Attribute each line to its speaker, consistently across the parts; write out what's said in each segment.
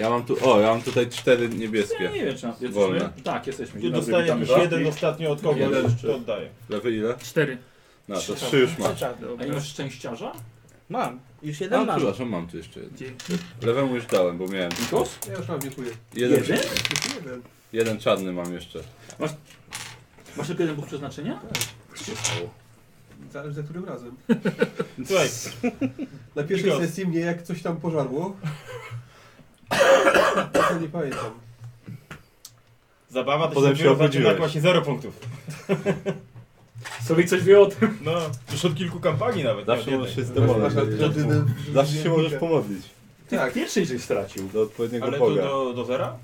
Speaker 1: Ja mam tu, o, ja mam tutaj cztery niebieskie.
Speaker 2: Ja nie wiem, czy nas
Speaker 1: Wolne.
Speaker 2: jesteśmy. Tak, jesteśmy.
Speaker 3: Tu
Speaker 2: Dzień dobry,
Speaker 3: dostałem
Speaker 2: witamy
Speaker 3: jakiś
Speaker 2: was.
Speaker 3: jeden ostatnio od kogoś,
Speaker 1: tak? Jeden.
Speaker 3: to oddaję.
Speaker 1: Lewy ile?
Speaker 4: Cztery.
Speaker 1: No, to trzy już masz.
Speaker 5: Trzeba,
Speaker 2: A
Speaker 5: dobra.
Speaker 2: nie masz szczęściarza?
Speaker 5: Mam. Już jeden
Speaker 1: A,
Speaker 5: mam.
Speaker 1: przepraszam, mam tu jeszcze jeden.
Speaker 4: Dzięki.
Speaker 1: Lewemu już dałem, bo miałem.
Speaker 2: Nikos?
Speaker 6: Ja już mam, dziękuję.
Speaker 1: Jeden,
Speaker 2: Jeden?
Speaker 6: Jeden.
Speaker 1: jeden czarny mam jeszcze.
Speaker 2: Masz tylko jeden punkt przeznaczenia?
Speaker 6: Zależy za którym razem.
Speaker 3: Słuchaj,
Speaker 6: Na pierwszej
Speaker 3: Nikos.
Speaker 6: sesji mnie jak coś tam pożarło. to nie pamiętam.
Speaker 3: zabawa to
Speaker 1: Potem
Speaker 3: się,
Speaker 1: się
Speaker 3: dopiero
Speaker 1: obudziłeś.
Speaker 3: zaczyna, właśnie 0 punktów.
Speaker 2: Sobie coś wie o tym.
Speaker 3: No, już od kilku kampanii nawet.
Speaker 1: Zawsze
Speaker 3: nie od
Speaker 1: możesz się
Speaker 3: jednej.
Speaker 1: zdemolować.
Speaker 6: Masz- masz- masz-
Speaker 1: Zawsze się możesz pomodlić.
Speaker 2: Ty
Speaker 6: Tak.
Speaker 2: tak. pierwszej żeś stracił.
Speaker 1: Do odpowiedniego
Speaker 3: Ale to
Speaker 1: Boga.
Speaker 3: do, do zera?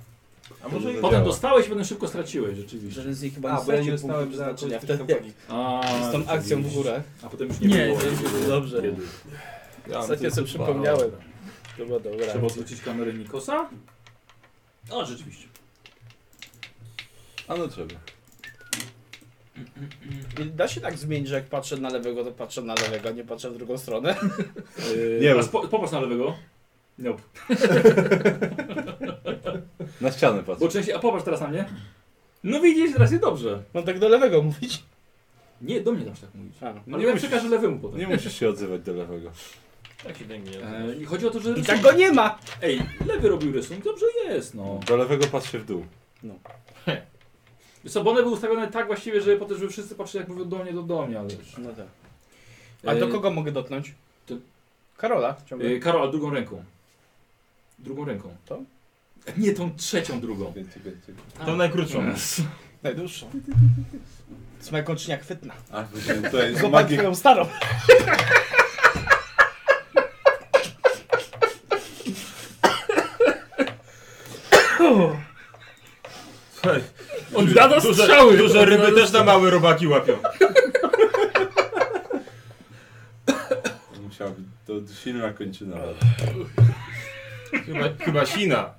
Speaker 3: A może i...
Speaker 1: To
Speaker 2: Potem
Speaker 1: działa.
Speaker 2: dostałeś, potem szybko straciłeś, rzeczywiście.
Speaker 5: Żaden z nich chyba
Speaker 6: A,
Speaker 5: nie
Speaker 6: bo ja nie
Speaker 5: stracił
Speaker 6: dostałem
Speaker 5: punktu
Speaker 6: za
Speaker 5: przeznaczenia
Speaker 6: kogoś z tych
Speaker 5: wtedy, jak
Speaker 6: kampanii.
Speaker 2: A,
Speaker 5: z tą akcją w
Speaker 2: widzisz.
Speaker 5: górach.
Speaker 2: A potem już nie,
Speaker 4: Nie,
Speaker 2: było.
Speaker 4: to jest dobrze.
Speaker 2: Kiedy?
Speaker 5: Tak.
Speaker 1: Ja mam
Speaker 5: Ostatnio
Speaker 1: tu no.
Speaker 5: sobie
Speaker 1: dwa.
Speaker 5: przypomniałem. Dobra, dobra.
Speaker 2: Trzeba odwrócić kamerę Nikosa. O, rzeczywiście.
Speaker 1: A no trzeba.
Speaker 5: Da się tak zmienić, że jak patrzę na lewego, to patrzę na lewego, a nie patrzę w drugą stronę.
Speaker 2: Yy,
Speaker 1: Nie
Speaker 2: nie,
Speaker 1: wiem.
Speaker 2: a spo, popatrz na lewego. No.
Speaker 1: Na ścianę patrzę.
Speaker 2: Bo częściej, a popatrz teraz na mnie. No widzisz, teraz jest dobrze.
Speaker 5: Mam tak do lewego mówić.
Speaker 2: Nie, do mnie zawsze tak mówić.
Speaker 5: A.
Speaker 1: No
Speaker 2: No
Speaker 1: nie
Speaker 2: nie ja
Speaker 1: musisz.
Speaker 2: przekażę lewemu potem.
Speaker 1: Nie musisz się odzywać do lewego.
Speaker 3: Tak się dęgnie.
Speaker 2: E, I chodzi o to, że
Speaker 5: I
Speaker 2: rysunek.
Speaker 5: tak go nie ma!
Speaker 2: Ej, lewy robił rysunek, dobrze jest, no.
Speaker 1: Do lewego patrz się w dół.
Speaker 2: Wiesz Co, bo one były ustawione tak właściwie, że po to, żeby wszyscy patrzyli jak mówią do mnie, do do mnie, ale wiesz.
Speaker 5: No tak. A
Speaker 3: Y-
Speaker 5: do
Speaker 2: E,
Speaker 5: kogo mogę dotknąć?
Speaker 2: ty-
Speaker 5: Karola.
Speaker 2: E,
Speaker 5: Ciągle.
Speaker 2: Karol, a drugą ręką. Drugą ręką.
Speaker 5: To?
Speaker 2: E, Nie, tą trzecią drugą.
Speaker 1: Więcej, więcej.
Speaker 3: Tą najkrótszą.
Speaker 5: Najdłuższą. To jest moja kończynia chwytna.
Speaker 1: A, widziałem tutaj
Speaker 5: Zobacz
Speaker 1: magię,
Speaker 5: twoją starą.
Speaker 3: Słuchaj,
Speaker 4: On
Speaker 3: duże-
Speaker 4: da do
Speaker 3: duże-
Speaker 4: strzały.
Speaker 3: Duże ryby też na małe robaki łapią.
Speaker 1: Musiała być to silna kończyna.
Speaker 3: Chyba, chyba Sina.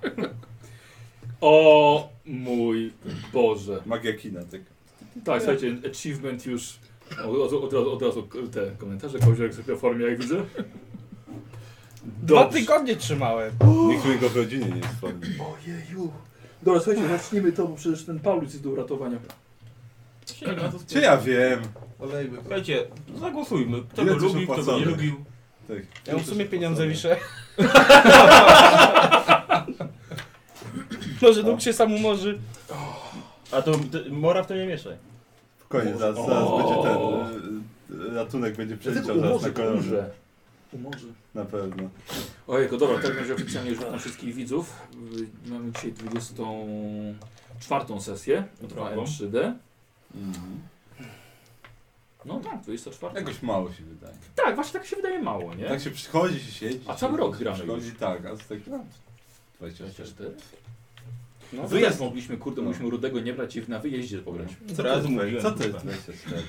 Speaker 2: O mój Boże.
Speaker 1: Magia kina, tak.
Speaker 2: Tak, słuchajcie, achievement już. O, Od, od, razu- od razu te komentarze koziorek sobie o formie, jak widzę.
Speaker 5: Dwa
Speaker 2: Dobrze.
Speaker 5: tygodnie trzymałem.
Speaker 1: Nikt mi go w rodzinie nie wspomni.
Speaker 2: Ojeju. Dobra, słuchajcie, zacznijmy to, bo przecież ten Paulus jest do uratowania.
Speaker 1: Czy ja wiem?
Speaker 6: Olejmy.
Speaker 3: Słuchajcie, zagłosujmy. Kto
Speaker 1: Ile
Speaker 3: go
Speaker 1: to się
Speaker 3: lubi, kto go nie
Speaker 1: opłacone?
Speaker 3: lubił.
Speaker 1: Tak.
Speaker 5: Ja mu w sumie pieniądze wiszę. Może dług się sam umorzy.
Speaker 3: A to te, mora w to nie mieszaj.
Speaker 1: W koniec, zaraz, zaraz będzie ten y, y, ratunek będzie przeliczał zaraz na kolorze.
Speaker 2: Umorze.
Speaker 1: Na pewno.
Speaker 2: Ojejku, dobra, tak będzie oficjalnie już witam wszystkich widzów. Y, Mamy dzisiaj 24 sesję
Speaker 3: Brawo.
Speaker 2: 2M3D. No tak, 24.
Speaker 1: Mhm. Jakoś mało się wydaje.
Speaker 2: Tak, właśnie tak się wydaje mało, nie?
Speaker 1: Tak się przychodzi, się siedzi.
Speaker 2: A cały
Speaker 1: się
Speaker 2: rok gramy
Speaker 1: Przychodzi, tak, a z tak gram. 24.
Speaker 2: 24.
Speaker 5: No.
Speaker 2: Wyjazd mogliśmy, kurde,
Speaker 1: No.
Speaker 2: mogliśmy Rudego nie brać i na wyjeździe pograć.
Speaker 3: Co raz mówiłem.
Speaker 1: Co to jest
Speaker 3: kurwa.
Speaker 1: 24?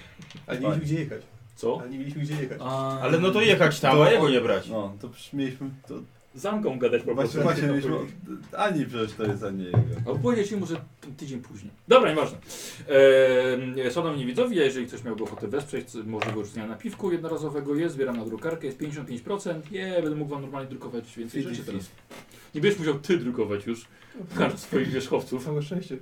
Speaker 6: Ale nie mieliśmy gdzie jechać.
Speaker 2: Co?
Speaker 6: Ale nie mieliśmy gdzie jechać.
Speaker 2: A...
Speaker 3: Ale no to jechać tam, a jego nie brać.
Speaker 1: No, to przecież mieliśmy... To,
Speaker 2: Z Anką gadać po prostu. tak
Speaker 1: właśnie, właśnie mieliśmy... Ani przecież to jest, ani jego.
Speaker 2: Albo powiedzieć mu, że t- tydzień później. Dobra, nieważne. Eee, szanowni widzowie, jeżeli ktoś miałby ochotę wesprzeć, co- możliwość uczenia napiwku jednorazowego jest, zbieram na drukarkę, jest 55%. Nie, będę mógł wam normalnie drukować więcej
Speaker 1: Fidi,
Speaker 2: rzeczy
Speaker 1: fidi.
Speaker 2: teraz. Nie będziesz musiał ty drukować już kart swoich wierzchowców.
Speaker 6: Całe szczęście.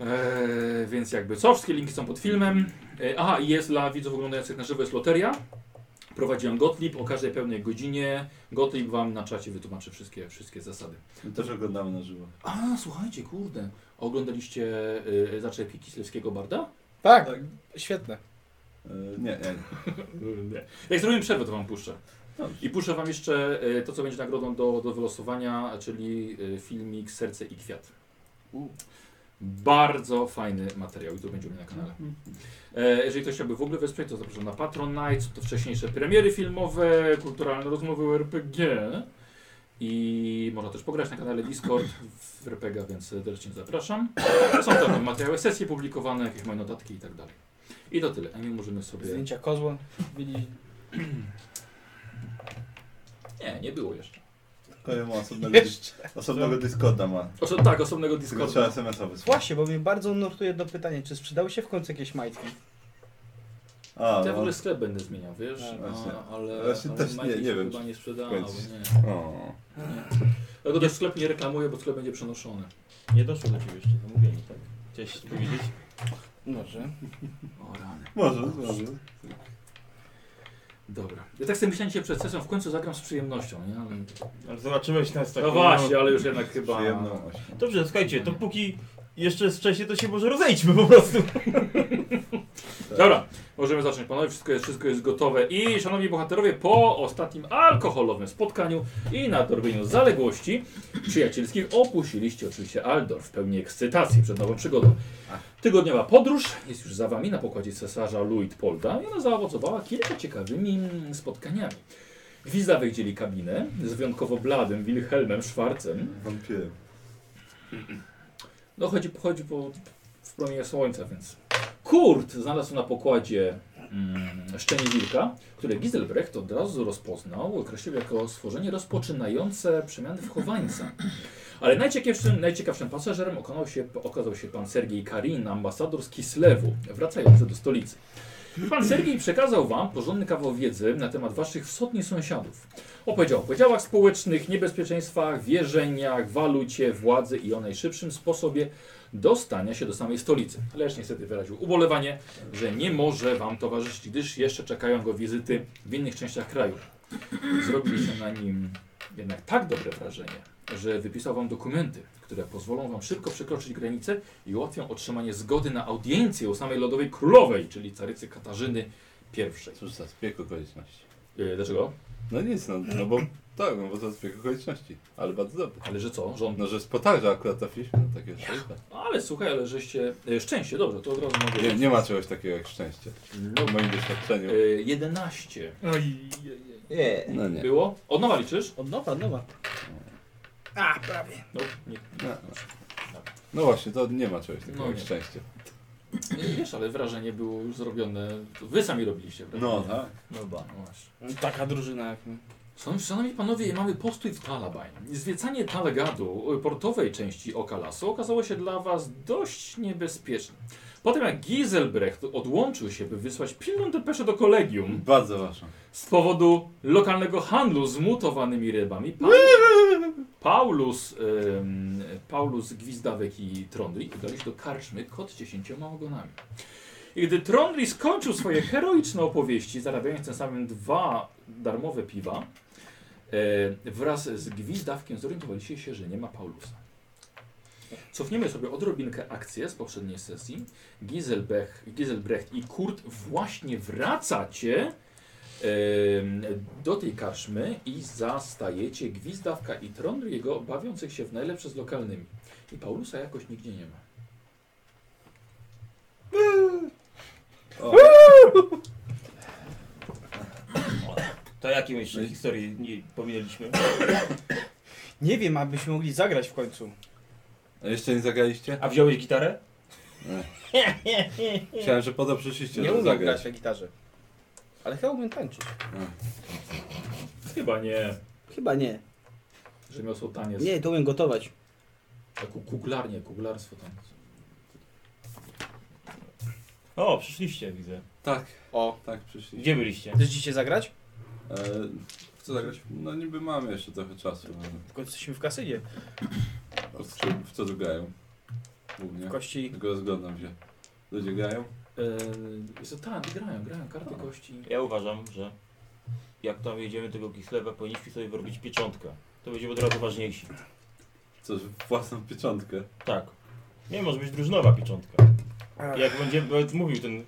Speaker 2: Eee, więc jakby co, wszystkie linki są pod filmem. Eee, aha, i jest dla widzów oglądających na żywo jest loteria. Prowadziłem Gotlib o każdej pełnej godzinie. Gotlib wam na czacie wytłumaczy wszystkie, wszystkie zasady.
Speaker 1: My też oglądamy na żywo.
Speaker 2: A, słuchajcie, kurde. Oglądaliście y, zaczepki Kislewskiego Barda?
Speaker 5: Tak, świetne.
Speaker 1: E, nie, nie.
Speaker 2: Nie. Jak zrobimy przerwę, to wam puszczę. I puszczę wam jeszcze y, to, co będzie nagrodą do, do wylosowania, czyli y, filmik Serce i Kwiat. Bardzo fajny materiał i to będzie u mnie na kanale. E, jeżeli ktoś chciałby w ogóle wesprzeć, to zapraszam na Patron Night. Są to wcześniejsze premiery filmowe, kulturalne rozmowy o RPG. I można też pograć na kanale Discord w RPG, więc serdecznie zapraszam. Są tam materiały, sesje publikowane, jakieś moje notatki i tak dalej. I to tyle. A my możemy sobie...
Speaker 5: Zdjęcia kozła. Byli...
Speaker 2: Nie, nie było jeszcze.
Speaker 1: To ja mam osobnego, dys- osobnego Discorda ma.
Speaker 2: Oso tak, osobnego
Speaker 1: Tylko trzeba
Speaker 2: Discorda.
Speaker 1: SMS-a wysłać.
Speaker 5: Właśnie, bo mnie bardzo nurtuje do pytania, czy sprzedały się w końcu jakieś majtki?
Speaker 1: A,
Speaker 2: To ja w
Speaker 1: no.
Speaker 2: ogóle sklep będę zmieniał, wiesz?
Speaker 5: Tak.
Speaker 1: Właśnie.
Speaker 2: A, ale
Speaker 1: Właśnie
Speaker 2: ale
Speaker 1: też nie-
Speaker 2: Maciej
Speaker 1: nie
Speaker 2: się
Speaker 1: wiem,
Speaker 2: Chyba
Speaker 1: czy
Speaker 2: nie sprzedawał,
Speaker 1: końcu.
Speaker 2: nie.
Speaker 1: no. O.
Speaker 2: Dlatego też sklep nie reklamuję, bo sklep będzie przenoszony.
Speaker 3: Nie doszło do ciebie jeszcze, to mówię mi tak. Chciałeś powiedzieć?
Speaker 5: Może.
Speaker 2: O rany.
Speaker 1: Może, może.
Speaker 2: Dobra. Ja tak sobie myślałem dzisiaj przed sesją, w końcu zagram z przyjemnością, nie? Ale...
Speaker 3: Ale zobaczyłeś nas tak.
Speaker 2: No właśnie, ale już jednak chyba...
Speaker 1: Przyjemną ośmią.
Speaker 3: Dobrze, słuchajcie, to póki jeszcze jest wcześniej, to się może rozejdźmy po prostu.
Speaker 2: Dobra, możemy zacząć panowie, wszystko jest, wszystko jest gotowe i szanowni bohaterowie, po ostatnim alkoholowym spotkaniu i nadrobieniu zaległości przyjacielskich opuściliście oczywiście Aldor w pełni ekscytacji przed nową przygodą. Tygodniowa podróż jest już za wami na pokładzie cesarza Luitpolda i ona zaowocowała kilka ciekawymi mm, spotkaniami. Gwizda wydzieli kabinę z wyjątkowo bladym Wilhelmem Schwarzem,
Speaker 1: Wampirem.
Speaker 2: no chodzi, chodzi po, w promieniu słońca, więc... Kurt znalazł na pokładzie mm, szczenie wilka, które Giselbrecht od razu rozpoznał, określił jako stworzenie rozpoczynające przemiany w chowańca. Ale najciekawszym, najciekawszym pasażerem okazał się, okazał się pan Sergiej Karin, ambasador z Kislewu, wracający do stolicy. Pan Sergiej przekazał wam porządny kawał wiedzy na temat waszych wschodnich sąsiadów. Opowiedział o podziałach społecznych, niebezpieczeństwach, wierzeniach, walucie, władzy i o najszybszym sposobie dostania się do samej stolicy. Lecz niestety wyraził ubolewanie, że nie może wam towarzyszyć, gdyż jeszcze czekają go wizyty w innych częściach kraju. Zrobiliście na nim jednak tak dobre wrażenie, że wypisał wam dokumenty, które pozwolą wam szybko przekroczyć granicę i ułatwią otrzymanie zgody na audiencję u samej lodowej królowej, czyli carycy Katarzyny I.
Speaker 1: Cóż za zbieg okoliczności.
Speaker 2: Yy, dlaczego?
Speaker 1: No nic, no, no bo tak, no bo za zbieg okoliczności. Ale bardzo dobry.
Speaker 2: Ale że co? Rząd.
Speaker 1: No, że z potarza akurat trafiliśmy na takie szczęście.
Speaker 2: No, Ale słuchaj, ale żeście... Yy, szczęście, dobrze, to od razu mogę...
Speaker 1: Nie, nie ma czegoś takiego jak szczęście.
Speaker 2: No,
Speaker 1: W moim doświadczeniu.
Speaker 2: yy, 11
Speaker 5: Nie.
Speaker 1: No nie.
Speaker 2: było. Od nowa liczysz?
Speaker 5: Od nowa, od nowa. A, prawie.
Speaker 2: No, nie,
Speaker 1: No, no. no właśnie, to nie ma czegoś takiego
Speaker 2: No
Speaker 1: jak
Speaker 2: nie.
Speaker 1: szczęście.
Speaker 2: nie wiesz, ale wrażenie było już zrobione... to Wy sami robiliście, prawda?
Speaker 1: tak.
Speaker 2: No ba, no właśnie.
Speaker 5: Taka drużyna jak my.
Speaker 2: Szan- Szanowni panowie, mamy postój w Talabaj. Zwiecanie Talgadu, y, portowej części Okalasu, okazało się dla was dość niebezpieczne. Potem jak Giselbrecht odłączył się, by wysłać pilną depeszę do kolegium
Speaker 1: Bardzo waszą.
Speaker 2: z powodu lokalnego handlu z mutowanymi rybami, pa Paulus, ym, Paulus Gwizdawek i Trondri udali się do karczmy kot z dziesięcioma ogonami. I gdy Trondri skończył swoje heroiczne opowieści, zarabiając tym samym dwa darmowe piwa, e, wraz z Gwizdawkiem zorientowali się, że nie ma Paulusa. Cofniemy sobie odrobinkę akcję z poprzedniej sesji. Giselbech, Giselbrecht i Kurt właśnie wracacie em, do tej karczmy i zastajecie Gwizdawka i Trondriego bawiących się w najlepsze z lokalnymi. I Paulusa jakoś nigdzie nie ma.
Speaker 1: O,
Speaker 3: To jakie jeszcze historii nie pominęliśmy?
Speaker 5: Nie wiem, abyśmy mogli zagrać w końcu.
Speaker 1: a jeszcze nie zagraliście?
Speaker 3: A wziąłeś gitarę?
Speaker 1: Myślałem, że po to przyszliście,
Speaker 5: Nie
Speaker 1: żeby
Speaker 5: umiem
Speaker 1: zagrać.
Speaker 5: grać na gitarze. Ale chyba umiem tańczyć.
Speaker 2: Chyba nie.
Speaker 5: Chyba nie.
Speaker 2: Że miał taniec.
Speaker 5: Nie, to umiem gotować.
Speaker 2: Ku- Kuglarnie, kuglarstwo tam.
Speaker 3: O, przyszliście, widzę.
Speaker 1: Tak,
Speaker 5: O.
Speaker 1: tak przyszliście.
Speaker 3: Gdzie byliście?
Speaker 5: Chcesz dzisiaj zagrać?
Speaker 1: E, w co zagrać? No niby mamy jeszcze trochę czasu.
Speaker 5: W końcu jesteśmy w kasynie.
Speaker 1: ale W co, w co tu grają? Głównie.
Speaker 5: W kości.
Speaker 1: Tylko rozglądam się. Ludzie grają?
Speaker 2: Yy, tak, grają, grają, karty
Speaker 1: O.
Speaker 2: kości.
Speaker 3: Ja uważam, że jak tam jedziemy tego Kislewa, powinniśmy sobie wyrobić pieczątkę. To będziemy od razu ważniejsi.
Speaker 1: Coś, własną pieczątkę.
Speaker 3: Tak. Nie, może być drużynowa pieczątka. Jak będzie bo mówił ten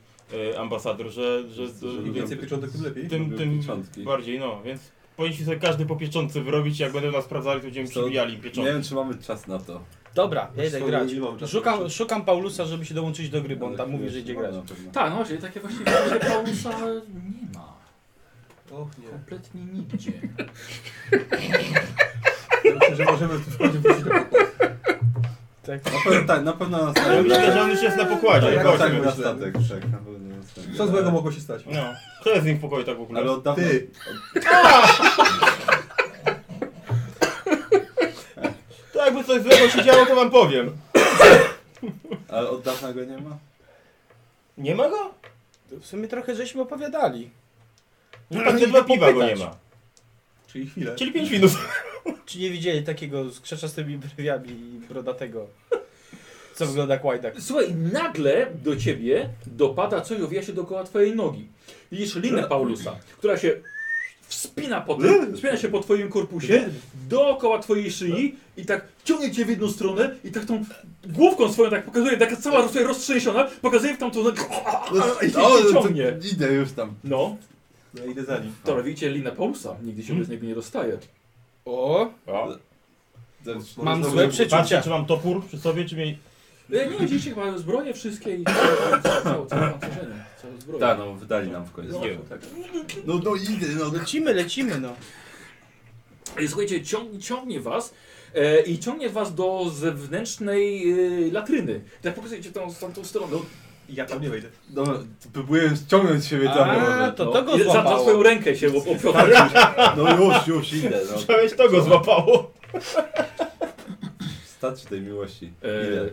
Speaker 3: e, ambasador, że, że,
Speaker 1: Że
Speaker 3: że
Speaker 1: lubią
Speaker 6: Więcej pieczątek, tym lepiej.
Speaker 3: tym,
Speaker 1: lubią
Speaker 3: tym
Speaker 1: pieczątki.
Speaker 3: bardziej, no, więc powinniśmy sobie każdy po pieczątce wyrobić, jak będą nas sprawdzali, to będziemy
Speaker 1: Co?
Speaker 3: przybijali
Speaker 1: Nie
Speaker 3: pieczątki.
Speaker 1: wiem, czy mamy czas na to.
Speaker 5: Dobra, ja idę
Speaker 6: Swoje
Speaker 5: grać.
Speaker 6: nie mam czasu.
Speaker 5: Szukam, szukam Paulusa, żeby się dołączyć do gry, bo on
Speaker 1: Ale
Speaker 5: tam mówi,
Speaker 1: chwilę
Speaker 5: że idzie
Speaker 1: trzeba
Speaker 5: grać.
Speaker 1: na pewno.
Speaker 2: Tak, no właśnie, takie właśnie że Paulusa nie ma.
Speaker 6: Och nie.
Speaker 2: Kompletnie nigdzie.
Speaker 6: Ja Myślę, że możemy w tym składzie wrócić do
Speaker 5: Tak.
Speaker 1: Na pewno, tak, na pewno na
Speaker 3: Ale
Speaker 1: statek.
Speaker 3: myślę, że on już jest na pokładzie,
Speaker 6: Tak,
Speaker 1: Tak,
Speaker 3: chodźmy.
Speaker 1: tak,
Speaker 6: myślę.
Speaker 1: na statek, tak, na pewno na statek.
Speaker 6: Co złego mogło się stać?
Speaker 3: No, kto jest z nim w pokoju tak w ogóle?
Speaker 1: Ale od dawna...
Speaker 6: Ty.
Speaker 3: To jakby Tak, coś złego się działo, to wam powiem.
Speaker 1: Ale od dawna go nie ma?
Speaker 3: Nie ma go?
Speaker 5: W sumie trochę żeśmy opowiadali.
Speaker 3: Pan te dwa piwa go nie
Speaker 5: popytać.
Speaker 3: ma.
Speaker 6: Czyli chwilę.
Speaker 3: Czyli 5 minut.
Speaker 5: Czy nie widzieli takiego z krzeczastymi brywiami i brodatego, co wygląda jak łajdak?
Speaker 2: Słuchaj, nagle do ciebie dopada coś i owija się dookoła twojej nogi. Widzisz linę Paulusa, która się wspina po tym, wspina się po twoim korpusie, dookoła twojej szyi i tak ciągnie cię w jedną stronę i tak tą główką swoją tak pokazuje, taka cała tutaj roztrzęsiona, pokazuje w tamtą nogę i cię ciągnie.
Speaker 1: Idę już tam.
Speaker 2: No,
Speaker 6: Ja idę za nim.
Speaker 2: to widzicie linę Paulusa, nigdy się bez niego nie rozstaje.
Speaker 5: O,
Speaker 3: O,
Speaker 5: mam
Speaker 1: Znowu-
Speaker 5: złe przeczucia.
Speaker 3: patrzę, czy mam topór przy sobie, czy mi...
Speaker 2: Nie, nie, widzicie chyba zbroje wszystkie i całe całe- całe pancerzenie, całe zbroje.
Speaker 1: Tak, no wydali nam w końcu.
Speaker 2: No,
Speaker 3: Zdjęłem.
Speaker 1: tak. No, no idę, no.
Speaker 5: Lecimy, lecimy, no.
Speaker 2: I E, Słuchajcie, ciąg, ciągnie was e, i ciągnie was do zewnętrznej e, latryny. Tak pokazujecie tą, tą, tą stronę.
Speaker 6: Ja tam nie wejdę.
Speaker 1: Dobra, no, próbuję ściągnąć siebie tam.
Speaker 5: A,
Speaker 1: może.
Speaker 5: to
Speaker 1: no.
Speaker 5: to go
Speaker 2: Za, za
Speaker 5: złapało.
Speaker 2: swoją rękę się op- opiowarł.
Speaker 1: No już, już idę, no.
Speaker 3: Cześć, to go złapało.
Speaker 1: Starczy tej miłości.
Speaker 2: E,
Speaker 1: Idę.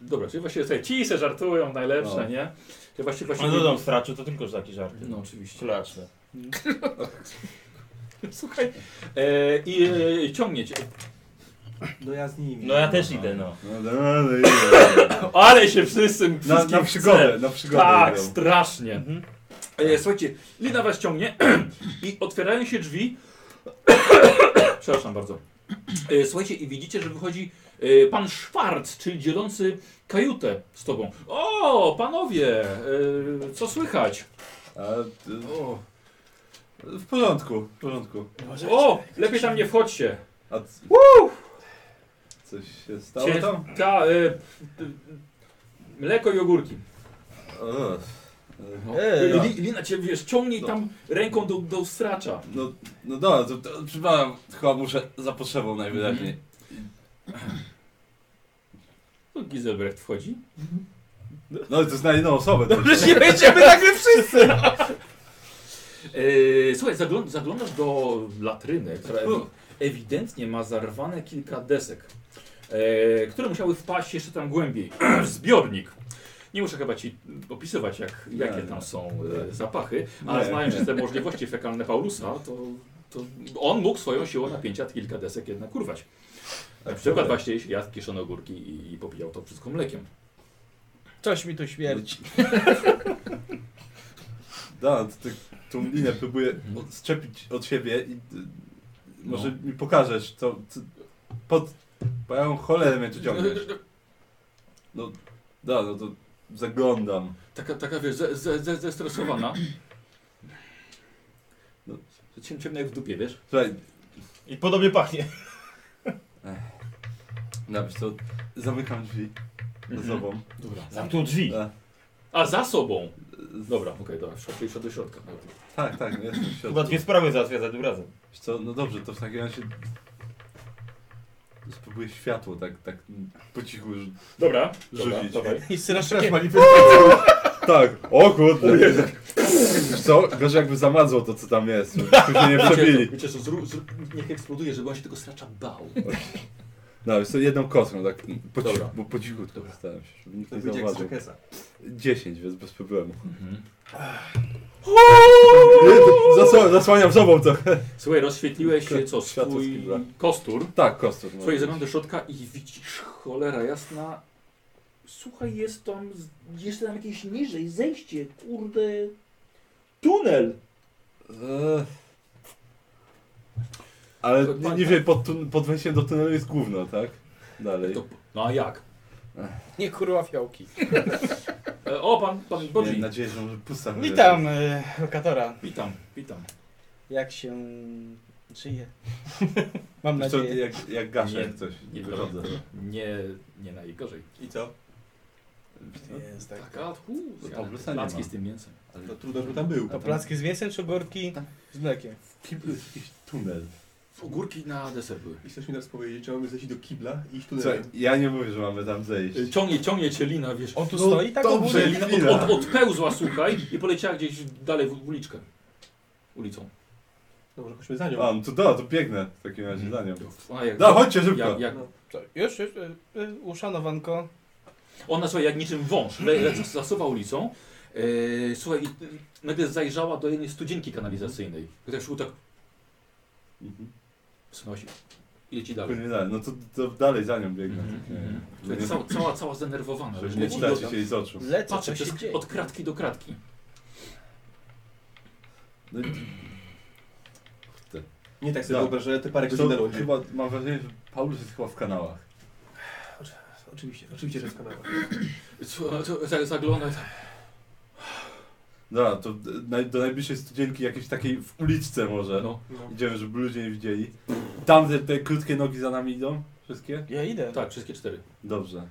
Speaker 2: dobra, czyli właściwie tutaj ci se żartują, najlepsze,
Speaker 1: Tak. No.
Speaker 2: nie? Czyli właśnie, właśnie,
Speaker 3: Ale dodam straczy, No to tylko taki żart.
Speaker 2: no oczywiście.
Speaker 3: Kulaczne.
Speaker 2: Słuchaj, e, i e, ciągnie cię.
Speaker 6: No ja z nimi.
Speaker 3: No ja też idę, no.
Speaker 1: No dalej idę.
Speaker 2: Ale się wszyscy
Speaker 1: Na,
Speaker 2: wszystkim
Speaker 1: na przygodę,
Speaker 2: chce.
Speaker 1: na przygodę.
Speaker 2: Tak,
Speaker 1: idę.
Speaker 2: strasznie.
Speaker 5: Mhm.
Speaker 2: E, słuchajcie, Lina was ciągnie i otwierają się drzwi. Przepraszam bardzo. E, słuchajcie, i widzicie, że wychodzi e, pan Szwarc, czyli dzielący kajutę z tobą. O, panowie, e, co słychać?
Speaker 1: A, ty- o. W porządku, w porządku.
Speaker 2: O, lepiej tam nie wchodźcie.
Speaker 1: A c- coś się stało
Speaker 2: Cię,
Speaker 1: tam?
Speaker 2: ta, e, e, mleko i ogórki. No.
Speaker 1: O,
Speaker 5: E,
Speaker 2: Li- Lina cię, wiesz, ciągnij
Speaker 1: No.
Speaker 2: tam ręką do, do stracza.
Speaker 1: no, no dobra, to, to przepraszam, chyba muszę za potrzebą najwyraźniej.
Speaker 2: Tu Gizelbrecht wchodzi.
Speaker 1: No i to znali nową osobę. to-
Speaker 5: Dobrze, nie będziemy tak nagle wszyscy.
Speaker 2: Eee, słuchaj, zaglą zaglądasz do latryny, która
Speaker 1: Tak.
Speaker 2: ewi ewidentnie ma zarwane kilka desek, eee, które musiały wpaść jeszcze tam głębiej. w Zbiornik. Nie muszę chyba ci opisywać, jak,
Speaker 1: Nie,
Speaker 2: jakie
Speaker 1: nie.
Speaker 2: tam są e, zapachy, ale
Speaker 1: Nie.
Speaker 2: znając te możliwości fekalne Paulusa, to, to on mógł swoją siłą napięcia kilka desek jednak urwać. Na
Speaker 1: Tak,
Speaker 2: przykład właśnie jadł kieszone ogórki i, i popijał to wszystko mlekiem.
Speaker 5: Coś mi tu śmierdzi.
Speaker 1: Da, to ty, tą linię próbuję odczepić od siebie i y, może
Speaker 3: No.
Speaker 1: mi pokażesz, co, co pod moją cholerę mnie tu ciągniesz. No, da, no to zaglądam.
Speaker 2: Taka, taka wiesz, ze, ze, ze, zestresowana.
Speaker 1: No.
Speaker 2: Że Ciem, ciemno jak w dupie, wiesz?
Speaker 1: Słuchaj,
Speaker 3: I podobnie pachnie.
Speaker 1: napisz to, zamykam drzwi
Speaker 3: Mhm.
Speaker 1: za sobą. E,
Speaker 2: Dobra.
Speaker 3: Zamknął drzwi.
Speaker 1: Da.
Speaker 2: A za sobą. Dobra, okej, dobra, w środku, do środka.
Speaker 1: Tak, tak, no jestem w
Speaker 3: Chyba
Speaker 1: środku.
Speaker 3: dwie sprawy załatwia za tym razem.
Speaker 1: Wiesz co, no dobrze, to w takim razie spróbuję światło tak, tak po cichu rzu-
Speaker 2: Dobra,
Speaker 1: rzucić.
Speaker 5: I strasznie.
Speaker 1: Tak, o kurde. Wiesz co, gorzej jakby zamadzło to, co tam jest, żeby się nie
Speaker 2: Wiecie,
Speaker 1: przebili.
Speaker 2: wiecie co, zrób, zrób, niech eksploduje, żeby on się tego stracza bał.
Speaker 1: No, wiesz co, jedną kostką, tak po, cichu,
Speaker 2: Dobra.
Speaker 1: bo po cichu tylko stałem się, żeby nikt
Speaker 6: To
Speaker 1: nie
Speaker 6: będzie jak z
Speaker 1: zauważył.
Speaker 6: Jackass'a.
Speaker 1: 10, więc bez problemu.
Speaker 2: Mhm.
Speaker 1: Zasła, zasłaniam sobą to.
Speaker 2: Słuchaj, rozświetliłeś się, co,
Speaker 1: Światło
Speaker 2: swój
Speaker 1: skibla.
Speaker 2: kostur.
Speaker 1: Tak, kostur. no.
Speaker 2: Słuchaj, zaglądasz do środka i widzisz, cholera jasna, słuchaj, jest tam, z- jest tam jakieś niżej zejście, kurde, tunel.
Speaker 1: Eee. Ale nie, nie wiem, pod, tun- pod wejściem do tunelu jest gówno, tak? Dalej.
Speaker 2: To, no a jak?
Speaker 5: Nie kurwa fiołki.
Speaker 2: E, o, pan, pan
Speaker 1: Miałem
Speaker 2: Bodzi.
Speaker 1: nadzieję, że może pusta.
Speaker 5: Witam y, lokatora.
Speaker 2: Witam, witam.
Speaker 5: Jak się żyje? Mam
Speaker 1: Wiesz co,
Speaker 5: nadzieję.
Speaker 1: jak, jak gaszę, jak coś.
Speaker 2: Nie,
Speaker 1: wychodzę.
Speaker 2: nie, nie najgorzej.
Speaker 6: I co?
Speaker 1: Wiesz co?
Speaker 5: Jest tak.
Speaker 2: Tak, a tu,
Speaker 1: To Paulusa nie
Speaker 2: placki
Speaker 1: ma.
Speaker 2: z tym mięsem.
Speaker 6: To trudno, żeby tam był.
Speaker 5: To placki z mięsem czy ogórki z mlekiem?
Speaker 1: Kibel jest jakiś tunel.
Speaker 2: Ogórki na deser były.
Speaker 6: I chcesz mi teraz powiedzieć, że mamy zejść do kibla i iść
Speaker 1: Co,
Speaker 6: tunelem.
Speaker 1: ja nie mówię, że mamy tam zejść.
Speaker 2: Ciągnie, ciągnie cię lina, wiesz.
Speaker 5: On tu
Speaker 1: No
Speaker 5: stoi tak
Speaker 1: dobrze,
Speaker 5: ogólnie?
Speaker 2: Lina
Speaker 1: chwila.
Speaker 2: od, od, odpełzła, słuchaj, i poleciała gdzieś dalej w uliczkę. Ulicą.
Speaker 6: No może chodźmy za nią.
Speaker 1: A, no to da, to biegnę w takim razie za nią.
Speaker 2: A No, jak,
Speaker 1: Da, chodźcie szybko!
Speaker 2: jak, jak,
Speaker 6: No.
Speaker 5: Co, Już, już, y, y, uszanowanko.
Speaker 2: ona słuchaj, jak niczym wąż le, le, zasuwa ulicą E, słuchaj, i- i nagle zajrzała do jednej studzienki kanalizacyjnej. Ktoś był tak,
Speaker 1: Mhm.
Speaker 2: wsunąłeś i leci dalej.
Speaker 1: Płynie dalej. No to, to dalej za nią biegnę.
Speaker 2: Mhm,
Speaker 1: no, Nie,
Speaker 2: mhm.
Speaker 1: Żeby
Speaker 2: Słuchaj,
Speaker 1: nie-
Speaker 2: cała, cała, cała zdenerwowana. no,
Speaker 1: Żeby
Speaker 2: że
Speaker 1: nie
Speaker 2: leci
Speaker 1: czytać
Speaker 2: do-
Speaker 1: się jej z oczu.
Speaker 5: Lecę,
Speaker 2: Patrzę
Speaker 5: co się
Speaker 2: przez,
Speaker 5: dzieje.
Speaker 2: od kratki do kratki.
Speaker 1: No, i-
Speaker 6: Nie tak sobie
Speaker 1: Tak.
Speaker 6: wyobrażę, ale te parę godzin na
Speaker 1: to,
Speaker 6: rondzie.
Speaker 1: chyba mam wrażenie, że Paulus jest chyba w kanałach.
Speaker 6: Oczywiście, oczywiście, że w kanałach.
Speaker 2: Słuchaj, to- za- Zagląda i tak.
Speaker 1: Dobra, to d- naj, do najbliższej studzienki jakiejś takiej w uliczce może.
Speaker 2: No,
Speaker 6: No.
Speaker 1: Idziemy, żeby ludzie nie widzieli. Tam te, te krótkie nogi za nami idą? Wszystkie?
Speaker 5: Ja idę.
Speaker 2: tak, wszystkie cztery.
Speaker 1: Dobrze.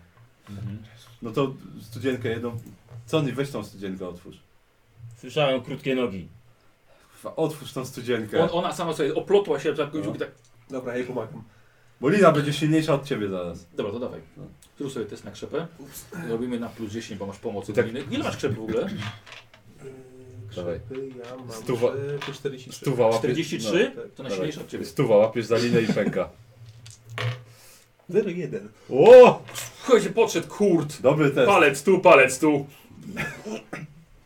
Speaker 2: Mhm.
Speaker 1: No to studzienkę jedną. Sony, weź tą studzienkę, otwórz.
Speaker 3: Słyszałem krótkie nogi.
Speaker 1: Kurwa, Otwórz tą studzienkę.
Speaker 2: On, ona sama sobie oplotła się, tak,
Speaker 1: No.
Speaker 2: i tak.
Speaker 6: Dobra, ja jej pomagam.
Speaker 1: Bo Lina będzie silniejsza od ciebie zaraz.
Speaker 2: Dobra, to dawaj.
Speaker 1: No.
Speaker 2: Zrób sobie test na krzepę. Robimy na plus 10, bo masz pomoc. od
Speaker 1: Tak.
Speaker 2: Liny. Ile masz krzepy w ogóle?
Speaker 1: Dawaj.
Speaker 6: Krzepy, ja mam
Speaker 1: Stuwa-
Speaker 6: trzy, po 43.
Speaker 1: łapiesz.
Speaker 2: 43?
Speaker 6: no, tak.
Speaker 2: To najsilniejsze od ciebie.
Speaker 1: Stuwa łapiesz za linę i pęka.
Speaker 6: 0,1.
Speaker 1: O!
Speaker 2: Słuchajcie, podszedł, kurt.
Speaker 1: Dobry test.
Speaker 2: Palec tu, palec tu.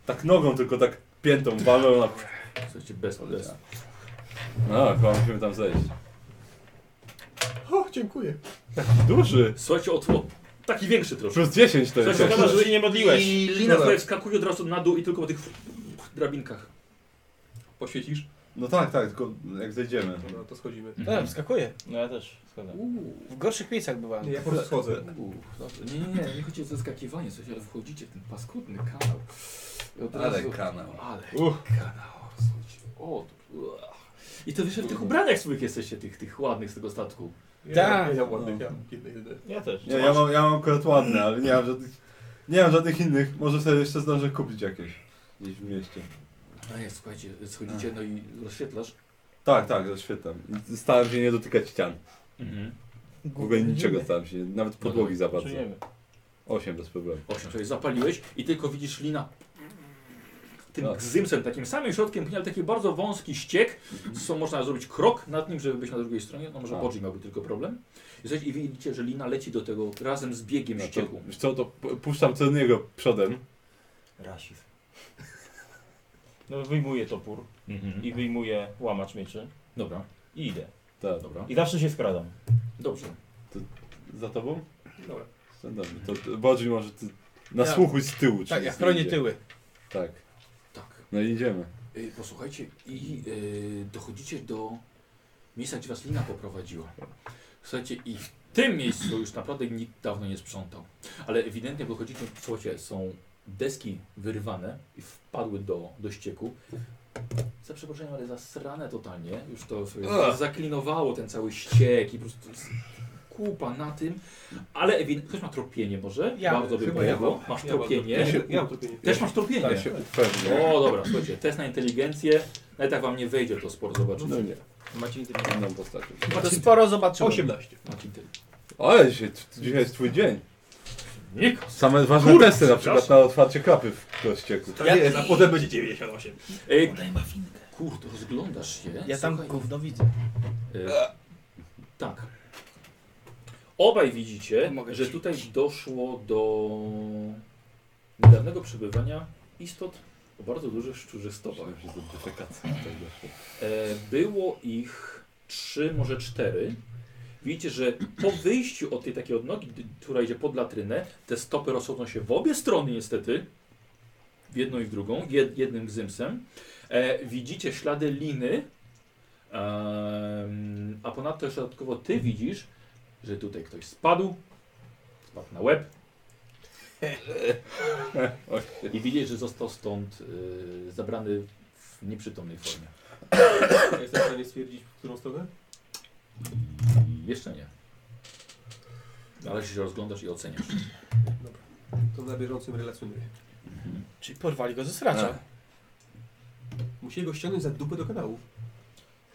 Speaker 1: Tak nogą, tylko tak piętą walą na.
Speaker 2: Słuchajcie, bez bez.
Speaker 1: No, chyba musimy tam zejść.
Speaker 6: O, dziękuję.
Speaker 1: Duży!
Speaker 2: Słuchajcie, otło. Taki większy troszkę.
Speaker 1: Plus 10 to jest.
Speaker 2: Słuchajcie,
Speaker 3: Szkoda,
Speaker 1: jakiś.
Speaker 3: że się nie modliłeś.
Speaker 2: I lina słuchaj, wskakuje od razu na dół i tylko po tych drabinkach.
Speaker 6: Poświecisz?
Speaker 1: No tak, tak, tylko jak zejdziemy.
Speaker 6: No to
Speaker 2: Tak.
Speaker 6: schodzimy.
Speaker 5: Dobra,
Speaker 2: Mhm.
Speaker 5: wskakuję.
Speaker 3: No ja też, szkoda.
Speaker 5: W gorszych miejscach bywałem.
Speaker 6: Nie, ja po prostu schodzę.
Speaker 2: Uuu, dobrze. Nie, nie, nie, nie chodzi o zaskakiwanie, coś, ale wchodzicie w ten paskudny kanał. I od razu-
Speaker 1: kanał.
Speaker 2: Ale
Speaker 1: Uch.
Speaker 2: kanał, słuchajcie. O, to... uah. I to wiesz, w tych ubraniach swoich jesteście, tych, tych ładnych z tego statku.
Speaker 6: Ja,
Speaker 5: Tak.
Speaker 6: Ja, ja ładnych,
Speaker 1: No.
Speaker 6: ja jedne, jedne.
Speaker 3: Ja też.
Speaker 1: Nie, ja mam, ja mam akurat ładne, ale nie mam żadnych. Nie mam żadnych innych. Może sobie jeszcze zdążę kupić jakieś. Gdzieś w mieście.
Speaker 2: No jest, słuchajcie, schodzicie, no i rozświetlasz.
Speaker 1: Tak, tak, zaświetam. I Starałem się nie dotykać ścian.
Speaker 2: Mhm.
Speaker 1: W ogóle niczego starałem się, nawet podłogi za bardzo.
Speaker 3: Czujemy.
Speaker 1: 8 bez problemu.
Speaker 2: Osiem, sobie zapaliłeś i tylko widzisz lina tym
Speaker 1: Tak.
Speaker 2: gzymsem, takim samym środkiem, pnia, ale taki bardzo wąski ściek,
Speaker 1: Mhm.
Speaker 2: co można zrobić krok nad nim, żeby być na drugiej stronie. No może
Speaker 1: A.
Speaker 2: Bodzi miałby tylko problem. I, słuchajcie, I widzicie, że lina leci do tego razem z biegiem
Speaker 1: No to,
Speaker 2: ścieku.
Speaker 1: wiesz co, to pu- puszczam co innego przodem.
Speaker 3: Rasizm. No wyjmuję topór
Speaker 2: Mhm. I,
Speaker 3: i wyjmuję łamacz mieczy
Speaker 2: dobra,
Speaker 3: i idę.
Speaker 1: Tak,
Speaker 2: dobra.
Speaker 3: I zawsze się skradam.
Speaker 2: Dobrze.
Speaker 1: za tobą?
Speaker 6: Dobra.
Speaker 1: No Dobrze, to to Bodzi może ty nasłuchuj z tyłu. czy
Speaker 5: Tak,
Speaker 1: nic
Speaker 5: ja
Speaker 1: nie
Speaker 5: chronię
Speaker 1: idzie.
Speaker 5: tyły.
Speaker 1: Tak,
Speaker 2: Tak.
Speaker 1: no i idziemy.
Speaker 2: Y, Posłuchajcie, i y, dochodzicie do miejsca, gdzie was lina poprowadziła. Słuchajcie, i w tym miejscu już naprawdę nikt dawno nie sprzątał. Ale ewidentnie dochodzicie, słuchajcie, są deski wyrwane i wpadły do, do ścieku. Za przeproszeniem, ale zasrane totalnie. Już to sobie
Speaker 1: Ugh.
Speaker 2: zaklinowało ten cały ściek i po prostu jest kupa na tym. Ale ewidentnie, ktoś ma tropienie może?
Speaker 5: Ja,
Speaker 2: Bardzo by
Speaker 6: chyba
Speaker 2: było.
Speaker 6: ja
Speaker 2: Masz
Speaker 6: Ja mam
Speaker 2: tropienie.
Speaker 6: Ja, się- ja mam tropienie.
Speaker 2: Też masz tropienie.
Speaker 1: Tak się upewnię.
Speaker 2: O, dobra, słuchajcie, test na inteligencję. Nawet tak wam nie wejdzie to sport, zobaczycie.
Speaker 1: No nie,
Speaker 5: Macie inteligencję.
Speaker 1: inną postacią.
Speaker 5: To sporo zobaczyłem.
Speaker 6: 18.
Speaker 2: Macie inteligencję.
Speaker 1: Ale dzisiaj, dzisiaj jest twój dzień.
Speaker 2: Nick!
Speaker 1: Same ważne
Speaker 2: Kurde,
Speaker 1: testy, na przykład na otwarcie klapy w kościeku.
Speaker 6: Tak
Speaker 5: Ja-
Speaker 6: jest, a potem będzie 98.
Speaker 2: Ej, kurde, rozglądasz się.
Speaker 5: Ja tam
Speaker 2: Słuchaj,
Speaker 5: gówno widzę.
Speaker 2: e, tak. Obaj widzicie,
Speaker 5: Pomogę
Speaker 2: że
Speaker 5: ci.
Speaker 2: tutaj doszło do niedawnego przebywania istot o bardzo dużych szczurzystopach.
Speaker 1: Myślałem, że to defekacja. Tak doszło.
Speaker 2: E, Było ich trzy, może cztery. Widzicie, że po wyjściu od tej takiej odnogi, d- która idzie pod latrynę, te stopy rozchodzą się w obie strony niestety. W jedną i w drugą, jed, jednym gzymsem. E, widzicie ślady liny. em, a ponadto jeszcze dodatkowo ty widzisz, że tutaj ktoś spadł. Spadł na łeb. I widzisz, że został stąd y, zabrany w nieprzytomnej formie.
Speaker 6: Ja Jestem w stanie stwierdzić, w którą stronę?
Speaker 2: Jeszcze nie. Ale się rozglądasz i oceniasz.
Speaker 6: To na bieżącym relacjonuję.
Speaker 5: Czyli porwali go ze sracza.
Speaker 1: No.
Speaker 6: Musieli go ściągnąć za dupę do kanału.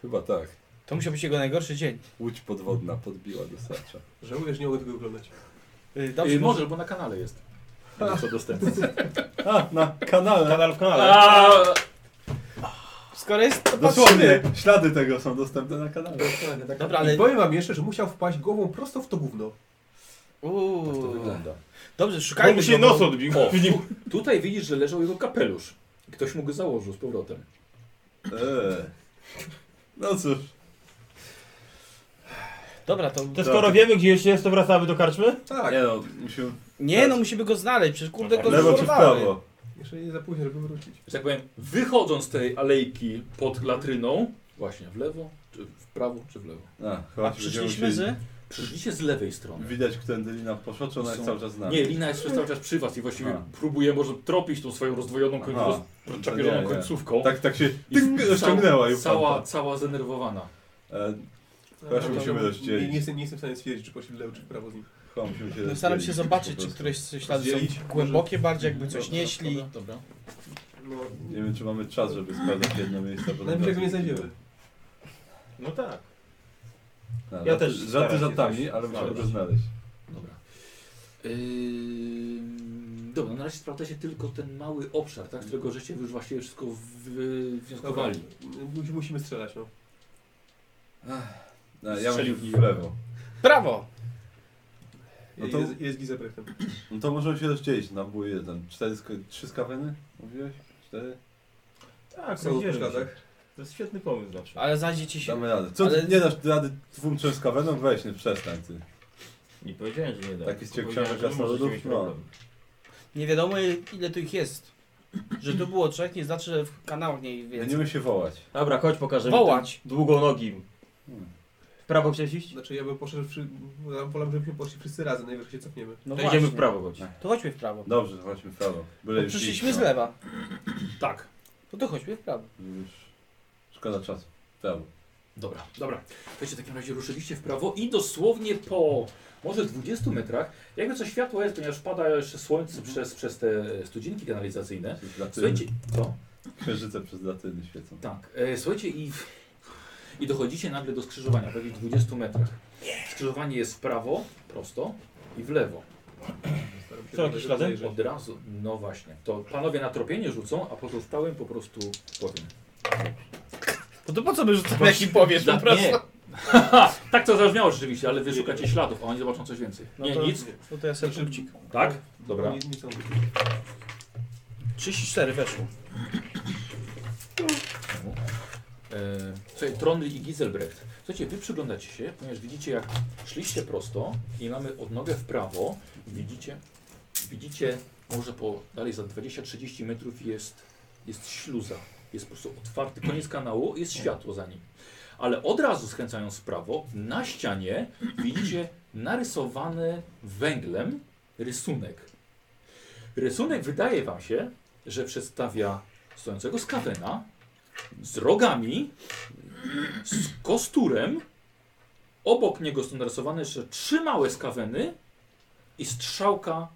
Speaker 1: Chyba tak.
Speaker 5: To musiał być jego najgorszy dzień.
Speaker 1: Łódź podwodna podbiła do starcza.
Speaker 6: Żałuję, że nie mogę tego oglądać.
Speaker 5: Yy,
Speaker 2: Dobrze,
Speaker 5: Dobrze,
Speaker 2: y, może, bo na kanale jest. Będzie co dostępne.
Speaker 1: Tak, A, na kanale.
Speaker 3: Kanal w kanale.
Speaker 2: A,
Speaker 5: Skoro jest to
Speaker 1: Dosłownie, ślady tego są dostępne na kanale.
Speaker 5: Dobra, ale-
Speaker 6: I powiem wam jeszcze, że musiał wpaść głową prosto w to gówno.
Speaker 2: Tak to
Speaker 5: Uuu.
Speaker 2: wygląda.
Speaker 5: Dobrze,
Speaker 3: Bo
Speaker 5: szukajmy
Speaker 3: mu się
Speaker 5: go, bo-
Speaker 3: nos odbił.
Speaker 2: O, tu- tutaj widzisz, że leżał jego kapelusz. Ktoś mu go założył z powrotem.
Speaker 1: Eee. No cóż,
Speaker 5: Dobra, to...
Speaker 3: To skoro wiemy gdzie jeszcze jest, to wracamy do karczmy?
Speaker 1: tak. Nie no, musimy
Speaker 5: Nie no, musimy go znaleźć, przecież kurde
Speaker 3: Dobra,
Speaker 5: go
Speaker 1: lewo czy w
Speaker 5: zdorowali.
Speaker 1: prawo.
Speaker 6: Jeszcze nie za późno, żeby wrócić.
Speaker 2: Że tak powiem, wychodząc z tej alejki pod latryną, właśnie w lewo, czy w prawo, czy w lewo.
Speaker 1: A,
Speaker 5: A
Speaker 1: chyba się będziemy
Speaker 5: przyszliśmy
Speaker 1: musieli...
Speaker 5: z...
Speaker 2: Przyszliście z lewej strony.
Speaker 1: Widać, którędy lina poszła, czy ona
Speaker 2: Są-
Speaker 1: jest cały czas z nami?
Speaker 2: Nie, lina jest przez cały czas przy was i właściwie
Speaker 1: A.
Speaker 2: próbuje może tropić tą swoją rozdwojoną, koń...
Speaker 1: Aha. No
Speaker 2: rozczapierzoną
Speaker 1: Nie, nie.
Speaker 2: końcówką.
Speaker 1: Tak, tak się
Speaker 2: I
Speaker 1: tyk,
Speaker 2: cał-
Speaker 1: rozciągnęła i
Speaker 2: cała,
Speaker 1: upadła.
Speaker 2: cała zdenerwowana.
Speaker 1: E, Chyba się
Speaker 6: No,
Speaker 1: musimy
Speaker 6: to-
Speaker 1: rozdzielić.
Speaker 6: Nie, nie, jestem, nie jestem w stanie stwierdzić, czy poszli w lewo, czy w prawo z nim.
Speaker 1: chyba musimy się
Speaker 5: No, Staram się
Speaker 1: rozdzielić
Speaker 5: zobaczyć,
Speaker 1: po
Speaker 5: czy
Speaker 1: prostu.
Speaker 5: któreś z ślady
Speaker 6: Rozdzielić?
Speaker 5: są głębokie bardziej, jakby coś
Speaker 2: Dobra,
Speaker 5: nieśli.
Speaker 2: Dobra, dobra.
Speaker 6: No,
Speaker 1: Nie wiem, czy mamy czas, żeby sprawdzać jedno miejsce. bo
Speaker 6: najpierw go nie
Speaker 1: naprawdę-
Speaker 6: znajdziemy.
Speaker 3: No tak.
Speaker 1: No,
Speaker 3: Ja
Speaker 1: żarty-
Speaker 3: też
Speaker 1: Żarty
Speaker 3: staram się
Speaker 1: żartami,
Speaker 3: coś
Speaker 1: ale musimy
Speaker 3: znaleźć.
Speaker 1: go znaleźć.
Speaker 2: dobra. Ym, dobra, na razie sprawdza się tylko ten mały obszar, tak, z którego żeście już właściwie wszystko
Speaker 6: Dobra,
Speaker 2: wywnioskowali.
Speaker 6: mu- musimy strzelać, no.
Speaker 1: No, ja
Speaker 2: Strzelił
Speaker 1: mam w
Speaker 2: w niego.
Speaker 1: lewo.
Speaker 5: Prawo!
Speaker 1: No to-
Speaker 6: No to... Jest, jest Gizebrektem.
Speaker 1: No to możemy się rozdzielić na bój jeden. Cztery, sk- trzy skaweny? Mówiłeś? Cztery?
Speaker 3: Tak,
Speaker 6: Są w
Speaker 3: rozdzielmy się.
Speaker 6: szkadach.
Speaker 3: To jest świetny pomysł zawsze.
Speaker 5: Ale znajdziecie się...
Speaker 1: Damy radę. Co,
Speaker 5: Ale-
Speaker 1: ty nie dasz rady dwóm trzem skawenom? Weź, nie przestań ty.
Speaker 3: Nie powiedziałem, że nie da.
Speaker 1: Taki z ciebie
Speaker 3: Powiedziałem,
Speaker 1: książę
Speaker 3: że możecie
Speaker 1: krasnoludów?
Speaker 3: mieć
Speaker 1: No.
Speaker 3: problem.
Speaker 5: Nie wiadomo ile tu ich jest. Że tu było trzech, nie znaczy, że w kanałach nie jest więcej.
Speaker 1: Będziemy się wołać.
Speaker 3: Dobra, chodź pokażemy.
Speaker 5: Wołać!
Speaker 3: Długonogim.
Speaker 1: Hmm.
Speaker 3: W prawo chciałeś iść?
Speaker 6: Znaczy ja bym poszedł, przy... ja wolałbym, żebyśmy poszli wszyscy razem, najwyżej się cofniemy.
Speaker 5: No
Speaker 3: to idziemy
Speaker 5: właśnie.
Speaker 3: w prawo chodź.
Speaker 5: To chodźmy w prawo.
Speaker 1: Dobrze, chodźmy w prawo. Byle
Speaker 5: Bo
Speaker 1: już
Speaker 5: przyszliśmy
Speaker 1: iść,
Speaker 5: z
Speaker 1: no.
Speaker 5: lewa.
Speaker 2: Tak,
Speaker 5: No to chodźmy w prawo.
Speaker 1: Już. Szkoda czasu. W Prawo.
Speaker 2: Dobra, dobra. Słuchajcie, w takim razie ruszyliście w prawo i dosłownie po może 20 metrach, jakby co światło jest, ponieważ pada jeszcze słońce
Speaker 5: Mhm.
Speaker 2: przez, przez te studzinki kanalizacyjne.
Speaker 1: Przez
Speaker 5: Znaczy-
Speaker 1: latyny.
Speaker 2: Słuchajcie, to,
Speaker 1: Księżyce przez latyny świecą.
Speaker 2: tak, e, słuchajcie i, i dochodzicie nagle do skrzyżowania, pewnie 20 metrach. Skrzyżowanie jest w prawo, prosto i w lewo.
Speaker 6: Staram się
Speaker 3: Co, jakieś
Speaker 6: żeby
Speaker 3: ślady?
Speaker 6: zajrzeć.
Speaker 2: Od razu, no właśnie, to panowie na tropienie rzucą, a pozostałym po prostu powiem.
Speaker 5: No to po co by rzucamy, jaki powiesz
Speaker 2: No
Speaker 5: po prostu?
Speaker 2: nie. tak to zabrzmiało rzeczywiście, ale wy szukacie śladów, a oni zobaczą coś więcej.
Speaker 5: No
Speaker 2: Nie,
Speaker 5: to-
Speaker 2: nic.
Speaker 5: No to ja sobie
Speaker 6: Znaczy-
Speaker 5: punkcik.
Speaker 2: Tak? Dobra.
Speaker 6: Nie, nie są.
Speaker 5: 34 weszło.
Speaker 2: E, Słuchaj, Tronly i Giselbrecht. Słuchajcie, wy przyglądacie się, ponieważ widzicie jak szliście prosto i mamy odnogę w prawo. Widzicie, widzicie może po dalej za 20-30 metrów jest, jest śluza. Jest po prostu otwarty koniec kanału i jest światło za nim. Ale od razu skręcając w prawo, na ścianie widzicie narysowany węglem rysunek. Rysunek wydaje wam się, że przedstawia stojącego skawena z rogami, z kosturem. Obok niego są narysowane jeszcze trzy małe skaweny i strzałka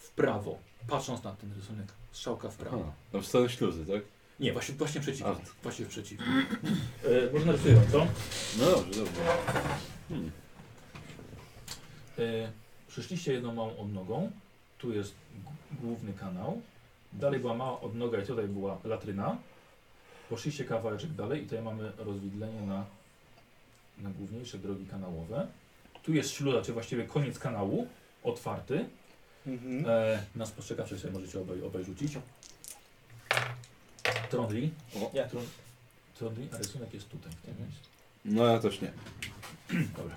Speaker 2: w prawo. Patrząc na ten rysunek, strzałka w prawo.
Speaker 1: A, no w stronę śluzy, tak?
Speaker 2: Nie, właśnie, właśnie przeciw.
Speaker 1: A.
Speaker 2: Właśnie przeciw. E, może narysuję wam, co?
Speaker 1: No dobrze, dobrze.
Speaker 2: E, przyszliście jedną małą odnogą. Tu jest g- główny kanał. Dalej była mała odnoga i tutaj była latryna. Poszliście kawałeczek dalej i tutaj mamy rozwidlenie na, na główniejsze drogi kanałowe. Tu jest śluza, czy właściwie koniec kanału, otwarty.
Speaker 5: Mhm.
Speaker 2: E, na spostrzegawczy sobie możecie obaj, obaj rzucić. Trondli.
Speaker 1: O.
Speaker 2: Ja. Tron, trondli, a rysunek jest tutaj. w tym miejscu.
Speaker 1: No ja też nie.
Speaker 2: Dobra.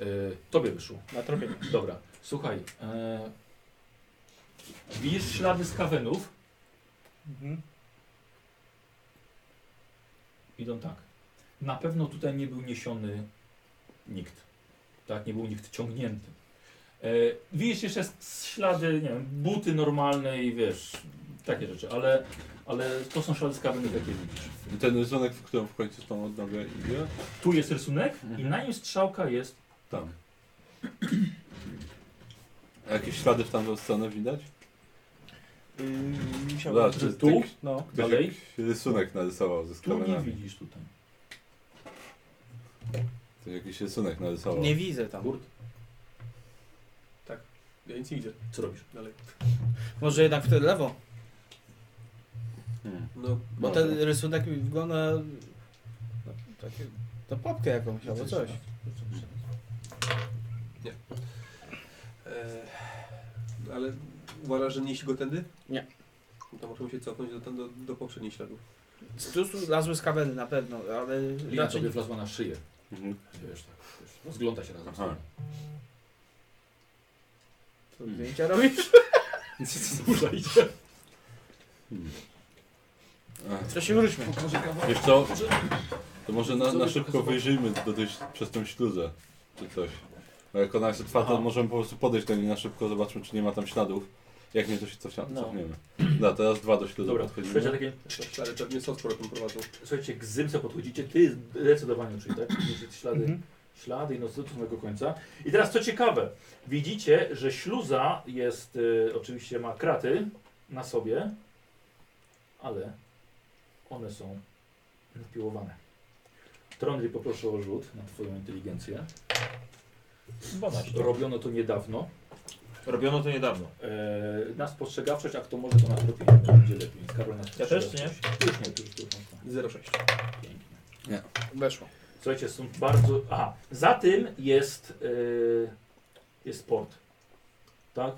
Speaker 2: E, tobie wyszło.
Speaker 5: Na tropienie.
Speaker 2: Dobra, słuchaj. E... Widzisz ślady skawenów?
Speaker 5: Mhm.
Speaker 2: Idą tak. Na pewno tutaj nie był niesiony nikt. Tak, nie był nikt ciągnięty. E... Widzisz jeszcze s- ślady, nie wiem, buty normalne i wiesz, takie rzeczy, ale, ale to są ślady skawenów, jakie widzisz.
Speaker 1: I ten rysunek, w którym w końcu tą odnogę idzie?
Speaker 2: Tu jest rysunek i na nim strzałka jest.
Speaker 1: Tam. A jakieś ślady w tamtą stronę widać?
Speaker 5: Yy,
Speaker 1: Dobra,
Speaker 5: musiałbym...
Speaker 1: czy
Speaker 2: tu?
Speaker 1: tu?
Speaker 5: No.
Speaker 1: Ktoś
Speaker 2: tak, Dalej?
Speaker 1: jakiś rysunek narysował ze
Speaker 2: Tu nie
Speaker 1: skawenami.
Speaker 2: widzisz tutaj.
Speaker 1: Ktoś jakiś rysunek narysował.
Speaker 5: No. Nie widzę tam.
Speaker 2: Kurt,
Speaker 6: Ja nic nie widzę.
Speaker 2: co robisz?
Speaker 6: Dalej.
Speaker 5: Może jednak w te lewo.
Speaker 1: Hmm.
Speaker 6: No,
Speaker 5: Bo
Speaker 1: Dobra.
Speaker 5: ten rysunek mi wygląda... No, takie... To papkę jakąś albo coś.
Speaker 6: nie. E, ale uważasz, że nieść go tędy?
Speaker 5: Nie.
Speaker 6: No to możemy się cofnąć do, tam, do, do poprzednich śladów.
Speaker 5: Tu zlazły z kabeli na pewno, ale
Speaker 2: Lina
Speaker 5: raczej
Speaker 2: sobie
Speaker 5: nie.
Speaker 2: wlazła na szyję.
Speaker 1: Mhm.
Speaker 2: Wiesz, tak, wiesz, rozgląda się razem z
Speaker 1: Aha.
Speaker 2: tobą.
Speaker 5: To Zdjęcia robisz?
Speaker 2: Burza idzie.
Speaker 5: To się wróćmy.
Speaker 2: Pokażę kawałek.
Speaker 1: Wiesz co, to może na, na szybko wyjrzyjmy do tej, przez tą śluzę, czy coś. Bo jak ona jest otwarta,
Speaker 2: Aha.
Speaker 1: możemy po prostu podejść do niej na szybko, zobaczmy czy nie ma tam śladów. Jak nie, to się cofa-
Speaker 2: No.
Speaker 1: cofniemy. No, teraz dwa do śluzu
Speaker 2: Dobra,
Speaker 1: podchodzimy.
Speaker 2: słuchajcie, takie,
Speaker 6: Ale pewnie są sporo tym prowadzą.
Speaker 2: słuchajcie, k zymce podchodzicie, ty zdecydowanie, czyli tak, widzicie ślady,
Speaker 3: Mhm.
Speaker 2: ślady i no do samego końca. I teraz co ciekawe, widzicie, że śluza jest, y, oczywiście ma kraty na sobie, ale one są napiłowane. Trondry poproszę o rzut na twoją inteligencję.
Speaker 3: 12.
Speaker 2: Robiono to niedawno.
Speaker 3: Robiono to niedawno.
Speaker 2: Eee, na spostrzegawczość, a kto może to na tropienie, to będzie lepiej. Karol na
Speaker 3: Ja też, nie?
Speaker 2: spostrzegawczość. Już nie, to już, to już można.
Speaker 6: 06.
Speaker 2: Pięknie.
Speaker 5: Weszło.
Speaker 2: Słuchajcie, są bardzo... Aha, za tym jest, eee, jest port. Tak?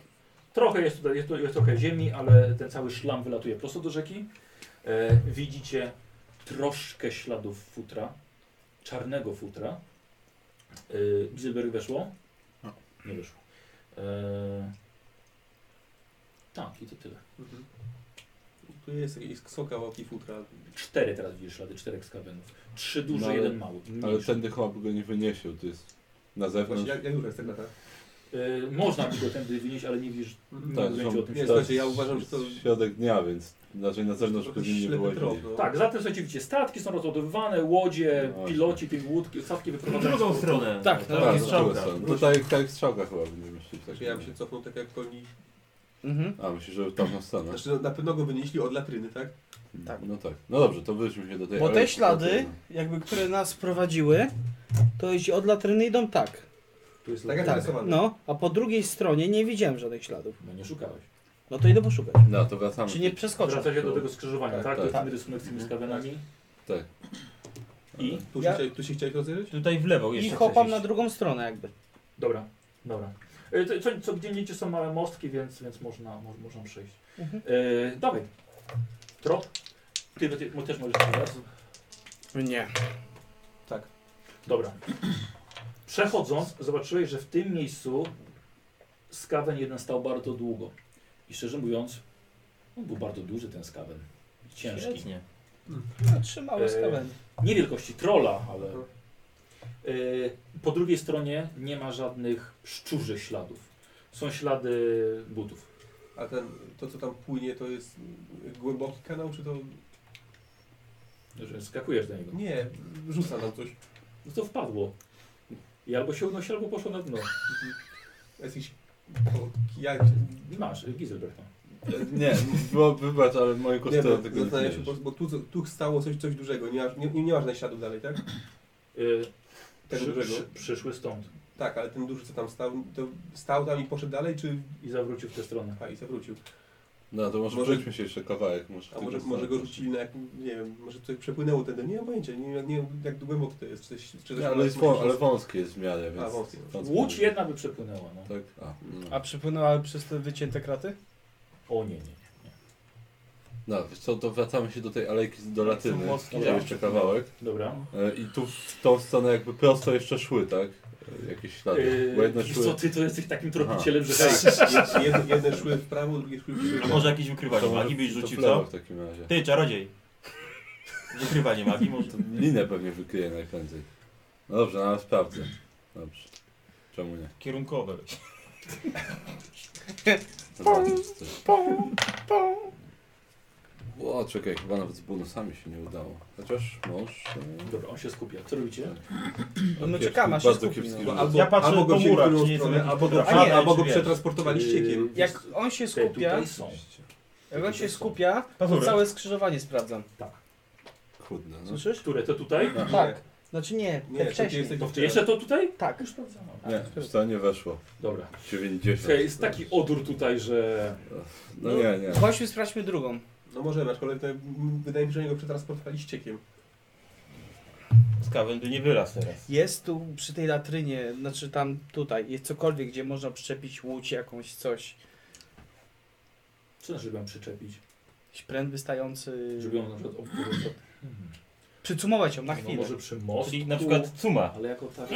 Speaker 2: Trochę jest tutaj, jest, tu- jest trochę ziemi, ale ten cały szlam wylatuje prosto do rzeki. Eee, widzicie troszkę śladów futra, czarnego futra. Yy, Gilbert weszło?
Speaker 1: No.
Speaker 2: Nie weszło. Eee, tak, i to tyle.
Speaker 6: Mhm. Tu jest, jest są kawałki futra.
Speaker 2: Cztery teraz widzisz ślady, czterech skawenów. Trzy duże,
Speaker 1: No, ale-
Speaker 2: jeden mały.
Speaker 1: Ale
Speaker 2: Mniejszy.
Speaker 1: tędy chyba by go nie wyniesił, to jest na
Speaker 6: Właśnie,
Speaker 1: zewnątrz.
Speaker 6: jak, jak duża jest ta klata?
Speaker 2: Y, można by go tędy wynieść, ale nie widzisz
Speaker 6: Mhm.
Speaker 1: Tak,
Speaker 2: będzie
Speaker 1: są-
Speaker 2: o tym
Speaker 6: Nie,
Speaker 2: śladu.
Speaker 6: słuchajcie, ja uważam, że to
Speaker 1: Środek dnia, więc raczej na zewnątrz
Speaker 6: trochę
Speaker 1: pewnie nie
Speaker 6: ślepy
Speaker 1: było
Speaker 6: trop,
Speaker 1: źle.
Speaker 6: no.
Speaker 2: Tak, zatem są oczywiście statki są rozładowywane, łodzie,
Speaker 1: No właśnie.
Speaker 2: piloci, tych łódki, statki
Speaker 3: W
Speaker 2: wyprowadzają.
Speaker 3: drugą stronę.
Speaker 5: Tak,
Speaker 3: tam
Speaker 1: Tak,
Speaker 3: jest
Speaker 1: z
Speaker 3: strzałka.
Speaker 1: drugiej strony. To tak, tak jak strzałka chyba będziemy szli. Tak.
Speaker 6: Znaczy, ja bym się cofnął tak jak oni.
Speaker 5: Mhm.
Speaker 1: A, myślisz, że w tamtą stronę?
Speaker 6: Znaczy, na pewno go wynieśli od latryny, tak?
Speaker 5: Tak.
Speaker 1: No tak. No dobrze, to wyjdźmy się do tej...
Speaker 5: Bo
Speaker 1: ale-
Speaker 5: te ślady, jakby które nas prowadziły, to jeśli od latryny idą tak.
Speaker 2: Tu jest
Speaker 6: Tak jak
Speaker 2: lata.
Speaker 5: Tak.
Speaker 6: narysowane.
Speaker 5: No, a po drugiej stronie nie widziałem żadnych śladów.
Speaker 2: No nie szukałeś.
Speaker 5: No to idę poszukać.
Speaker 1: No, to wracamy.
Speaker 5: Czy nie przeskoczę?
Speaker 2: Wracacie do tego skrzyżowania, tak?
Speaker 1: Tak,
Speaker 2: To
Speaker 1: tak.
Speaker 2: jest ten rysunek z tymi skawenami.
Speaker 1: Tak.
Speaker 2: I?
Speaker 6: Tu,
Speaker 5: Ja-
Speaker 6: się, chciałeś- tu się chciałeś rozejrzeć?
Speaker 3: Tutaj w lewo
Speaker 5: I
Speaker 3: jeszcze
Speaker 5: hopam
Speaker 3: chcesz
Speaker 5: na
Speaker 3: iść.
Speaker 5: drugą stronę jakby.
Speaker 2: Dobra, dobra. Y, to- Co, co gdzie niecie są małe mostki, więc, więc można, mo- można przejść.
Speaker 5: Mhm.
Speaker 2: Yy, dawaj. Trop. Ty, ty, ty też możesz teraz.
Speaker 5: Nie.
Speaker 6: Tak.
Speaker 2: Dobra. Przechodząc, zobaczyłeś, że w tym miejscu skawen jeden stał bardzo długo. I szczerze mówiąc, on był bardzo duży ten skawen. Ciężki.
Speaker 3: Świetnie.
Speaker 5: No, trzymały
Speaker 2: Eee,
Speaker 5: z kabeli.
Speaker 2: Nie wielkości trola, ale...
Speaker 6: Mhm.
Speaker 2: Yy, po drugiej stronie nie ma żadnych szczurzych śladów. Są ślady butów.
Speaker 6: A ten, to co tam płynie, to jest głęboki kanał, czy to...
Speaker 2: Że Skakujesz do niego.
Speaker 6: Nie, rzuca nam coś.
Speaker 2: No to wpadło. I albo się unosi, albo poszło na dno.
Speaker 6: Jest jakiś... o, Jak...
Speaker 2: I masz, E, Gizelbrecht.
Speaker 1: Nie, bo, wybacz, ale moje
Speaker 6: Nie,
Speaker 1: koszty
Speaker 6: bo,
Speaker 1: tego nie
Speaker 6: zastanawiam się, bo,
Speaker 1: zmienisz.
Speaker 6: bo tu, tu stało coś, coś dużego, nie, masz- nie, nie masz naśladów dalej, tak?
Speaker 2: Yy,
Speaker 6: Tego
Speaker 2: przy,
Speaker 6: dużego?
Speaker 2: przy, przyszły stąd
Speaker 6: Tak, ale ten duży co tam stał, to stał tam i poszedł dalej, czy...
Speaker 2: i zawrócił w tę stronę.
Speaker 6: A, i zawrócił.
Speaker 1: No, to może,
Speaker 6: Może-
Speaker 1: przejdźmy się jeszcze kawałek. Może, w
Speaker 6: A
Speaker 1: tym
Speaker 6: może,
Speaker 1: stronę
Speaker 6: może go
Speaker 1: coś.
Speaker 6: rzucili na jak, nie wiem, może coś przepłynęło tędy, nie mam pojęcia, nie, nie wiem jak głęboko to jest, czy coś... Czy coś
Speaker 1: Nie, ale, jest wą, ale wąskie jest w miarę, więc...
Speaker 6: A, wąskie.
Speaker 1: stąd-
Speaker 2: Łódź jedna by przepłynęła. No.
Speaker 1: Tak? A, no.
Speaker 5: A przypłynęła przez te wycięte kraty?
Speaker 2: O nie, nie. nie.
Speaker 1: no, wiesz co, to wracamy się do tej alejki, z- do Latyny.
Speaker 3: mostki,
Speaker 1: Tam
Speaker 2: tak.
Speaker 1: jeszcze kawałek.
Speaker 2: Dobra.
Speaker 1: E, I tu w tą stronę jakby prosto jeszcze szły, tak? E, Jakieś ślady. bo
Speaker 2: Yy,
Speaker 1: jedne
Speaker 2: wiesz co
Speaker 1: szły...
Speaker 2: ty to jesteś takim tropicielem, że hej.
Speaker 6: Jed- jed- Jedne szły w prawo, drugie szły w
Speaker 3: A
Speaker 6: lewo.
Speaker 3: może jakiś wykrywanie
Speaker 1: może
Speaker 3: magii byś
Speaker 1: to w
Speaker 3: rzucił,
Speaker 1: lewo
Speaker 3: co?
Speaker 1: w takim razie.
Speaker 3: Ty, czarodziej. Wykrywanie magii może.
Speaker 1: To linę pewnie wykryje najprędzej. No dobrze, no ale sprawdzę. Dobrze. Czemu nie?
Speaker 3: Kierunkowe.
Speaker 1: Zobaczmy, czy coś. O, czekaj, chyba nawet z bonusami się nie udało. Chociaż mąż...
Speaker 2: Dobra, on się skupia. Co robicie?
Speaker 5: No, no czekam, aż się
Speaker 1: Bardzo
Speaker 5: skupi.
Speaker 1: kiepski
Speaker 5: no.
Speaker 1: rzut.
Speaker 6: Albo,
Speaker 3: Ja patrzę
Speaker 6: albo go
Speaker 3: po
Speaker 6: się
Speaker 3: murach,
Speaker 6: w drugą
Speaker 3: czy nie są
Speaker 6: stronę,
Speaker 3: jakieś
Speaker 6: albo go,
Speaker 3: grafiki,
Speaker 6: przed,
Speaker 5: czy
Speaker 6: albo go
Speaker 3: wiesz.
Speaker 6: przetransportowali ściekiem.
Speaker 2: Yy,
Speaker 5: Jak on się
Speaker 2: te
Speaker 5: skupia,
Speaker 2: tutaj są.
Speaker 5: jak on się skupia, to
Speaker 3: Pazury.
Speaker 5: całe skrzyżowanie sprawdzam.
Speaker 1: Kurde, no.
Speaker 5: Słyszysz?
Speaker 2: Które? Te tutaj?
Speaker 1: No.
Speaker 5: Tak. Znaczy nie,
Speaker 6: Nie, to
Speaker 5: te
Speaker 6: ty
Speaker 5: wcześniej.
Speaker 6: jesteś-
Speaker 2: To w- jeszcze to tutaj?
Speaker 5: Tak.
Speaker 2: Już sprawdzamy.
Speaker 1: Nie, wiesz co, nie weszło.
Speaker 2: Dobra.
Speaker 1: 90.
Speaker 2: Hej, jest taki odór tutaj, że...
Speaker 1: No nie, nie.
Speaker 5: Chodźmy, sprawdźmy drugą.
Speaker 6: No możemy, aczkolwiek to, m, wydaje mi się, że oni go przetransportowali ściekiem.
Speaker 3: Skawen by nie wyraz teraz.
Speaker 5: Jest tu przy tej latrynie, znaczy tam tutaj, jest cokolwiek, gdzie można przyczepić łódź jakąś, coś.
Speaker 2: Co znaczy, żeby ją przyczepić?
Speaker 5: Jakiś pręt wystający.
Speaker 2: Żeby ją na przykład obrócić.
Speaker 3: Mhm.
Speaker 5: Przycumować ją na
Speaker 2: No,
Speaker 5: chwilę.
Speaker 2: może przy mostku?
Speaker 3: Czyli na przykład cuma.
Speaker 2: Ale jako tak...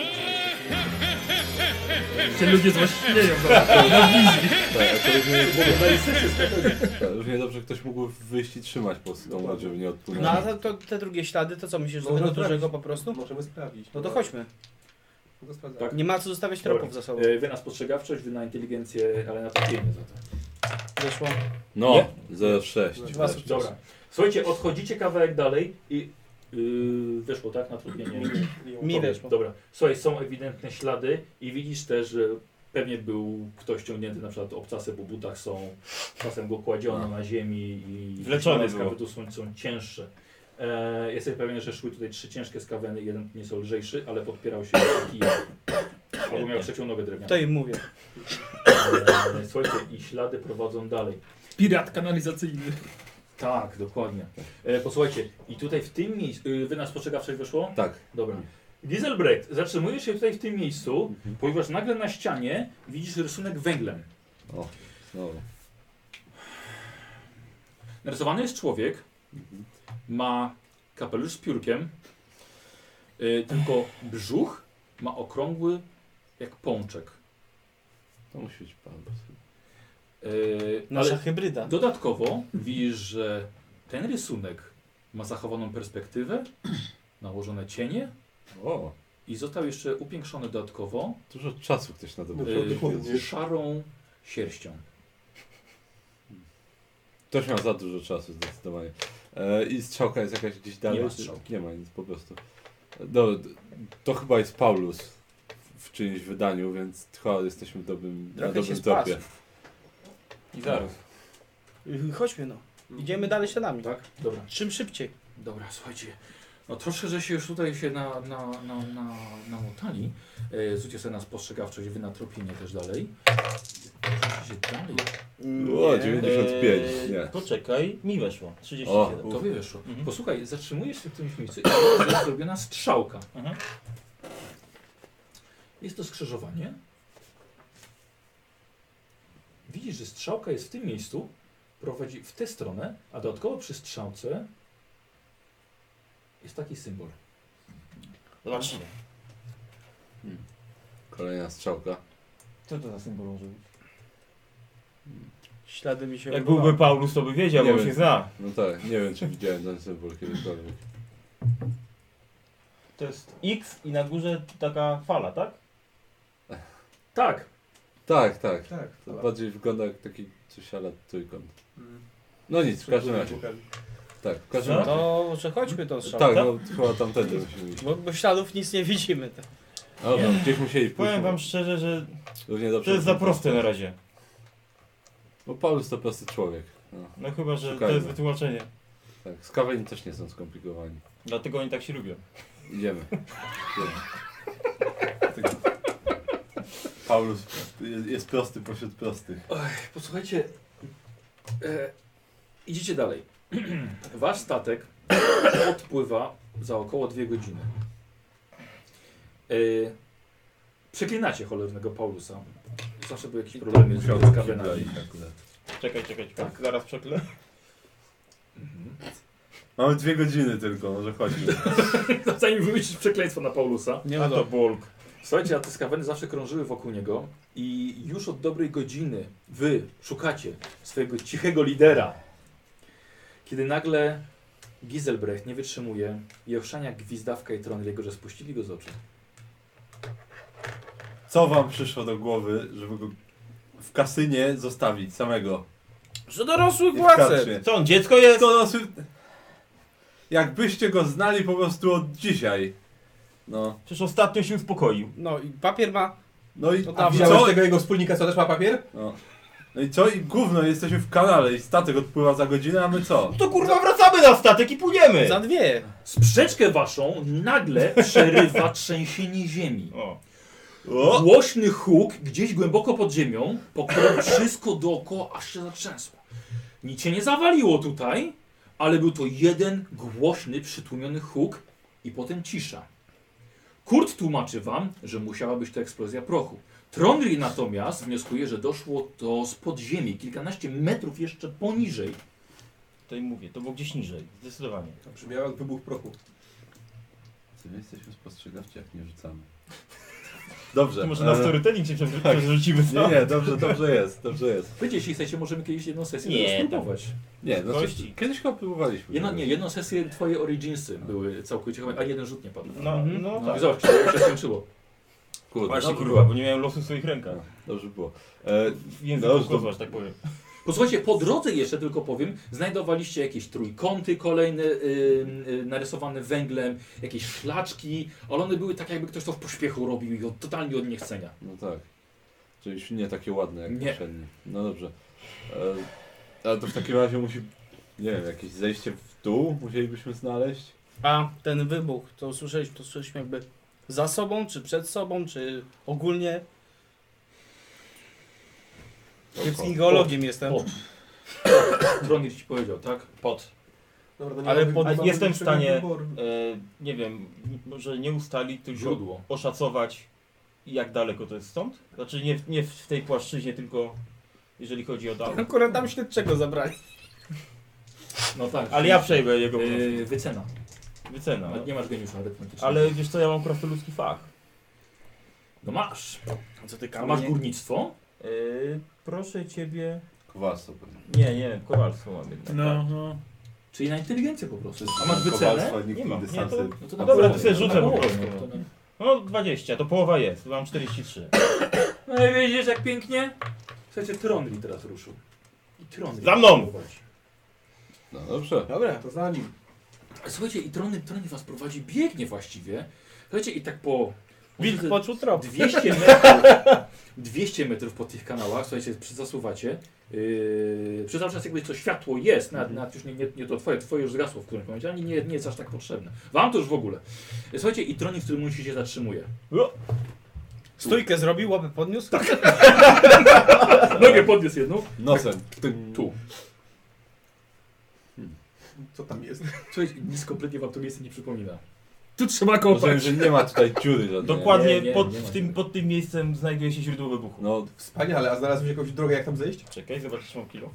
Speaker 4: Cię ludzie złośnieją na, na wizji.
Speaker 1: Tak, to równie, tak, równie dobrze ktoś mógł wyjść i trzymać po prostu tą łódź, żeby nie
Speaker 5: No a
Speaker 1: odpłynęła.
Speaker 5: te, to, te drugie ślady, to co myślisz, że
Speaker 6: Można
Speaker 5: tego
Speaker 6: sprawdzić.
Speaker 5: dużego po prostu?
Speaker 6: Możemy sprawdzić.
Speaker 5: No to chodźmy.
Speaker 6: No to sprawdzamy.
Speaker 2: Tak.
Speaker 5: Nie ma co zostawiać
Speaker 2: Dobra.
Speaker 5: tropów za sobą.
Speaker 2: E, Wy na spostrzegawczość, wy na inteligencję, ale na trafienie za to.
Speaker 5: Weszło.
Speaker 1: No, 06.
Speaker 5: Dwa sukcesy.
Speaker 2: Dobra. Słuchajcie, odchodzicie kawałek dalej i yy, wyszło, tak? Na trudnienie.
Speaker 5: Mi
Speaker 2: Dobra,
Speaker 5: weszło.
Speaker 2: Dobra. Słuchaj, są ewidentne ślady i widzisz też, że pewnie był ktoś ciągnięty, na przykład obcasy po butach są, czasem go kładziono na ziemi i
Speaker 3: Wleczone
Speaker 2: te
Speaker 3: było.
Speaker 2: skawy tu są, są cięższe. E, jestem pewien, że szły tutaj trzy ciężkie skaweny, jeden nieco lżejszy, ale podpierał się kijem. Albo miał trzecią nogę drewnianą.
Speaker 5: To im mówię.
Speaker 2: E, Słuchajcie, i ślady prowadzą dalej.
Speaker 4: Pirat kanalizacyjny.
Speaker 2: Tak, dokładnie. E, posłuchajcie, i tutaj w tym miejscu, y, wy nas postrzegawczość wyszło?
Speaker 1: Tak.
Speaker 2: Dobra. Dieselbrecht, zatrzymujesz się tutaj w tym miejscu, ponieważ nagle na ścianie widzisz rysunek węglem.
Speaker 1: No.
Speaker 2: Narysowany jest człowiek, ma kapelusz z piórkiem, y, tylko brzuch ma okrągły jak pączek.
Speaker 1: To musi być pan.
Speaker 2: Y,
Speaker 5: Nasza hybryda.
Speaker 2: Dodatkowo widzisz, że ten rysunek ma zachowaną perspektywę, nałożone cienie
Speaker 1: O,
Speaker 2: i został jeszcze upiększony dodatkowo
Speaker 1: dużo czasu ktoś na to
Speaker 6: No,
Speaker 1: był.
Speaker 2: y,
Speaker 6: Dokładnie.
Speaker 2: szarą sierścią.
Speaker 1: Ktoś miał za dużo czasu zdecydowanie. E, I strzałka jest jakaś gdzieś dalej.
Speaker 2: ma strzałki.
Speaker 1: Nie ma nic po prostu. No, d- to chyba jest Paulus w czyimś wydaniu, więc chyba jesteśmy w dobrym, na
Speaker 5: Trochę się
Speaker 1: dobrym
Speaker 5: spasł.
Speaker 1: topie.
Speaker 3: I zaraz.
Speaker 5: Y, Chodźmy no.
Speaker 6: Mhm.
Speaker 5: Idziemy dalej śladami.
Speaker 2: Tak? Dobra.
Speaker 5: Czym szybciej.
Speaker 2: Dobra, słuchajcie. No troszkę, że się już tutaj się na, na, na, na, namotali. E, Zróbcie sobie na spostrzegawczość, wy na tropienie też dalej. Się dalej.
Speaker 1: O, 95, nie.
Speaker 3: Eee, Poczekaj, mi weszło.
Speaker 1: O.
Speaker 3: 37.
Speaker 2: To wy wyszło.
Speaker 3: Mhm.
Speaker 2: Posłuchaj, zatrzymujesz się w tym miejscu i jest zrobiona strzałka.
Speaker 3: Mhm.
Speaker 2: Jest to skrzyżowanie. Widzisz, że strzałka jest w tym miejscu, prowadzi w tę stronę, a dodatkowo przy strzałce jest taki symbol.
Speaker 3: Zobaczcie.
Speaker 1: No, Kolejna strzałka.
Speaker 3: Co to za symbol może być?
Speaker 5: Ślady mi się
Speaker 3: Jak
Speaker 5: urwały.
Speaker 3: byłby Paulus, to by wiedział,
Speaker 1: Nie
Speaker 3: bo on
Speaker 1: wiem.
Speaker 3: się zna.
Speaker 1: No tak, nie wiem czy widziałem ten symbol kiedykolwiek.
Speaker 3: To jest X i na górze taka fala, tak?
Speaker 2: Tak,
Speaker 1: Tak, tak.
Speaker 6: Tak.
Speaker 1: To
Speaker 6: dobra.
Speaker 1: bardziej wygląda jak taki coś ala trójkąt.
Speaker 6: Mm.
Speaker 1: No nic, w każdym razie. Tak, w każdym
Speaker 3: No.
Speaker 1: razie.
Speaker 5: No, że chodźmy tą strzałą.
Speaker 1: Tak, no chyba tamtędy musimy iść.
Speaker 5: Bo, bo śladów nic nie widzimy. tak.
Speaker 1: Dobra, gdzieś musieli pójść.
Speaker 3: Powiem wam szczerze, że
Speaker 1: Równie dobrze.
Speaker 3: to jest za proste na razie.
Speaker 1: Bo Paulus to prosty człowiek. No,
Speaker 3: No chyba, że to
Speaker 1: Szukajmy.
Speaker 3: jest wytłumaczenie.
Speaker 1: tak. Skaweni też nie są skomplikowani.
Speaker 3: Dlatego oni tak się lubią.
Speaker 1: Idziemy. Idziemy. Paulus jest- jest prosty pośród prostych.
Speaker 2: Posłuchajcie, e, idziecie dalej. Wasz statek odpływa za około dwie godziny. E, przeklinacie cholernego Paulusa. Zawsze były
Speaker 1: tak
Speaker 2: jakieś problemy z kawenami.
Speaker 3: Czekaj, czekaj, czekaj.
Speaker 2: Tak.
Speaker 3: Zaraz przeklę.
Speaker 2: Mhm.
Speaker 1: Mamy dwie godziny tylko, może chodźmy.
Speaker 2: No, Zanim wymyślić przekleństwo na Paulusa.
Speaker 5: Nie
Speaker 3: A to
Speaker 5: udało.
Speaker 3: bulk.
Speaker 2: Słuchajcie, a te skaweny zawsze krążyły wokół niego i już od dobrej godziny wy szukacie swojego cichego lidera. Kiedy nagle Giselbrecht nie wytrzymuje i ochrzania gwizdawka i tron jego, że spuścili go z oczu.
Speaker 1: Co wam przyszło do głowy, żeby go w kasynie zostawić samego?
Speaker 5: Że dorosły
Speaker 1: I w
Speaker 5: głacet.
Speaker 1: karczmie?
Speaker 3: Co on, dziecko jest?
Speaker 1: To nas... Jakbyście go znali po prostu od dzisiaj. No.
Speaker 3: Przecież ostatnio się uspokoił.
Speaker 5: No i papier ma.
Speaker 1: No i
Speaker 5: No
Speaker 6: A
Speaker 5: tam-
Speaker 1: i co?
Speaker 6: widziałeś tego jego wspólnika, co też ma papier?
Speaker 1: No. no i co? I gówno, jesteśmy w kanale i statek odpływa za godzinę, a my co?
Speaker 3: No to kurwa wracamy na statek i płyniemy!
Speaker 5: Za dwie.
Speaker 2: Sprzeczkę waszą nagle przerywa trzęsienie ziemi.
Speaker 3: O.
Speaker 1: O!
Speaker 2: Głośny huk gdzieś głęboko pod ziemią, po którym wszystko dookoła aż się zatrzęsło. Nic się nie zawaliło tutaj, ale był to jeden głośny, przytłumiony huk i potem cisza. Kurt tłumaczy wam, że musiała być to eksplozja prochu. Trondri natomiast wnioskuje, że doszło to z podziemi, kilkanaście metrów jeszcze poniżej.
Speaker 3: To im mówię, to było gdzieś niżej, zdecydowanie.
Speaker 6: To brzmiało jak wybuch prochu.
Speaker 1: Co my jesteśmy spostrzegawczy, jak nie rzucamy.
Speaker 3: To
Speaker 1: Dobrze.
Speaker 3: może
Speaker 1: e,
Speaker 3: na storytelling się prze-
Speaker 1: tak.
Speaker 3: przerzucimy
Speaker 1: Nie,
Speaker 3: co?
Speaker 1: nie, dobrze, dobrze jest, dobrze jest.
Speaker 2: Wiecie, jeśli chcecie, możemy kiedyś jedną sesję
Speaker 3: Nie,
Speaker 2: tego spróbować.
Speaker 1: Nie, no coś,
Speaker 3: Kości.
Speaker 1: kiedyś chyba próbowaliśmy.
Speaker 2: Jedno,
Speaker 1: tego.
Speaker 2: nie, jedną sesję twoje Originsy były całkowicie chyba, a jeden rzut nie padł. No,
Speaker 3: No, no,
Speaker 2: no
Speaker 3: tak.
Speaker 2: i zobacz, to się skończyło.
Speaker 1: Kurde,
Speaker 3: Właśnie
Speaker 1: dobrze
Speaker 3: kurwa, bo nie miałem losu w swoich rękach.
Speaker 1: było. Dobrze było. E,
Speaker 3: W języku
Speaker 1: Dobrze,
Speaker 3: kozła, że tak powiem.
Speaker 2: Posłuchajcie, po drodze jeszcze tylko powiem, znajdowaliście jakieś trójkąty kolejne yy, yy, narysowane węglem, jakieś szlaczki, ale one były tak jakby ktoś to w pośpiechu robił i od, totalnie od niechcenia.
Speaker 1: no tak. Czyli już nie takie ładne jak
Speaker 2: Nie.
Speaker 1: poprzednie. No dobrze. E, ale to w takim razie musi, nie wiem, jakieś zejście w dół musielibyśmy znaleźć.
Speaker 5: A ten wybuch, to usłyszeliśmy, to usłyszeliśmy jakby za sobą, czy przed sobą, czy ogólnie. Kiepskim geologiem jestem.
Speaker 2: O, Tronir ci powiedział, tak?
Speaker 3: Pot.
Speaker 6: Dobra, to
Speaker 3: Ale
Speaker 6: mamy-
Speaker 3: pod-
Speaker 6: mamy
Speaker 3: jestem w
Speaker 6: jeszcze jeden
Speaker 3: stanie-
Speaker 6: wybór.
Speaker 3: E, nie wiem, może nie ustalić, tylko
Speaker 2: Źródło.
Speaker 3: oszacować jak daleko to jest stąd? Znaczy nie, w- nie w tej płaszczyźnie, tylko jeżeli chodzi o daleko.
Speaker 5: Akurat tam śledczego zabrali.
Speaker 2: No tak.
Speaker 3: Ale ja przejmę jego yy,
Speaker 2: Yy, wycena.
Speaker 3: wycenę.
Speaker 2: No, nie masz geniusza arytmetycznego.
Speaker 3: Ale wiesz co, ja mam krasnoludzki fach.
Speaker 2: No masz.
Speaker 5: A co ty
Speaker 2: A masz górnictwo?
Speaker 3: Yy, proszę ciebie...
Speaker 1: Kwas to pewnie.
Speaker 3: Nie, nie, kowalstwo mam jednak.
Speaker 4: No, no.
Speaker 2: Tak. Czyli na inteligencję po prostu. A masz wycenę?
Speaker 1: Nie
Speaker 3: Nie mam,
Speaker 1: mam.
Speaker 3: nie, to-
Speaker 2: No
Speaker 1: A
Speaker 2: na
Speaker 1: dobra,
Speaker 2: połowę,
Speaker 1: to sobie
Speaker 2: na
Speaker 3: rzucę po
Speaker 2: połowę,
Speaker 3: prostu.
Speaker 2: no to-
Speaker 3: No 20, to połowa jest, mam 43.
Speaker 2: No i widzisz jak pięknie? Słuchajcie, Trondri teraz ruszył. I Trondri.
Speaker 3: Za mną!
Speaker 1: No dobrze.
Speaker 5: Dobra.
Speaker 6: To za nim.
Speaker 2: Słuchajcie, i Trondri, Trondri was prowadzi, biegnie właściwie. Słuchajcie, i tak po...
Speaker 5: Wilk poczuł trop.
Speaker 2: 200 metrów, 200 metrów po tych kanałach, słuchajcie, przy- zasuwacie. Yy, przez cały czas jakby to światło jest, nawet, nawet już nie, nie, nie to twoje, twoje już zgasło w którymś momencie, ale nie, nie jest aż tak potrzebne. Wam to już w ogóle. Słuchajcie, i Trondri w którym momencie się zatrzymuje.
Speaker 5: Stójkę zrobił, łapę podniósł. Tak.
Speaker 2: Nogę podniósł jedną.
Speaker 1: Nosem.
Speaker 2: Tu.
Speaker 6: Co tam jest?
Speaker 2: Słuchajcie, nic kompletnie wam to miejsce nie przypomina.
Speaker 4: Tu trzeba
Speaker 1: Rozumiem,
Speaker 4: kopać.
Speaker 1: że nie ma tutaj dziury żadnej.
Speaker 3: Dokładnie
Speaker 2: nie, nie,
Speaker 3: pod,
Speaker 2: nie ma
Speaker 3: w tym,
Speaker 2: tego.
Speaker 3: pod tym miejscem znajduje się źródło wybuchu.
Speaker 1: No,
Speaker 6: Wspaniale, a znalazłeś jakąś drogę, jak tam zejść?
Speaker 3: Czekaj, zobaczysz mam kilo.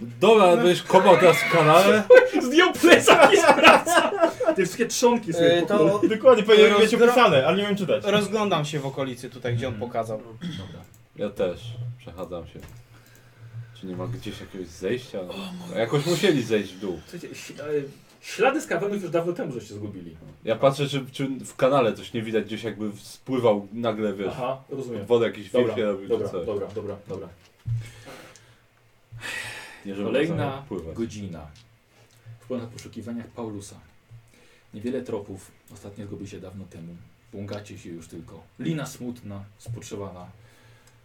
Speaker 1: dobra, ale będziesz kopał teraz w kanale.
Speaker 2: Zdjął plecak i sprawdza. Te wszystkie trzonki sobie
Speaker 5: E,
Speaker 2: pokrył.
Speaker 5: to
Speaker 3: Dokładnie, powinienem mieć
Speaker 5: Rozdro-
Speaker 3: opisane, ale nie wiem czytać.
Speaker 5: rozglądam się w okolicy tutaj, gdzie on pokazał.
Speaker 2: Dobra.
Speaker 1: Ja też. Przechadzam się. Czy nie ma gdzieś jakiegoś zejścia? No, jakoś musieli zejść w dół.
Speaker 2: Słuchajcie, ś- e, ślady z kawałów już dawno temu żeście zgubili.
Speaker 1: Ja patrzę, czy, czy w kanale coś nie widać, gdzieś jakby spływał nagle, wiesz,
Speaker 2: Aha, rozumiem.
Speaker 1: wodę jakiś
Speaker 2: Dobra,
Speaker 1: wielkie robił
Speaker 2: dobra,
Speaker 1: czy coś.
Speaker 2: dobra, dobra, dobra.
Speaker 1: Nie, żeby
Speaker 2: Kolejna
Speaker 1: pływać.
Speaker 2: godzina w ponad poszukiwaniach Paulusa. Niewiele tropów, ostatnio zgubi się dawno temu. Błąkacie się już tylko. Lina smutna, spoczęła na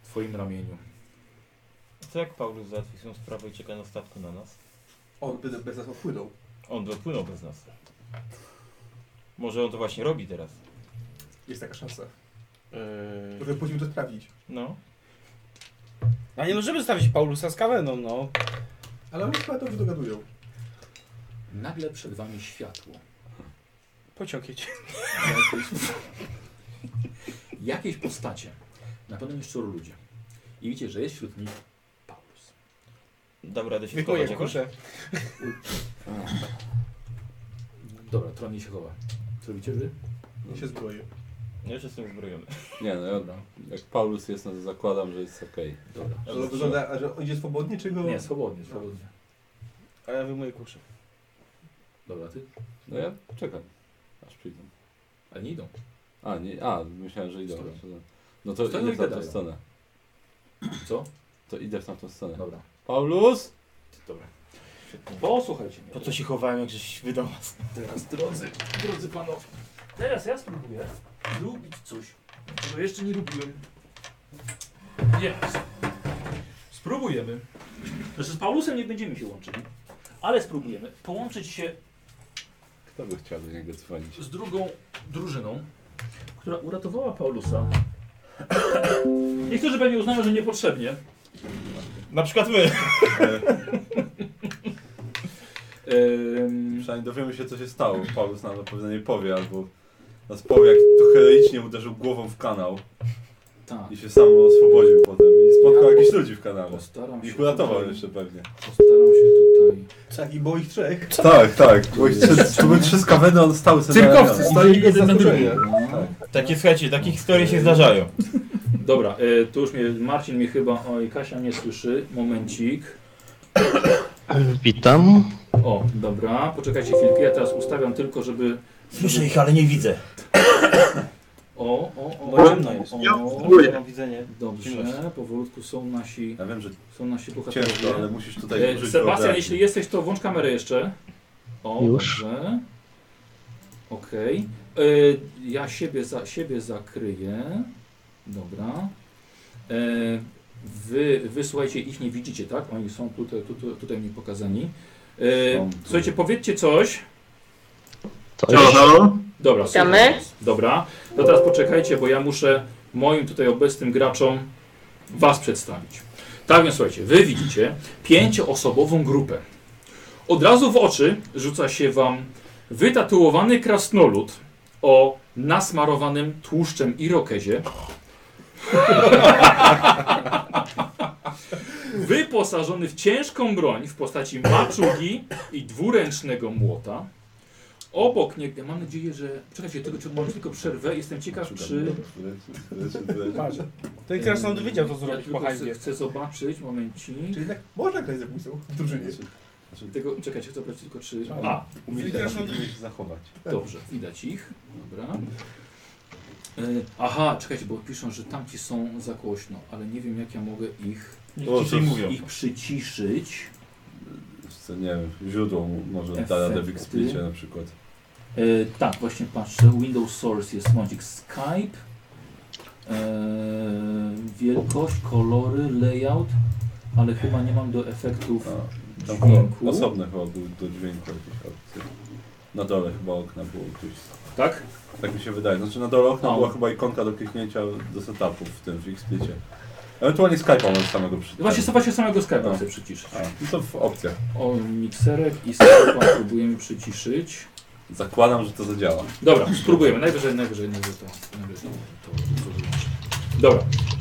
Speaker 2: twoim ramieniu.
Speaker 3: Co jak Paulus załatwi swoją sprawę i czeka na statku na nas?
Speaker 6: On by bez nas opłynął.
Speaker 3: On dopłynął bez nas. Może on to właśnie robi teraz.
Speaker 6: Jest taka szansa.
Speaker 2: Eee.
Speaker 6: Trochę pójdźmy to sprawdzić.
Speaker 3: No.
Speaker 5: A nie możemy stawić Paulusa z kaweną, no.
Speaker 6: Ale oni chyba dobrze dogadują.
Speaker 2: Nagle przed wami światło.
Speaker 5: Pociokieć.
Speaker 2: Jakieś- jakieś postacie, na pewno jeszcze ludzie. I widzicie, że jest wśród nich Paulus.
Speaker 3: Dam radę się schować
Speaker 5: Dziękuję,
Speaker 3: jakoś.
Speaker 5: kurczę.
Speaker 2: Dobra, tronie się chowa. Co robicie wy?
Speaker 6: Nie się zbroję.
Speaker 3: Ja już jestem uzbrojony.
Speaker 1: Nie no, ja, jak Paulus jest, no to zakładam, że jest okej.
Speaker 2: Dobra.
Speaker 6: Ale on wygląda, a że on idzie swobodnie, czy go...
Speaker 2: Nie, swobodnie, swobodnie.
Speaker 5: A ja wyjmuję kuszę.
Speaker 2: Dobra, ty?
Speaker 1: No ja czekam, aż przyjdą.
Speaker 2: Ale nie idą.
Speaker 1: A, nie, a myślałem, że idą.
Speaker 2: Stoją.
Speaker 1: No to
Speaker 2: Stoją
Speaker 1: idę
Speaker 2: i
Speaker 1: w tamtą
Speaker 2: gadają.
Speaker 1: stronę.
Speaker 2: Co?
Speaker 1: To idę w tamtą stronę.
Speaker 2: Dobra.
Speaker 1: Paulus?
Speaker 2: Dobra. Posłuchajcie mnie.
Speaker 3: Po co się chowałem, jak żeś wydał
Speaker 2: teraz, drodzy, drodzy panowie? Teraz ja spróbuję lubić coś, czego jeszcze nie lubiłem. Jest. Spróbujemy. Znaczy z Paulusem nie będziemy się łączyli, ale spróbujemy połączyć się
Speaker 1: Kto by chciał do niego dzwonić?
Speaker 2: z drugą drużyną, która uratowała Paulusa. Niektórzy pewnie uznają, że niepotrzebnie.
Speaker 3: Na przykład my.
Speaker 2: Ehm,
Speaker 1: Przynajmniej dowiemy się, co się stało. Paulus nam na pewno nie powie, albo nas powie, jak to heroicznie uderzył głową w kanał
Speaker 2: Tak.
Speaker 1: i się sam oswobodził potem. I spotkał jakichś ludzi w kanale.
Speaker 2: Postaram się.
Speaker 1: Ich uratował
Speaker 2: tutaj-
Speaker 1: jeszcze pewnie.
Speaker 2: Postaram się tutaj.
Speaker 6: Tak, i było ich trzech.
Speaker 1: Tak, tak. Bo ich trzy, to były trzy skaweny, on stał sobie
Speaker 4: Cyrkowcy
Speaker 1: na
Speaker 4: stali jeden na drugim.
Speaker 6: zaskoczenie.
Speaker 2: No.
Speaker 3: Takie, słuchajcie, takie historie
Speaker 2: Eee.
Speaker 3: się zdarzają.
Speaker 2: Dobra, y, tu już mnie, Marcin mnie chyba, oj, Kasia mnie słyszy, momencik.
Speaker 7: Witam.
Speaker 2: O, dobra, poczekajcie chwilkę, ja teraz ustawiam tylko, żeby...
Speaker 3: Słyszę ich, ale nie widzę.
Speaker 2: O, o, o,
Speaker 5: Bo ciemno jest.
Speaker 2: o,
Speaker 5: Mam widzenie.
Speaker 2: Dobrze, powolutku są nasi,
Speaker 1: Ja wiem, że
Speaker 2: są nasi bohaterowie.
Speaker 1: ciężko, ale musisz tutaj
Speaker 2: E,
Speaker 1: użyć
Speaker 2: Sebastian,
Speaker 1: wyobraźni.
Speaker 2: jeśli jesteś, to włącz kamerę jeszcze. O,
Speaker 7: Już.
Speaker 2: dobrze. Okej. E, Ja siebie, za, siebie zakryję. Dobra. E, Wy, wy słuchajcie, ich nie widzicie, tak? Oni są tutaj, tutaj, tutaj mi pokazani. E,
Speaker 1: Są tu.
Speaker 2: Słuchajcie, powiedzcie coś.
Speaker 7: To
Speaker 8: Halo,
Speaker 7: jest...
Speaker 8: halo?
Speaker 2: Dobra, słucham
Speaker 9: Witamy.
Speaker 2: was. Dobra. To teraz poczekajcie, bo ja muszę moim tutaj obecnym graczom was przedstawić. Tak więc słuchajcie, wy widzicie pięcioosobową grupę. Od razu w oczy rzuca się wam wytatuowany krasnolud o nasmarowanym tłuszczem irokezie. Wyposażony w ciężką broń w postaci maczugi i dwuręcznego młota. Obok niego, mam nadzieję, że. Czekajcie, tylko, czy mam tylko przerwę. Jestem ciekaw, czy.
Speaker 5: Patrz. Ten krasnolud wiedział to
Speaker 2: Ja
Speaker 5: zrobić po
Speaker 2: tylko chcę,
Speaker 5: hajbie.
Speaker 2: chcę zobaczyć, momencik.
Speaker 6: Czyli jednak można grać za pójsą w drużynie.
Speaker 2: Tego, czekajcie, chcę zobaczyć tylko, czy.
Speaker 5: Tak.
Speaker 2: A,
Speaker 1: Umieli
Speaker 5: Czyli
Speaker 1: teraz
Speaker 5: grasz na
Speaker 1: umieli się zachować.
Speaker 2: dobrze, widać ich. Dobra. E, aha, czekajcie, bo piszą, że tamci są za głośno, ale nie wiem, jak ja mogę ich,
Speaker 1: O,
Speaker 3: Niech ci mówią.
Speaker 2: ich przyciszyć.
Speaker 1: Co, nie wiem, źródło może da radę w XSplicie na przykład.
Speaker 2: E, tak, właśnie patrzę. Windows Source jest mądzik Skype. E, wielkość, kolory, layout, ale chyba nie mam do efektów.
Speaker 1: No. A, tam
Speaker 2: Dźwięku.
Speaker 1: chyba, osobne chyba był do dźwięku jakieś opcje. Na dole chyba okna było gdzieś.
Speaker 2: Tak?
Speaker 1: Tak mi się wydaje. Znaczy na dole okna
Speaker 2: No.
Speaker 1: była chyba ikonka do kliknięcia do setupów w tym w XSplicie. Ewentualnie Skype'a może samego przy.
Speaker 2: Właśnie, właśnie samego Skype'a
Speaker 1: No.
Speaker 2: chcę przyciszyć.
Speaker 1: A, no to w opcjach.
Speaker 2: O, mikserek i Skype'a próbujemy przyciszyć.
Speaker 1: Zakładam, że to zadziała.
Speaker 2: Dobra, spróbujemy. Najwyżej, najwyżej, najwyżej to. Najwyżej to, to wyłączę. Dobra.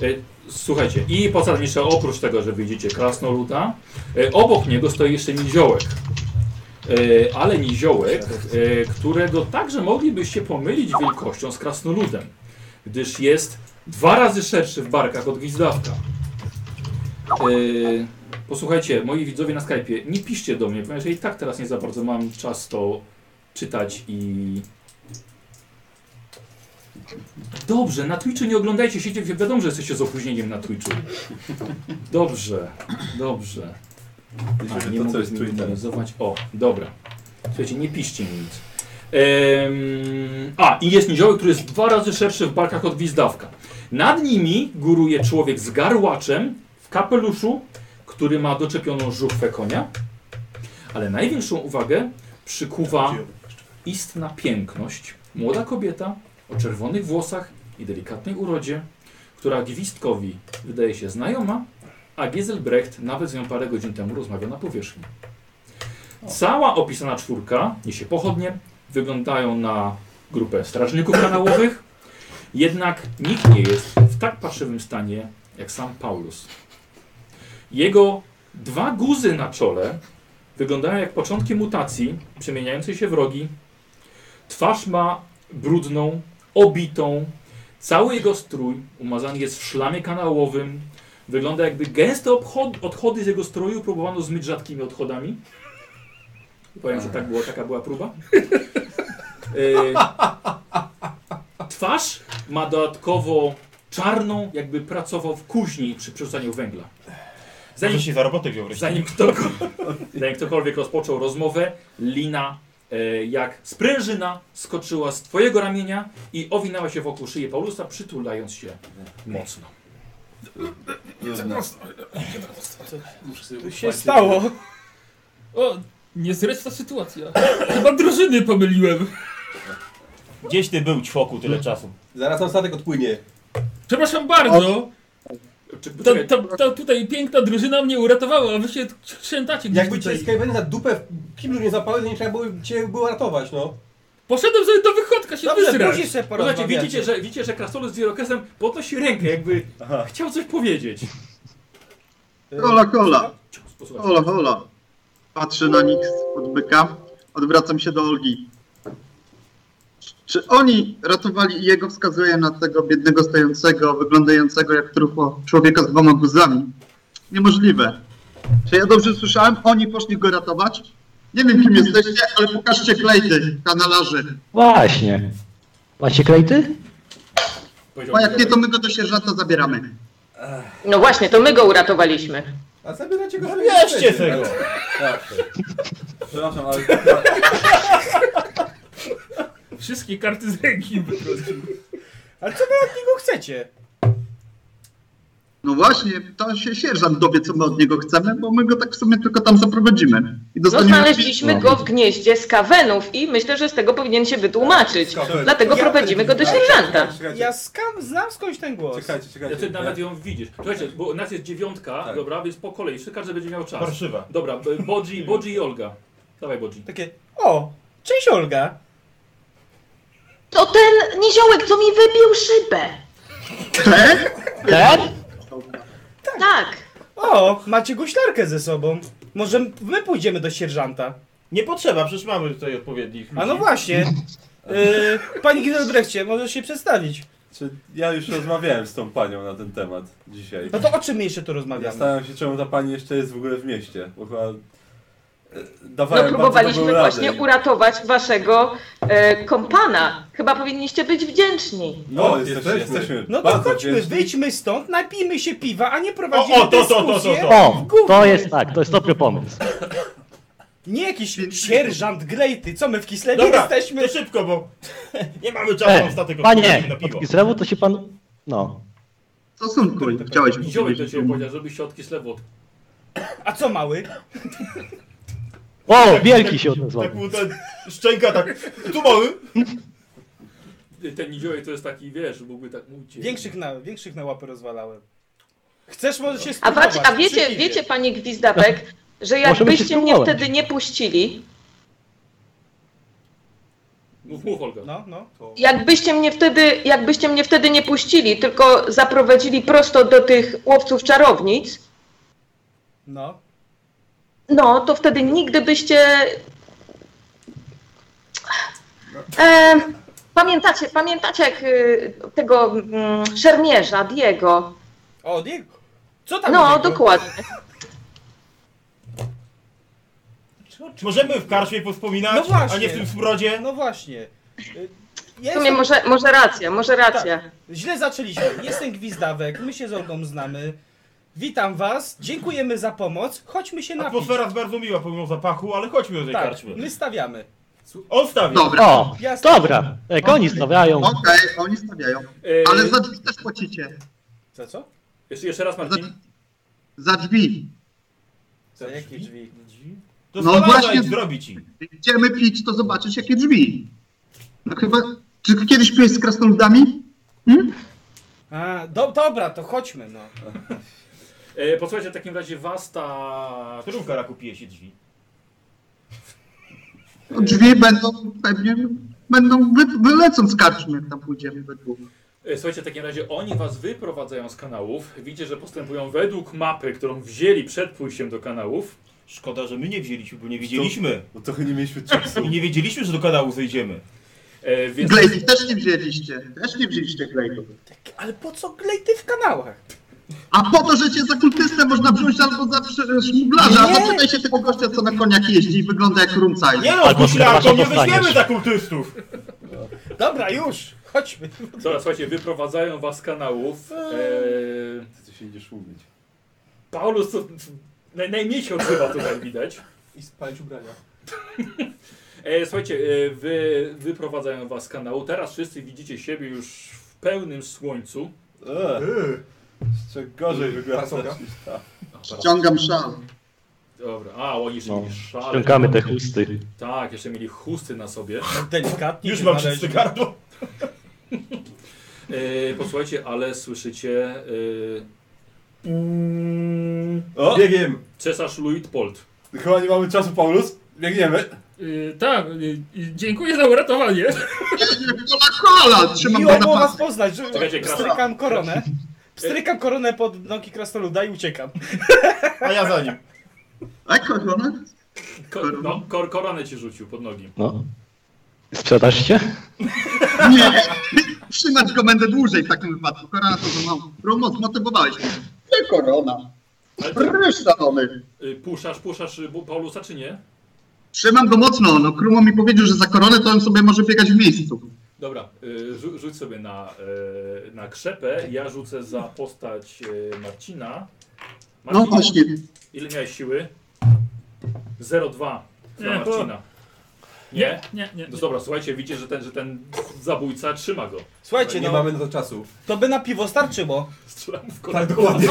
Speaker 2: E, Słuchajcie, i po zasadniczo oprócz tego, że widzicie krasnoluda, e, obok niego stoi jeszcze niziołek. E, Ale niziołek, e, którego także moglibyście pomylić wielkością z krasnoludem, gdyż jest dwa razy szerszy w barkach od gwizdawka. E, Posłuchajcie, moi widzowie na Skype'ie, nie piszcie do mnie, ponieważ ja i tak teraz nie za bardzo mam czas to czytać i Dobrze, na Twitchu nie oglądajcie, siecie, wi- wiadomo, że jesteście z opóźnieniem na Twitchu. Dobrze, dobrze.
Speaker 1: Myślę,
Speaker 2: A,
Speaker 1: że
Speaker 2: nie
Speaker 1: to co
Speaker 2: mogę
Speaker 1: jest Twitter.
Speaker 2: zminimalizować. O, dobra. Słuchajcie, nie piszcie mi nic. Em, a, i jest nizioły, który jest dwa razy szerszy w barkach od gwizdawka. Nad nimi góruje człowiek z garłaczem w kapeluszu, który ma doczepioną żuchwę konia. Ale największą uwagę przykuwa istna piękność. Młoda kobieta o czerwonych włosach i delikatnej urodzie, która gwizdkowi wydaje się znajoma, a Gieselbrecht nawet z nią parę godzin temu rozmawia na powierzchni. Cała opisana czwórka niesie pochodnie, wyglądają na grupę strażników kanałowych, jednak nikt nie jest w tak parszywym stanie jak sam Paulus. Jego dwa guzy na czole wyglądają jak początki mutacji przemieniającej się w rogi. Twarz ma brudną, obitą, cały jego strój umazany jest w szlamie kanałowym, Wygląda jakby gęste obchod- odchody z jego stroju próbowano zmyć rzadkimi odchodami. Powiem, że tak było, taka była próba. E, twarz ma dodatkowo czarną, jakby pracował w kuźni przy przerzucaniu węgla.
Speaker 3: Może
Speaker 2: Zanim,
Speaker 3: się za robotę wziął wreszcie.
Speaker 2: zanim, ktokolwiek, zanim ktokolwiek rozpoczął rozmowę, Lina e, jak sprężyna skoczyła z twojego ramienia i owinęła się wokół szyi Paulusa, przytulając się mocno.
Speaker 1: Jedna.
Speaker 5: Tu się stało.
Speaker 4: O, niezręczna sytuacja. Chyba drużyny pomyliłem.
Speaker 3: Gdzieś ty był, ćwoku, tyle czasu.
Speaker 6: Zaraz nam statek odpłynie.
Speaker 4: Przepraszam bardzo.
Speaker 2: Czy-
Speaker 4: Ta, ta, ta tutaj piękna drużyna mnie uratowała, a wy się trzętacie gdzieś
Speaker 6: Jakby
Speaker 4: tutaj.
Speaker 6: cię Skaven za dupę w kiblu nie zapały, to nie trzeba było cię było ratować, no.
Speaker 4: Poszedłem sobie do wychodka się
Speaker 5: Dobrze,
Speaker 4: wysrać.
Speaker 5: później sobie
Speaker 2: Słuchajcie,
Speaker 5: porozmawiacie.
Speaker 2: Znaczy, widzicie, że, widzicie, że Krasnolud z Irokesem podnosi rękę, jakby
Speaker 1: Aha.
Speaker 2: chciał coś powiedzieć.
Speaker 8: Kola, kola,
Speaker 2: Cios, posłuchajcie.
Speaker 8: kola, kola. Patrzę na nich od byka. Odwracam się do Olgi. Czy oni ratowali i jego wskazuje na tego biednego stojącego, wyglądającego jak truchło człowieka z dwoma guzami? Niemożliwe. Czy ja dobrze słyszałem? Oni poszli go ratować? Nie wiem kim jesteście, ale pokażcie klejty, kanalarzy.
Speaker 7: Właśnie. Macie klejty?
Speaker 2: Powiedział
Speaker 8: Bo jak nie,
Speaker 2: Irokes.
Speaker 8: to my go do sierżanta zabieramy.
Speaker 9: No właśnie, to my go uratowaliśmy.
Speaker 6: E, A zabieracie go sobie.
Speaker 3: Zabierzcie tego!
Speaker 1: Tak. Przepraszam, ale...
Speaker 4: Wszystkie karty z ręki wyrzucił.
Speaker 5: Ale co wy od niego chcecie?
Speaker 8: No właśnie, to się sierżant dowie, co my od niego chcemy, bo my go tak w sumie tylko tam zaprowadzimy. I
Speaker 9: No
Speaker 8: dostaniemy
Speaker 9: znaleźliśmy go w gnieździe z kawenów i myślę, że z tego powinien się wytłumaczyć. Dlatego
Speaker 5: Ja-
Speaker 9: prowadzimy go do sierżanta.
Speaker 5: Ja
Speaker 1: Czekajcie,
Speaker 5: skam, znam skądś ten głos.
Speaker 1: czekajcie,
Speaker 2: Ja ty
Speaker 1: czekajcie.
Speaker 2: nawet ją widzisz. Słuchajcie, bo nas jest dziewiątka,
Speaker 1: Tak.
Speaker 2: dobra, więc po kolei, jeszcze każdy będzie miał czas.
Speaker 3: Parszywa.
Speaker 2: Dobra, b- Bodzi, Bodzi i Olga. Dawaj Bodzi.
Speaker 5: Takie, o, cześć Olga.
Speaker 9: To ten niziołek, co mi wybił szybę.
Speaker 8: Te?
Speaker 7: Ten?
Speaker 9: Tak.
Speaker 5: O, macie guślarkę ze sobą. Może my pójdziemy do sierżanta.
Speaker 3: Nie potrzeba, przecież mamy tutaj odpowiednich.
Speaker 5: A
Speaker 2: Mhm.
Speaker 5: no
Speaker 3: ludzi.
Speaker 5: właśnie. Yy, Panie Gizelbrechcie, możesz się przedstawić.
Speaker 1: Czy ja już rozmawiałem z tą panią na ten temat dzisiaj.
Speaker 5: No to o czym my jeszcze tu rozmawiamy?
Speaker 1: Zastanawiam się, czemu ta pani jeszcze jest w ogóle w mieście, bo chyba... e,
Speaker 9: No
Speaker 1: Dawałem bardzo
Speaker 9: próbowaliśmy
Speaker 1: dobrą
Speaker 9: właśnie
Speaker 1: radę i-
Speaker 9: uratować waszego e, kompana. Chyba powinniście być wdzięczni.
Speaker 1: No,
Speaker 3: No,
Speaker 1: jesteśmy,
Speaker 3: jesteśmy.
Speaker 1: jesteśmy.
Speaker 5: No to
Speaker 1: bardzo
Speaker 5: chodźmy,
Speaker 1: wdzięczni.
Speaker 5: wyjdźmy stąd, napijmy się piwa, a nie
Speaker 3: O,
Speaker 5: prowadzimy
Speaker 3: o, to, to, to, to,
Speaker 5: dyskusję.
Speaker 3: to.
Speaker 7: O, to jest tak, to jest dobry pomysł.
Speaker 5: Nie jakiś sierżant Grejty, co my w Kislewie
Speaker 3: Dobra,
Speaker 5: jesteśmy?
Speaker 3: to szybko, bo nie mamy czasu na
Speaker 7: E,
Speaker 3: statek odpowiedzi na
Speaker 7: panie,
Speaker 3: piwo.
Speaker 7: od Kislewu to się pan... No.
Speaker 8: Stosunku, chciałeś mi
Speaker 2: Niziołek do
Speaker 8: powiedzieć.
Speaker 2: ciebie powiedział, żebyś się od Kislewu od...
Speaker 5: A co mały?
Speaker 7: O, wielki się odezwał.
Speaker 3: Tak mu ten szczęka tak, tu mały.
Speaker 2: Ten niziołek to jest taki, wiesz, mógłby tak mówić.
Speaker 5: Większych na, większych na łapy rozwalałem. Chcesz może się
Speaker 9: A,
Speaker 5: spróbować?
Speaker 9: patrz, a wiecie,
Speaker 5: przy piwie.
Speaker 9: wiecie, panie Gwizdawek, że
Speaker 7: Może by się
Speaker 9: jakbyście mnie
Speaker 7: spróbować.
Speaker 9: wtedy nie puścili,
Speaker 2: Mów, mów Olga.
Speaker 5: No, no.
Speaker 9: Jakbyście mnie wtedy, jakbyście mnie wtedy nie puścili, tylko zaprowadzili prosto do tych łowców czarownic,
Speaker 5: No.
Speaker 9: no to wtedy nigdy byście.
Speaker 5: No.
Speaker 9: E, pamiętacie, pamiętacie jak y, tego mm, szermierza, Diego.
Speaker 5: O, nie. Co tam?
Speaker 9: No,
Speaker 5: Tak, Diego?
Speaker 9: dokładnie.
Speaker 3: Możemy w karczmie powspominać,
Speaker 5: No właśnie.
Speaker 3: a nie w tym smrodzie.
Speaker 5: No właśnie. Y,
Speaker 9: W
Speaker 5: Ja
Speaker 9: sumie
Speaker 5: jestem,
Speaker 9: może, może racja, może racja.
Speaker 5: źle zaczęliśmy. Jestem Gwizdawek, my się z Olgą znamy. Witam was, dziękujemy za pomoc. Chodźmy się napić.
Speaker 3: Atmosfera jest bardzo miła pomimo zapachu, ale chodźmy do tej
Speaker 5: Tak,
Speaker 3: karczmy.
Speaker 5: my stawiamy.
Speaker 3: Odstawię.
Speaker 7: No,
Speaker 8: Dobra,
Speaker 7: O,
Speaker 5: Jasne.
Speaker 7: dobra, jak oni stawiają.
Speaker 8: okej, oni stawiają.
Speaker 2: E,
Speaker 8: Ale za drzwi też płacicie.
Speaker 5: Za co?
Speaker 2: jeszcze, jeszcze raz
Speaker 8: Za,
Speaker 2: Marcin.
Speaker 8: za drzwi.
Speaker 5: Za jakie drzwi?
Speaker 3: To
Speaker 8: No
Speaker 3: no
Speaker 8: właśnie-
Speaker 3: właśnie. zrobi ci.
Speaker 8: Idziemy pić, to zobaczysz jakie drzwi. No chyba... Czy kiedyś piłeś z krasnoludami? Hmm?
Speaker 5: A, do, dobra, to chodźmy, no.
Speaker 2: E, posłuchajcie, w takim razie was ta...
Speaker 3: Którówka raku pije się drzwi.
Speaker 8: No, drzwi będą pewnie... Będą... Wy, wylecą z karczmy, jak tam pójdziemy we dwóch.
Speaker 2: E, Słuchajcie, w takim razie oni was wyprowadzają z kanałów. Widzicie, że postępują według mapy, którą wzięli przed pójściem do kanałów.
Speaker 3: Szkoda, że my nie wzięliśmy, bo nie wiedzieliśmy.
Speaker 1: Bo trochę nie mieliśmy czasu.
Speaker 3: I nie wiedzieliśmy, że do kanału zejdziemy.
Speaker 2: E, więc...
Speaker 8: Glejtów też nie wzięliście. Też nie wzięliście glejtów.
Speaker 5: Ale po co glejty w kanałach?
Speaker 8: A po to, że cię za kultystę można wziąć albo za prze- szmuglarza.
Speaker 5: Nie.
Speaker 8: Zapytaj się tego gościa, co na koniak jeździ i wygląda jak rumcaj.
Speaker 3: Nie no,
Speaker 7: Albo
Speaker 3: kuślarką nie
Speaker 7: dostaniesz.
Speaker 3: weźmiemy za kultystów.
Speaker 5: Dobra, już, chodźmy.
Speaker 2: Dobra, słuchajcie, wyprowadzają was z kanałów. E,
Speaker 1: Ty się idziesz umyć.
Speaker 2: Paulus to naj, najmniej się odzywa tutaj widać.
Speaker 6: I spalić ubrania.
Speaker 2: E, słuchajcie, e, wy, wyprowadzają was z kanału. Teraz wszyscy widzicie siebie już w pełnym słońcu.
Speaker 1: Eee, jeszcze gorzej tak. wyglądasz
Speaker 6: Parasolka?
Speaker 1: niż ta.
Speaker 8: Ściągam szal.
Speaker 2: Dobra, a oni jeszcze
Speaker 7: No,
Speaker 2: mieli szale.
Speaker 7: Ściągamy te chusty.
Speaker 2: Tak, jeszcze mieli chusty na sobie.
Speaker 5: Delikatnie.
Speaker 3: Już
Speaker 5: się
Speaker 3: mam
Speaker 5: znaleźli.
Speaker 3: czyste gardło.
Speaker 2: E, posłuchajcie, ale słyszycie e,
Speaker 1: O,
Speaker 6: Biegiem!
Speaker 2: cesarz Luitpold.
Speaker 1: chyba nie mamy czasu, Paulus. Biegniemy.
Speaker 4: Y, tak, y, y, dziękuję za uratowanie.
Speaker 8: Kola, kola! Trzymam
Speaker 5: Miło
Speaker 8: go na
Speaker 5: było was
Speaker 8: pasku.
Speaker 5: poznać, że
Speaker 2: Czekajcie, krasa.
Speaker 5: strykam koronę. Strykam koronę pod nogi krasnoluda i uciekam.
Speaker 3: A ja za nim.
Speaker 8: Ej, Tak, kochana.
Speaker 2: Ko, no, kor, koronę ci rzucił pod nogi.
Speaker 7: No. Sprzedasz się?
Speaker 8: Nie! Trzymać go będę dłużej w takim wypadku. Korona to za mało. Romo, zmotywowałeś mnie. Ty korona.
Speaker 2: Ale ty,
Speaker 8: Ryż szalony.
Speaker 2: y, puszasz, puszasz y, Bu- Paulusa czy nie?
Speaker 8: Trzymam go mocno. No, Krumo mi powiedział, że za koronę to on sobie może biegać w miejscu.
Speaker 2: Dobra, y, rzu, rzuć sobie na, y, na krzepę. Ja rzucę za postać y, Marcina.
Speaker 8: No
Speaker 2: Marcin,
Speaker 8: właśnie.
Speaker 2: ile miałeś siły? 0,2 dla
Speaker 4: Nie.
Speaker 2: Marcina. Nie?
Speaker 4: Nie, nie.
Speaker 2: No dobra, słuchajcie, widzicie, że ten, że ten zabójca trzyma go.
Speaker 5: Słuchajcie,
Speaker 1: Nie
Speaker 5: no,
Speaker 1: mamy na to czasu.
Speaker 5: to by na piwo starczyło.
Speaker 2: Strzela mu w
Speaker 1: Tak,
Speaker 2: kolano.
Speaker 1: dokładnie.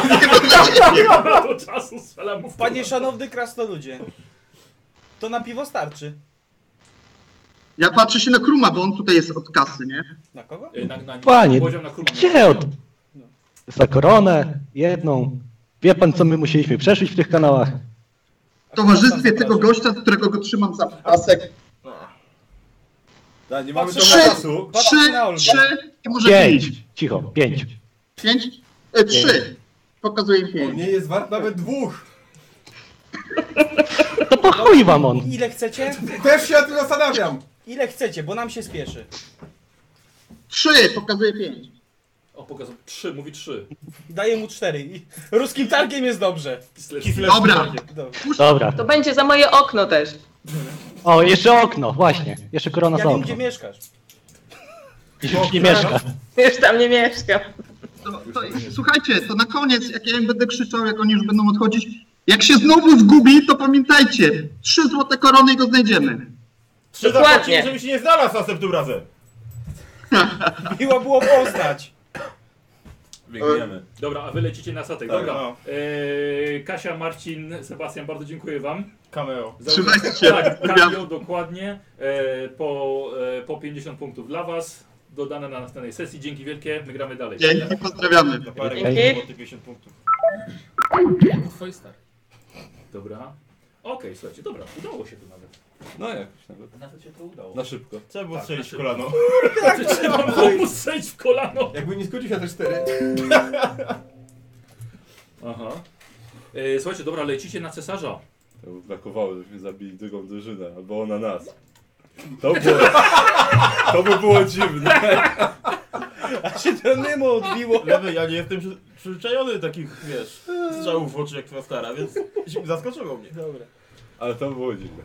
Speaker 2: Nie ma do czasu, strzela mu w
Speaker 5: Panie
Speaker 2: kolano.
Speaker 5: szanowny krasnoludzie, to na piwo starczy.
Speaker 8: Ja patrzę się na Kruma, bo on tutaj jest od kasy, nie?
Speaker 5: Na kogo?
Speaker 2: Y, Na, na,
Speaker 7: Panie,
Speaker 2: Poziom na Krumana.
Speaker 7: Gdzie od... Za koronę, jedną. Wie pan, co my musieliśmy przeszlić w tych kanałach?
Speaker 8: W towarzystwie tego gościa, którego go trzymam za pasek.
Speaker 1: Tak, nie mamy
Speaker 5: Patrzę-
Speaker 1: trochę czasu.
Speaker 5: Patrzę
Speaker 8: Trzy,
Speaker 5: na Olgę.
Speaker 8: trzy i może
Speaker 7: Pięć.
Speaker 8: pięć.
Speaker 7: Cicho, pięć.
Speaker 8: Pięć? E, trzy. Pokazuję im
Speaker 1: On
Speaker 8: pięć.
Speaker 1: nie jest wart nawet dwóch.
Speaker 7: To po chuj wam on.
Speaker 5: Ile chcecie?
Speaker 1: Też się na tym zastanawiam.
Speaker 5: Ile chcecie, bo nam się spieszy.
Speaker 8: Trzy, pokazuję pięć.
Speaker 2: O, pokazał. Trzy, mówi trzy.
Speaker 5: Daję mu cztery. I ruskim targiem jest dobrze.
Speaker 2: Kisle.
Speaker 8: Dobra,
Speaker 5: Dobra.
Speaker 7: Dobra.
Speaker 5: Tak.
Speaker 9: To będzie za moje okno też.
Speaker 7: O, jeszcze okno, właśnie. Jeszcze korona
Speaker 5: Ja
Speaker 7: za
Speaker 5: wiem,
Speaker 7: okno.
Speaker 5: gdzie mieszkasz.
Speaker 7: I już nie mieszka.
Speaker 9: Już tam nie mieszkam.
Speaker 8: to, to, słuchajcie, to na koniec, jak ja im będę krzyczał, jak oni już będą odchodzić, jak się znowu zgubi, to pamiętajcie, trzy złote korony i go znajdziemy.
Speaker 3: Czy
Speaker 9: Dokładnie.
Speaker 3: zapłacimy, żeby się nie znalazł następnym razem?
Speaker 5: Miło było poznać.
Speaker 1: Biegniemy.
Speaker 2: Dobra, a wy lecicie na statek.
Speaker 1: Tak,
Speaker 2: Dobra.
Speaker 3: no.
Speaker 2: Eee, Kasia, Marcin, Sebastian, bardzo dziękuję wam.
Speaker 3: Cameo.
Speaker 2: Za-
Speaker 8: Trzymajcie się.
Speaker 2: Tak, Kamil, dokładnie. Eee, po, e, po 50 punktów dla was. Dodane na następnej sesji. Dzięki wielkie. My gramy dalej.
Speaker 8: Dzięki, pozdrawiamy.
Speaker 3: Za parę
Speaker 9: Dzięki.
Speaker 3: godzin było te 50 punktów.
Speaker 4: Twoi stary.
Speaker 2: Dobra. Okej, słuchajcie, dobra. Udało się to nawet.
Speaker 1: No jakoś nawet.
Speaker 2: Nawet się to udało.
Speaker 1: Na szybko.
Speaker 3: Trzeba było
Speaker 2: Tak,
Speaker 3: strzelić
Speaker 2: znaczy-
Speaker 3: w kolano.
Speaker 2: Trzeba było mu strzelić w kolano.
Speaker 1: Jakby nie skończył się na te cztery.
Speaker 2: Aha. Eee, słuchajcie, dobra, lecicie na cesarza.
Speaker 1: To by brakowało, żebyśmy zabili drugą drużynę, albo ona nas. To, było, to by było dziwne.
Speaker 5: A się to Nemo odbiło.
Speaker 3: Lewy, ja nie jestem przy- przyzwyczajony do takich, wiesz, strzałów w oczy jak twoja stara, więc się- zaskoczyło mnie.
Speaker 5: Dobra.
Speaker 1: Ale to by było dziwne.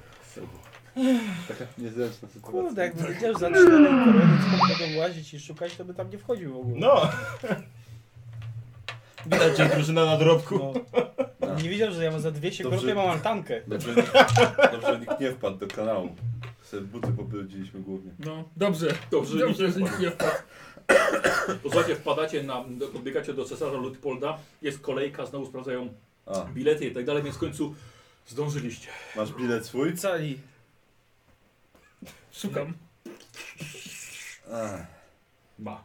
Speaker 1: Taka niezręczna sytuacja.
Speaker 5: Kurde, jakby wiedział że za cztery korony, co będą łazić i szukać, to by tam nie wchodził w ogóle.
Speaker 3: No! Widać, że drużyna na dorobku.
Speaker 5: No. Nie wiedział, że ja mam za 200
Speaker 1: Dobrze.
Speaker 5: koron, to ja mam altankę.
Speaker 1: Dobrze, dobrze, że nikt nie wpadł do kanału. Se buty pobrudziliśmy głównie.
Speaker 4: No, dobrze.
Speaker 2: Dobrze,
Speaker 4: Dobrze,
Speaker 2: nie
Speaker 4: że nikt nie wpadł.
Speaker 2: Posłuchajcie, wpadacie na, do- podbiegacie do cesarza Ludpolda, jest kolejka, znowu sprawdzają
Speaker 1: A,
Speaker 2: bilety i tak dalej, więc w końcu zdążyliście.
Speaker 1: masz bilet swój?
Speaker 5: Cali.
Speaker 4: Szukam.
Speaker 1: A.
Speaker 2: Ma.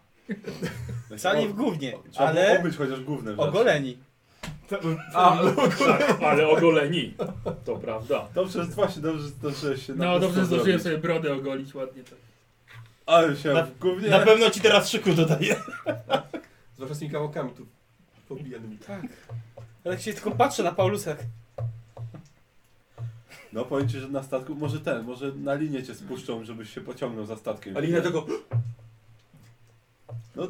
Speaker 5: Cali w gównie,
Speaker 1: Trzeba było
Speaker 5: ale
Speaker 1: obyć chociaż główne
Speaker 5: ogoleni.
Speaker 1: A,
Speaker 2: Tak, ale ogoleni. To prawda.
Speaker 1: dobrze, właśnie, dobrze, dobrze się na
Speaker 4: No, dobrze, że
Speaker 1: prosto
Speaker 4: zdążyłem
Speaker 1: zrobić.
Speaker 4: sobie brodę ogolić ładnie. Tak.
Speaker 1: Ale się
Speaker 3: Na-
Speaker 1: w gównie.
Speaker 3: Na pewno ci teraz szyku dodaję.
Speaker 6: Z waszymi kawałkami tu pobijanymi.
Speaker 5: Tak. Ale jak się tylko patrzę na Paulusach.
Speaker 1: No powiem ci, że na statku, może ten, może na linię cię spuszczą, żebyś się pociągnął za statkiem.
Speaker 2: Ale inne tego.
Speaker 1: No,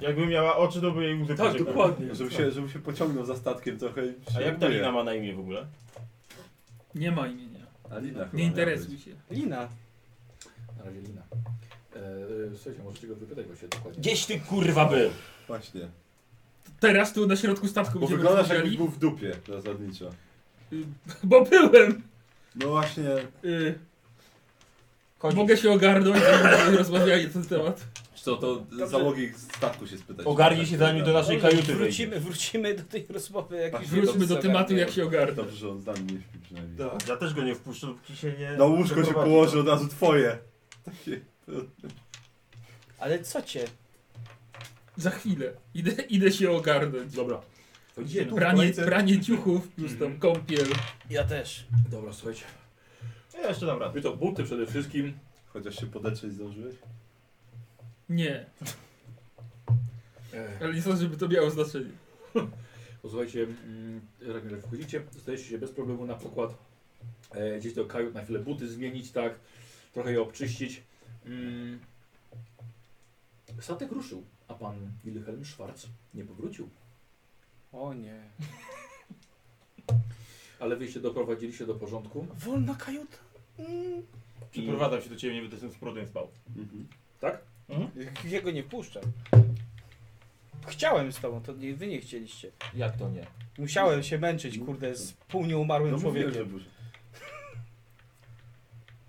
Speaker 3: Jakby miała oczy, to by jej łzy
Speaker 2: Tak,
Speaker 3: pociekły.
Speaker 2: dokładnie.
Speaker 1: żeby się, żeby się pociągnął za statkiem trochę. i się
Speaker 3: A jak
Speaker 1: buje.
Speaker 3: Dalina ma na imię w ogóle?
Speaker 4: Nie ma imienia.
Speaker 1: Alina chyba
Speaker 4: Nie
Speaker 1: miała
Speaker 4: interesuj
Speaker 1: być.
Speaker 4: się.
Speaker 5: Lina.
Speaker 2: Na razie lina. Eee, słuchajcie, możecie go wypytać właśnie dokładnie.
Speaker 3: Gdzieś ty kurwa był!
Speaker 1: Właśnie.
Speaker 4: Teraz tu na środku statku
Speaker 1: Bo
Speaker 4: będziemy
Speaker 1: wyglądasz jakbyś
Speaker 4: rozmawiali.
Speaker 1: był w dupie zasadniczo.
Speaker 4: Bo byłem.
Speaker 1: No właśnie,
Speaker 4: Y, mogę się ogarnąć, żeby rozmawiali na ten temat.
Speaker 1: co to załogi statku się spytać.
Speaker 3: Ogarnij się zanim do naszej kajuty wejdzie.
Speaker 5: Wrócimy, wrócimy do tej rozmowy jakiejś
Speaker 4: Wróćmy do tematu, jak się ogarnę.
Speaker 1: Dobrze, że on z nami nie śpi przynajmniej.
Speaker 6: Tak.
Speaker 3: Ja też go nie wpuszczę, dopóki się nie...
Speaker 1: Na łóżko się
Speaker 3: doprowadzi.
Speaker 1: położy od razu twoje. Takie.
Speaker 5: Ale co cię?
Speaker 4: Za chwilę. Idę, idę się ogarnąć.
Speaker 2: Dobra. Gdzie tu?
Speaker 4: Pranie, pranie ciuchów, plus tam kąpiel.
Speaker 5: Ja też.
Speaker 2: Dobra, słuchajcie.
Speaker 3: Ja jeszcze dam radę.
Speaker 2: By to buty przede wszystkim.
Speaker 1: Chociaż się podetrzeć zdążyłeś?
Speaker 4: Nie. Ale nie sądzę, żeby to miało znaczenie.
Speaker 2: Posłuchajcie, mm, Ragnar, wchodzicie, dostajecie się bez problemu na pokład. E, gdzieś do kajut na chwilę buty zmienić, tak, trochę je obczyścić. Mm. Statek ruszył, a pan Wilhelm Schwarz nie powrócił.
Speaker 5: O nie.
Speaker 2: Ale wyście doprowadziliście do porządku.
Speaker 5: Wolna kajuta. Mm.
Speaker 3: Przeprowadzam się do ciebie, nie będę z brodem spał.
Speaker 1: Mhm.
Speaker 2: Tak?
Speaker 5: Ja go nie wpuszczam. Chciałem z tobą, to nie, wy nie chcieliście.
Speaker 2: Jak to nie?
Speaker 5: Musiałem się męczyć, kurde, z pół nieumarłym
Speaker 1: No mówiłem, że
Speaker 5: człowiekiem.
Speaker 1: burzy.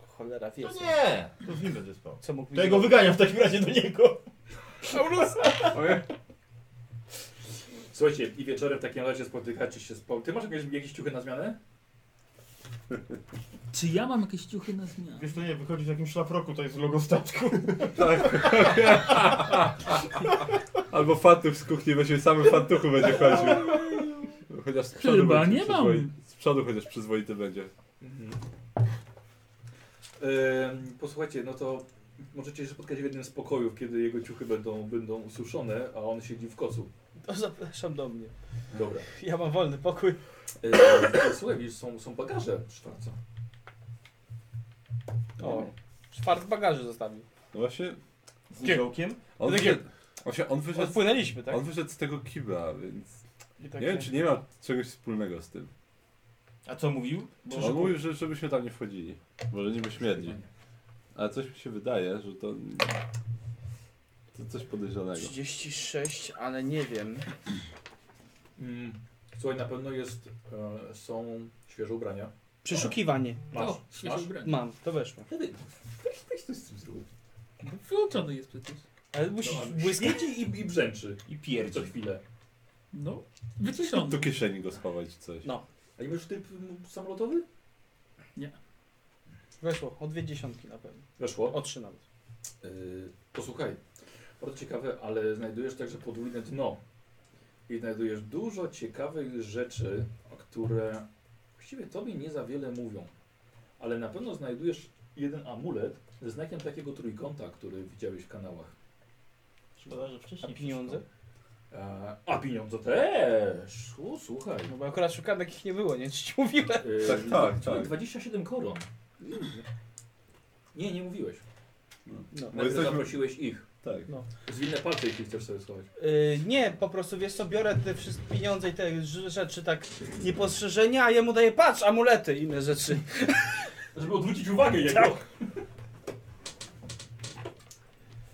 Speaker 5: Cholera, wie. co-
Speaker 3: No nie! To z nim będę spał.
Speaker 5: Co mógł mi
Speaker 3: To ja go wyganiam w takim razie do niego.
Speaker 2: Słuchajcie, i wieczorem w takim razie spotykacie się z po... Ty masz jakieś, jakieś ciuchy na zmianę?
Speaker 4: Czy ja mam jakieś ciuchy na zmianę?
Speaker 3: Wiesz to nie, wychodzi w takim szlafroku, to jest logo statku.
Speaker 1: Albo fantów z kuchni weźmie, same fantuchu będzie chodził. Chociaż z przodu
Speaker 4: Chyba
Speaker 1: będzie
Speaker 4: nie mam.
Speaker 1: przyzwoi- Z przodu chociaż przyzwoity będzie.
Speaker 2: Em, posłuchajcie, no to możecie się spotkać w jednym z pokojów, kiedy jego ciuchy będą, będą ususzone, a on siedzi w kocu.
Speaker 5: To zapraszam do mnie.
Speaker 2: Dobra.
Speaker 5: Ja mam wolny pokój.
Speaker 2: E, słuchaj, widzisz, są, są bagaże Szwarca.
Speaker 5: O, czwart bagaży zostawił.
Speaker 1: No właśnie,
Speaker 3: Z niziołkiem?
Speaker 1: on
Speaker 5: Takie-
Speaker 1: wyszedł, właśnie on, wyszedł,
Speaker 5: Odpłynęliśmy, tak?
Speaker 1: on wyszedł z tego kibla, więc
Speaker 5: I
Speaker 1: nie
Speaker 5: tak
Speaker 1: wiem czy nie ma czegoś wspólnego z tym.
Speaker 3: A co mówił? Bo...
Speaker 1: On mówił, że, żebyśmy tam nie wchodzili. Może niby śmierdzi. Ale coś mi się wydaje, że to... To coś podejrzanego.
Speaker 5: 36, ale nie wiem.
Speaker 2: Mm. Słuchaj, na pewno jest, e, są świeże ubrania.
Speaker 5: Przeszukiwanie.
Speaker 2: Masz,
Speaker 4: O, świeże
Speaker 2: masz?
Speaker 4: ubranie.
Speaker 5: Mam, to weszło.
Speaker 2: Wtedy, weź, weź coś z tym zrób.
Speaker 4: No, Wyłączony jest przecież.
Speaker 5: Ale musisz
Speaker 2: Dobra,
Speaker 5: błyskać.
Speaker 2: Śmieci i, i brzęczy.
Speaker 3: I
Speaker 2: Co
Speaker 3: pierdzi.
Speaker 2: chwilę.
Speaker 4: No,
Speaker 1: Do
Speaker 4: wyciszony.
Speaker 1: kieszeni go schować czy coś.
Speaker 5: No.
Speaker 2: A nie masz typ mm, samolotowy?
Speaker 5: Weszło, o dwie dziesiątki na pewno.
Speaker 2: Weszło.
Speaker 5: O trzy nawet.
Speaker 2: Yy, posłuchaj, bardzo ciekawe, ale znajdujesz także podwójne dno. I znajdujesz dużo ciekawych rzeczy, które właściwie tobie nie za wiele mówią. Ale na pewno znajdujesz jeden amulet ze znakiem takiego trójkąta, który widziałeś w kanałach.
Speaker 3: Szkoda, że
Speaker 5: A
Speaker 3: wcześniej
Speaker 5: pieniądze?
Speaker 2: A, E, a pieniądze też! O, słuchaj.
Speaker 5: No bo akurat szukałem takich nie było, nie? Czy ci mówiłem?
Speaker 2: Yy,
Speaker 1: Tak, tak,
Speaker 2: słuchaj,
Speaker 1: tak.
Speaker 2: 27 koron. Nie, nie mówiłeś.
Speaker 5: No.
Speaker 1: Bo
Speaker 2: Najpierw
Speaker 1: jesteśmy-
Speaker 2: zaprosiłeś ich.
Speaker 1: Tak.
Speaker 2: Zwinne palce, jeśli chcesz sobie schować.
Speaker 5: Yy, nie, po prostu wiesz co, biorę te wszystkie pieniądze i te ż- rzeczy tak niepostrzeżenie, a jemu daję, patrz, amulety i inne rzeczy.
Speaker 2: Żeby odwrócić uwagę jego.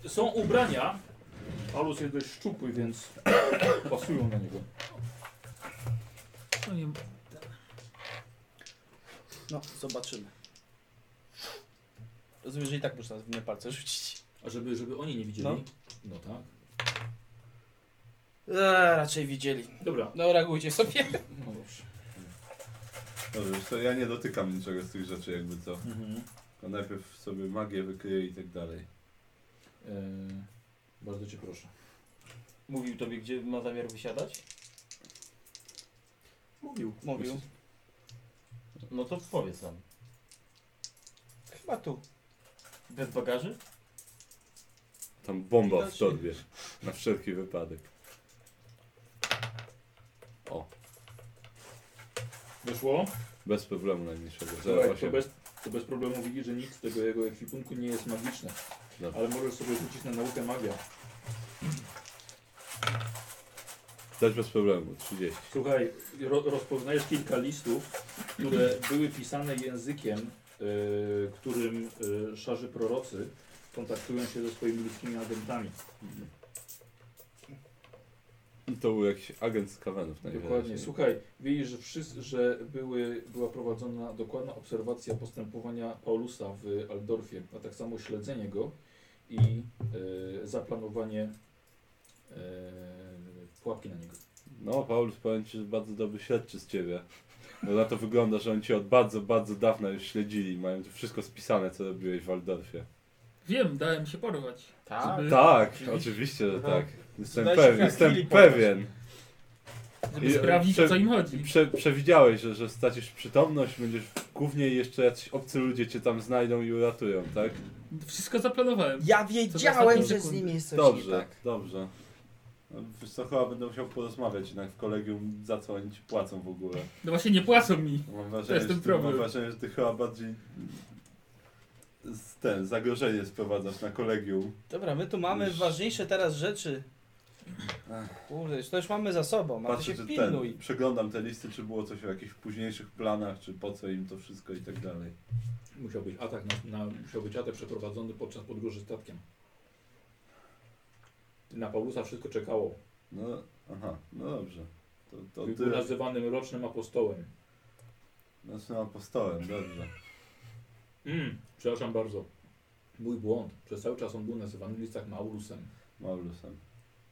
Speaker 2: Są ubrania. Alus jest dość szczupły, więc pasują na niego.
Speaker 4: No nie,
Speaker 5: No, zobaczymy. Rozumiem, że i tak muszę na inne palce rzucić.
Speaker 2: A żeby, żeby oni nie widzieli?
Speaker 5: No.
Speaker 2: No, tak.
Speaker 5: Eee, raczej widzieli.
Speaker 2: Dobra.
Speaker 5: No, reagujcie sobie.
Speaker 2: No dobrze.
Speaker 1: Dobrze, wiesz co, ja nie dotykam niczego z tych rzeczy jakby co.
Speaker 3: Mhm.
Speaker 1: A najpierw sobie magię wykryję i tak dalej.
Speaker 2: E, bardzo cię proszę.
Speaker 3: Mówił tobie, gdzie ma zamiar wysiadać?
Speaker 6: Mówił.
Speaker 5: Mówił.
Speaker 3: No to powiedz nam.
Speaker 5: Chyba tu.
Speaker 3: Bez bagaży?
Speaker 1: Tam bomba w torbie. Na wszelki wypadek. O,
Speaker 2: Wyszło?
Speaker 1: bez problemu najmniejszego.
Speaker 2: Tak, to,
Speaker 1: 08.
Speaker 2: bez, to bez problemu widzisz, że nic z tego jego ekwipunku nie jest magiczne.
Speaker 1: Dobra.
Speaker 2: Ale możesz sobie rzucić na naukę magia.
Speaker 1: Też bez problemu, 30.
Speaker 2: Słuchaj, ro, rozpoznajesz kilka listów, które były pisane językiem, y, którym y, szarzy prorocy kontaktują się ze swoimi ludzkimi agentami.
Speaker 1: I to był jakiś agent z kawenów
Speaker 2: Dokładnie.
Speaker 1: tak.
Speaker 2: Słuchaj, widzisz, że, wszyscy, że były, była prowadzona dokładna obserwacja postępowania Paulusa w Aldorfie, a tak samo śledzenie go i y, zaplanowanie y, pułapki na niego.
Speaker 1: No, Paulus, powiem Ci, że bardzo dobry śledczy z Ciebie. Bo na to wygląda, że oni Cię od bardzo, bardzo dawna już śledzili. Mają tu wszystko spisane, co robiłeś w Aldorfie.
Speaker 4: wiem, dałem się porwać.
Speaker 3: Tak.
Speaker 4: Żeby-
Speaker 1: Tak, oczywiście, że tak. Jestem
Speaker 5: Daj się
Speaker 1: pewien,
Speaker 5: chwili
Speaker 1: jestem
Speaker 5: pobrać.
Speaker 1: pewien.
Speaker 4: Żeby
Speaker 1: I- e,
Speaker 4: sprawdzić,
Speaker 1: prze-
Speaker 4: o co im
Speaker 1: I
Speaker 4: chodzi.
Speaker 1: prze, przewidziałeś, że, że stracisz przytomność, będziesz w gównie i jeszcze jacyś obcy ludzie cię tam znajdą i uratują, tak?
Speaker 4: Wszystko zaplanowałem.
Speaker 5: Ja wiedziałem, że z
Speaker 4: sekundy.
Speaker 5: nimi jest coś nie
Speaker 1: Dobrze,
Speaker 5: tak.
Speaker 1: dobrze. No, Wiesz co, chyba będę musiał porozmawiać jednak w kolegium, za co oni ci płacą w ogóle.
Speaker 4: No właśnie nie płacą mi.
Speaker 1: Mam wrażenie,
Speaker 4: To jest ten
Speaker 1: że ty,
Speaker 4: problem.
Speaker 1: Mam wrażenie, że ty chyba bardziej z- ten zagrożenie sprowadzasz na kolegium.
Speaker 5: Dobra, my tu mamy
Speaker 1: Już.
Speaker 5: ważniejsze teraz rzeczy. Kurde, już to już mamy za sobą, a ty się
Speaker 1: czy
Speaker 5: pilnuj.
Speaker 1: ten, przeglądam te listy, czy było coś o jakichś późniejszych planach, czy po co im to wszystko i tak dalej.
Speaker 2: Musiał być atak, na, na, musiał być atak przeprowadzony podczas podróży statkiem. Na Paulusa wszystko czekało.
Speaker 1: No, aha, no dobrze. To, to
Speaker 2: Był
Speaker 1: ty
Speaker 2: nazywanym rocznym apostołem.
Speaker 1: naszym apostołem, dobrze.
Speaker 2: Mm, przepraszam bardzo. Mój błąd. Przez cały czas on był nazywany w listach Maulusem,
Speaker 1: Maulusem.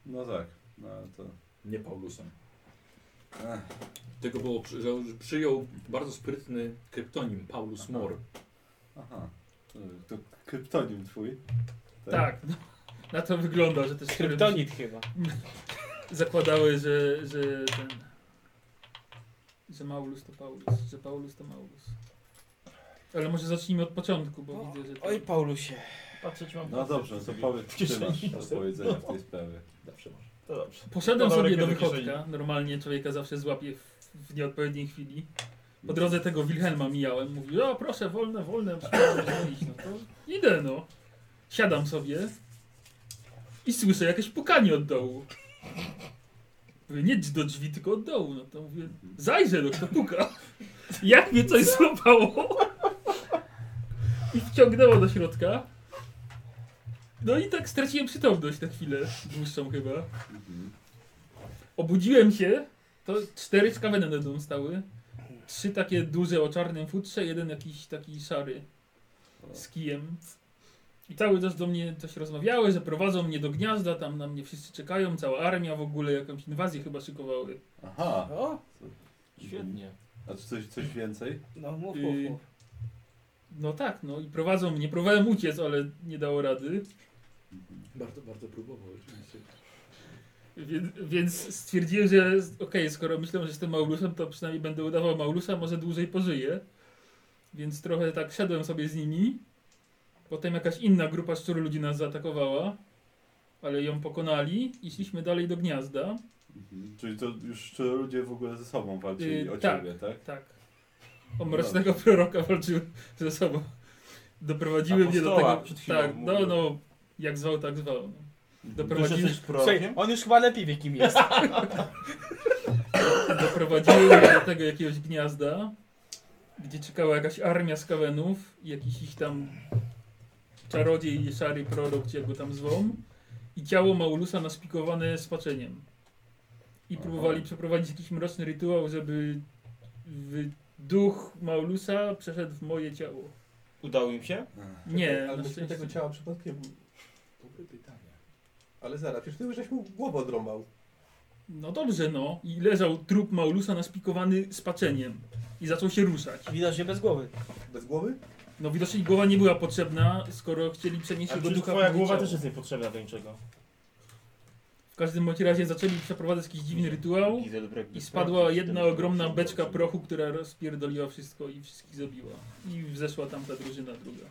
Speaker 1: No tak, no ale to...
Speaker 2: nie Paulusem.
Speaker 1: Ech.
Speaker 2: Tego było, przy- że że przyjął bardzo sprytny kryptonim Paulus Mor.
Speaker 1: Aha, to, to kryptonim twój.
Speaker 4: Tak. no. Na to wygląda, że też
Speaker 5: Kryptonit chyba.
Speaker 4: zakładały, że, że ten. Że Maulus to Paulus, że Paulus to Maulus. Ale może zacznijmy od początku, bo
Speaker 5: O,
Speaker 4: widzę, że. to-
Speaker 5: Oj, Paulusie.
Speaker 3: Patrzeć mam
Speaker 1: No dobrze, to powiedz, czy masz do powiedzenia w tej sprawie.
Speaker 2: Zawsze masz.
Speaker 3: To dobrze.
Speaker 4: Poszedłem
Speaker 3: No,
Speaker 4: sobie
Speaker 3: rękę
Speaker 4: do
Speaker 3: do
Speaker 4: wychodka.
Speaker 3: kieszeni.
Speaker 4: Normalnie człowieka zawsze złapię w, w nieodpowiedniej chwili. Po drodze tego Wilhelma mijałem. Mówił, o proszę, wolne, wolne, muszę iść. No to idę no. Siadam sobie i słyszę jakieś pukanie od dołu. Mówię, nie do drzwi, tylko od dołu. No to mówię, zajrzę, no kto puka. Jak mnie coś złapało. I wciągnęło do środka. No i tak straciłem przytomność na chwilę, dłuższą chyba. Obudziłem się, to cztery skaweny nade mną stały. Trzy takie duże o czarnym futrze, jeden jakiś taki szary z kijem. I cały czas do mnie coś rozmawiały, że prowadzą mnie do gniazda, tam na mnie wszyscy czekają, cała armia w ogóle, jakąś inwazję chyba szykowały.
Speaker 1: Aha,
Speaker 5: O,
Speaker 2: Świetnie.
Speaker 1: a czy coś, coś więcej?
Speaker 5: no mów, mów,
Speaker 4: Y,
Speaker 5: mów.
Speaker 4: No tak, no i prowadzą mnie, próbowałem uciec, ale nie dało rady.
Speaker 2: Bardzo, bardzo próbował oczywiście.
Speaker 4: Więc, więc stwierdziłem, że z- okej, skoro myślę, że jestem Maulusem, to przynajmniej będę udawał Maulusa, może dłużej pożyję. Więc trochę tak szedłem sobie z nimi. Potem jakaś inna grupa szczur ludzi nas zaatakowała, ale ją pokonali i szliśmy dalej do gniazda.
Speaker 1: Mhm. Czyli to już czy ludzie w ogóle ze sobą walczyli
Speaker 4: Yy,
Speaker 1: o
Speaker 4: tak.
Speaker 1: ciebie, tak?
Speaker 4: Tak. O mrocznego
Speaker 3: No.
Speaker 4: proroka walczyły ze sobą. Doprowadziły mnie do
Speaker 3: Apostoła
Speaker 4: tego.
Speaker 3: przed chwilą
Speaker 4: Tak, no,
Speaker 3: mówił. Mhm.
Speaker 4: no, jak zwał, tak zwał. no.
Speaker 3: Też
Speaker 4: Doprowadziły,
Speaker 3: jesteś
Speaker 5: Słuchaj,
Speaker 3: prorokiem?
Speaker 5: on już chyba lepiej wie kim jest.
Speaker 4: doprowadziły mnie do tego jakiegoś gniazda, gdzie czekała jakaś armia skawenów i jakiś ich tam czarodziej i szary prorok, czy jak go tam zwą, i ciało Maulusa naspikowane spaczeniem. I
Speaker 1: Aha.
Speaker 4: próbowali przeprowadzić jakiś mroczny rytuał, żeby w duch Maulusa przeszedł w moje ciało.
Speaker 3: Udało im się?
Speaker 4: Nie,
Speaker 6: Ale
Speaker 4: na
Speaker 6: myśmy
Speaker 4: szczęście.
Speaker 6: tego ciała przypadkiem... Dobre
Speaker 2: tak
Speaker 6: pytanie. Ale zaraz, przecież ty już żeś mu głowę odrąbał.
Speaker 4: No dobrze, no. I leżał trup Maulusa naspikowany spaczeniem. I zaczął się ruszać.
Speaker 5: Widocznie bez głowy.
Speaker 6: Bez głowy?
Speaker 4: No widocznie głowa nie była potrzebna, skoro chcieli przenieść
Speaker 3: A
Speaker 4: jego
Speaker 3: przecież
Speaker 4: ducha w
Speaker 3: twoja
Speaker 4: moje
Speaker 3: głowa
Speaker 4: ciało.
Speaker 3: też jest niepotrzebna do niczego.
Speaker 4: W każdym bądź razie zaczęli przeprowadzać jakiś dziwny rytuał i spadła jedna ogromna beczka prochu, która rozpierdoliła wszystko i wszystkich zabiła. I wzeszła tam ta drużyna druga.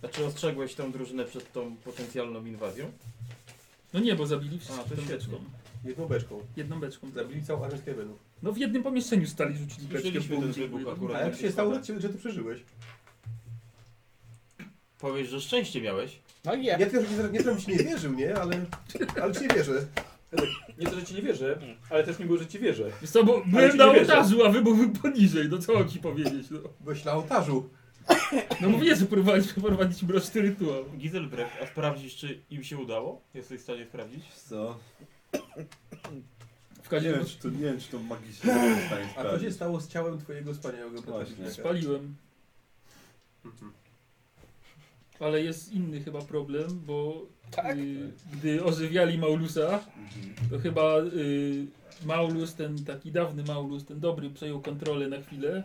Speaker 3: Znaczy ostrzegłeś tą drużynę przed tą potencjalną inwazją?
Speaker 4: No nie, bo zabili
Speaker 3: A,
Speaker 4: wszystkich
Speaker 3: to
Speaker 4: tą
Speaker 3: świetnie.
Speaker 4: beczką.
Speaker 6: Jedną beczką.
Speaker 4: Jedną beczką.
Speaker 6: Zabili całą armię skiebenów.
Speaker 4: No w jednym pomieszczeniu stali, rzucili beczkę.
Speaker 3: Słyszeliśmy
Speaker 4: bo
Speaker 3: ten
Speaker 4: ludzie
Speaker 3: wybuch
Speaker 4: byli-
Speaker 3: akurat.
Speaker 6: A jak się stało, że ty przeżyłeś?
Speaker 3: Powiesz, że szczęście miałeś.
Speaker 5: No i jak?
Speaker 6: Nie tylko, że nie, tylko byś nie wierzył, nie? Ale, ale ci nie wierzę.
Speaker 2: Nie to, że ci nie wierzę, ale też nie było, że ci wierzę.
Speaker 4: Wiesz co, bo
Speaker 2: ci
Speaker 4: byłem
Speaker 2: nie
Speaker 4: na
Speaker 2: wierzę.
Speaker 4: ołtarzu, a wybuch był poniżej, no co mam ci powiedzieć, no.
Speaker 6: Byłeś na ołtarzu.
Speaker 4: No mówię, że próbowali przeprowadzić mroczny rytuał.
Speaker 3: Gizelbrecht, a sprawdzisz, czy im się udało? Jesteś w stanie sprawdzić?
Speaker 1: Wiesz Co?
Speaker 4: W
Speaker 1: Nie
Speaker 4: każdym
Speaker 1: wiem,
Speaker 4: razie
Speaker 1: czy to, nie wiem, czy to magicznie jest w stanie
Speaker 6: A co się
Speaker 1: sprawdzić.
Speaker 6: stało z ciałem twojego wspaniałego
Speaker 1: Właśnie.
Speaker 6: pracownika?
Speaker 4: spaliłem.
Speaker 6: Mhm.
Speaker 4: Ale jest inny chyba problem, bo
Speaker 5: Tak?
Speaker 4: y, gdy ożywiali Maulusa,
Speaker 1: Mhm.
Speaker 4: to chyba y, Maulus, ten taki dawny Maulus, ten dobry, przejął kontrolę na chwilę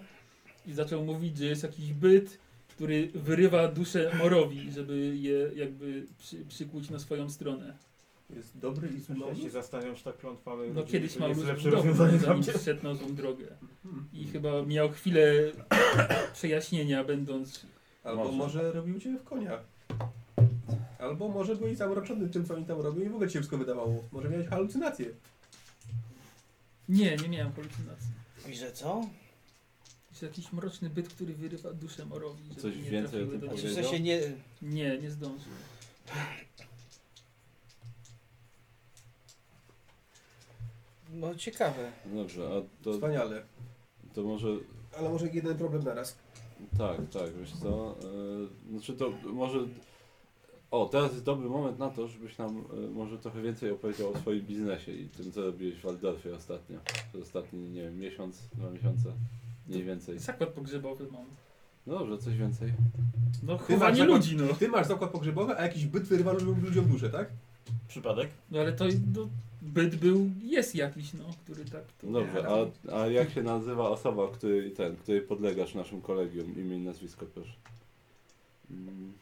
Speaker 4: i zaczął mówić, że jest jakiś byt, który wyrywa duszę morowi, żeby je jakby przy, przykuć na swoją stronę.
Speaker 6: Jest dobry i zły
Speaker 3: Ja się
Speaker 6: mały?
Speaker 3: zastanawiam, czy tak plątwamy.
Speaker 4: No kiedyś
Speaker 3: to
Speaker 4: Maulus
Speaker 3: jest lepsze
Speaker 4: był dobry,
Speaker 3: rozwiązanie dla
Speaker 4: zanim
Speaker 3: mnie. Mhm.
Speaker 4: szedł na złą drogę. I chyba miał chwilę przejaśnienia, będąc...
Speaker 6: Albo
Speaker 2: Może.
Speaker 6: może. robił cię w konia. Albo może byłeś zamroczony tym, co mi tam robił i w ogóle ci się wszystko wydawało. Może miałeś halucynację.
Speaker 4: Nie, nie miałem halucynacji.
Speaker 5: I że co?
Speaker 4: Jest jakiś mroczny byt, który wyrywa duszę morowi. żeby
Speaker 1: Coś
Speaker 4: nie
Speaker 1: więcej o
Speaker 4: trafiły
Speaker 1: tym
Speaker 4: do
Speaker 5: A
Speaker 4: niego.
Speaker 5: czy w
Speaker 1: powiedział?
Speaker 5: sensie Znaczy, nie...
Speaker 4: Nie, nie zdążył.
Speaker 5: No ciekawe.
Speaker 1: Dobrze, a to,
Speaker 6: Wspaniale.
Speaker 1: to może...
Speaker 6: Ale może jeden problem naraz.
Speaker 1: Tak, tak, wiesz co? Yy, znaczy to może... O, teraz jest dobry moment na to, żebyś nam e, może trochę więcej opowiedział o swoim biznesie i tym, co robiłeś w Waldorfie ostatnio. Przez ostatni, nie wiem, miesiąc, dwa miesiące, mniej więcej.
Speaker 4: Zakład pogrzebowy mam.
Speaker 1: No dobrze, coś więcej.
Speaker 4: No
Speaker 6: masz
Speaker 4: chowanie
Speaker 6: zakład-
Speaker 4: ludzi, no.
Speaker 6: Ty masz zakład pogrzebowy, a jakiś byt wyrywa ludziom duszę, tak?
Speaker 3: Przypadek?
Speaker 4: No ale to no, byt był, jest jakiś, no, który tak... To...
Speaker 1: Dobrze, a, a jak się nazywa osoba, której, ten, której podlegasz w naszym kolegium? Imię i nazwisko, proszę. Mm.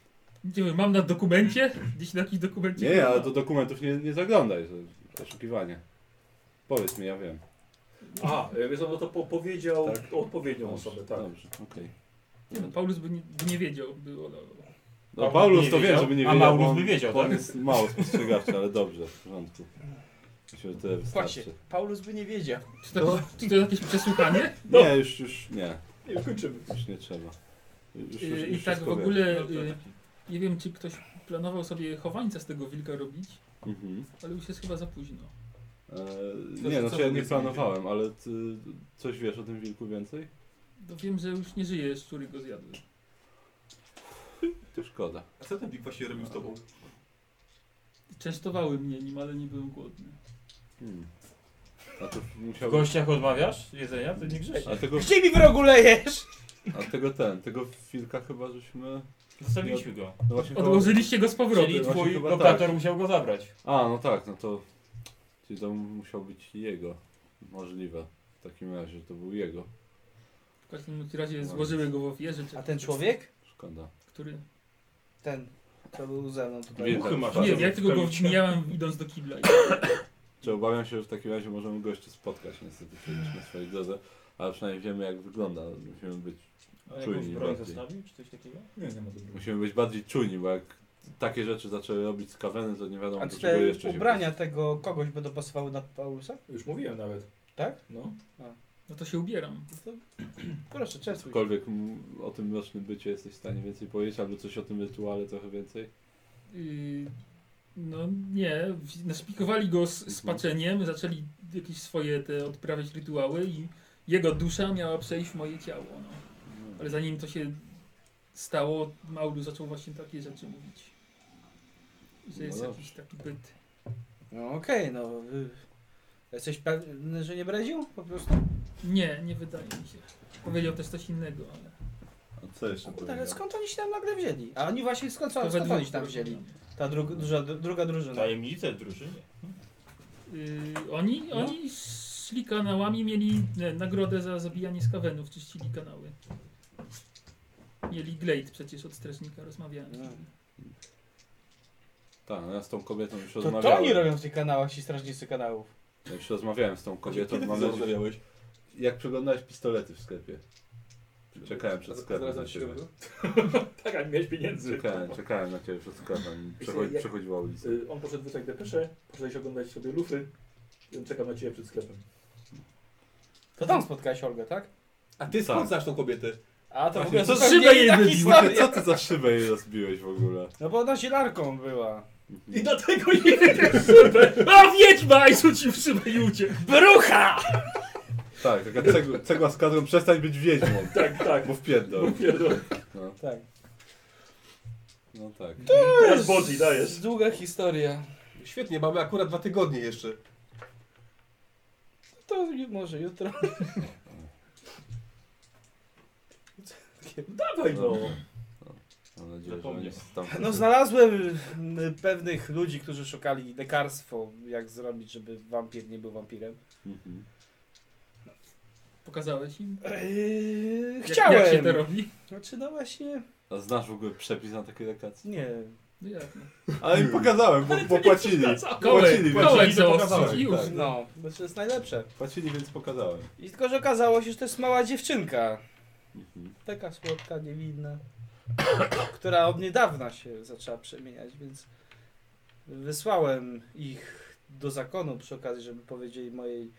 Speaker 4: Nie wiem, mam na dokumencie? Gdzieś na jakimś dokumencie?
Speaker 1: Nie, ale do dokumentów nie, nie zaglądaj, to oszukiwanie. Powiedz mi, ja wiem.
Speaker 2: A, e, wiesz, co, bo to po, powiedział
Speaker 1: Tak.
Speaker 2: odpowiednią
Speaker 1: Dobrze,
Speaker 2: osobę, tak.
Speaker 1: Dobrze, okej.
Speaker 4: Nie no, Paulus by nie, by nie wiedział, by olał.
Speaker 1: No
Speaker 3: Paulus
Speaker 1: Paulus
Speaker 3: nie
Speaker 1: to wie,
Speaker 3: wiedział,
Speaker 1: żeby nie
Speaker 3: a
Speaker 1: wiedział.
Speaker 3: Maulus
Speaker 1: bo on-
Speaker 3: by wiedział,
Speaker 1: bo On
Speaker 3: tak?
Speaker 1: jest mało spostrzegawczy, ale dobrze, w porządku. Myślę, że tyle
Speaker 5: Właśnie,
Speaker 1: wystarczy.
Speaker 5: Paulus by nie wiedział.
Speaker 4: Czy
Speaker 1: No.
Speaker 4: to, czy to jakieś przesłuchanie?
Speaker 1: Nie, już, już nie,
Speaker 6: Nie, kończymy.
Speaker 1: już nie trzeba. Już, już,
Speaker 4: Y,
Speaker 1: już
Speaker 4: I tak w
Speaker 1: wszystko wiem.
Speaker 4: ogóle
Speaker 3: No to
Speaker 4: y, nie wiem, czy ktoś planował sobie chowańca z tego wilka robić,
Speaker 1: Mhm.
Speaker 4: ale już jest chyba za późno.
Speaker 1: Eee,
Speaker 6: Co-
Speaker 1: nie, znaczy ja
Speaker 6: co
Speaker 1: nie
Speaker 6: powiedz mi?
Speaker 1: planowałem, ale ty coś wiesz o tym wilku więcej?
Speaker 4: To No, wiem, że już nie żyje, szczury go zjadły.
Speaker 1: To szkoda.
Speaker 6: A co ten Big właściwie robił z tobą?
Speaker 4: Częstowały mnie nim, ale nie byłem głodny.
Speaker 1: Hmm. A to
Speaker 3: W
Speaker 1: musiałbyś...
Speaker 3: gościach odmawiasz jedzenia? To nie grzeszy.
Speaker 1: A tego,
Speaker 5: Gdzie mi w ogóle jesz?
Speaker 1: a tego ten, tego wilka chyba żeśmy...
Speaker 3: Zostawiliśmy go.
Speaker 1: No właśnie chyba-
Speaker 4: Odłożyliście go z
Speaker 3: Czyli
Speaker 4: powrotem.
Speaker 1: właśnie
Speaker 3: twój
Speaker 1: chyba tak.
Speaker 3: operator musiał go zabrać.
Speaker 1: A, no tak, no to. Czyli to musiał być jego. Możliwe. W takim razie że to był jego.
Speaker 4: W każdym bądź razie złożyły go w ofierze, czy
Speaker 5: A ten człowiek?
Speaker 1: Szkoda.
Speaker 4: który...
Speaker 5: Ten, co był ze mną
Speaker 1: Wie-
Speaker 5: tutaj.
Speaker 3: Uchy masz.
Speaker 4: Nie wiem, ja
Speaker 3: w
Speaker 4: tylko go
Speaker 3: kamicie.
Speaker 4: mijałem idąc do kibla.
Speaker 1: Czy obawiam się, że w takim razie możemy go jeszcze spotkać, niestety, przecież na swojej drodze. Ale przynajmniej wiemy, jak wygląda. Musimy być,
Speaker 3: A jakąś
Speaker 1: Czujni
Speaker 3: broń
Speaker 1: bardziej.
Speaker 3: zostawił, czy coś takiego?
Speaker 2: Nie, nie ma dobrego.
Speaker 1: musimy być bardziej czujni, bo jak takie rzeczy zaczęły robić z kaweny, No, to nie wiadomo,
Speaker 5: A
Speaker 1: do
Speaker 5: czy
Speaker 1: czego jeszcze
Speaker 5: te
Speaker 1: się
Speaker 5: ubrania tego kogoś będą pasowały na Paulusa?
Speaker 2: Już mówiłem nawet.
Speaker 5: Tak?
Speaker 2: No.
Speaker 4: No to się ubieram.
Speaker 5: No to... Proszę, częstuj. się.
Speaker 1: Cokolwiek m- o tym rocznym bycie jesteś w stanie więcej powiedzieć, albo coś o tym rytuale trochę więcej.
Speaker 4: Yy, no nie, w- naszpikowali go z spaczeniem, zaczęli jakieś swoje te odprawiać rytuały i jego dusza miała przejść w moje ciało. No. Ale zanim to się stało, Maulu zaczął właśnie takie rzeczy mówić. Że
Speaker 1: No
Speaker 4: jest
Speaker 1: dobrze.
Speaker 4: jakiś taki byt.
Speaker 5: No okej, no... y, Jesteś pewny, że nie bredził? Po prostu.
Speaker 4: Nie, nie wydaje mi się. Powiedział też coś innego, ale...
Speaker 1: A co jeszcze
Speaker 5: Kurde, No tak, ale
Speaker 1: powiedział?
Speaker 5: skąd oni się tam nagle wzięli? A oni właśnie skąd,
Speaker 4: to
Speaker 5: skąd
Speaker 4: według-
Speaker 5: oni się tam wzięli? Ta dru- duża, druga drużyna.
Speaker 3: Tajemnice w drużynie.
Speaker 4: Yy, oni,
Speaker 2: No.
Speaker 4: oni szli kanałami, mieli e, nagrodę za zabijanie skawenów, czyścili kanały. Mieli glade przecież od strażnika, rozmawiałem. z
Speaker 5: No.
Speaker 4: nimi.
Speaker 1: Tak, no ja z tą kobietą już
Speaker 5: To, to oni
Speaker 1: rozmawiałem.
Speaker 5: robią w tych kanałach, ci strażnicy kanałów.
Speaker 1: Ja już rozmawiałem z tą kobietą,
Speaker 6: Kiedy
Speaker 1: mam
Speaker 6: ty
Speaker 1: nadzieję,
Speaker 6: rozmawiałeś?
Speaker 1: Jak przeglądałeś pistolety w sklepie? Czekałem przed sklepem. na
Speaker 6: Zaraz
Speaker 1: ciebie.
Speaker 2: Tak, a nie miałeś pieniędzy.
Speaker 1: Czekałem, czekałem na ciebie przed sklepem. Przechodzi,
Speaker 2: Jak-
Speaker 1: przechodziła ulica.
Speaker 2: Y, On poszedł wysłać depeszę, poszedłeś oglądać sobie lufy. i on Czekał na ciebie przed sklepem.
Speaker 5: To tam spotkałeś Olgę, tak?
Speaker 6: A ty skąd znasz tą kobietę?
Speaker 5: A to tak w
Speaker 1: Właśnie,
Speaker 5: ogóle
Speaker 1: co
Speaker 5: zupełnie
Speaker 4: szybę
Speaker 5: inna
Speaker 4: jeden
Speaker 5: historia.
Speaker 1: Co ty za szybę jej rozbiłeś w ogóle?
Speaker 5: No bo ona zielarką była.
Speaker 1: I
Speaker 4: dlatego nie wiesz szybę. A wiedźma! I rzucił w szybę i uciekł.
Speaker 5: Brucha!
Speaker 1: Tak, taka cegła, cegła z kadrą, przestań być wiedźmą.
Speaker 2: Tak, tak.
Speaker 1: Bo w pierdol.
Speaker 2: Pierdol.
Speaker 1: No,
Speaker 5: Tak.
Speaker 1: no tak.
Speaker 2: Teraz bodzi dajesz.
Speaker 5: Długa historia.
Speaker 6: Świetnie, mamy akurat dwa tygodnie jeszcze.
Speaker 5: To ju- może jutro.
Speaker 2: Dawaj no.
Speaker 1: Mam nadzieję, że
Speaker 3: Zapomniał.
Speaker 1: oni tam...
Speaker 5: No znalazłem mm, pewnych ludzi, którzy szukali lekarstwo, jak zrobić, żeby wampir nie był wampirem.
Speaker 1: Mhm.
Speaker 4: Pokazałeś im?
Speaker 5: Eee,
Speaker 4: jak-
Speaker 5: chciałem.
Speaker 4: Jak się to robi?
Speaker 5: Znaczy no właśnie,
Speaker 1: A znasz w ogóle przepis na takie lekacje?
Speaker 5: nie.
Speaker 4: No jak? No.
Speaker 1: Ale im pokazałem, bo, bo płacili.
Speaker 4: Kołek,
Speaker 1: Płacili, więc,
Speaker 4: kołek
Speaker 6: płacili, to
Speaker 4: zaostrzyć
Speaker 6: pokazałem,
Speaker 4: już.
Speaker 6: tak.
Speaker 5: No, to jest najlepsze.
Speaker 1: płacili, więc pokazałem.
Speaker 5: I tylko, że okazało się, że to jest mała dziewczynka.
Speaker 3: Mhm.
Speaker 5: Taka słodka, niewinna. która od niedawna się zaczęła przemieniać, więc wysłałem ich do zakonu przy okazji, żeby powiedzieli mojej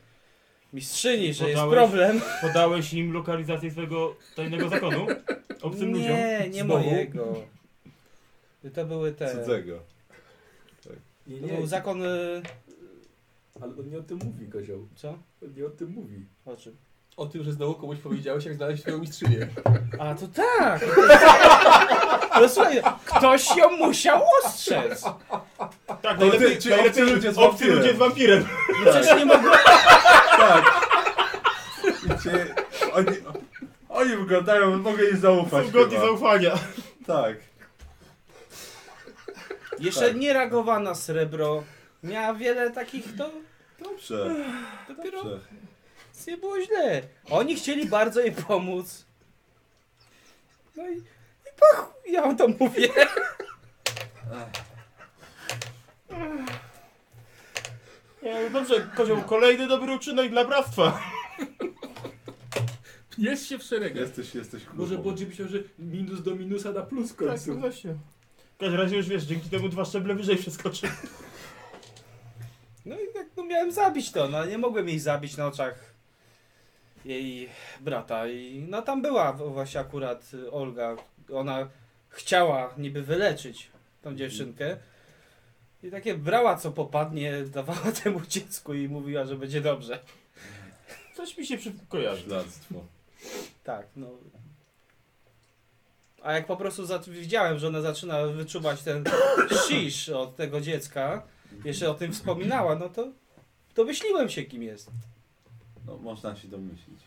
Speaker 5: mistrzyni, że jest
Speaker 3: Podałeś-
Speaker 5: problem.
Speaker 3: Podałeś im lokalizację swojego tajnego zakonu? Obcym
Speaker 5: nie,
Speaker 3: ludziom?
Speaker 5: nie
Speaker 3: Z domu?
Speaker 5: mojego. To były te.
Speaker 1: Cudzego.
Speaker 6: Nie,
Speaker 5: To był zakon. y,
Speaker 6: ale on nie o tym mówi, kozioł.
Speaker 5: Co?
Speaker 6: On nie o tym mówi.
Speaker 5: O czym?
Speaker 6: O tym, że znowu komuś powiedziałeś, jak znaleźć swoją mistrzynię.
Speaker 5: A to tak! No słuchaj, ktoś ją musiał ostrzec!
Speaker 3: Tak,
Speaker 1: To
Speaker 3: najlepiej,
Speaker 1: ty, ci
Speaker 3: najlepiej
Speaker 1: obcy ludzie z
Speaker 3: obcy
Speaker 1: wampirem.
Speaker 3: ludzie z wampirem.
Speaker 5: No przecież nie mogłem.
Speaker 1: I cię, oni, oni wyglądają, mogę im zaufać.
Speaker 3: Są godni
Speaker 1: chyba.
Speaker 3: zaufania.
Speaker 1: Tak.
Speaker 5: Jeszcze nie reagowana srebro. Miała wiele takich, to
Speaker 1: Dobrze,
Speaker 5: dopiero
Speaker 1: dobrze.
Speaker 5: nic nie było źle. Oni chcieli bardzo jej pomóc. No i, i pach, ja wam to mówię.
Speaker 3: Nie, no Dobrze, kozioł, kolejny dobry uczynek dla bractwa.
Speaker 4: Pniesz się w szeregach.
Speaker 1: Jesteś, jesteś klubą.
Speaker 6: Może Bodzi myślał, że minus do minusa na plus w
Speaker 3: Tak,
Speaker 6: końcu.
Speaker 3: właśnie. W każdym razie już wiesz, dzięki temu dwa szczeble wyżej przeskoczy.
Speaker 5: No i tak, no miałem zabić to, no ale nie mogłem jej zabić na oczach jej brata i no tam była w- właśnie akurat y, Olga, ona chciała niby wyleczyć tą dziewczynkę i takie brała co popadnie, dawała temu dziecku i mówiła, że będzie dobrze.
Speaker 3: Coś mi się przy... kojarzy.
Speaker 1: Śledztwo.
Speaker 5: Tak, no. A jak po prostu za- widziałem, że ona zaczyna wyczuwać ten shish od tego dziecka, jeszcze o tym wspominała, no to domyśliłem się kim jest.
Speaker 1: No, można się domyślić.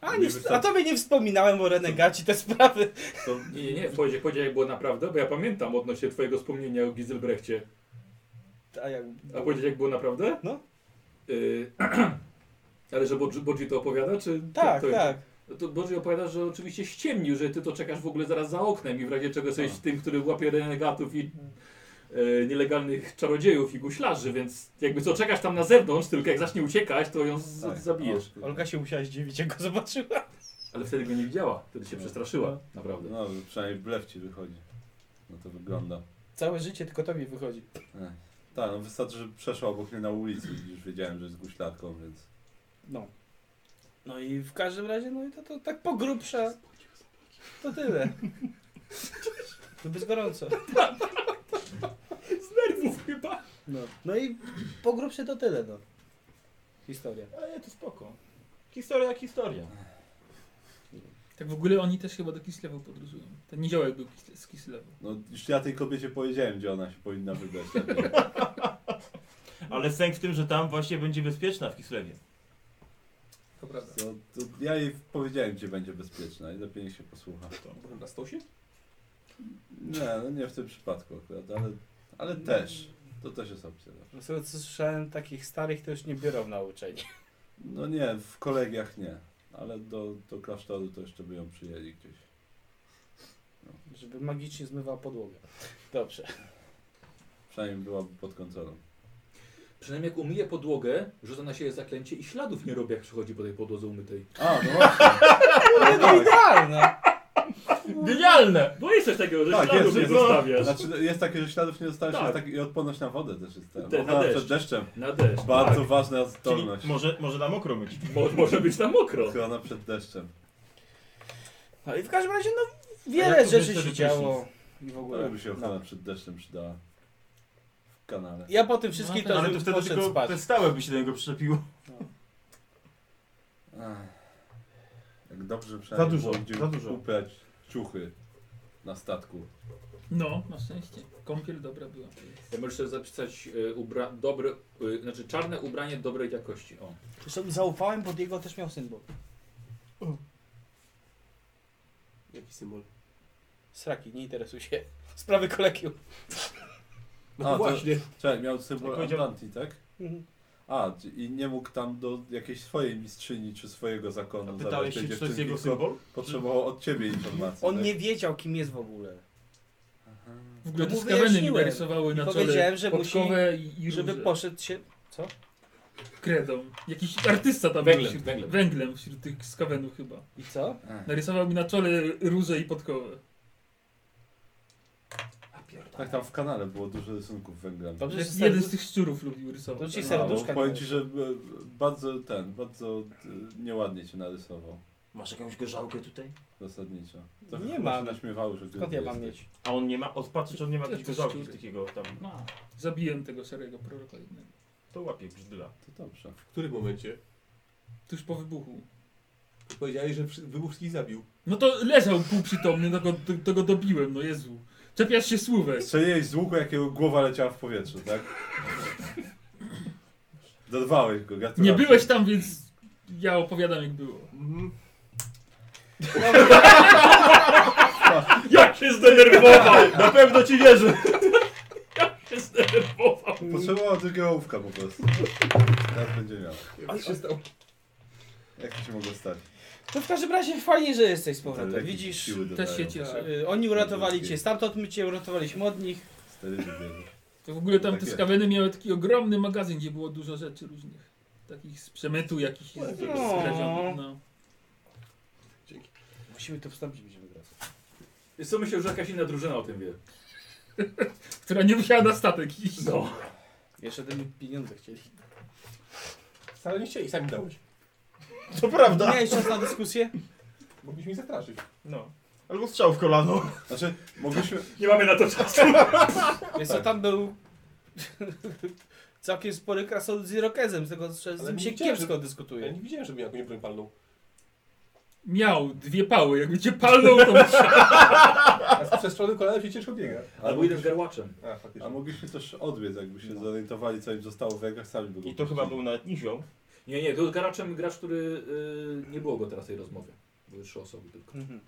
Speaker 5: A,
Speaker 1: Nie
Speaker 5: nie,
Speaker 1: wystarczy-
Speaker 5: a tobie nie wspominałem o renegaci te sprawy.
Speaker 1: To
Speaker 2: Nie, nie, nie, powiedział, powiedział jak było naprawdę, bo ja pamiętam odnośnie twojego wspomnienia o Giselbrechcie.
Speaker 5: A jak...
Speaker 2: A powiedzieć jak było naprawdę?
Speaker 5: No.
Speaker 2: Y, ale że Bodzi, Bodzi to opowiada, czy...
Speaker 5: Tak,
Speaker 2: to, to,
Speaker 5: tak.
Speaker 2: No to Bodzi opowiada, że oczywiście ściemnił, że ty to czekasz w ogóle zaraz za oknem i w razie czego
Speaker 1: Tak.
Speaker 2: jesteś tym, który łapie renegatów i e, nielegalnych czarodziejów i guślarzy, więc jakby co, czekasz tam na zewnątrz, tylko jak zacznie uciekać, to ją z-
Speaker 1: tak.
Speaker 2: zabijesz.
Speaker 1: O,
Speaker 5: Olga się musiała zdziwić, jak go zobaczyła.
Speaker 2: Ale wtedy go nie widziała, wtedy się przestraszyła, naprawdę.
Speaker 1: No, przynajmniej blew ci wychodzi. No to wygląda.
Speaker 5: Całe życie tylko tobie wychodzi.
Speaker 1: Ech. Tak, no wystarczy, że przeszła obok mnie na ulicy i już wiedziałem, że jest guśladką, więc...
Speaker 5: No. No i w każdym razie, no i to, to tak po grubsza. To tyle. To bez gorąco.
Speaker 2: Nerwów chyba!
Speaker 5: No. no i po grubsze to tyle, no. Historia.
Speaker 3: Ale to spoko. Historia jak historia.
Speaker 4: Tak w ogóle oni też chyba do Kislewu podróżują. Ten niziołek był Kisle- z Kislewu.
Speaker 1: No, już ja tej kobiecie powiedziałem, gdzie ona się powinna wybrać. tak? lepiej.
Speaker 3: Ale sęk w tym, że tam właśnie będzie bezpieczna w Kislewie.
Speaker 6: To prawda.
Speaker 1: To, to ja jej powiedziałem, gdzie będzie bezpieczna i lepiej niech się posłucha.
Speaker 6: Potem na stosie?
Speaker 1: Nie, no nie w tym przypadku akurat, ale, ale też. To też jest opcja. no.
Speaker 5: Z tego co słyszałem, takich starych to już nie biorą na uczenie.
Speaker 1: No nie, w kolegiach nie. Ale do, do klasztoru to jeszcze by ją przyjęli gdzieś.
Speaker 5: Żeby magicznie zmywała podłogę. Dobrze.
Speaker 1: Przynajmniej byłaby pod kontrolą.
Speaker 2: Przynajmniej jak umyje podłogę, rzuca na siebie zaklęcie i śladów nie robi, jak przychodzi po tej podłodze umytej.
Speaker 1: A, no właśnie. No tak,
Speaker 5: Idealne!
Speaker 3: Genialne!
Speaker 2: Bo jest coś takiego, że
Speaker 1: tak,
Speaker 2: śladów
Speaker 1: jest,
Speaker 2: nie
Speaker 1: jest,
Speaker 2: zostawiasz.
Speaker 1: znaczy, jest takie, że śladów nie zostawiasz
Speaker 2: Tak.
Speaker 1: jest tak, i odporność na wodę też jest.
Speaker 2: Te- na
Speaker 1: Te, Ochrona przed
Speaker 2: deszcz.
Speaker 1: deszczem.
Speaker 2: Na deszcz.
Speaker 1: Bardzo ważna
Speaker 3: Czyli
Speaker 1: zdolność.
Speaker 3: może, może na mokro myć.
Speaker 2: Mo może być tam mokro.
Speaker 1: Ochrona przed deszczem.
Speaker 5: No i w każdym razie, no,
Speaker 3: A jak
Speaker 5: wiele
Speaker 3: to
Speaker 5: rzeczy
Speaker 3: wiesz,
Speaker 5: się
Speaker 3: że
Speaker 5: działo. I w ogóle.
Speaker 1: To by się ochrona przed deszczem przydała. W kanale.
Speaker 5: Ja po tym wszystkim
Speaker 4: No,
Speaker 5: to,
Speaker 3: Ale to
Speaker 5: bym
Speaker 3: wtedy
Speaker 5: poszedł
Speaker 3: tylko
Speaker 5: spać.
Speaker 3: te stałe by się do niego przyczepiło.
Speaker 1: Ach. Jak dobrze przynajmniej
Speaker 3: Za dużo,
Speaker 1: było gdzie
Speaker 3: za dużo.
Speaker 1: kupiać ciuchy na statku.
Speaker 4: No, na szczęście. Kąpiel dobra była.
Speaker 2: Ja możesz sobie zapisać y, ubra dobre, y, znaczy czarne ubranie dobrej jakości. O.
Speaker 5: Zresztą zaufałem, bo Diego też miał symbol.
Speaker 6: Jaki symbol?
Speaker 5: Sraki, nie interesuj się. Sprawy kolegium.
Speaker 6: No
Speaker 1: A, to-
Speaker 6: właśnie.
Speaker 1: Czekaj, miał symbol
Speaker 3: Jak powiedział-
Speaker 1: Atlantii, tak?
Speaker 5: Mhm.
Speaker 1: A, d- i nie mógł tam do jakiejś swojej mistrzyni czy swojego zakonu
Speaker 3: A
Speaker 1: zabrać
Speaker 3: pytałeś
Speaker 1: tej
Speaker 3: się, czy to jest
Speaker 1: dziewczynki,
Speaker 3: jego
Speaker 1: tylko
Speaker 3: symbol?
Speaker 1: Potrzebował od ciebie informacji.
Speaker 5: On
Speaker 1: tak?
Speaker 5: nie wiedział, kim jest w ogóle.
Speaker 4: W ogóle
Speaker 5: No
Speaker 4: no
Speaker 5: mu
Speaker 4: skaweny mi
Speaker 5: wyjaśniłem.
Speaker 4: narysowały
Speaker 5: I
Speaker 4: na czole
Speaker 5: powiedziałem, że musi-
Speaker 4: podkowę i, i
Speaker 5: Żeby
Speaker 4: róże.
Speaker 5: poszedł się... Co?
Speaker 4: kredą. Jakiś artysta tam
Speaker 2: Węglem,
Speaker 4: był wśród,
Speaker 2: węglem.
Speaker 4: węglem wśród tych skawenów chyba.
Speaker 5: I co?
Speaker 4: Narysował mi na czole róże i podkowę.
Speaker 1: Tak, tam w kanale było dużo rysunków węgla.
Speaker 5: Dobrze, że
Speaker 4: Jeden z
Speaker 5: serdu-
Speaker 4: tych szczurów lubił rysować.
Speaker 5: To ci
Speaker 1: No,
Speaker 5: serduszka.
Speaker 1: powiem
Speaker 5: nie-
Speaker 1: ci, że e, bardzo ten, bardzo e, nieładnie cię narysował.
Speaker 10: Masz jakąś gorzałkę tutaj?
Speaker 1: Zasadniczo.
Speaker 5: Nie
Speaker 1: chyba
Speaker 5: mam.
Speaker 1: się naśmiewały, że
Speaker 5: Skąd
Speaker 1: ty
Speaker 5: ja mam
Speaker 1: jesteś.
Speaker 5: mieć?
Speaker 3: A on nie ma, odpatrzę, czy on nie ma
Speaker 4: Też
Speaker 3: jakiegoś
Speaker 4: bez
Speaker 3: gorzałki
Speaker 4: szczury.
Speaker 3: takiego tam.
Speaker 4: No. Zabiłem tego szarego proroka jednego.
Speaker 3: To łapie brzdla.
Speaker 1: To dobrze.
Speaker 6: W którym momencie?
Speaker 4: Tuż po wybuchu.
Speaker 6: Powiedziałeś, że wszy- wybuch wszystkich zabił.
Speaker 4: No to leżał półprzytomny, no go, to, to go dobiłem, no Jezu. Czepiasz się słówek.
Speaker 1: Strzeliłeś z łuku, jakiego głowa leciała w powietrzu, tak? Dorwałeś go, gratulacje.
Speaker 4: Nie byłeś tam, więc ja opowiadam jak było.
Speaker 3: Jak się zdenerwował! Na pewno ci wierzę! Jak się zdenerwował!
Speaker 1: Potrzebował drugiego ołówka po prostu. Teraz będzie miał.
Speaker 6: Jak się stało?
Speaker 1: Jak to się mogło stać?
Speaker 5: To No w każdym razie fajnie, że jesteś z powrotem.
Speaker 1: Lekkie
Speaker 5: Widzisz,
Speaker 1: siły dodają.
Speaker 4: Też się cieszę.
Speaker 5: y, oni uratowali cię stamtąd, my cię uratowaliśmy od nich.
Speaker 1: Stary wybierze.
Speaker 4: To w ogóle tam te
Speaker 1: Takie.
Speaker 4: skaweny miały taki ogromny magazyn, gdzie było dużo rzeczy różnych. Takich z przemytu jakichś
Speaker 5: No.
Speaker 4: skradzionych, no.
Speaker 5: Musimy to wstąpić, będziemy grać.
Speaker 2: Jest co myślę, że jakaś inna drużyna o tym wie.
Speaker 4: Która nie musiała na statek iść.
Speaker 2: No.
Speaker 5: Jeszcze tym pieniądze chcieli.
Speaker 6: Wcale nie chcieli, sami dałeś.
Speaker 3: To prawda!
Speaker 5: Miałeś czas na dyskusję?
Speaker 6: Mogliśmy ich zastraszyć.
Speaker 3: No. Albo strzał w kolano.
Speaker 1: Znaczy, mogliśmy...
Speaker 3: Nie mamy na to czasu. Tak.
Speaker 5: Więc co tam był... Całkiem spory krasol z Irokezem, z tego że z
Speaker 6: Ale
Speaker 5: nim się
Speaker 6: widziałem,
Speaker 5: kiepsko
Speaker 6: Ja
Speaker 5: dyskutuje.
Speaker 6: nie widziałem, żeby miał jakąś broń palną.
Speaker 4: Miał dwie pały, jakby cię palnął, to musiał.
Speaker 6: A z przestrzonym kolanem się ciężko biega.
Speaker 2: Albo idę z garłaczem.
Speaker 6: A, faktycznie.
Speaker 1: A mogliśmy też odbiec, jakby się zorientowali, co im zostało w rękach, sami by go
Speaker 3: I to chyba był nawet nizioł.
Speaker 2: Nie, nie, to z garaczem gracz, który y, nie było go teraz tej rozmowy. Były trzy osoby tylko.
Speaker 5: Mhm.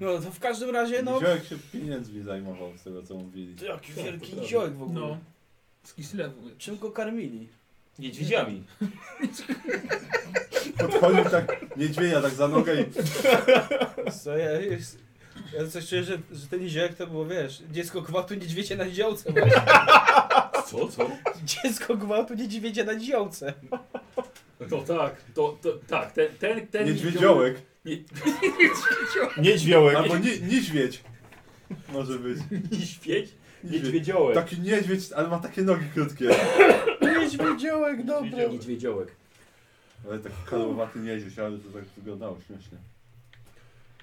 Speaker 5: No to w każdym razie,
Speaker 1: no.
Speaker 5: no...
Speaker 1: Wziąłek się pieniędzmi zajmował z tego, co mówili.
Speaker 3: Jaki
Speaker 2: Tak,
Speaker 5: Wielki niziołek w ogóle.
Speaker 4: No. Z Kislewu.
Speaker 5: Czym go karmili?
Speaker 3: Niedźwiedziami.
Speaker 1: Podchodził tak, niedźwiedzia tak za nogę i...
Speaker 5: Co, ja, jest- ja coś czuję, że, że ten niziołek to było, wiesz, dziecko gwałtu niedźwiedzie na niziołce. właśnie.
Speaker 2: Co, co?
Speaker 5: Dziecko gwałtu niedźwiedzie na niziołce.
Speaker 2: To tak, to, to tak, ten, ten, ten
Speaker 1: Niedźwiedziołek.
Speaker 3: Niedźwiołek.
Speaker 1: Albo ni niedźwiedź. Może być.
Speaker 2: Niedźwiedź?
Speaker 1: Niedźwiedź.
Speaker 2: Niedźwiedziołek.
Speaker 3: Tak.
Speaker 1: Taki niedźwiedź, ale ma takie nogi krótkie.
Speaker 5: Niedźwiedziołek,
Speaker 3: dobre.
Speaker 2: Niedźwiedziołek.
Speaker 1: Ale taki kalowaty niedźwiedź, ale to tak wyglądało śmiesznie.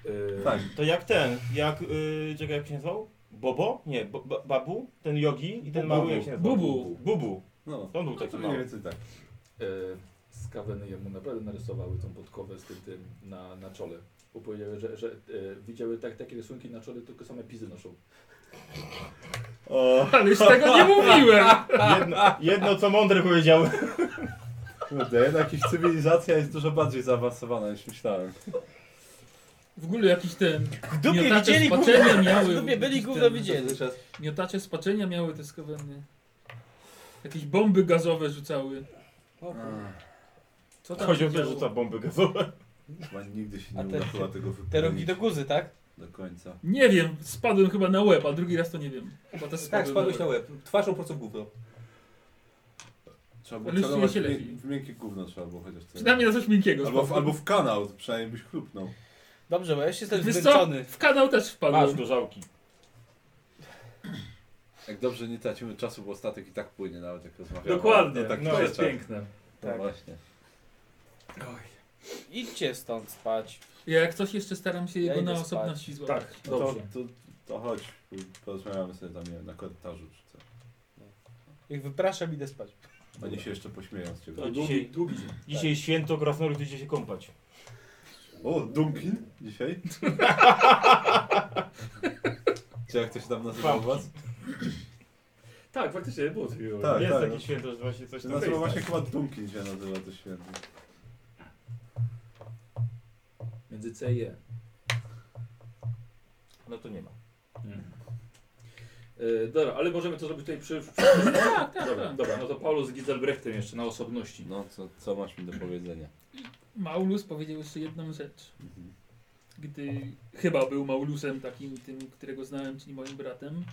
Speaker 2: Y,
Speaker 1: Tak.
Speaker 3: To jak ten, jak, yy, czekaj, jak się nazywał? Bobo? Nie, bo, ba, Babu? Ten jogi i ten mały, jak się nazywał?
Speaker 4: Bubu.
Speaker 3: Bubu.
Speaker 1: No.
Speaker 3: To on był
Speaker 1: No
Speaker 3: taki
Speaker 1: to mniej
Speaker 3: mały.
Speaker 1: więcej tak.
Speaker 2: y, Skaweny jemu naprawdę narysowały tą podkowę z tym, tym na, na czole. Bo powiedziały, że, że y, widziały tak, takie rysunki na czole, tylko same pizy noszą.
Speaker 1: O,
Speaker 4: Ale już tego nie mówiłem.
Speaker 3: Jedno, jedno co mądre powiedział.
Speaker 1: kurde, jednak ich cywilizacja jest dużo bardziej zaawansowana niż myślałem.
Speaker 4: W ogóle jakiś ten...
Speaker 5: W dupie
Speaker 4: Miotacze
Speaker 5: widzieli
Speaker 4: z
Speaker 5: gówno,
Speaker 4: paczenia miały.
Speaker 5: w dupie byli
Speaker 4: jakiś
Speaker 5: gówno
Speaker 4: ten-
Speaker 5: widzieli.
Speaker 4: Miotacze z paczenia miały te skaweny. Jakieś bomby gazowe rzucały.
Speaker 5: O kur-
Speaker 4: Co tam
Speaker 3: Chodził
Speaker 4: się
Speaker 3: też
Speaker 4: działo?
Speaker 3: rzuca bomby gazowe.
Speaker 1: Chyba nigdy się
Speaker 5: A
Speaker 1: nie
Speaker 5: te-
Speaker 1: uda chyba tego
Speaker 5: Te rogi
Speaker 1: wypełnić
Speaker 5: do guzy, tak?
Speaker 1: do końca.
Speaker 4: Nie wiem, spadłem chyba na łeb, a drugi raz to nie wiem. Chyba
Speaker 6: Tak,
Speaker 4: też spadłem
Speaker 6: spadłeś na łeb. Twarzą prosto w gówno.
Speaker 1: Trzeba było
Speaker 4: Ale już
Speaker 1: celować
Speaker 4: się
Speaker 1: w mi-
Speaker 4: lepiej.
Speaker 1: w miękkie gówno trzeba było chociaż celować.
Speaker 4: Przynajmniej na coś miękkiego.
Speaker 1: Albo w,
Speaker 4: spadłem.
Speaker 1: albo w kanał, przynajmniej byś chlupnął.
Speaker 5: Dobrze, bo ja już jestem
Speaker 4: Wiesz co?
Speaker 5: zmęczony.
Speaker 4: W kanał też wpadłem.
Speaker 3: Masz gorzałki.
Speaker 1: Jak dobrze nie tracimy czasu, bo statek i tak płynie nawet jak rozmawiamy.
Speaker 2: Dokładnie,
Speaker 1: No,
Speaker 2: tak,
Speaker 1: tak
Speaker 2: no, to jest piękne.
Speaker 1: No właśnie.
Speaker 5: Idźcie stąd spać.
Speaker 4: Ja jak coś jeszcze staram się
Speaker 5: Ja
Speaker 4: jego
Speaker 5: idę
Speaker 4: na
Speaker 5: spać.
Speaker 4: osobności złapać.
Speaker 2: Tak,
Speaker 1: No to,
Speaker 2: dobrze.
Speaker 1: to, to chodź, porozmawiamy sobie tam nie wiem, na korytarzu czy co.
Speaker 5: Ich wypraszam, idę spać.
Speaker 1: Oni się jeszcze pośmieją z ciebie.
Speaker 3: To
Speaker 2: Długi-
Speaker 3: dzisiaj-
Speaker 2: długi dzień.
Speaker 3: Dzisiaj święto krasnolud idzie się kąpać.
Speaker 1: O, Dunkin dzisiaj? Czy jak ktoś tam nazywał was?
Speaker 2: Tak, faktycznie było takiego.
Speaker 1: Tak,
Speaker 3: Jest
Speaker 1: tak.
Speaker 3: takie
Speaker 1: no.
Speaker 3: święto, że właśnie coś
Speaker 1: Się
Speaker 3: tam
Speaker 1: nazywa
Speaker 3: jest.
Speaker 4: tak?
Speaker 1: właśnie chyba Dunkin się nazywa to święto.
Speaker 2: Między C i E.
Speaker 3: No to nie ma.
Speaker 2: E, dobra, ale możemy to zrobić tutaj przy... przy, przy tak, tak, dobra,
Speaker 4: tak.
Speaker 2: dobra, no to Paulus z Gizelbrechtem jeszcze na osobności.
Speaker 1: No, co, co masz mi do powiedzenia? Mhm.
Speaker 4: Maulus powiedział jeszcze jedną rzecz. gdy chyba był Maulusem takim tym, którego znałem, czyli moim bratem,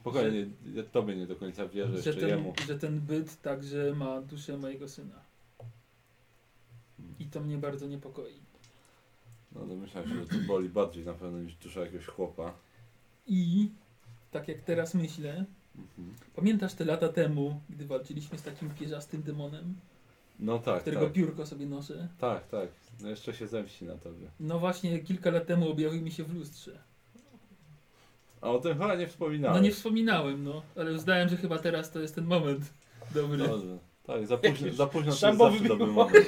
Speaker 1: Spokojnie, ja tobie nie do końca wierzę,
Speaker 4: że
Speaker 1: jeszcze
Speaker 4: ten,
Speaker 1: jemu.
Speaker 4: że ten byt także ma duszę mojego syna. I to mnie bardzo niepokoi.
Speaker 1: No domyślam się, że to boli bardziej na pewno niż dusza jakiegoś chłopa.
Speaker 4: I tak jak teraz myślę,
Speaker 1: Mhm.
Speaker 4: pamiętasz te lata temu, gdy walczyliśmy z takim pierzastym demonem,
Speaker 1: No tak,
Speaker 4: którego
Speaker 1: tak.
Speaker 4: piórko sobie noszę?
Speaker 1: Tak, tak. No jeszcze się zemści na tobie.
Speaker 4: No właśnie, kilka lat temu objawił mi się w lustrze.
Speaker 1: A o tym chyba nie
Speaker 4: No
Speaker 1: wspominałem.
Speaker 4: nie wspominałem, no, ale uznałem, że chyba teraz to jest ten moment dobry.
Speaker 1: Dobrze. Tak, za późno, za późno to jest
Speaker 4: Szambo
Speaker 1: zawsze dobry
Speaker 4: wybiło.
Speaker 1: moment.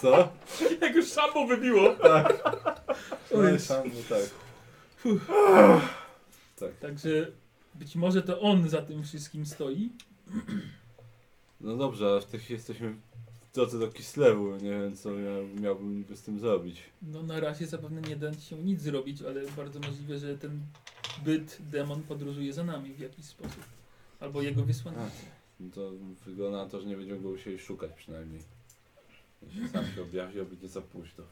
Speaker 1: Co?
Speaker 2: Jak już szambo wybiło.
Speaker 1: Tak.
Speaker 4: Oj.
Speaker 1: No i szambo, tak.
Speaker 4: Fuh.
Speaker 1: Tak.
Speaker 4: Także być może to on za tym wszystkim stoi.
Speaker 1: No dobrze, ale w tej chwili jesteśmy w drodze do Kislewu. Nie wiem, co miał, miałbym niby z tym zrobić.
Speaker 4: No na razie zapewne nie da się nic zrobić, ale bardzo możliwe, że ten byt, demon podróżuje za nami w jakiś sposób. Albo jego wysłannicy.
Speaker 1: No to wygląda na to, że nie będziemy go musieli szukać przynajmniej. Jeśli sam się objawi, a będzie za późno.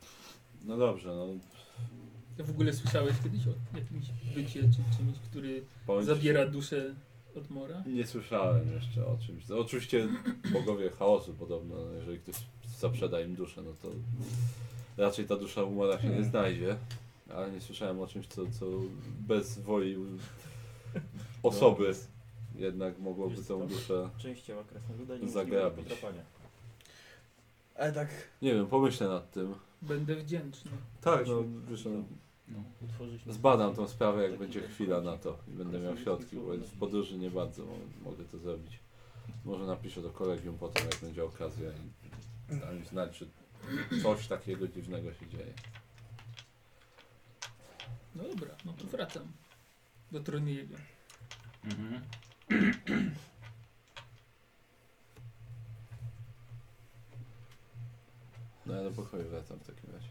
Speaker 1: No dobrze, no
Speaker 4: Ja w ogóle słyszałeś kiedyś o jakimś bycie czy czymś, który
Speaker 1: bądź...
Speaker 4: zabiera duszę od mora?
Speaker 1: Nie słyszałem jeszcze o czymś. No, oczywiście bogowie chaosu podobno, no, jeżeli ktoś zaprzeda im duszę, no to raczej ta dusza umora się nie znajdzie. Ale nie słyszałem o czymś, co, co bez woli osoby jednak mogłoby tą duszę...
Speaker 3: Częściowa krasnoluda nie
Speaker 1: Zagrabić.
Speaker 3: podrapania.
Speaker 5: Ale tak,
Speaker 1: Nie wiem, pomyślę nad tym.
Speaker 4: Będę wdzięczny.
Speaker 1: Tak, no wiesz, no,
Speaker 2: No.
Speaker 3: Utworzyć
Speaker 1: Zbadam tą sprawę, jak będzie chwila na to i będę miał środki, bo w podróży nie bardzo mo- mogę to zrobić. Może napiszę do kolegium potem, jak będzie okazja i dam im znać, czy coś takiego dziwnego się dzieje.
Speaker 4: No dobra, no to wracam do Troniego.
Speaker 2: Mhm.
Speaker 1: No ja do pokoju wracam w takim razie.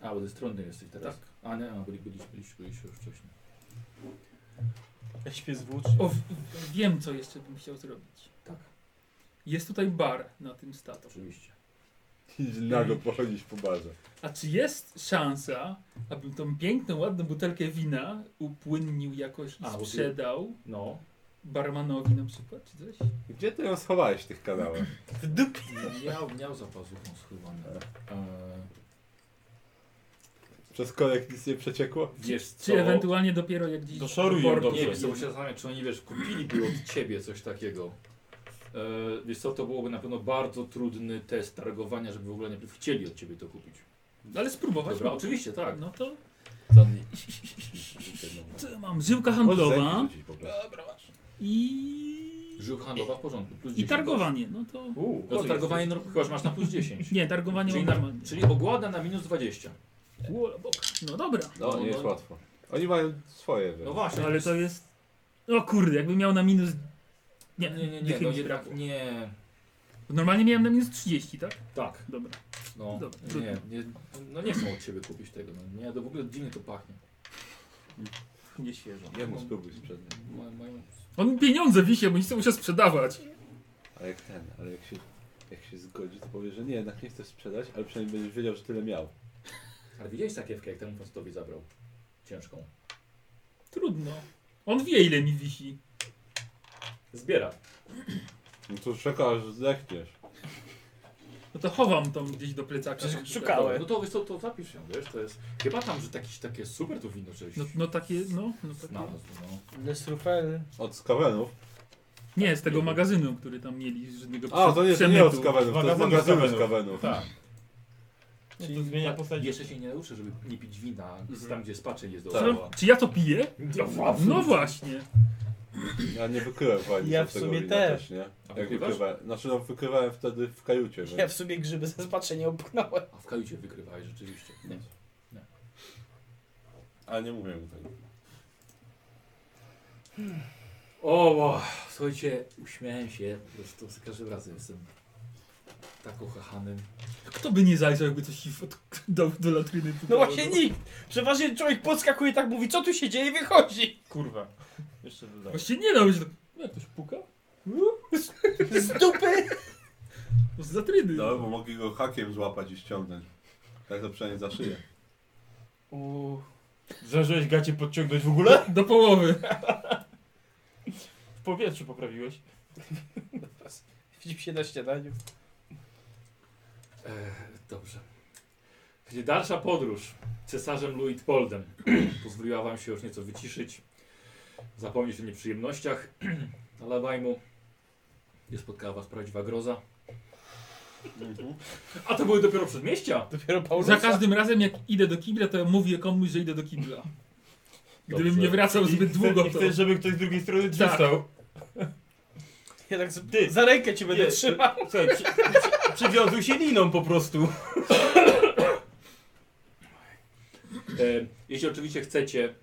Speaker 2: A, bo ty stronny jesteś teraz. A nie, a byli, byliście, byliście, byliście już wcześniej.
Speaker 3: Ja śpię z włócz.
Speaker 4: O, w, w, wiem co jeszcze bym chciał zrobić.
Speaker 2: Tak.
Speaker 4: Jest tutaj bar na tym statu.
Speaker 2: Oczywiście.
Speaker 1: Idź nago pochodzić po barze.
Speaker 4: A czy jest szansa, abym tą piękną, ładną butelkę wina upłynnił jakoś i
Speaker 2: A, bo ty-
Speaker 4: sprzedał
Speaker 2: No.
Speaker 4: barmanowi na przykład, czy coś?
Speaker 1: Gdzie ty ją schowałeś w tych kanałach?
Speaker 2: Miał, miał za pazuchą schowane. E,
Speaker 1: Przez korek nic nie przeciekło?
Speaker 2: wiesz co?
Speaker 4: Czy ewentualnie dopiero jak dziś...
Speaker 3: Doszoruj ją
Speaker 4: worku
Speaker 3: dobrze.
Speaker 2: Nie
Speaker 4: wpadnie.
Speaker 2: wiesz, co bo się zastanawiam, czy oni wiesz, kupiliby od ciebie coś takiego. E, wiesz co, to byłoby na pewno bardzo trudny test targowania, żeby w ogóle najpierw chcieli od ciebie to kupić.
Speaker 4: Ale spróbować
Speaker 2: Dobra,
Speaker 4: mogę.
Speaker 2: oczywiście, tak.
Speaker 4: No to
Speaker 2: Zadni- Tak.
Speaker 4: co ja mam? Żyłka
Speaker 1: Może
Speaker 4: handlowa
Speaker 1: zajmij ludzi po prostu.
Speaker 4: i...
Speaker 2: Żył handlowa w porządku. Plus
Speaker 4: i
Speaker 2: 10.
Speaker 4: targowanie. No to...
Speaker 3: Uuu,
Speaker 2: No to targowanie no, chyba że masz na plus 10.
Speaker 4: Nie, targowanie
Speaker 2: Czyli,
Speaker 4: mam
Speaker 2: na,
Speaker 4: normalnie.
Speaker 2: czyli ogłada na minus 20.
Speaker 4: Ło, bok. No dobra.
Speaker 1: No, nie jest łatwo. Oni mają swoje,
Speaker 2: No
Speaker 1: wiesz.
Speaker 2: właśnie.
Speaker 4: No, ale to jest... O kurde, jakbym miał na minus... Nie,
Speaker 2: Nie, nie, nie, nie,
Speaker 4: dychy
Speaker 2: no,
Speaker 4: mi
Speaker 2: jednak
Speaker 4: brakło.
Speaker 2: nie.
Speaker 4: Normalnie miałem na minus 30, tak?
Speaker 2: Tak,
Speaker 4: Dobra.
Speaker 2: no.
Speaker 4: Dobra,
Speaker 2: Nie, nie, no nie chcą od ciebie kupić tego. No, nie, to w ogóle dziwnie to pachnie.
Speaker 3: nie świeżo.
Speaker 1: Jemu spróbuj sprzedać.
Speaker 2: Mają, mają
Speaker 4: On pieniądze wisie, bo nic nie muszę sprzedawać.
Speaker 1: Ale jak ten, ale jak się, jak się zgodzi, to powie, że nie, jednak nie chcesz sprzedać, ale przynajmniej będziesz wiedział, że tyle miał.
Speaker 2: Ale widziałeś sakiewkę, jak temu facetowi zabrał? Ciężką.
Speaker 4: Trudno. On wie ile mi wisi.
Speaker 2: Zbiera.
Speaker 1: No to czeka, aż zdechniesz.
Speaker 4: No to chowam tą gdzieś do plecaka.
Speaker 5: Przecież
Speaker 4: Tam-
Speaker 5: szukałem. Ale-
Speaker 2: No to, wiesz co, to zapisz się, wiesz, to jest... Chyba tam, że jakieś takie super to wino czyś
Speaker 4: No, no takie, no. no takie.
Speaker 2: znalazł, no.
Speaker 5: Les Rufel.
Speaker 1: Od skawenów?
Speaker 4: Nie, z tego magazynu, który tam mieli, z żadnego
Speaker 1: A,
Speaker 4: prze-
Speaker 1: to nie, to nie
Speaker 4: przemytu.
Speaker 1: od skawenów, to jest
Speaker 3: Wagabuny
Speaker 1: magazynu
Speaker 3: skawenów.
Speaker 1: skawenów.
Speaker 3: Tak. Czyli
Speaker 4: No to-
Speaker 3: zmienia postać.
Speaker 2: Tak, Jeszcze się nie nauczę, żeby nie pić wina z tam, gdzie spaczy jest
Speaker 4: Co?
Speaker 2: dookoła.
Speaker 4: Czy ja to piję?
Speaker 2: Tak. No właśnie.
Speaker 4: No właśnie.
Speaker 1: Ja nie wykryłem fajnie
Speaker 5: Ja
Speaker 1: z
Speaker 5: w
Speaker 1: tego
Speaker 5: sumie
Speaker 1: wina
Speaker 5: też.
Speaker 1: nie?
Speaker 2: A
Speaker 1: Jak
Speaker 2: wykrywasz?
Speaker 1: wykrywałem, znaczy no wykrywałem wtedy w kajucie,
Speaker 5: Ja
Speaker 1: więc...
Speaker 5: w sumie grzyby ze spaczenia opchnąłem.
Speaker 2: A w kajucie wykrywałeś rzeczywiście. Nie.
Speaker 1: Ale nie mówię mu tego.
Speaker 2: O, wow. słuchajcie, uśmiałem się, po prostu za każdym razem jestem tak uchachanym.
Speaker 4: Kto by nie zajrzał, jakby coś ci od, do, do latryny
Speaker 5: No
Speaker 4: pukało,
Speaker 5: właśnie nikt. Przeważnie człowiek podskakuje tak, mówi co tu się dzieje i wychodzi.
Speaker 3: Kurwa. Jeszcze
Speaker 4: No
Speaker 3: dodaję.
Speaker 4: Właśnie nie dał się tak... Jak ktoś puka?
Speaker 5: Z dupy.
Speaker 4: Z zatryny.
Speaker 1: No, bo mogli go hakiem złapać i ściągnąć. Tak to przynajmniej za szyję.
Speaker 3: Zdążyłeś gacie podciągnąć w ogóle?
Speaker 4: Do połowy.
Speaker 3: W powietrzu poprawiłeś.
Speaker 5: Widzimy się na śniadaniu.
Speaker 2: E, dobrze. Słuchajcie, Dalsza podróż cesarzem Luitpoldem pozwoliła wam się już nieco wyciszyć, zapomnieć o nieprzyjemnościach Alabajmu. Nie spotkała was prawdziwa groza.
Speaker 5: Mhm.
Speaker 2: A to były dopiero przedmieścia.
Speaker 5: Dopiero Paulusa.
Speaker 4: Za każdym razem jak idę do kibla, to ja mówię komuś, że idę do kibla. Gdybym
Speaker 2: Dobrze.
Speaker 4: nie wracał zbyt
Speaker 3: I
Speaker 4: długo,
Speaker 3: chcesz- i
Speaker 4: to...
Speaker 3: Chcesz, żeby ktoś z drugiej strony drzwi
Speaker 4: Tak.
Speaker 3: stał.
Speaker 5: Ja tak z...
Speaker 3: Ty.
Speaker 5: za rękę cię będę
Speaker 3: Nie,
Speaker 5: trzymał.
Speaker 3: Słuchaj, przy, przy, przywiązał się liną po prostu.
Speaker 2: E, jeśli oczywiście chcecie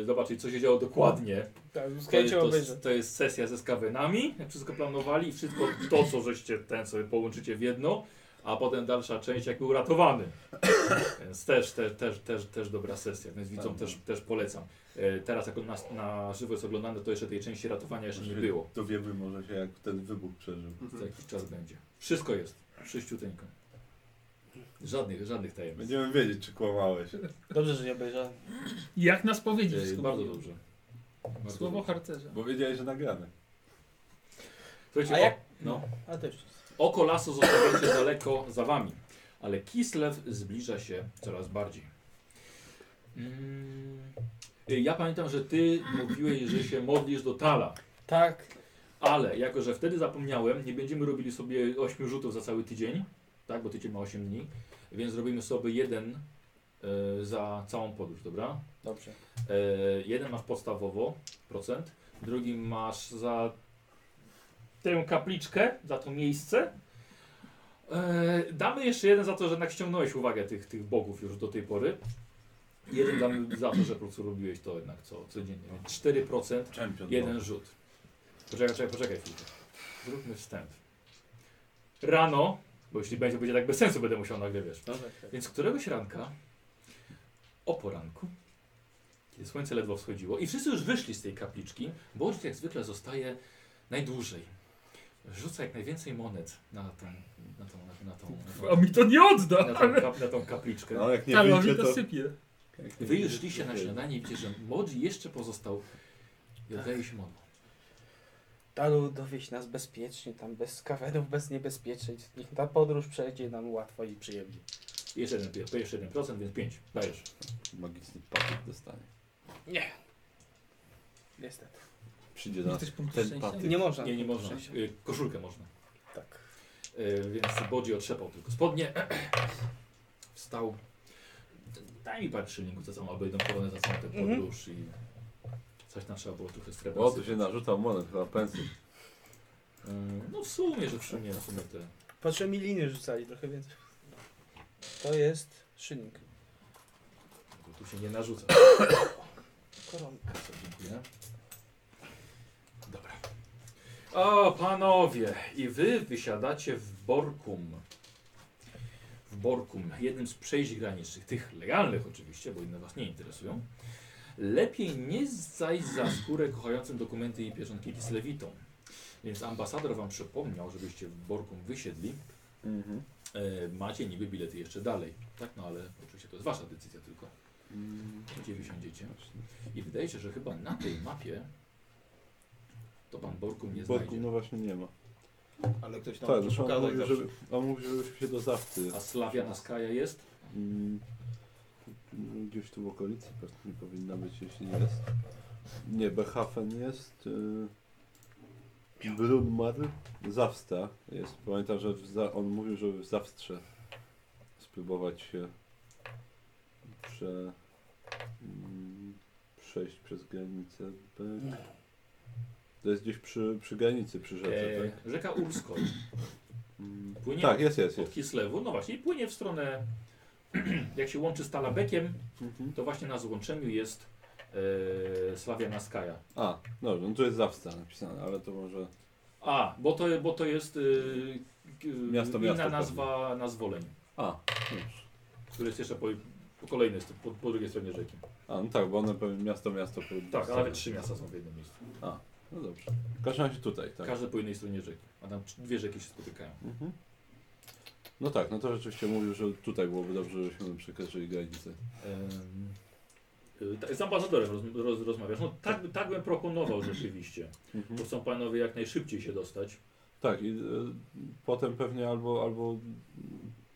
Speaker 2: e, zobaczyć, co się działo dokładnie,
Speaker 5: Tak, z
Speaker 2: to jest,
Speaker 5: chęcią
Speaker 2: to,
Speaker 5: obejrzę.
Speaker 2: jest, to jest sesja ze skawenami, jak wszystko planowali i wszystko to, co żeście ten sobie połączycie w jedno, a potem dalsza część jak był ratowany. Więc też, też, też, też, też dobra sesja, więc widzom też, też polecam. E, Teraz jak on na, na żywo jest oglądane, to jeszcze tej części ratowania jeszcze nie było.
Speaker 1: To wiemy może się jak ten wybuch przeżył.
Speaker 2: Za jakiś czas będzie. Wszystko jest, sześciuteńko. Żadnych, żadnych tajemnic.
Speaker 1: Będziemy wiedzieć, czy kłamałeś.
Speaker 5: Dobrze, że nie obejrzałem.
Speaker 4: Jak nas powiedzieć
Speaker 2: E,
Speaker 4: wszystko?
Speaker 2: Bardzo
Speaker 4: mówię.
Speaker 2: dobrze. Bardzo
Speaker 4: Słowo
Speaker 2: dobrze.
Speaker 4: harcerza.
Speaker 1: Bo wiedziałeś, że nagrane.
Speaker 2: Słuchajcie,
Speaker 5: A
Speaker 2: o-
Speaker 5: jak-
Speaker 2: no.
Speaker 5: A też jest.
Speaker 2: Oko lasu zostawiacie daleko za wami, ale Kislew zbliża się coraz bardziej. Mm. Y, Ja pamiętam, że ty mówiłeś, że się modlisz do Tala,
Speaker 5: Tak.
Speaker 2: ale jako, że wtedy zapomniałem, nie będziemy robili sobie 8 rzutów za cały tydzień, tak, bo tydzień ma 8 dni, więc robimy sobie jeden y, za całą podróż, dobra?
Speaker 5: Dobrze.
Speaker 2: E, jeden masz podstawowo procent, drugi masz za tę kapliczkę, za to miejsce. E, damy jeszcze jeden za to, że jednak ściągnąłeś uwagę tych, tych bogów już do tej pory. Jeden damy za to, że po prostu robiłeś to jednak co codziennie. Więc 4%,
Speaker 1: Champion.
Speaker 5: No.
Speaker 2: jeden rzut. Poczekaj, poczekaj, poczekaj chwilkę. Zróbmy wstęp. Rano, bo jeśli będzie, będzie tak bez sensu, będę musiał nagle, wiesz.
Speaker 5: No, tak, tak.
Speaker 2: Więc któregoś ranka, o poranku, kiedy słońce ledwo wschodziło i wszyscy już wyszli z tej kapliczki, Borcz jak zwykle zostaje najdłużej. Rzuca jak najwięcej monet na tą, na tą, na, na tą,
Speaker 4: A
Speaker 2: na
Speaker 4: mi to nie odda!
Speaker 3: No.
Speaker 2: tą, na tą,
Speaker 4: ale-
Speaker 2: kap, na tą kapliczkę.
Speaker 1: No, jak nie
Speaker 4: Talowi
Speaker 1: wyjdzie,
Speaker 4: to
Speaker 1: to...
Speaker 4: sypie.
Speaker 1: jak nie
Speaker 2: Wy już
Speaker 1: wyjdzie,
Speaker 2: szliście
Speaker 1: to
Speaker 2: na
Speaker 1: nie.
Speaker 2: śniadanie i widzicie, że Modzi jeszcze pozostał
Speaker 5: Tak.
Speaker 2: i oddaje się moną.
Speaker 5: Talu, dowieź nas bezpiecznie, tam bez kawerów, bez niebezpieczeń. Niech ta podróż przejdzie nam łatwo i przyjemnie.
Speaker 2: Jeszcze jeden, pi- jeszcze jeden procent, więc 5. Dajesz.
Speaker 1: Magiczny papier dostanie.
Speaker 5: Nie. Niestety.
Speaker 1: Przyjdzie
Speaker 4: Nie
Speaker 1: na
Speaker 4: chcesz punktu
Speaker 1: ten
Speaker 4: szczęścia?
Speaker 1: patyk.
Speaker 5: Nie można.
Speaker 2: Nie, nie można.
Speaker 5: Szczęścia.
Speaker 2: Y, Koszulkę można.
Speaker 5: Tak.
Speaker 2: Y, więc Bodzi otrzepał tylko spodnie. Wstał. Daj mi parę szylingów za samą, albo jedną koronę za samą tę
Speaker 5: Mhm.
Speaker 2: podróż i coś tam trzeba było trochę srebra
Speaker 1: O, tu
Speaker 2: sypać.
Speaker 1: się narzucał monet, chyba pensy.
Speaker 2: Y, No w sumie, że w sumie, w sumie te...
Speaker 5: Patrzę, mi liny rzucali trochę więcej. To jest szynik.
Speaker 2: bo No Tu się nie narzuca.
Speaker 5: Koronka.
Speaker 2: Co, dziękuję. Dobra. O, panowie, i wy wysiadacie w Borkum. W Borkum, jednym z przejść granicznych, tych legalnych oczywiście, bo inne was nie interesują. Lepiej nie zajść za skórę kochającym dokumenty i pieczonki Kislewitom. Więc ambasador wam przypomniał, żebyście w Borkum wysiedli.
Speaker 1: Mhm.
Speaker 2: E, macie niby bilety jeszcze dalej. Tak, no ale oczywiście to jest wasza decyzja tylko. Gdzie wysiądziecie? I wydaje się, że chyba na tej mapie to pan Borkum nie
Speaker 1: Boku,
Speaker 2: znajdzie.
Speaker 1: no właśnie nie ma.
Speaker 10: Ale ktoś tam
Speaker 1: Tak,
Speaker 10: musi
Speaker 1: zresztą on
Speaker 10: pokazać
Speaker 1: mówił,
Speaker 10: zawsze.
Speaker 1: żeby, on mówił, żebyśmy się do zawty.
Speaker 2: A Slawiana Skaja jest?
Speaker 1: Mm, Gdzieś tu w okolicy pewnie powinna być, jeśli nie jest. Nie, Behafen jest. y, Yy, Brunmar, Zawsta jest. Pamiętam, że w za, on mówił, że w Zawstrze spróbować się prze, mm, przejść przez granicę. Be- To jest gdzieś przy, przy granicy, przy rzece,
Speaker 2: E,
Speaker 1: tak?
Speaker 2: rzeka Ursko
Speaker 1: Mm,
Speaker 2: płynie
Speaker 1: Tak, jest, jest,
Speaker 2: od
Speaker 1: jest.
Speaker 2: Kislewu, no właśnie, i płynie w stronę, jak się łączy z Talabekiem,
Speaker 1: Mhm.
Speaker 2: to właśnie na złączeniu jest e, Slawiana Skaja.
Speaker 1: A, dobrze, no tu jest Zawsta napisane, ale to może.
Speaker 2: A, bo to, bo to jest e, e,
Speaker 1: Miasto,
Speaker 2: inna
Speaker 1: miasto
Speaker 2: nazwa na zwoleń,
Speaker 1: A, dobrze.
Speaker 2: które jest jeszcze po, po kolejnej, str- po, po drugiej stronie rzeki.
Speaker 1: A, no tak, bo one pewnie miasto, miasto. po-
Speaker 2: Tak, ale trzy miasta są w jednym miejscu.
Speaker 1: No dobrze. W każdym razie tutaj, tak.
Speaker 2: Każde po jednej stronie rzeki. A tam cz- dwie rzeki się spotykają.
Speaker 1: Mhm. No tak, no to rzeczywiście mówił, że tutaj byłoby dobrze, żebyśmy przekroczyli granicę.
Speaker 2: Em, y, tak, Z ambasadorem roz, roz, rozmawiasz. No tak, tak bym proponował rzeczywiście.
Speaker 1: Mhm.
Speaker 2: Bo chcą panowie jak najszybciej się dostać.
Speaker 1: Tak, i e, potem pewnie albo, albo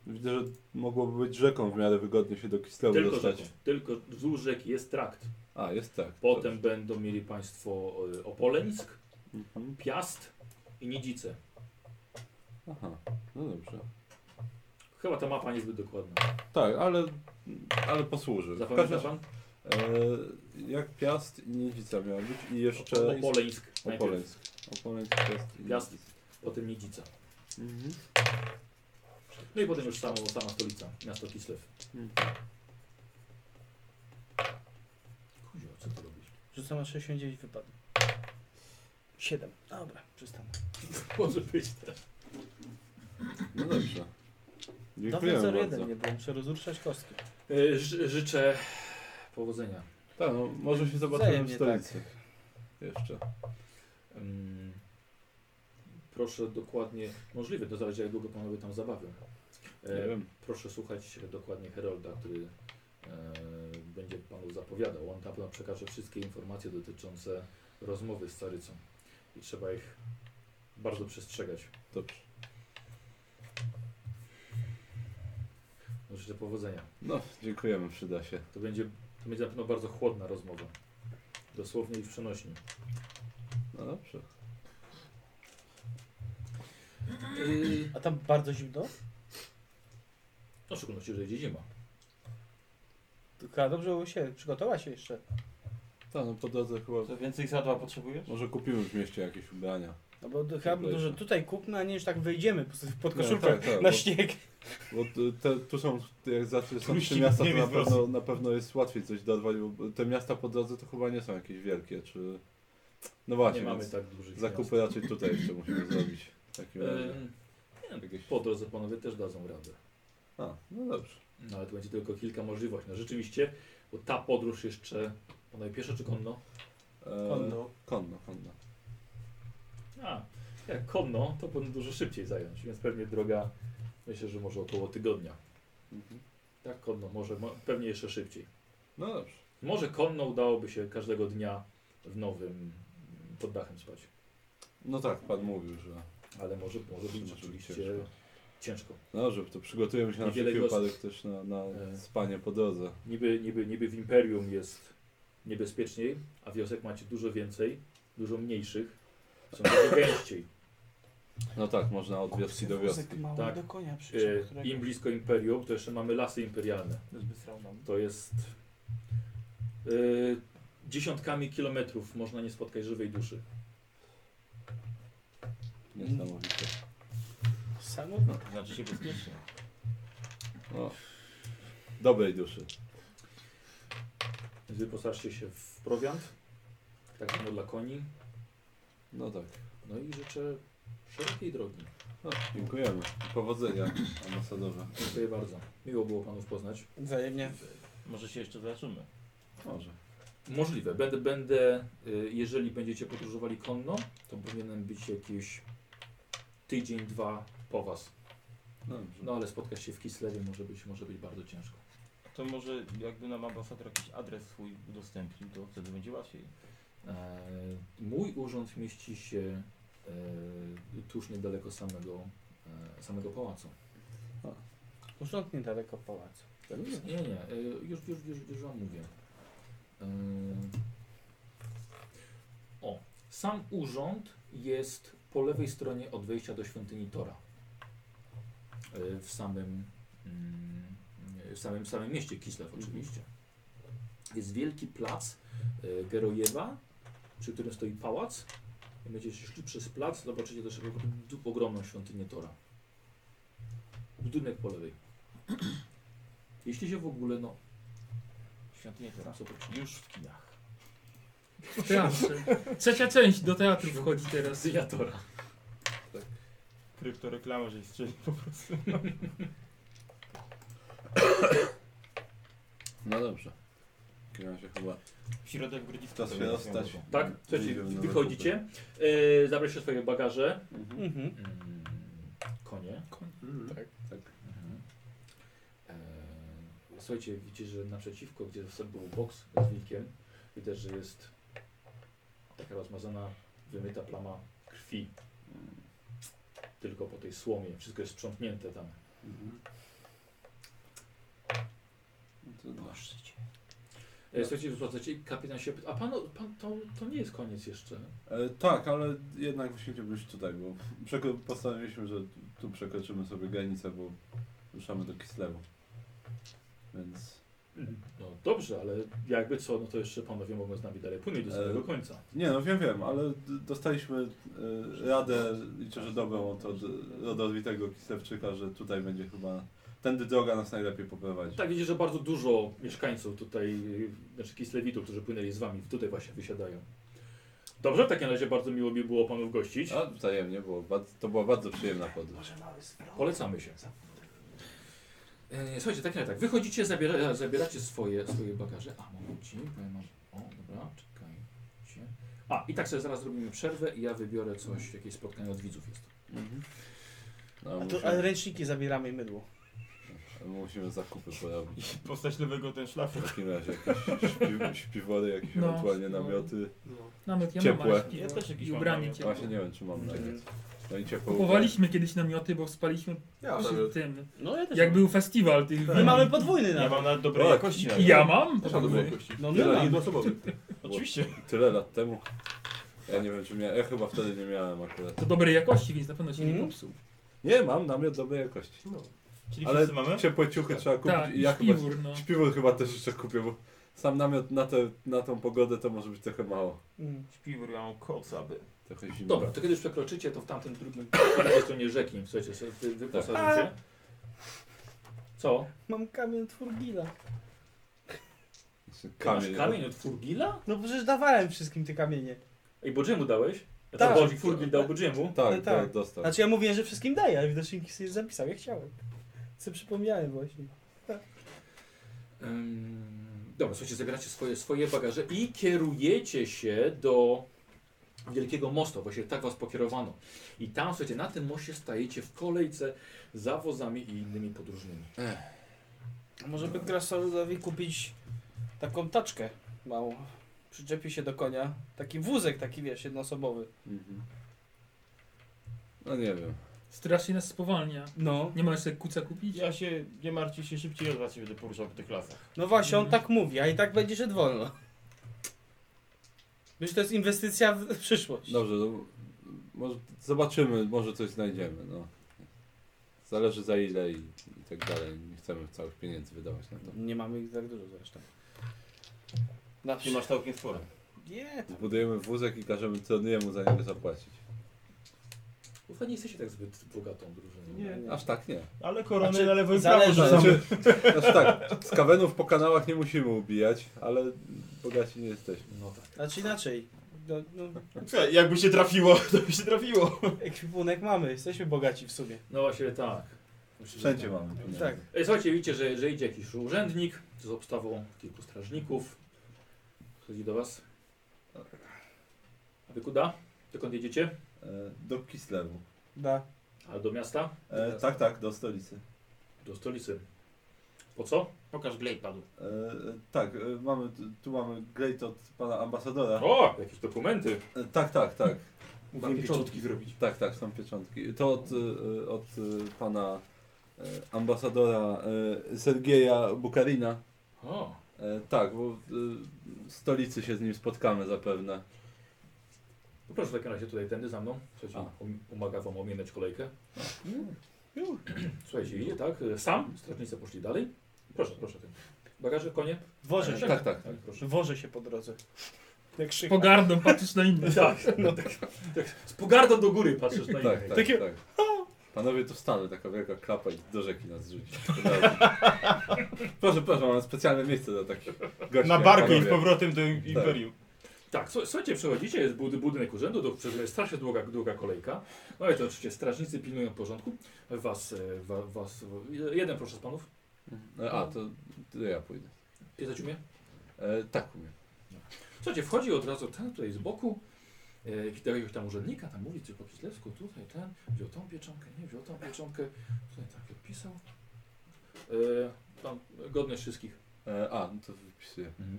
Speaker 1: widzę, że mogłoby być rzeką w miarę wygodnie się do Kislewu
Speaker 2: Tylko,
Speaker 1: dostać.
Speaker 2: rzeką, tylko wzdłuż rzeki jest trakt.
Speaker 1: A, jest tak.
Speaker 2: Potem będą mieli państwo y, Opoleńsk,
Speaker 1: Mhm.
Speaker 2: Piast i Nidzice.
Speaker 1: Aha, no dobrze.
Speaker 2: Chyba ta mapa niezbyt dokładna.
Speaker 1: Tak, ale, ale posłuży. W
Speaker 2: Zapamięta
Speaker 1: każdym
Speaker 2: pan?
Speaker 1: razie, E, jak Piast i Nidzica miała być i jeszcze...
Speaker 2: Opoleńsk.
Speaker 1: Opoleńsk. Opoleńsk, Piast i
Speaker 2: Piast,
Speaker 1: Nidzica.
Speaker 2: potem Nidzica.
Speaker 1: Mhm.
Speaker 2: No i potem już samo, sama stolica, miasto Kislew.
Speaker 1: Hmm.
Speaker 2: Kuzio, co ty robisz?
Speaker 5: Rzucam na 69 wypadł. 7. Dobra, przystanę.
Speaker 2: Może być też.
Speaker 1: No dobrze.
Speaker 5: No, Dawno
Speaker 1: Dziękujemy
Speaker 5: 0-1
Speaker 1: bardzo.
Speaker 5: nie było, muszę rozruszać kostki.
Speaker 2: E, ży- Życzę powodzenia.
Speaker 1: Tak, no, może się zobaczymy w
Speaker 5: Wzajemnie, tak.
Speaker 1: stolicy. Jeszcze.
Speaker 2: Mm, Proszę dokładnie, możliwe, to zależy jak długo panowie tam zabawią. E,
Speaker 1: Nie wiem.
Speaker 2: Proszę słuchać dokładnie Herolda, który e, będzie panu zapowiadał. On na pewno przekaże wszystkie informacje dotyczące rozmowy z carycą. I trzeba ich bardzo przestrzegać.
Speaker 1: Dobrze.
Speaker 2: Życzę powodzenia.
Speaker 1: No, dziękujemy, przyda się.
Speaker 2: To będzie, to będzie na pewno bardzo chłodna rozmowa. Dosłownie i w przenośni.
Speaker 1: No dobrze.
Speaker 5: A tam bardzo zimno?
Speaker 2: No, w szczególności, że idzie zima.
Speaker 5: Tylko dobrze było się, przygotowała się jeszcze.
Speaker 1: Tak, no po drodze chyba...
Speaker 3: To więcej sadła potrzebujesz?
Speaker 1: Może kupimy w mieście jakieś ubrania.
Speaker 5: No bo to chyba dużo tutaj kupmy, a nie, że tak wyjdziemy po prostu pod koszulkę
Speaker 1: Nie, tak, tak,
Speaker 5: na
Speaker 1: bo-
Speaker 5: śnieg.
Speaker 1: Bo t- te, tu są, jak zawsze są
Speaker 3: Turyści
Speaker 1: trzy miasta,
Speaker 3: nie
Speaker 1: to na
Speaker 3: wiedzą.
Speaker 1: pewno, na pewno jest łatwiej coś dorwać, bo te miasta po drodze to chyba nie są jakieś wielkie, czy... No właśnie,
Speaker 2: nie mamy
Speaker 1: więc
Speaker 2: tak dużych
Speaker 1: zakupy Yy, raczej tutaj jeszcze musimy zrobić. W takim
Speaker 2: miast.
Speaker 1: razie.
Speaker 2: Em, nie, no,
Speaker 1: Jakieś-
Speaker 2: Po drodze panowie też dadzą radę.
Speaker 1: A, no dobrze.
Speaker 2: No ale to będzie tylko kilka możliwości. No rzeczywiście, bo ta podróż jeszcze, ona pieszo czy konno?
Speaker 1: E,
Speaker 6: Konno.
Speaker 1: Konno, konno.
Speaker 2: A, jak konno, to powinno dużo szybciej zająć, więc pewnie droga, myślę, że może około tygodnia.
Speaker 1: Mhm.
Speaker 2: Tak, konno, może, mo- pewnie jeszcze szybciej.
Speaker 1: No dobrze.
Speaker 2: Może konno udałoby się każdego dnia w nowym pod dachem spać,
Speaker 1: No tak, pan mówił, że...
Speaker 2: ale może, może być
Speaker 1: Może być
Speaker 2: rzeczywiście
Speaker 1: ciężko.
Speaker 2: ciężko.
Speaker 1: No dobrze, to przygotujemy się na
Speaker 2: Niewiele
Speaker 1: wszelki
Speaker 2: wiosn.
Speaker 1: wypadek też na, na
Speaker 2: E.
Speaker 1: spanie po drodze.
Speaker 2: Niby, niby, niby w imperium jest niebezpieczniej, a wiosek macie dużo więcej, dużo mniejszych, są dużo gęściej.
Speaker 1: No tak, można od wioski do wioski.
Speaker 5: mały
Speaker 2: Tak.
Speaker 5: do konia przyczep,
Speaker 2: E,
Speaker 5: którego...
Speaker 2: Im blisko imperium, to jeszcze mamy lasy imperialne. To jest e, dziesiątkami kilometrów można nie spotkać żywej duszy.
Speaker 1: Niesamowite.
Speaker 5: Samo?
Speaker 3: Znaczy się bezpiecznie.
Speaker 1: No. Dobrej duszy.
Speaker 2: Więc Wyposażcie się w prowiant, tak samo dla koni.
Speaker 1: No tak.
Speaker 2: No i życzę szerokiej drogi.
Speaker 1: No, dziękujemy. Powodzenia ambasadorze.
Speaker 2: Dziękuję bardzo. Miło było panów poznać.
Speaker 5: Wzajemnie.
Speaker 3: Może się jeszcze zobaczymy.
Speaker 1: Może.
Speaker 2: Możliwe. Będę, będę, y, jeżeli będziecie podróżowali konno, to powinienem być jakiś tydzień, dwa po was.
Speaker 1: Dobrze.
Speaker 2: No ale spotkać się w Kislewie może być, może być bardzo ciężko.
Speaker 3: To może jakby nam ambasador jakiś adres swój udostępnił, to wtedy będzie łatwiej.
Speaker 2: E, Mój urząd mieści się e, tuż niedaleko samego, e, samego pałacu.
Speaker 5: Urząd niedaleko pałacu.
Speaker 2: Nie, nie, e, już, już, już, już wam mówię. E, O, sam urząd jest po lewej stronie od wejścia do świątyni Tora. E, W samym, mm, w samym, w samym mieście Kislew oczywiście. Jest wielki plac e, Gerojewa, przy którym stoi pałac. Jak będziecie szli przez plac, zobaczycie też ogromną- ogromną świątynię Tora. Budynek po lewej. Jeśli się w ogóle, no,
Speaker 3: Świątynię
Speaker 2: tam
Speaker 3: teraz.
Speaker 2: są potrzebne.
Speaker 3: Już w kinach.
Speaker 4: W teatrze. Trzecia część do teatru wchodzi teraz.
Speaker 2: Synia Tora.
Speaker 3: Kryptoreklama, że strzeli po prostu.
Speaker 1: No dobrze. W takim razie chyba.
Speaker 3: W środek Grodzicka.
Speaker 1: Czas się rozstać. no,
Speaker 2: Tak, E, słuchajcie,
Speaker 1: Wyjdziemy na Mhm.
Speaker 3: Mm.
Speaker 2: wychodzicie, yy, zabraliście swoje bagaże.
Speaker 5: Mhm.
Speaker 2: Mm, Konie?
Speaker 4: Tak.
Speaker 1: Tak.
Speaker 2: Mhm. Eee, E, słuchajcie, widzicie, że naprzeciwko, gdzie sobie był boks z wilkiem, widać, że jest taka rozmazana, wymyta plama krwi. e, Tylko po tej słomie. Wszystko jest sprzątnięte tam.
Speaker 1: Proszę
Speaker 2: E, Słuchajcie, wypłacacie i kapitan się pyta, a pan, pan to, to nie jest koniec jeszcze.
Speaker 1: E, tak, ale jednak właśnie chciałbym być tutaj, bo przeko- postanowiliśmy, że tu przekroczymy sobie granicę, bo ruszamy do Kislewu. Więc
Speaker 2: No dobrze, ale jakby co, no to jeszcze panowie mogą z nami dalej płynąć do samego
Speaker 1: E,
Speaker 2: końca.
Speaker 1: Nie, no wiem, wiem, ale d- dostaliśmy e, radę, liczę, że dobrą od, od rodowitego Kislewczyka, że tutaj będzie chyba, tędy droga nas najlepiej poprowadzi.
Speaker 2: Tak, widzicie, że bardzo dużo mieszkańców tutaj, y, znaczy Kislewitów, którzy płynęli z wami, tutaj właśnie wysiadają. Dobrze, w takim razie bardzo miło mi było panów gościć.
Speaker 1: A wzajemnie, było, bardzo- to była bardzo przyjemna podróż.
Speaker 2: Polecamy się. E, Słuchajcie, tak nie tak. Wychodzicie, zabiera, zabieracie swoje, swoje bagaże. A, momencik, bo ja mam... O, dobra, czekajcie. A, i tak sobie zaraz zrobimy przerwę i ja wybiorę coś, jakieś spotkanie od widzów jest.
Speaker 1: No,
Speaker 5: A
Speaker 1: musimy,
Speaker 5: to, ale ręczniki zabieramy i mydło.
Speaker 1: musimy zakupy porobić.
Speaker 3: Postać lewego ten
Speaker 1: W
Speaker 3: szlafrok.
Speaker 1: takim razie jakieś śpi- śpiwory, jakieś
Speaker 4: No,
Speaker 1: ewentualnie
Speaker 4: no.
Speaker 1: namioty.
Speaker 4: Namiot ja
Speaker 1: Ciepłe.
Speaker 4: mam, ale śpiwór
Speaker 3: Ja też jakiś
Speaker 4: i
Speaker 3: mam
Speaker 4: ubranie
Speaker 3: namiot.
Speaker 4: ciepłe.
Speaker 1: Właśnie nie wiem, czy mam namiot. No i ciepło.
Speaker 4: Kupowaliśmy kiedyś namioty, bo spaliśmy
Speaker 6: Ja
Speaker 4: przy
Speaker 6: namiot.
Speaker 4: tym.
Speaker 5: No ja też
Speaker 4: Jak był festiwal tych
Speaker 1: Tak.
Speaker 5: My mamy podwójny
Speaker 3: Ja
Speaker 5: nawet.
Speaker 3: mam nawet dobrej
Speaker 1: O,
Speaker 3: jakości.
Speaker 4: I ja mam?
Speaker 6: Też mam dobre kości.
Speaker 5: No my
Speaker 1: Tyle,
Speaker 5: mamy.
Speaker 6: Jednoosobowy.
Speaker 3: Oczywiście.
Speaker 1: tyle lat temu. Ja nie wiem, czy miałem. Ja chyba wtedy nie miałem akurat.
Speaker 4: To dobrej jakości, więc na pewno się nie
Speaker 5: Mhm.
Speaker 4: popsuł.
Speaker 1: Nie, mam namiot dobrej jakości.
Speaker 6: No.
Speaker 3: Czyli
Speaker 1: Ale
Speaker 3: wszyscy mamy?
Speaker 1: ciepłe ciuchy trzeba kupić
Speaker 4: Tak,
Speaker 1: i ja chyba
Speaker 4: śpiwór, no.
Speaker 1: śpiwór chyba też jeszcze kupię, bo sam namiot na, te, na tą pogodę to może być trochę mało.
Speaker 5: Mm.
Speaker 3: Śpiwór, ja mam kocaby.
Speaker 1: Trochę zimno.
Speaker 2: Dobra, to kiedy już przekroczycie, to w tamtym drugim, po lewej stronie rzeki, słuchajcie, sobie wy- wyposażycie. Co?
Speaker 5: Mam kamień twórgila.
Speaker 2: Kamień.
Speaker 1: Kamień.
Speaker 2: Masz kamień od Furgila?
Speaker 5: No przecież dawałem wszystkim te kamienie.
Speaker 2: Ej, Bodziemu dałeś? Ja
Speaker 5: Tak.
Speaker 2: tak. Bodzi Furgil dał Bodziemu.
Speaker 1: Tak,
Speaker 5: No
Speaker 1: tak,
Speaker 5: tak.
Speaker 1: dostał.
Speaker 5: Znaczy ja mówiłem, że wszystkim daję, ale widocznie nikt sobie zapisał, ja chciałem. Co przypomniałem właśnie.
Speaker 2: Ym, dobra, słuchajcie, zabieracie swoje, swoje bagaże i kierujecie się do Wielkiego Mostu. Właśnie tak was pokierowano. I tam, słuchajcie, na tym moście stajecie w kolejce za wozami i innymi podróżnymi.
Speaker 5: Może by krasnoludowi kupić taką taczkę małą. Przyczepi się do konia. Taki wózek, taki wiesz, jednoosobowy.
Speaker 1: Mhm. No nie wiem.
Speaker 4: Strasznie nas spowalnia.
Speaker 5: No.
Speaker 4: Nie ma jeszcze kuca kupić?
Speaker 3: Ja się, nie martwcie się, szybciej od was się będę poruszał po tych lasach.
Speaker 5: No właśnie, on
Speaker 4: Mhm.
Speaker 5: tak mówi, a i tak będzie szedł wolno. Myślę, to jest inwestycja w przyszłość.
Speaker 1: Dobrze, no, może zobaczymy, może coś znajdziemy. No. Zależy za ile i, i tak dalej. Nie chcemy całych pieniędzy wydawać na to.
Speaker 5: Nie mamy ich tak dużo zresztą. Na
Speaker 3: Ty masz całkiem sporo.
Speaker 5: Nie, tam.
Speaker 1: Zbudujemy wózek i każemy Troniemu za niego zapłacić.
Speaker 2: Bo wy nie jesteście tak zbyt bogatą drużyną.
Speaker 5: Nie, nie.
Speaker 1: Aż tak nie.
Speaker 3: Ale korony
Speaker 5: Znaczy,
Speaker 3: na lewo i prawo
Speaker 5: zależy.
Speaker 3: rzucamy.
Speaker 1: Znaczy, aż tak, z kawenów po kanałach nie musimy ubijać, ale bogaci nie jesteśmy.
Speaker 2: No tak.
Speaker 5: Znaczy inaczej. No, no,
Speaker 3: Słuchaj, Jakby się trafiło, to by się trafiło.
Speaker 5: ekwipunek mamy, jesteśmy bogaci w sumie.
Speaker 2: No właśnie tak. Myślę, że
Speaker 1: Wszędzie
Speaker 2: tak.
Speaker 1: mamy. pieniądze.
Speaker 5: Tak.
Speaker 2: Ej, Słuchajcie, widzicie, że, że idzie jakiś urzędnik z obstawą kilku strażników. Chodzi do was. A wy kuda? Dokąd jedziecie?
Speaker 1: E, do Kislewu.
Speaker 5: Da.
Speaker 2: A do miasta?
Speaker 1: E, tak, tak, do stolicy.
Speaker 2: Do stolicy. Po co?
Speaker 3: Pokaż glej padł.
Speaker 1: E, e, tak, e, mamy, tu mamy grejt od pana ambasadora.
Speaker 2: O! Jakieś dokumenty.
Speaker 1: E, tak, tak, tak.
Speaker 3: Mówiłem pieczątki zrobić.
Speaker 1: Tak, tak, są pieczątki. To od, y, od y, pana y, ambasadora y, Sergieja Bukarina.
Speaker 2: O!
Speaker 1: E, Tak, bo y, w stolicy się z nim spotkamy zapewne.
Speaker 2: No proszę w takim razie tutaj tędy za mną. Słuchajcie, um- umaga wam ominąć kolejkę. Słuchajcie, idzie tak? Sam? Strażnicy poszli dalej. Proszę, proszę. ten. Bagaże, konie?
Speaker 5: Woże się,
Speaker 1: Tak, tak.
Speaker 2: Tak, proszę.
Speaker 5: woże się po drodze. Jak
Speaker 4: Z
Speaker 5: krzyka.
Speaker 4: pogardą patrzysz na innych.
Speaker 2: Tak, no, tak, tak. Z pogardą do góry patrzysz na
Speaker 1: Tak,
Speaker 2: innych.
Speaker 1: tak,
Speaker 5: Takie-
Speaker 1: tak. Panowie, tu wstanę, taka wielka klapa i do rzeki nas rzuci. proszę, proszę, mam specjalne miejsce dla takich gości.
Speaker 3: Na
Speaker 1: jak
Speaker 3: barkę i z
Speaker 1: panowie.
Speaker 3: powrotem do Imperium.
Speaker 2: Tak, słu- słuchajcie, przechodzicie, jest bud budynek urzędu, do przez jest strasznie długa, długa kolejka. No i to oczywiście strażnicy pilnują porządku. Was, e, wa, was, jeden proszę z panów.
Speaker 1: E, A, to, to ja pójdę.
Speaker 2: Pytać umie?
Speaker 1: E, tak umiem.
Speaker 2: Słuchajcie, wchodzi od razu ten tutaj z boku. e, jakiś- do jakiegoś tam urzędnika, tam mówi, czy po Kislewsku, tutaj ten, wziął tą pieczątkę, nie, wziął tą pieczątkę, tutaj tak odpisał. E, tam godność wszystkich.
Speaker 1: E, a, no to wypisuję.
Speaker 2: Mhm.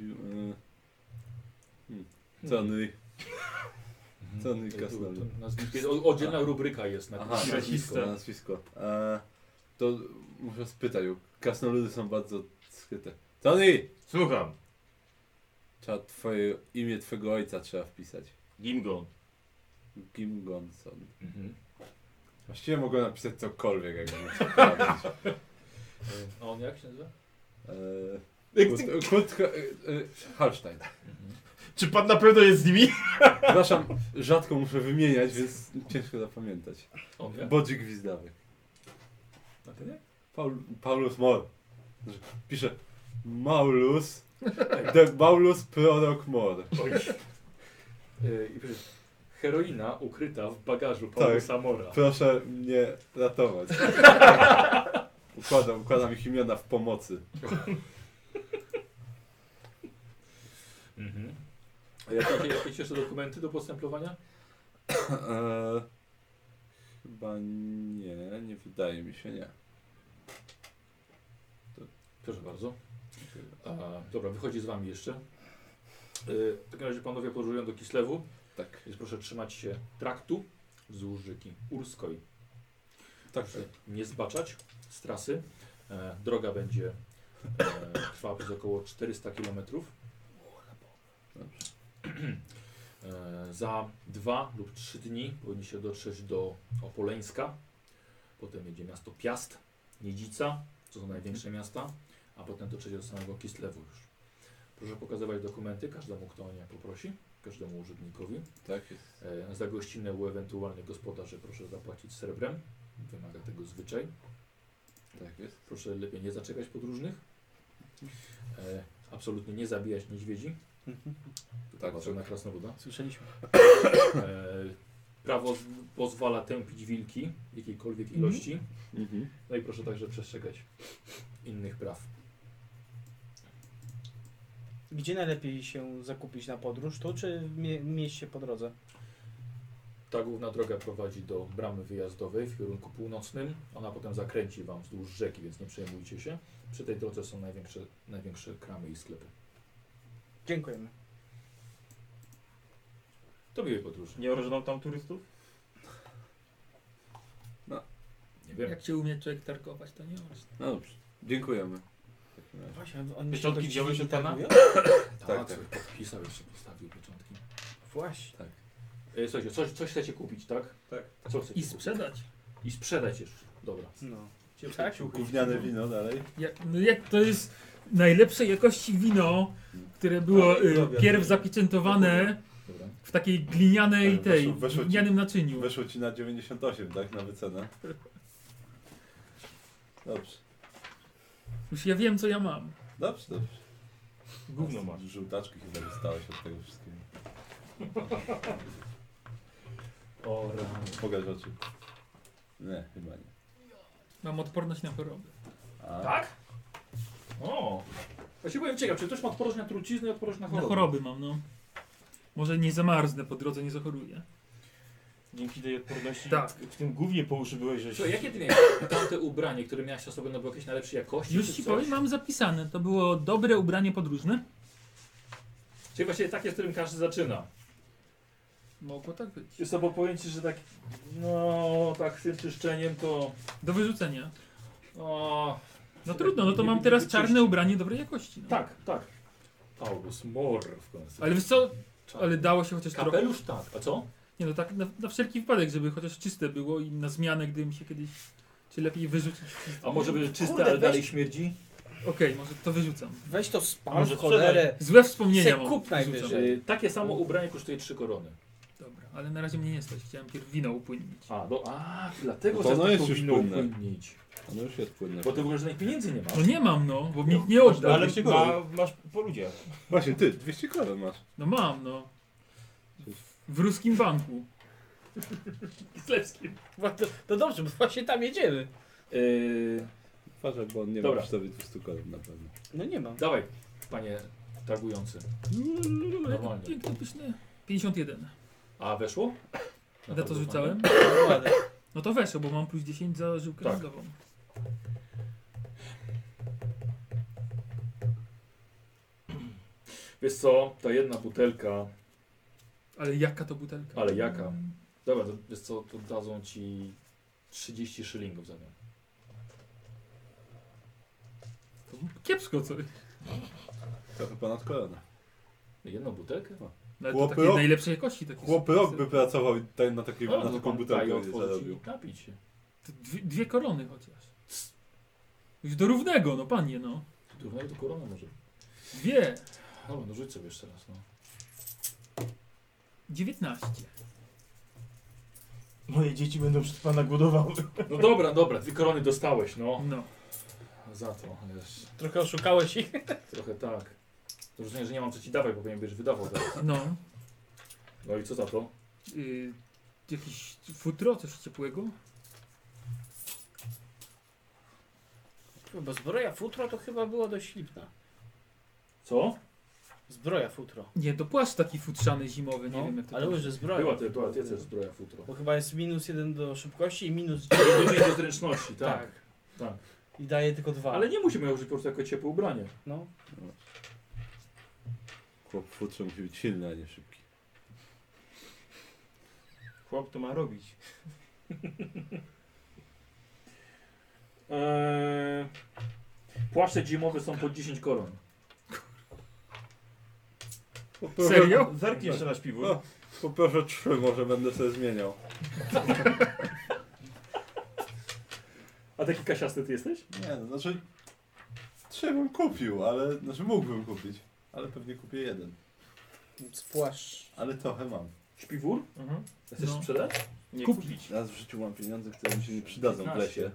Speaker 1: E, hmm. Tony. Tony
Speaker 2: To- to-
Speaker 1: Kasnel.
Speaker 2: Mhm. to nazwisko jest- o- Oddzielna rubryka jest na
Speaker 1: Aha, nazwisko, nazwisko. E, to muszę spytać, bo krasnoludy są bardzo skryte. Tony!
Speaker 3: Słucham.
Speaker 1: Trzeba twoje, imię twojego ojca trzeba wpisać.
Speaker 3: Gimgon.
Speaker 1: Kim Gonson.
Speaker 2: Mhm.
Speaker 1: Właściwie mogłem napisać cokolwiek, jakby nie sprawdzić.
Speaker 2: A on jak się nazywa?
Speaker 1: E, Kurt, Kurt, e, e, Hallstein.
Speaker 2: Mhm.
Speaker 3: Czy pan na pewno jest z nimi?
Speaker 1: Przepraszam, rzadko muszę wymieniać, więc ciężko zapamiętać.
Speaker 2: On jak?
Speaker 1: Bodzi Gwizdawy.
Speaker 2: A ty nie?
Speaker 1: Paul, Paulus Mor. Pisze Maulus, de Maulus prorok Mor.
Speaker 2: E, i pisze, Heroina ukryta w bagażu Paulusa Mora.
Speaker 1: Proszę mnie ratować. Układam, układam ich imiona w pomocy.
Speaker 2: Mhm. A jakie, jakieś jeszcze dokumenty do postępowania?
Speaker 3: E,
Speaker 1: Eee, chyba nie, nie wydaje mi się, nie.
Speaker 2: Proszę bardzo. A, dobra, wychodzi z wami jeszcze. E, W takim razie panowie podróżują do Kislewu.
Speaker 1: Tak,
Speaker 2: Więc proszę trzymać się traktu wzdłuż rzeki Urskoj.
Speaker 1: także.
Speaker 2: E, Nie zbaczać z trasy. E, droga będzie e, trwała przez około 400 km. E, za dwa lub trzy dni powinni się dotrzeć do Opoleńska. Potem będzie miasto Piast, Niedzica, to są największe miasta, a potem dotrzeć do samego Kislewu już. Proszę pokazywać dokumenty każdemu, kto o nie poprosi, każdemu urzędnikowi.
Speaker 1: Tak jest.
Speaker 2: E, Za gościnę u ewentualnych gospodarzy proszę zapłacić srebrem. Wymaga tego zwyczaj.
Speaker 1: Tak jest.
Speaker 2: Proszę lepiej nie zaczepiać podróżnych. E, absolutnie nie zabijać niedźwiedzi.
Speaker 1: Tak,
Speaker 2: Tak,
Speaker 1: tak.
Speaker 2: na krasnoluda.
Speaker 5: Słyszeliśmy.
Speaker 2: E, prawo z- pozwala tępić wilki jakiejkolwiek ilości.
Speaker 1: Mhm.
Speaker 2: No i proszę także przestrzegać innych praw.
Speaker 5: Gdzie najlepiej się zakupić na podróż? Tu czy w mie- mieście po drodze?
Speaker 2: Ta główna droga prowadzi do bramy wyjazdowej w kierunku północnym. Ona potem zakręci Wam wzdłuż rzeki, więc nie przejmujcie się. Przy tej drodze są największe, największe kramy i sklepy.
Speaker 5: Dziękujemy.
Speaker 2: To miłej podróży.
Speaker 3: Nie orżną tam turystów?
Speaker 2: Nie wiem.
Speaker 4: Jak się umie człowiek targować, to nie ma.
Speaker 1: No dobrze, dziękujemy. W takim razie.
Speaker 5: Właśnie, oni
Speaker 3: Pieczątki
Speaker 5: do
Speaker 3: wziąłeś
Speaker 5: drzwi
Speaker 3: od pana?
Speaker 5: targują?
Speaker 1: Tak,
Speaker 2: Tak,
Speaker 1: tak.
Speaker 2: tak. Podpisał jeszcze, postawił pieczątki.
Speaker 5: Właśnie.
Speaker 2: E, Słuchajcie, coś, coś chcecie kupić, tak?
Speaker 6: Tak.
Speaker 2: Co chcecie
Speaker 4: I
Speaker 2: kupić?
Speaker 4: sprzedać.
Speaker 2: I sprzedać jeszcze. Dobra.
Speaker 5: No.
Speaker 6: Ciepłe
Speaker 5: Tak?
Speaker 6: ciuchy.
Speaker 1: Gówniane wino dalej.
Speaker 4: Jak, no jak to jest najlepszej jakości wino, które było
Speaker 1: No,
Speaker 6: Ale i
Speaker 4: y,
Speaker 6: drobiazg.
Speaker 4: pierw zapieczętowane
Speaker 2: Dobra.
Speaker 4: w takiej glinianej
Speaker 1: Ale
Speaker 4: tej,
Speaker 1: Tak, weszło- weszło ci-
Speaker 4: glinianym naczyniu.
Speaker 1: Weszło ci na 98, tak? Na wycenę. Dobrze,
Speaker 4: Już ja wiem, co ja mam.
Speaker 1: dobrze, dobrze.
Speaker 3: Gówno masz.
Speaker 1: Żółtaczki chyba dostałeś od tego wszystkiego.
Speaker 2: O, rany.
Speaker 1: Pokaż oczy. Nie, chyba nie.
Speaker 4: Mam odporność na choroby.
Speaker 1: A,
Speaker 2: Tak? O! Ja się byłem ciekaw, czy ktoś ma odporność na truciznę i odporność na
Speaker 4: Na
Speaker 2: chorobę?
Speaker 4: choroby mam, no. Może nie zamarznę po drodze, nie zachoruję.
Speaker 3: Dzięki tej odporności
Speaker 4: Tak.
Speaker 3: w tym głównie po uszy byłeś, że...
Speaker 2: Słuchaj, jakie ty miałeś tamte ubranie, które miałeś na sobie, no było jakieś najlepszej jakości?
Speaker 4: Już
Speaker 2: czy
Speaker 4: ci
Speaker 2: coś?
Speaker 4: powiem, mam zapisane. To było dobre ubranie podróżne.
Speaker 2: Czyli właściwie takie, z którym każdy zaczyna.
Speaker 4: Mogło tak być.
Speaker 2: Jest to pojęcie, że tak, no, tak z tym czyszczeniem to...
Speaker 4: Do wyrzucenia.
Speaker 2: O,
Speaker 4: No trudno, no to mam teraz czarne ubranie dobrej jakości. No.
Speaker 2: tak, tak. Paulus Mor w końcu.
Speaker 4: Ale wiesz co? Ale dało się chociaż trochę.
Speaker 2: Kapelusz tak, a co?
Speaker 4: Nie no, tak na, na wszelki wypadek, żeby chociaż czyste było i na zmianę, gdy mi się kiedyś... Czy lepiej wyrzucić?
Speaker 2: A może by czyste,
Speaker 5: Kurde,
Speaker 2: ale
Speaker 5: weź-
Speaker 2: dalej śmierdzi?
Speaker 4: Okej, może to wyrzucam.
Speaker 5: Weź to spal
Speaker 3: Może
Speaker 5: w cholerę.
Speaker 4: Złe wspomnienia
Speaker 5: Se
Speaker 4: mam.
Speaker 5: kup najwyżej.
Speaker 4: Wyrzucam.
Speaker 2: Y, Takie samo ubranie kosztuje 3 korony.
Speaker 4: Dobra, ale na razie mnie nie stać. Chciałem pierw wino upłynnić.
Speaker 2: A, do, a dlatego
Speaker 1: No to
Speaker 2: że
Speaker 1: ono
Speaker 2: tak
Speaker 1: jest
Speaker 2: to
Speaker 1: już
Speaker 2: wino
Speaker 1: płynne.
Speaker 2: upłynnić.
Speaker 1: ono już jest płynne.
Speaker 2: Bo ty w ogóle żadnych pieniędzy nie masz.
Speaker 4: No nie mam no, bo mi nie oddał.
Speaker 3: Ale
Speaker 1: się
Speaker 3: ma, masz po ludzie.
Speaker 1: Właśnie, ty, 200 koron masz.
Speaker 4: No mam no. W ruskim banku.
Speaker 5: Kislewskim. Bo To, to dobrze, bo właśnie tam jedziemy.
Speaker 2: Y,
Speaker 1: Uważaj, bo on nie
Speaker 2: Dobra.
Speaker 1: ma przy sobie 200 koron na pewno.
Speaker 5: No nie mam.
Speaker 2: dawaj, panie tagujący. Normalnie.
Speaker 4: Normalnie. Jak to pyszne? 51.
Speaker 2: A weszło? Na
Speaker 4: Ile to
Speaker 2: tagowanie?
Speaker 4: rzucałem? No to weszło, bo mam plus 10 za żyłkę
Speaker 2: Tak.
Speaker 4: węglową.
Speaker 2: Wiesz co, ta jedna butelka,
Speaker 4: Ale jaka to butelka?
Speaker 2: ale jaka? Dobra, to wiesz co, to dadzą ci 30 szylingów za nią.
Speaker 4: To kiepsko co.
Speaker 1: Trochę ponad kolana.
Speaker 2: Jedną butelkę?
Speaker 4: No, Ale to
Speaker 1: Chłopy
Speaker 4: takiej
Speaker 1: rok-
Speaker 4: najlepszej jakości. Taki
Speaker 1: Chłopy rok by pracował i tak na, takiej,
Speaker 2: no
Speaker 1: na taką butelkę nie zarobił.
Speaker 2: zarobił. Napić się.
Speaker 4: Dwie, dwie korony chociaż. Już do równego, no panie, no.
Speaker 2: Równego to korona może.
Speaker 4: Dwie.
Speaker 2: Dobra, no rzuć sobie jeszcze raz. No.
Speaker 4: 19.
Speaker 3: Moje dzieci będą przed pana głodowały.
Speaker 2: no dobra, dobra, dwie korony dostałeś, no.
Speaker 4: No.
Speaker 2: Za to, wiesz,
Speaker 5: Trochę oszukałeś ich.
Speaker 2: trochę tak. To rozumiem, że nie mam co ci dawać, bo pewnie będziesz wydawał teraz.
Speaker 4: No.
Speaker 2: No i co za to?
Speaker 4: Y, jakieś futro coś ciepłego?
Speaker 5: Bo zbroja futro to chyba była dość ślipna.
Speaker 2: Co?
Speaker 5: Zbroja futro.
Speaker 4: Nie, to płaszcz taki futrzany zimowy, nie
Speaker 5: No,
Speaker 4: wiem jak to
Speaker 5: ale
Speaker 4: tam-
Speaker 5: już, że zbroja.
Speaker 2: Była to, była to jest zbroja futro.
Speaker 5: Bo chyba jest minus jeden do szybkości i minus
Speaker 2: Dużej do zręczności, tak. tak.
Speaker 5: I daje tylko dwa.
Speaker 2: Ale nie musimy ją użyć po prostu jako ciepłe ubranie.
Speaker 5: No.
Speaker 1: Chłop w futrze musi być silny, a nie szybki.
Speaker 3: Chłop to ma robić.
Speaker 2: Eee, płaszcze zimowe są po 10 koron.
Speaker 4: Serio?
Speaker 3: Zerknij jeszcze na śpiwór.
Speaker 1: O, poproszę trzy, może będę sobie zmieniał.
Speaker 2: A taki kasiasty ty jesteś?
Speaker 1: Nie, no znaczy... Trzy bym kupił, ale... Znaczy mógłbym kupić. Ale pewnie kupię jeden.
Speaker 5: Spłasz.
Speaker 1: Ale trochę mam.
Speaker 2: Śpiwór?
Speaker 3: Mhm.
Speaker 2: Chcesz
Speaker 4: No.
Speaker 2: sprzedać?
Speaker 3: Nie
Speaker 4: Kup-
Speaker 3: kupić.
Speaker 1: Raz w życiu mam pieniądze, które mi się nie przydadzą w lesie.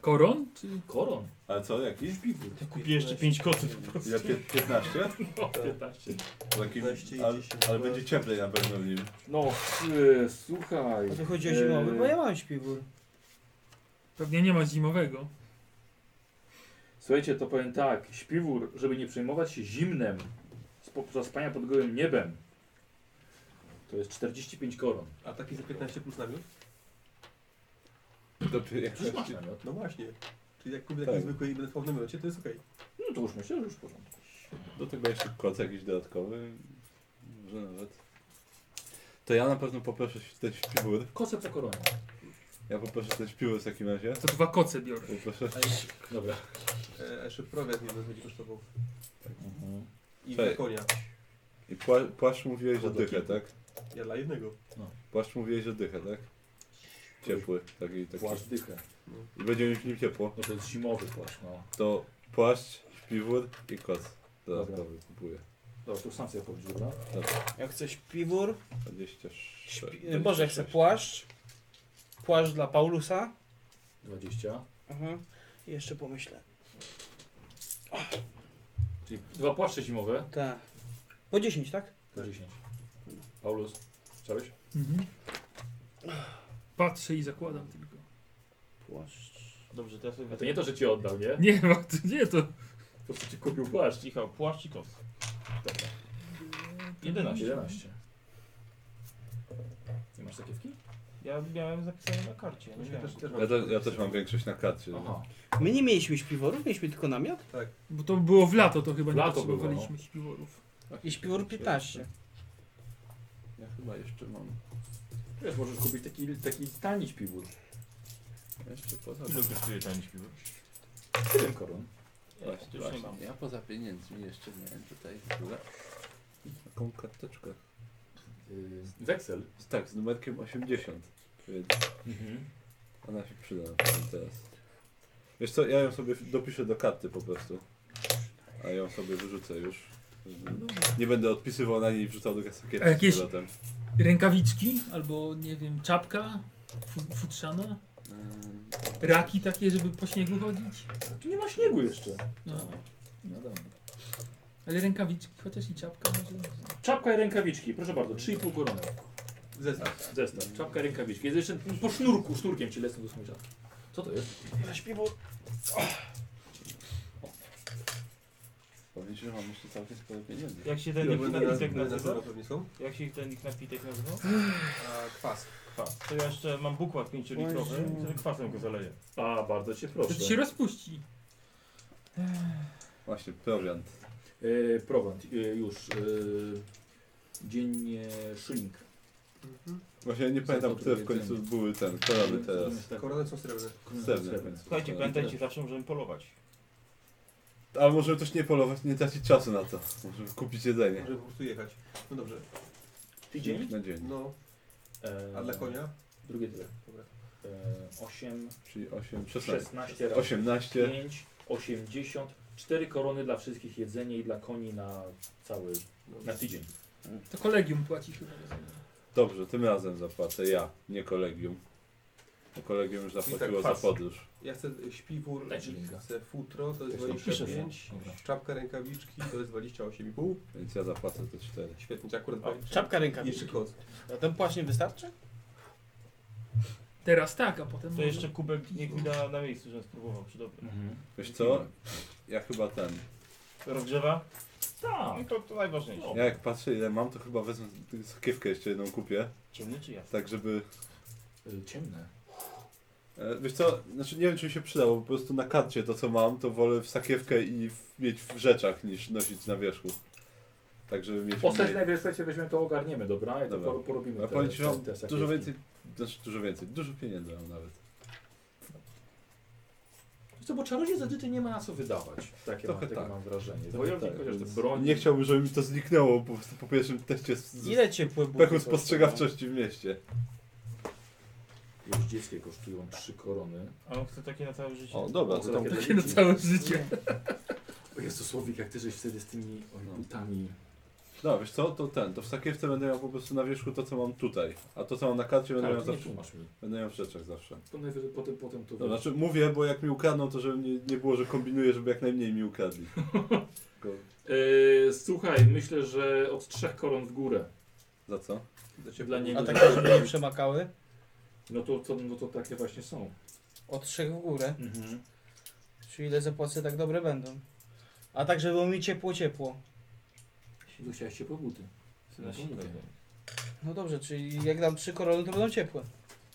Speaker 4: Koron?
Speaker 2: Koron.
Speaker 1: Ale co, jaki?
Speaker 2: Śpiwór.
Speaker 3: Kupię jeszcze pięć kocy.
Speaker 1: Ja pie- 15?
Speaker 2: No, 15.
Speaker 1: Takim,
Speaker 10: 20 i
Speaker 1: ale,
Speaker 10: 10
Speaker 1: ale będzie cieplej na pewno w nim.
Speaker 2: No, yy, słuchaj.
Speaker 5: A tu chodzi o
Speaker 2: yy,
Speaker 5: zimowy, bo ja mam śpiwór.
Speaker 4: Pewnie nie ma zimowego.
Speaker 2: Eee, Słuchajcie, to powiem tak. Śpiwór, żeby nie przejmować się zimnem, spo- zaspania pod gołym niebem, to jest 45 koron.
Speaker 6: A taki za 15 plus namiot?
Speaker 2: Przecież masz namiot.
Speaker 6: No właśnie. Czyli jak kupię taki
Speaker 1: Tak.
Speaker 6: zwykły i będę spał w namiocie, to jest okej.
Speaker 2: No to już myślę, że już w porządku.
Speaker 1: Do tego jeszcze koc jakiś dodatkowy. Może nawet. To ja na pewno poproszę ten śpiwór.
Speaker 2: Kosę po koronie.
Speaker 1: Ja poproszę ten śpiwór w takim razie.
Speaker 4: To dwa koce biorę.
Speaker 1: Poproszę.
Speaker 2: Dobra.
Speaker 6: E, Jeszcze prowiat nie będzie kosztował.
Speaker 2: Mhm.
Speaker 6: I
Speaker 1: Cześć.
Speaker 6: dla konia.
Speaker 1: I pła, płaszcz mówiłeś, że dychę, tak?
Speaker 6: Ja dla jednego.
Speaker 1: Płaszcz mówiłeś, że dychę, tak? Ciepły. Taki, taki.
Speaker 2: Płaszcz dychę.
Speaker 1: I będzie mi w nim ciepło.
Speaker 2: No to jest zimowy płaszcz, no.
Speaker 1: To płaszcz, śpiwór i koc. Dodatkowy kupuję.
Speaker 2: Dobra, to już sam sobie powiedz, dobra?
Speaker 5: Jak chcę śpiwór,
Speaker 1: 26.
Speaker 5: śpi... e, Boże, chcę płaszcz. Płaszcz dla Paulusa.
Speaker 2: 20.
Speaker 5: Mhm. I jeszcze pomyślę.
Speaker 2: Czyli dwa płaszcze zimowe.
Speaker 5: Tak. Po 10, tak?
Speaker 2: To 10. Paulus, chciałeś?
Speaker 4: Mhm. Patrzę i zakładam tylko.
Speaker 5: Płaszcz.
Speaker 3: Dobrze, teraz
Speaker 2: A to nie to, że ci oddał, nie?
Speaker 4: Nie, bardzo, nie to.
Speaker 2: Po prostu ci kupił płaszcz.
Speaker 3: Cicho, płaszcz i koc. 11.
Speaker 2: 11. Nie masz takiewki?
Speaker 3: Ja miałem zapisane na karcie. Ja nie miałem.
Speaker 1: Ja, te, ja też mam większość na karcie. no.
Speaker 2: Aha.
Speaker 5: My nie mieliśmy śpiworów, mieliśmy tylko namiot.
Speaker 4: Bo to było w lato, to chyba
Speaker 2: W
Speaker 4: nie
Speaker 2: lato
Speaker 4: potrzebowaliśmy
Speaker 2: było, no.
Speaker 4: śpiworów.
Speaker 2: Tak.
Speaker 5: I śpiwór 15.
Speaker 1: Ja chyba jeszcze mam.
Speaker 2: Wiesz, możesz kupić taki, taki tani śpiwór.
Speaker 1: Jeszcze poza
Speaker 3: Ile kosztuje ten śpiwór?
Speaker 2: 7 koron.
Speaker 3: Właśnie, już nie mam.
Speaker 1: Ja poza pieniędzmi jeszcze miałem tutaj tyle. Taką karteczkę.
Speaker 2: Yy, weksel.
Speaker 1: Z- Tak, z numerkiem 80. Więc
Speaker 2: Mhm.
Speaker 1: ona się przyda na pewno teraz. Wiesz co, ja ją sobie dopiszę do karty po prostu. A ją sobie wyrzucę już. Nie będę odpisywał na niej i wrzucał do kasakiety
Speaker 4: A jakieś-
Speaker 1: z powrotem.
Speaker 4: Rękawiczki albo, nie wiem, czapka fu- futrzana. Raki takie, żeby po śniegu chodzić.
Speaker 2: Tu nie ma śniegu jeszcze.
Speaker 4: No.
Speaker 2: No dobra.
Speaker 4: Ale rękawiczki, chociaż i czapka może.
Speaker 2: Czapka i rękawiczki, proszę bardzo, 3,5 korony.
Speaker 6: Zestaw.
Speaker 2: Zestaw, czapka i rękawiczki. Jest jeszcze po sznurku, sznurkiem ci lecą do smycza. Co to jest?
Speaker 5: Ile śpiwór?
Speaker 1: Powiem ci, że mam jeszcze całkiem sporo pieniędzy.
Speaker 3: Jak się ten ich napitek
Speaker 6: będę
Speaker 3: nazywa?
Speaker 6: zaraz pewnie są.
Speaker 3: Jak się ten ich napitek nazywa?
Speaker 6: A, kwas.
Speaker 3: Kwas. To ja jeszcze mam bukład 5-litrowy, który kwasem go zaleję.
Speaker 2: A, bardzo cię
Speaker 4: To
Speaker 2: proszę.
Speaker 3: Znaczy
Speaker 4: ci się rozpuści.
Speaker 1: Właśnie, prowiant.
Speaker 2: E, Prowant, e, już. E, dziennie Szynik.
Speaker 1: Właśnie nie pamiętam, które w końcu były ten, korony teraz.
Speaker 2: tak.
Speaker 6: Korony są srebrne.
Speaker 1: Srebrne. więc-
Speaker 3: Słuchajcie, pamiętajcie, zawsze możemy polować.
Speaker 1: Ale możemy też nie polować, nie tracić czasu na to. Możemy kupić jedzenie.
Speaker 6: Możemy po prostu jechać. No dobrze.
Speaker 2: Tydzień?
Speaker 1: Na dzień.
Speaker 6: No,
Speaker 2: E,
Speaker 6: a dla konia?
Speaker 2: Drugie tyle.
Speaker 6: Dobra.
Speaker 2: E, 8,
Speaker 1: Czyli 8, 16.
Speaker 2: 16 razy
Speaker 1: 18.
Speaker 2: 5, 80, 4 korony dla wszystkich jedzenie i dla koni na cały,
Speaker 6: No.
Speaker 2: na tydzień.
Speaker 4: To kolegium płaci chyba. rozumiem.
Speaker 1: Dobrze, tym razem zapłacę ja, nie kolegium. Bo kolegium już zapłaciło za
Speaker 6: kwas.
Speaker 1: podróż.
Speaker 6: Ja chcę śpiwór,
Speaker 2: Daj linka.
Speaker 6: chcę futro, to jest
Speaker 2: Ktoś tam pisze,
Speaker 6: 25,
Speaker 2: że- dobra.
Speaker 6: czapka rękawiczki, to jest 28,5.
Speaker 1: Więc ja zapłacę te 4.
Speaker 6: Świetnie, to akurat
Speaker 5: O,
Speaker 6: powiem.
Speaker 5: czapka
Speaker 6: Jeszcze
Speaker 5: rękawiczki.
Speaker 6: koc.
Speaker 5: A ten płaszcz nie wystarczy?
Speaker 4: Teraz tak, a potem...
Speaker 3: To jeszcze kubek niech mi da na miejscu, żebym spróbował, czy dobry.
Speaker 1: Wiesz co? Ja chyba ten.
Speaker 3: Rozgrzewa?
Speaker 2: Tak.
Speaker 3: No to, to najważniejsze.
Speaker 1: Ja jak patrzę ile mam, to chyba wezmę sokiewkę jeszcze jedną kupię.
Speaker 3: Ciemny czy jasny?
Speaker 1: Tak, żeby...
Speaker 2: Y, Ciemne.
Speaker 1: e, Wiesz co, znaczy nie wiem czy mi się przyda, bo po prostu na karcie to co mam, to wolę w sakiewkę i w, mieć w rzeczach niż nosić na wierzchu. Tak żeby mieć...
Speaker 2: Ostatnie
Speaker 1: mniej-
Speaker 2: najpierw słuchajcie, weźmiemy to ogarniemy, dobra? I to
Speaker 1: Dobra.
Speaker 2: por- porobimy
Speaker 1: A powiem ci, że mam
Speaker 2: te
Speaker 1: dużo
Speaker 2: sakiewki.
Speaker 1: więcej, znaczy dużo więcej, dużo pieniędzy mam nawet.
Speaker 2: Wiesz Co, bo czarodziej za dyty nie ma na co wydawać. Takie,
Speaker 1: Trochę
Speaker 2: mam, takie
Speaker 1: tak.
Speaker 2: mam wrażenie.
Speaker 1: Trochę
Speaker 2: Wojownik
Speaker 1: tak,
Speaker 2: chociaż te
Speaker 1: więc
Speaker 2: broni.
Speaker 1: Nie chciałbym, żeby mi to zniknęło po, prostu po pierwszym teście z, z
Speaker 5: Ile ciepłe buty?
Speaker 1: pechu
Speaker 5: kosztują?
Speaker 1: spostrzegawczości w mieście.
Speaker 2: Już dzieckie kosztują trzy korony.
Speaker 3: A on chce takie na całe życie.
Speaker 1: O, dobra, to tam...
Speaker 4: Takie na całe życie.
Speaker 2: O Jezu, Słowik, jak ty żeś wtedy z tymi oj,
Speaker 1: No.
Speaker 2: butami.
Speaker 1: No, wiesz co, to ten, to w sakiewce będę miał po prostu na wierzchu to, co mam tutaj. A to, co mam na karcie, będę
Speaker 2: Ale
Speaker 1: miał
Speaker 2: ty nie
Speaker 1: zawsze.
Speaker 2: tłumacz mi.
Speaker 1: Będę miał w rzeczach zawsze.
Speaker 2: To najwyżej potem, potem to
Speaker 1: No, znaczy mówię, bo jak mi ukradną, to żeby nie, nie było, że kombinuję, żeby jak najmniej mi ukradli. Tylko
Speaker 2: Yy, słuchaj, myślę, że od trzech koron w górę.
Speaker 1: za co?
Speaker 6: Do ciebie.
Speaker 2: Dla niego.
Speaker 5: A takie, żeby nie przemakały?
Speaker 2: No to, to, no to takie właśnie są.
Speaker 5: Od trzech w górę.
Speaker 2: Mhm.
Speaker 5: Czyli ile zapłacę, tak dobre będą. A tak, żeby było mi ciepło, ciepło.
Speaker 2: Musiałeś się po buty.
Speaker 3: Na silnik.
Speaker 5: No dobrze, czyli jak dam trzy korony, to będą ciepłe.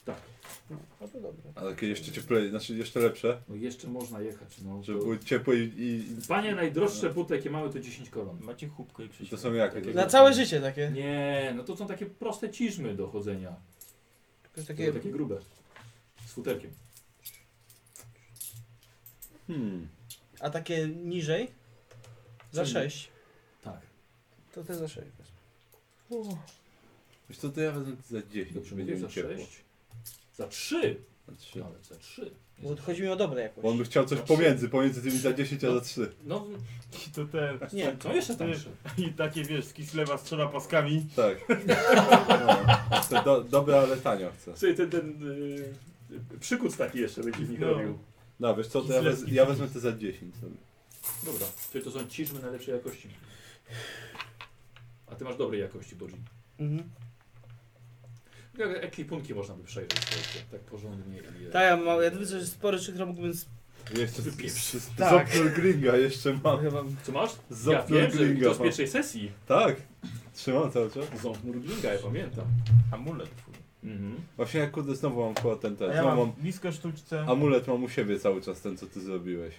Speaker 2: Tak.
Speaker 5: No, no to dobre.
Speaker 1: A takie jeszcze cieplej, znaczy jeszcze lepsze,
Speaker 2: No jeszcze można jechać. No,
Speaker 1: żeby
Speaker 2: to-
Speaker 1: były ciepłe i, i,
Speaker 2: Panie, najdroższe buty jakie mamy to 10 koron.
Speaker 3: Macie chubkę i
Speaker 1: i
Speaker 3: krzyż.
Speaker 1: to są jakie?
Speaker 2: Takie-
Speaker 5: Na całe życie takie.
Speaker 2: Nie, no to są takie proste ciżmy do chodzenia.
Speaker 5: Jakieś
Speaker 2: Takie,
Speaker 5: takie
Speaker 2: takie grube. Z futerkiem.
Speaker 1: Hmm.
Speaker 5: a takie niżej? Za
Speaker 2: Co
Speaker 5: sześć.
Speaker 2: Tak.
Speaker 5: To te za sześć.
Speaker 1: Wiesz co, to ja wezmę za 10,
Speaker 2: Dobrze
Speaker 1: będzie
Speaker 2: mówię,
Speaker 1: mi
Speaker 2: za
Speaker 1: ciepło.
Speaker 2: 6. Za 3.
Speaker 1: Za trzy.
Speaker 2: Nawet za 3.
Speaker 5: Bo chodzi mi o dobre jakoś.
Speaker 1: Bo on by chciał coś
Speaker 2: Za trzy.
Speaker 1: pomiędzy, pomiędzy tymi za 10 a za 3.
Speaker 2: No,
Speaker 3: I to ten.
Speaker 5: Nie,
Speaker 2: co jeszcze tam?
Speaker 3: I takie wiesz, z Kislewa z trzema paskami.
Speaker 1: Tak. No. Chcę do, dobre, ale tanio chcę.
Speaker 2: Czyli ten, ten yy, przykuc taki jeszcze będzie w nich
Speaker 3: No.
Speaker 2: robił.
Speaker 1: No wiesz co, to ja, wez, ja wezmę te za 10 sobie.
Speaker 2: Dobra, czyli to są ciżmy najlepszej jakości. A ty masz dobrej jakości, Bodzi.
Speaker 5: Mhm.
Speaker 2: Jak Ekwipunki można by przejrzeć słuchajcie, tak porządnie i... e,
Speaker 5: Tak, ja mam, ja widzę, że sporo rzeczy, które mógłbym... Sp-
Speaker 1: Jeszcze
Speaker 2: Wypieprz.
Speaker 1: z, z,
Speaker 5: Tak.
Speaker 1: Zopfel Gringa jeszcze mam.
Speaker 5: chyba...
Speaker 2: Co masz? Ja
Speaker 1: Zopfel
Speaker 2: wiem, że
Speaker 1: Gringa
Speaker 2: to z
Speaker 1: mam.
Speaker 2: pierwszej sesji.
Speaker 1: Tak. Trzymam cały czas.
Speaker 2: Ząb Nurglinga, ja pamiętam.
Speaker 3: Amulet twój.
Speaker 2: Mhm.
Speaker 1: Właśnie jak kurde znowu mam chyba ten ten.
Speaker 3: A ja
Speaker 1: znowu
Speaker 3: mam
Speaker 1: mam
Speaker 3: blisko sztuczce.
Speaker 1: amulet mam u siebie cały czas ten co ty zrobiłeś.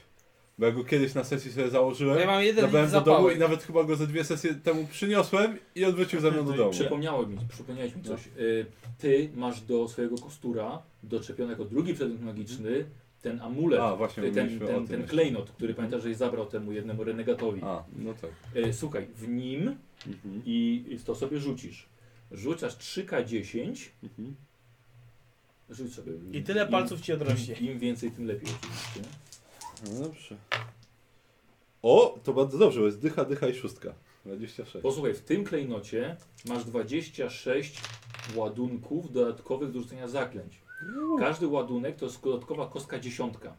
Speaker 1: Bo ja go kiedyś na sesji sobie
Speaker 5: No Ja
Speaker 1: założyłem,
Speaker 5: mam jeden
Speaker 1: zabrałem
Speaker 5: litr
Speaker 1: do domu
Speaker 5: zapału.
Speaker 1: i nawet chyba go ze dwie sesje temu przyniosłem i odwrócił ze mną do
Speaker 3: i
Speaker 1: domu.
Speaker 2: Przypomniało mi, przypomniałeś
Speaker 5: No.
Speaker 2: mi coś. Y, Ty masz do swojego kostura doczepiony jako drugi przedmiot magiczny ten amulet,
Speaker 1: A właśnie
Speaker 2: y, ten,
Speaker 1: mówiliśmy o
Speaker 2: ten,
Speaker 1: tym.
Speaker 2: ten
Speaker 1: jeszcze.
Speaker 2: klejnot, który pamiętasz, żeś zabrał temu jednemu renegatowi.
Speaker 1: A, no tak.
Speaker 2: Y, Słuchaj, w nim
Speaker 1: Mhm.
Speaker 2: i i to sobie rzucisz. Rzucasz 3K10,
Speaker 1: Mhm.
Speaker 2: rzuć sobie.
Speaker 5: I tyle
Speaker 2: Im-
Speaker 5: palców ci odrośnie.
Speaker 2: Im, im więcej, tym lepiej oczywiście.
Speaker 1: No dobrze. O, to bardzo dobrze, bo jest dycha, dycha i szóstka. 26.
Speaker 2: Posłuchaj, w tym klejnocie masz 26 ładunków dodatkowych do rzucenia zaklęć. Każdy ładunek to jest dodatkowa kostka dziesiątka,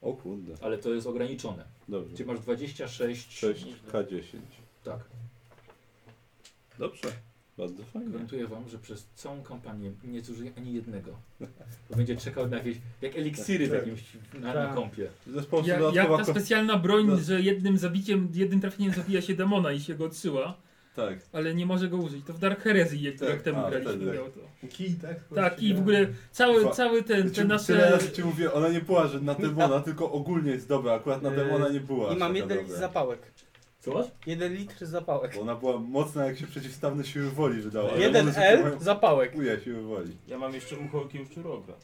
Speaker 1: O kurde.
Speaker 2: ale to jest ograniczone.
Speaker 1: Dobrze.
Speaker 2: Gdzie masz 26.
Speaker 1: 6K10.
Speaker 2: Tak.
Speaker 1: Dobrze. Bardzo fajnie.
Speaker 2: Gwarantuję wam, że przez całą kampanię nie zużyję ani jednego. Bo będzie czekał na jakieś, jak eliksiry w
Speaker 1: Tak.
Speaker 2: jakimś, na, na
Speaker 1: Tak.
Speaker 2: kąpie.
Speaker 1: Zespół
Speaker 4: Ja, jak ta specjalna broń,
Speaker 1: Tak.
Speaker 4: że jednym zabiciem, jednym trafieniem zabija się demona i się go odsyła,
Speaker 1: Tak.
Speaker 4: ale nie może go użyć. To w Dark Heresy, jak,
Speaker 1: Tak,
Speaker 4: jak temu
Speaker 1: a,
Speaker 4: graliśmy,
Speaker 1: wtedy, tak.
Speaker 4: miał to.
Speaker 6: Kij, tak?
Speaker 4: Tak, i w ogóle cały,
Speaker 1: Dwa.
Speaker 4: cały ten,
Speaker 1: Czy,
Speaker 4: ten nasze...
Speaker 1: Znaczy, Tyle razy ci mówię, ona nie była, że na demona, tylko ogólnie jest dobra, akurat na
Speaker 5: Yy,
Speaker 1: demona nie była.
Speaker 5: I mam
Speaker 1: taka
Speaker 5: jeden litr
Speaker 1: dobra.
Speaker 5: zapałek.
Speaker 2: Co masz?
Speaker 5: Jeden litr zapałek.
Speaker 1: Bo ona była mocna jak się przeciwstawne siły woli wydała. ale
Speaker 5: Jeden
Speaker 1: one się
Speaker 5: L
Speaker 1: próbują-
Speaker 5: zapałek.
Speaker 1: Chuja siły woli.
Speaker 3: Ja mam jeszcze muchołkiem szczurogra.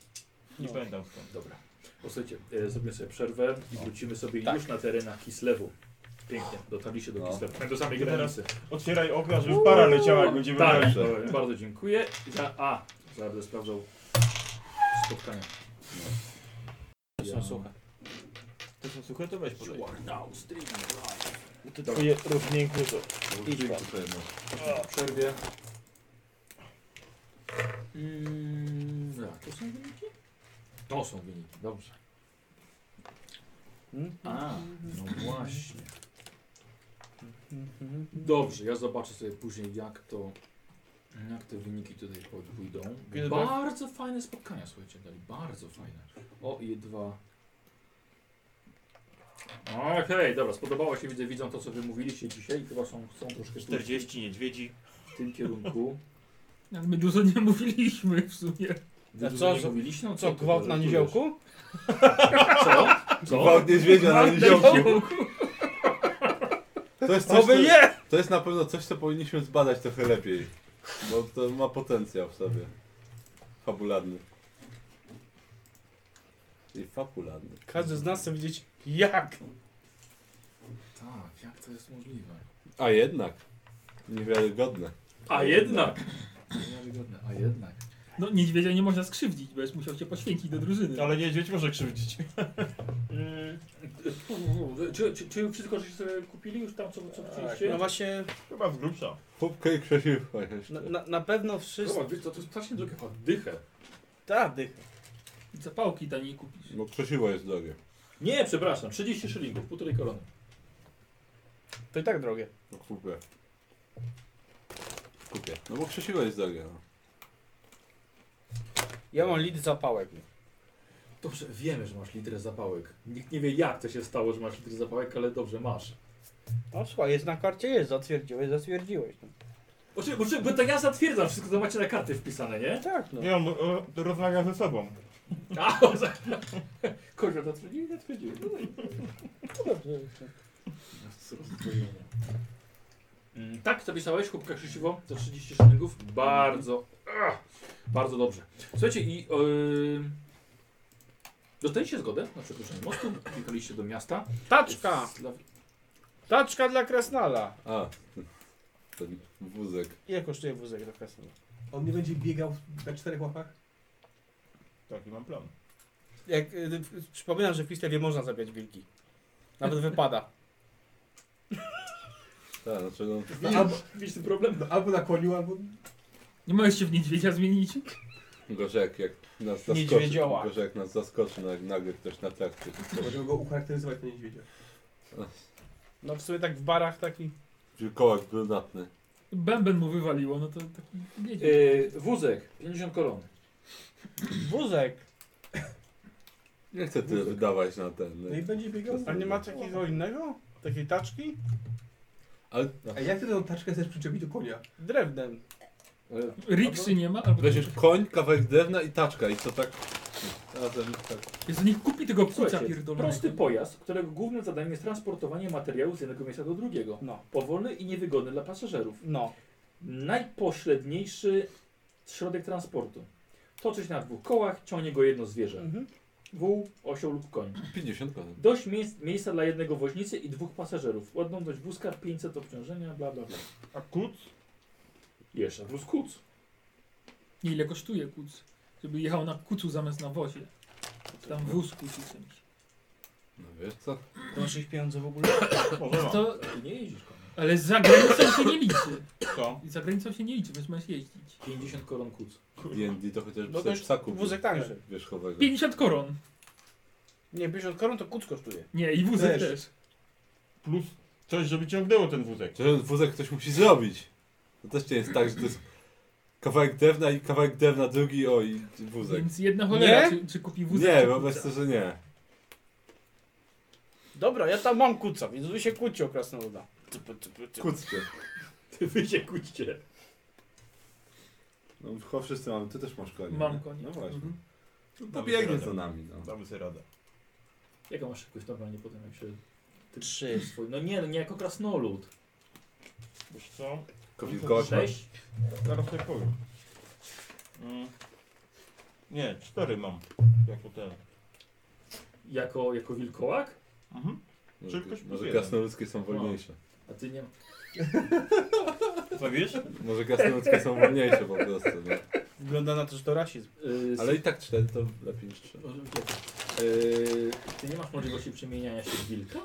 Speaker 3: Nie
Speaker 5: No.
Speaker 3: pamiętam skąd.
Speaker 2: Dobra. Posłuchajcie, e, zrobimy sobie przerwę i wrócimy sobie
Speaker 5: Tak.
Speaker 2: już na terenach Kislewu. Pięknie, dotarliście do
Speaker 1: No.
Speaker 2: Kislewu. Do samej
Speaker 3: I teraz-
Speaker 2: granicy.
Speaker 3: Otwieraj okna, żeby para leciała, jak będziemy
Speaker 2: Tak,
Speaker 3: grali.
Speaker 2: e, bardzo dziękuję. Za, a, zaraz sprawdzał spotkania.
Speaker 5: To są suche.
Speaker 3: To są suche, to weź podaj.
Speaker 2: are now streaming live.
Speaker 3: To twoje równięku to. Idź pan.
Speaker 1: Tutaj masz.
Speaker 2: W przerwie. Mm, tak, to są wyniki? To są wyniki, dobrze. A, no właśnie. Mhm. Dobrze, ja zobaczę sobie później jak to, jak te wyniki tutaj po- pójdą.
Speaker 3: Kiedy tak?
Speaker 2: Bardzo fajne spotkania, słuchajcie, dali, bardzo fajne. O i dwa. Okej, dobra, spodobało się, widzę, widzą to co wy mówiliście dzisiaj, chyba są, są troszkę tu-
Speaker 3: 40 niedźwiedzi.
Speaker 2: w tym kierunku.
Speaker 4: Ale My dużo nie mówiliśmy w sumie.
Speaker 2: Wy
Speaker 5: A
Speaker 2: dużo
Speaker 5: co,
Speaker 2: nie
Speaker 5: co-
Speaker 2: mówiliście? No
Speaker 5: Co, gwałt na
Speaker 2: żartujesz?
Speaker 5: niziołku?
Speaker 2: Co? Co?
Speaker 1: Gwałt niedźwiedzia na niziołku. To jest coś,
Speaker 5: Oby
Speaker 1: co-
Speaker 5: nie!
Speaker 1: To jest na pewno coś, co powinniśmy zbadać trochę lepiej. Bo to ma potencjał w sobie. Fabularny. I fabularny.
Speaker 5: Każdy z nas chce widzieć jak.
Speaker 2: Tak, jak to jest możliwe?
Speaker 1: A jednak. Niewiarygodne.
Speaker 2: A jednak! Niewiarygodne, a jednak.
Speaker 4: No niedźwiedzia nie można skrzywdzić, bo jest musiał się poświęcić do drużyny.
Speaker 3: Ale niedźwiedź może krzywdzić.
Speaker 2: Czy, czy, czy wszystko, żeście sobie kupili już tam, co, co
Speaker 5: No
Speaker 2: chcieliście?
Speaker 5: właśnie,
Speaker 3: Chyba z grubsza.
Speaker 1: Pupkę i krzesiwko jeszcze.
Speaker 5: na, na, na pewno wszyscy...
Speaker 2: Zobacz, wiesz co, to jest strasznie drogie, chyba dychę.
Speaker 5: Ta dycha.
Speaker 4: I zapałki taniej kupisz.
Speaker 1: No krzesiwo jest drogie.
Speaker 2: Nie, przepraszam, 30 szylingów, półtorej korony.
Speaker 5: To i tak drogie.
Speaker 1: No kupę. Kupię. No bo krzesiwo jest drogie. No.
Speaker 5: Ja mam litr zapałek.
Speaker 2: Dobrze, wiemy, że masz litrę zapałek. Nikt nie wie jak to się stało, że masz litrę zapałek, ale dobrze, masz.
Speaker 5: No słuchaj, jest na karcie, jest, zatwierdziłeś, zatwierdziłeś. No.
Speaker 2: Bo, czy- bo, czy- bo to ja zatwierdzam wszystko, to macie na karty wpisane, nie?
Speaker 5: Tak, no.
Speaker 3: Nie, on o, rozmawia e, ze sobą.
Speaker 2: A, Kozio zatwierdził i no zatwierdził. No dobrze. tak. Mm, Tak, zapisałeś kubka krzysiwo za 30 szylingów. Bardzo, ach, bardzo dobrze. Słuchajcie, i yy, dostaliście zgodę na przekroczenie mostu, jechaliście do miasta.
Speaker 5: Taczka! Taczka dla Krasnala.
Speaker 1: A. Ten wózek.
Speaker 5: Ile kosztuje wózek do Krasnala?
Speaker 6: On nie będzie biegał na czterech łapach?
Speaker 3: Taki mam plan.
Speaker 5: Jak, y, y, przypominam, że w Kislewie można zabijać wilki. Nawet wypada.
Speaker 1: Tak, znaczy no.
Speaker 6: Albo,
Speaker 2: Widzisz ten problem?
Speaker 6: no, albo na koniu, albo...
Speaker 4: Nie możesz się w niedźwiedzia zmienić.
Speaker 1: Gorzej jak, jak nas zaskoczy.
Speaker 5: Niedźwiedzioła.
Speaker 1: Gorzej jak nas zaskoczy nag- nagle ktoś na trakcie.
Speaker 6: Możemy go ucharakteryzować na niedźwiedzia.
Speaker 5: No w sumie tak w barach taki...
Speaker 1: Wilkołak brunatny.
Speaker 4: Bęben mu wywaliło, no to taki niedźwiedź.
Speaker 2: Yy, wózek, 50 koron.
Speaker 5: Wózek!
Speaker 1: Nie chcę tyle wydawać na ten.
Speaker 6: No i będzie biegał.
Speaker 5: A nie ma takiego innego? Takiej taczki?
Speaker 6: A jak ty tę taczkę chcesz przyczepić do konia?
Speaker 5: Drewnem.
Speaker 2: Yy,
Speaker 4: Rikszy nie ma, albo...
Speaker 1: Weźmiesz koń, kawałek drewna i taczka i to tak razem tak.
Speaker 4: Jezu, niech kupi tego kuca
Speaker 2: Słuchajcie,
Speaker 4: pierdolonego.
Speaker 2: prosty pojazd, którego głównym zadaniem jest transportowanie materiału z jednego miejsca do drugiego.
Speaker 5: No.
Speaker 2: Powolny i niewygodny dla pasażerów.
Speaker 5: No.
Speaker 2: Najpośredniejszy środek transportu. Toczy się na dwóch kołach, ciągnie go jedno zwierzę.
Speaker 5: Mhm.
Speaker 2: Wół, osioł lub koń.
Speaker 1: 50 konem.
Speaker 2: Dość miejsc, miejsca dla jednego woźnicy i dwóch pasażerów. Ładną dość wózka, 500 obciążenia, bla bla bla.
Speaker 3: A kuc?
Speaker 2: Jeszcze wóz kuc.
Speaker 4: Nie, ile kosztuje kuc? Żeby jechał na kucu zamiast na wozie. Tam wózku czy czymś.
Speaker 1: No wiesz co?
Speaker 5: To masz ich pieniądze w ogóle?
Speaker 3: Może ma.
Speaker 4: To,
Speaker 2: Ty nie jeździsz konia.
Speaker 4: ale za granicą się nie liczy.
Speaker 3: Co?
Speaker 4: Za granicą się nie liczy, więc masz jeździć.
Speaker 2: 50 koron kuc.
Speaker 1: D&D to chociaż
Speaker 5: No to
Speaker 1: psa-
Speaker 5: już
Speaker 1: psa kupił.
Speaker 5: wózek tańszy.
Speaker 1: Wierzchowego.
Speaker 4: 50 koron.
Speaker 5: Nie, 50 koron to kuc kosztuje.
Speaker 4: Nie, i wózek
Speaker 3: Też.
Speaker 4: też.
Speaker 3: Plus coś, żeby ciągnęło ten wózek.
Speaker 1: Chociaż ten wózek ktoś musi zrobić. To też nie jest tak, że to jest kawałek drewna i kawałek drewna drugi, o i wózek.
Speaker 4: Więc jedna cholera,
Speaker 5: Nie?
Speaker 4: czy, czy kupi wózek,
Speaker 1: Nie,
Speaker 4: czy
Speaker 1: wobec
Speaker 4: kuca.
Speaker 1: to, że nie.
Speaker 5: Dobra, ja tam mam kuca, więc wy się kłóćcie o krasnoluda.
Speaker 1: Kuccie.
Speaker 3: Ty wy się kłóćcie.
Speaker 1: No chyba wszyscy mamy, ty też masz konie.
Speaker 4: Mam
Speaker 1: nie?
Speaker 4: konie.
Speaker 1: No właśnie.
Speaker 4: Mhm.
Speaker 1: No to biegnie
Speaker 3: radę.
Speaker 1: za nami. No.
Speaker 3: Damy sobie radę.
Speaker 2: Jaka masz szybkość normalnie potem, jak się... Ty
Speaker 5: Trzy.
Speaker 2: swój... No nie, no nie jako krasnolud.
Speaker 3: Wiesz co?
Speaker 1: Wilkołak ma-
Speaker 2: Sześć?
Speaker 3: Zaraz tak powiem. Mm. Nie, cztery mam. Jako ten.
Speaker 2: Jako, jako wilkołak?
Speaker 3: Mhm.
Speaker 1: może-
Speaker 3: Szybkość plus
Speaker 1: Może
Speaker 3: jeden.
Speaker 1: krasnoludzkie
Speaker 3: No.
Speaker 1: są wolniejsze.
Speaker 2: A ty nie...
Speaker 3: Co wiesz?
Speaker 1: Może krasnoludzkie są wolniejsze po prostu. No.
Speaker 5: Wygląda na to, że to rasizm.
Speaker 2: Yy,
Speaker 1: Ale i tak cztery to lepiej niż trzy.
Speaker 2: Może być lepiej. Yy, ty nie masz możliwości przemieniania się w wilka?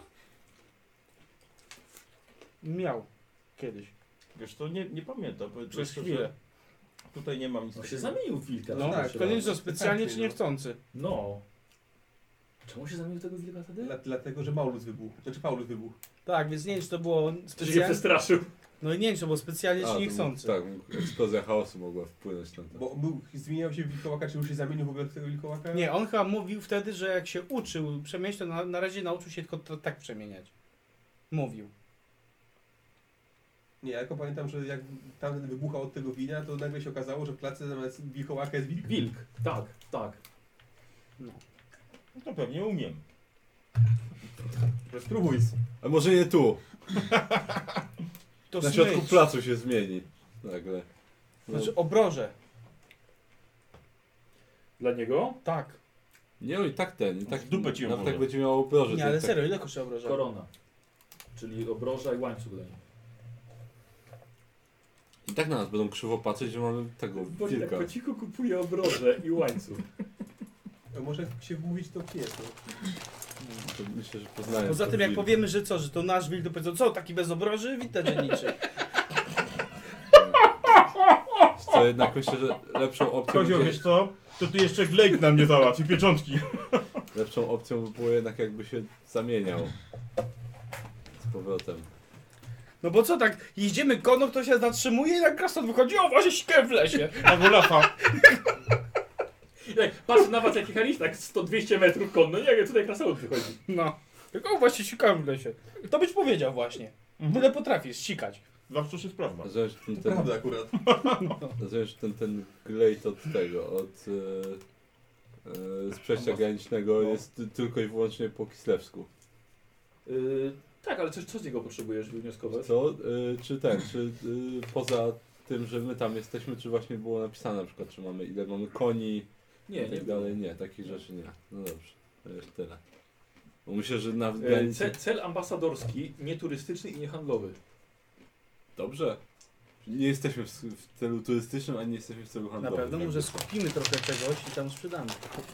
Speaker 5: Miał. Kiedyś.
Speaker 3: Wiesz co, nie, nie pamiętam. bo
Speaker 5: Przez
Speaker 3: to, że
Speaker 5: chwilę.
Speaker 3: Tutaj nie mam nic
Speaker 2: On się
Speaker 3: takiego.
Speaker 2: zamienił w wilka.
Speaker 5: No tak,
Speaker 2: przecież.
Speaker 5: to nie jest to specjalnie czy niechcący.
Speaker 2: No. Czemu się zamienił tego wilka wtedy?
Speaker 6: Dla, dlatego, że Maulus wybuchł. Znaczy Paulus wybuchł.
Speaker 5: Tak, więc nie wiem, czy to było
Speaker 2: Czy się
Speaker 5: specjalnie.
Speaker 2: przestraszył?
Speaker 5: No i nie wiem, czy to było specjalnie
Speaker 1: A,
Speaker 5: czy
Speaker 1: to
Speaker 5: niechcący.
Speaker 1: Tak, eksplozja chaosu mogła wpłynąć na to.
Speaker 6: Bo był, zmieniał się w wilkołaka, czy już się zamienił w ogóle w tego
Speaker 1: tak.
Speaker 6: wilkołaka?
Speaker 5: Nie, on chyba mówił wtedy, że jak się uczył przemieniać, to na, na razie nauczył się tylko to, tak przemieniać. Mówił.
Speaker 6: Nie, ja tylko pamiętam, że jak tamten wybuchał od tego wina, to nagle się okazało, że w klatce zamiast wilkołaka jest wilk.
Speaker 2: Wilk. Tak, tak.
Speaker 3: No to pewnie umiem.
Speaker 6: Spróbuj.
Speaker 1: A może nie tu?
Speaker 5: To
Speaker 1: Na środku
Speaker 5: smycz.
Speaker 1: placu się zmieni. Nagle. No,
Speaker 5: Znaczy obroże.
Speaker 2: Dla niego?
Speaker 5: Tak.
Speaker 1: Nie, no i tak ten. I tak,
Speaker 3: W dupę ci ją
Speaker 1: nawet
Speaker 3: włożę.
Speaker 1: tak będzie miało obroże.
Speaker 5: Nie,
Speaker 1: ten-
Speaker 5: ale
Speaker 1: tak-
Speaker 5: serio, ile kosztuje obroże?
Speaker 2: Korona. Czyli obroża i łańcuch dla niego.
Speaker 1: I tak na nas będą krzywo patrzeć, że mamy tego
Speaker 2: Bo tak
Speaker 1: wilka.
Speaker 2: po cichu kupuje obrożę i łańcuch.
Speaker 6: A może się mówić to pies. No.
Speaker 1: To myślę, że poznają.
Speaker 5: Poza
Speaker 1: to
Speaker 5: tym jak
Speaker 1: wilk.
Speaker 5: powiemy, że co, że to nasz wilk, to powiedzą, co, taki bez obroży? Witaj dzienniczy.
Speaker 1: To jednak myślę, że lepszą opcją,
Speaker 3: Kozio,
Speaker 1: będzie,
Speaker 3: wiesz co? To ty jeszcze Glejk nam nie załatwi, pieczątki.
Speaker 1: lepszą opcją by było jednak jakby się zamieniał. Z powrotem.
Speaker 5: No bo co tak, jeździmy kono, to się zatrzymuje i jak krasnod wychodzi, o właśnie śkę w lesie.
Speaker 3: Albo Lafa.
Speaker 2: Tak, patrz na was jak jechaliście, tak 100-200 metrów konno, nie jak tutaj krasnolud wychodzi.
Speaker 5: No. Tylko o właśnie sikałem w lesie. To byś powiedział właśnie.
Speaker 1: Mhm.
Speaker 5: Tyle potrafisz, sikać.
Speaker 3: Zawsze się sprawdza.
Speaker 1: Rozumiem, że ten,
Speaker 6: To
Speaker 1: ten,
Speaker 6: prawda akurat.
Speaker 1: rozumiem, że ten, ten glejt od tego, od e, e, z przejścia
Speaker 3: No.
Speaker 1: granicznego jest tylko i wyłącznie po kislewsku.
Speaker 2: Yy, tak, ale coś, co z niego potrzebujesz wywnioskować?
Speaker 1: Co? Y, czy ten, czy y, poza tym, że my tam jesteśmy, czy właśnie było napisane na przykład, czy mamy ile mamy koni
Speaker 2: Nie,
Speaker 1: i tak
Speaker 2: nie. E,
Speaker 1: dalej? Nie, takich rzeczy nie. No dobrze, to jest tyle. Bo myślę, że na
Speaker 5: Y,
Speaker 2: Yy,
Speaker 1: granicy...
Speaker 2: ce, cel ambasadorski, nieturystyczny i niehandlowy.
Speaker 1: Dobrze. Nie jesteśmy w, w celu turystycznym, ani nie jesteśmy w celu
Speaker 5: Na
Speaker 1: handlowym.
Speaker 5: pewno
Speaker 1: jakby
Speaker 5: może
Speaker 1: co.
Speaker 5: skupimy trochę czegoś i tam sprzedamy.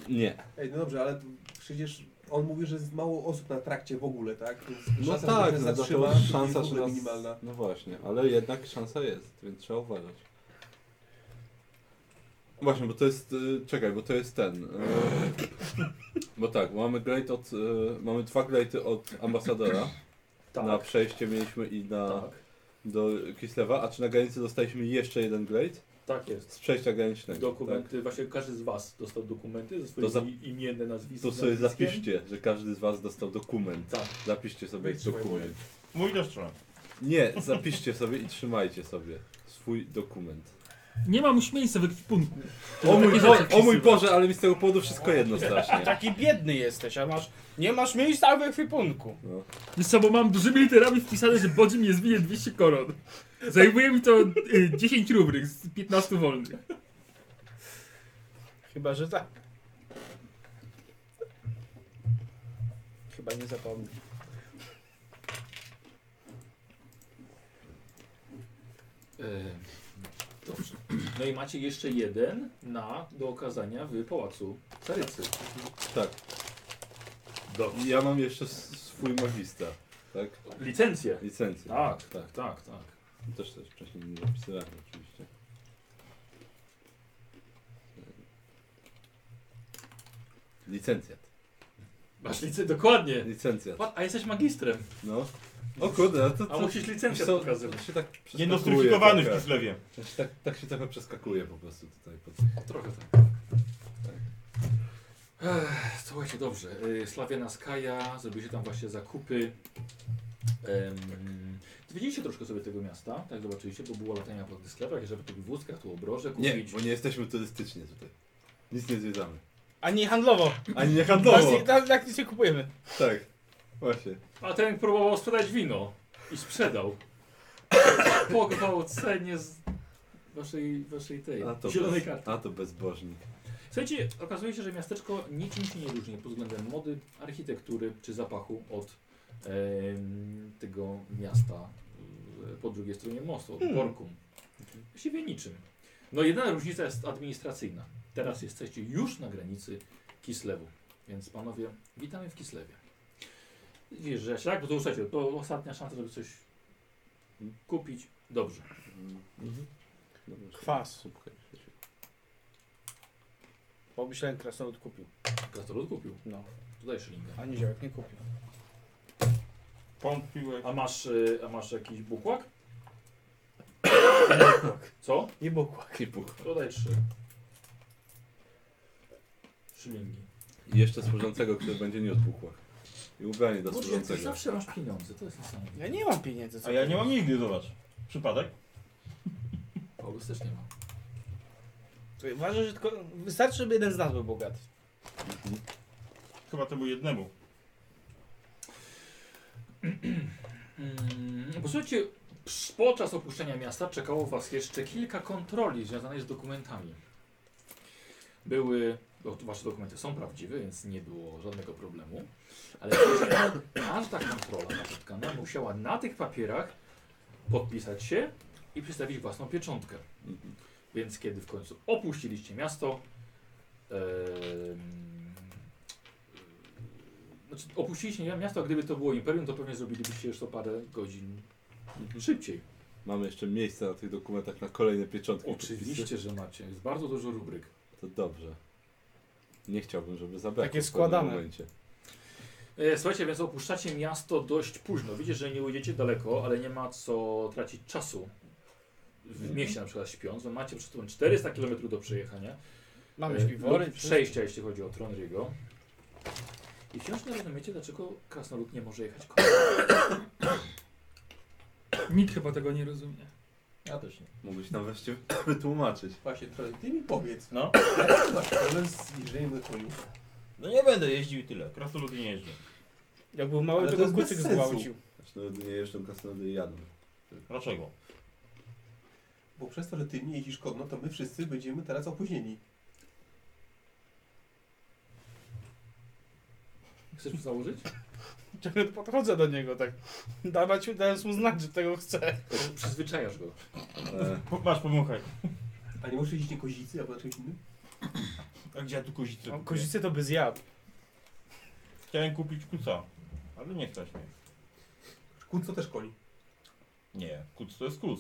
Speaker 1: Nie.
Speaker 6: Ej, no dobrze, ale tu przecież on mówi, że jest mało osób na trakcie w ogóle, tak? Więc
Speaker 1: No
Speaker 6: szansa, że
Speaker 1: tak,
Speaker 6: się
Speaker 1: no,
Speaker 6: zatrzyma,
Speaker 1: zatrzyma,
Speaker 6: jest
Speaker 1: szansa,
Speaker 6: w
Speaker 1: że
Speaker 6: ogóle
Speaker 1: nas...
Speaker 6: minimalna.
Speaker 1: No właśnie, ale jednak szansa jest, więc trzeba uważać. Właśnie, bo to jest, y, czekaj, bo to jest ten, y, bo tak, bo mamy glejt od, y, mamy dwa glejty od ambasadora,
Speaker 2: Tak,
Speaker 1: na przejście mieliśmy i na,
Speaker 2: tak,
Speaker 1: do Kislewa, a czy na granicy dostaliśmy jeszcze jeden glejt
Speaker 2: tak jest.
Speaker 1: z przejścia granicznego,
Speaker 2: Dokumenty, właśnie każdy z was dostał dokumenty ze swoimi
Speaker 1: Tak, To za-
Speaker 2: imienne
Speaker 1: tak?
Speaker 2: nazwiskiem.
Speaker 1: To sobie
Speaker 2: nazwiskiem.
Speaker 1: zapiszcie, że każdy z was dostał dokument,
Speaker 2: Tak,
Speaker 1: zapiszcie sobie dokument.
Speaker 3: Mój do strony.
Speaker 1: Nie, zapiszcie sobie i trzymajcie sobie swój dokument.
Speaker 4: Nie mam już miejsca w ekwipunku.
Speaker 1: O mój,
Speaker 4: Takie
Speaker 1: Bo-
Speaker 4: rzeczy
Speaker 1: o mój
Speaker 4: wpisywać.
Speaker 1: Boże, ale mi z tego powodu wszystko jedno strasznie.
Speaker 5: Taki biedny jesteś, a masz, nie masz miejsca w ekwipunku.
Speaker 4: Wiesz co, bo mam dużymi literami wpisane, że Bodzi mnie zbije 200 koron. Zajmuje mi to y, 10 rubryk z 15 wolnych.
Speaker 5: Chyba, że tak. Chyba nie zapomnę.
Speaker 2: Yy, Dobrze. No i macie jeszcze jeden na do okazania w pałacu Carycy.
Speaker 1: Tak. I Ja mam jeszcze s- swój magista, tak?
Speaker 2: Licencję.
Speaker 1: Licencję.
Speaker 2: Tak,
Speaker 1: tak.
Speaker 2: tak, tak.
Speaker 1: Też też wcześniej nie napisywałem oczywiście. Licencjat.
Speaker 2: Masz licencję, dokładnie.
Speaker 1: Licencjat.
Speaker 2: Pat- A jesteś magistrem.
Speaker 1: No. O kurde, a to, to
Speaker 4: A musisz licencję
Speaker 1: wiesz co,
Speaker 4: pokazywać.
Speaker 1: to się tak przeskakuje
Speaker 3: Niedostryfikowany w
Speaker 1: trochę.
Speaker 3: Kislewie.
Speaker 1: To się Tak, tak się trochę przeskakuje po prostu tutaj. Pod...
Speaker 2: Trochę tak. Ech, słuchajcie, dobrze. Y, Slawiana Skaja, zrobiliście tam właśnie zakupy. Um, Zwiedziliście troszkę sobie tego miasta, tak zobaczyliście, bo było latania po tych sklepach, tak, żeby tych wózkach, tu obroże
Speaker 1: Nie,
Speaker 2: kupić.
Speaker 1: bo nie jesteśmy turystycznie tutaj. Nic nie zwiedzamy.
Speaker 5: Ani handlowo.
Speaker 1: Ani nie handlowo.
Speaker 5: Właśnie, tak, tak nic nie kupujemy.
Speaker 1: Tak, właśnie.
Speaker 2: A ten próbował sprzedać wino i sprzedał. Po gwałcenie z waszej, waszej tej
Speaker 1: A to,
Speaker 2: zielonej
Speaker 1: bez,
Speaker 2: karty.
Speaker 1: a to bezbożnik.
Speaker 2: Słuchajcie, okazuje się, że miasteczko niczym się nie różni pod względem mody, architektury czy zapachu od em, tego miasta e, po drugiej stronie mostu, od Borkum. Właściwie niczym. No jedyna różnica jest administracyjna. Teraz jesteście już na granicy Kislewu, więc panowie, witamy w Kislewie. Wiesz, że tak, bo to słuchajcie, to ostatnia szansa, żeby coś kupić. Dobrze.
Speaker 5: Kwas. Pomyślałem, krasnolud kupił.
Speaker 2: Gastrolud kupił.
Speaker 5: No.
Speaker 2: Tutaj szylinga.
Speaker 5: Ani ziołek nie kupił.
Speaker 3: Pompiłek.
Speaker 2: A masz, y, a masz jakiś bukłak? Co?
Speaker 5: Nie bukła.
Speaker 2: Dodaj trzy. Szylingi.
Speaker 1: I jeszcze służącego, który będzie niósł bukłak. I ubranie do
Speaker 2: Boże, ty
Speaker 1: służącego.
Speaker 2: zawsze masz pieniądze, to jest niesamowite.
Speaker 5: Ja nie mam pieniędzy. co
Speaker 3: A ja
Speaker 5: ty
Speaker 3: nie mam
Speaker 5: mówisz.
Speaker 3: nigdy, zobacz. Przypadek?
Speaker 2: Paulus też nie ma.
Speaker 5: Słuchaj, Uważam, że tylko wystarczy, żeby jeden z nas był bogaty.
Speaker 3: Chyba to był jednemu.
Speaker 2: Mm, posłuchajcie, psz- podczas opuszczenia miasta czekało Was jeszcze kilka kontroli związanych z dokumentami. Były, bo tu Wasze dokumenty są prawdziwe, więc nie było żadnego problemu, ale każda kontrola napotkana musiała na tych papierach podpisać się i przedstawić własną pieczątkę. Więc kiedy w końcu opuściliście miasto, em, znaczy opuściliście miasto, a gdyby to było imperium, to pewnie zrobilibyście jeszcze parę godzin szybciej.
Speaker 1: Mamy jeszcze miejsce na tych dokumentach na kolejne pieczątki.
Speaker 2: Oczywiście, że macie. Jest bardzo dużo rubryk.
Speaker 1: To dobrze. Nie chciałbym, żeby zabrakło.
Speaker 5: Takie
Speaker 1: w pewnym
Speaker 5: składane.
Speaker 1: momencie.
Speaker 2: E, Słuchajcie, więc opuszczacie miasto dość późno. Widzicie, że nie ujdziecie daleko, ale nie ma co tracić czasu. W mieście na przykład śpiąc, bo macie przy tym 400 km do przejechania.
Speaker 5: Mamy
Speaker 2: E,
Speaker 5: śpiwory.
Speaker 2: lub przejścia, jeśli chodzi o Tronriego. I wciąż nie rozumiecie, dlaczego krasnolud nie może jechać koleją.
Speaker 4: Nikt chyba tego nie rozumie.
Speaker 6: Ja też nie.
Speaker 1: Mógłbyś nam wreszcie wytłumaczyć.
Speaker 6: Właśnie, trochę ty mi powiedz.
Speaker 3: No.
Speaker 6: Jaki masz problem z jeżdżeniem do koni?
Speaker 3: No nie będę jeździł i tyle. Krasnolud nie jeżdżę.
Speaker 5: Jak był mały,
Speaker 6: Ale to
Speaker 5: to go
Speaker 6: jest bez
Speaker 5: kucyk
Speaker 6: sensu.
Speaker 5: zgwałcił.
Speaker 1: Zresztą nie jeszcze kasnody jadą.
Speaker 3: Dlaczego?
Speaker 6: Bo przez to, że ty nie jeździsz konno, to my wszyscy będziemy teraz opóźnieni.
Speaker 2: Chcesz mu założyć?
Speaker 5: Ciągle podchodzę do niego tak. Dawać, dając mu znać, że tego chcę.
Speaker 2: Przyzwyczajasz go.
Speaker 1: E,
Speaker 3: Po- Masz, pomąchaj.
Speaker 6: A nie możesz jeździć na kozicy albo na czymś innym?
Speaker 3: A gdzie ja tu kozicę
Speaker 5: No,
Speaker 3: kupię?
Speaker 5: kozice to by zjadł.
Speaker 3: Chciałem kupić kuca, ale nie stać mnie.
Speaker 6: Kuc to też koni.
Speaker 3: Nie, kuc to jest kuc.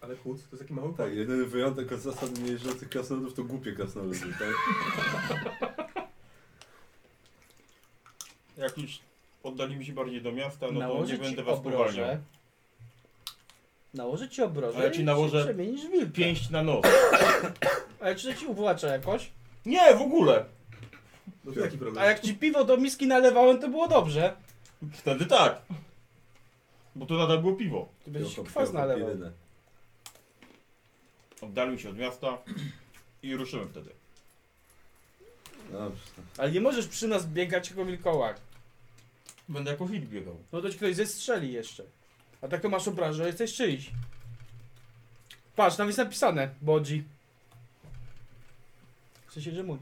Speaker 6: Ale kuc to jest taki mały
Speaker 1: tak,
Speaker 6: koń.
Speaker 1: jedyny wyjątek od zasad niejeżdżących krasnodów to głupie krasnoludy, tak?
Speaker 3: Jak już oddalimy się bardziej do miasta, no to nie
Speaker 5: Nałożyć
Speaker 3: będę
Speaker 5: ci
Speaker 3: was powalniał.
Speaker 5: obroże. Nałożyć ci obroże
Speaker 3: A ja ci
Speaker 5: i
Speaker 3: nałożę
Speaker 5: się przemienisz w wilka.
Speaker 3: Pięść na nos.
Speaker 5: Ale czy to ci uwłacza jakoś?
Speaker 3: Nie, w ogóle!
Speaker 6: No
Speaker 1: Tak.
Speaker 6: to jaki
Speaker 5: A
Speaker 6: problem?
Speaker 5: jak ci piwo do miski nalewałem, to było dobrze.
Speaker 3: Wtedy tak. Bo to nadal było piwo.
Speaker 5: Ty będziesz
Speaker 1: Piłką,
Speaker 5: kwas
Speaker 1: piłką,
Speaker 5: nalewał.
Speaker 1: pirynę.
Speaker 3: Oddalmy się od miasta i ruszymy wtedy.
Speaker 1: Dobrze.
Speaker 5: Ale nie możesz przy nas biegać jako wilkołak.
Speaker 3: Będę jako wilk biegał.
Speaker 5: No to ci ktoś zestrzeli jeszcze. A tak to masz obrażę, że jesteś czyjś. Patrz, tam jest napisane. Bodzi. W sensie, że mój.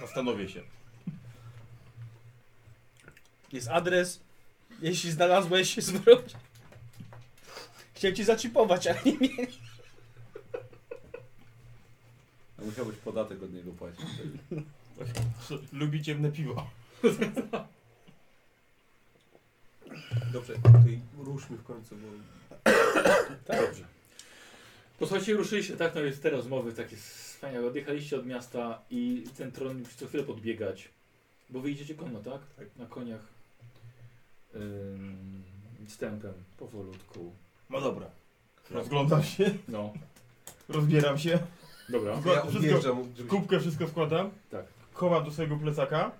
Speaker 3: Zastanowię się.
Speaker 5: Jest adres. Jeśli znalazłeś się zwróć. Chciałem ci zaczipować, ale nie miałem.
Speaker 1: A musiałbyś podatek od niego płacić.
Speaker 3: Lubi ciemne piwo.
Speaker 6: Dobrze, to i ruszmy w końcu, bo...
Speaker 2: Dobrze. Posłuchajcie, ruszyliście, tak? No jest te rozmowy takie wspaniałe. Odjechaliście od miasta i ten tron musi co chwilę podbiegać. Bo wy idziecie konno, tak?
Speaker 6: Tak.
Speaker 2: Na koniach. ym, wstępem, powolutku.
Speaker 3: No dobra. Rozglądam się,
Speaker 2: No,
Speaker 3: rozbieram się.
Speaker 2: dobra.
Speaker 3: Wkład-
Speaker 6: Ja
Speaker 3: wszystko,
Speaker 6: odjeżdżam, żeby-
Speaker 3: kubkę wszystko wkładam.
Speaker 2: Tak.
Speaker 3: Chowam do swojego plecaka.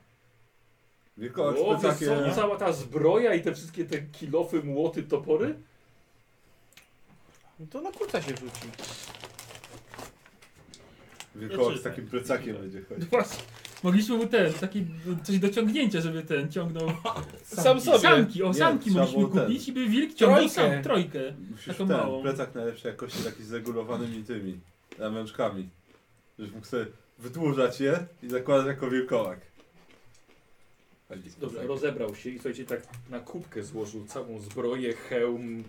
Speaker 1: Wilkołak
Speaker 2: O,
Speaker 1: z
Speaker 2: wiesz co,
Speaker 1: plecakiem.
Speaker 2: cała ta zbroja i te wszystkie te kilofy, młoty, topory?
Speaker 5: No to na kurca się rzuci.
Speaker 1: Wilkołak z takim plecakiem będzie chodził.
Speaker 4: No Właśnie. Mogliśmy mu ten, taki, coś do ciągnięcia, żeby ten ciągnął.
Speaker 5: Sam sobie.
Speaker 4: Samki, o
Speaker 1: Nie,
Speaker 4: samki
Speaker 1: trzeba
Speaker 4: mogliśmy
Speaker 1: było ten.
Speaker 4: kupić i by wilk ciągnął
Speaker 5: Trójkę.
Speaker 4: sam, trójkę.
Speaker 1: Musisz
Speaker 4: Taką
Speaker 1: ten
Speaker 4: małą.
Speaker 1: plecak najlepszej jakości taki z regulowanymi tymi ramionczkami. Żebyś mógł sobie wydłużać je i zakładać jako wilkołak. Taki z
Speaker 2: Dobrze,
Speaker 1: plecakiem.
Speaker 2: rozebrał się i słuchajcie, tak na kubkę złożył całą zbroję, hełm,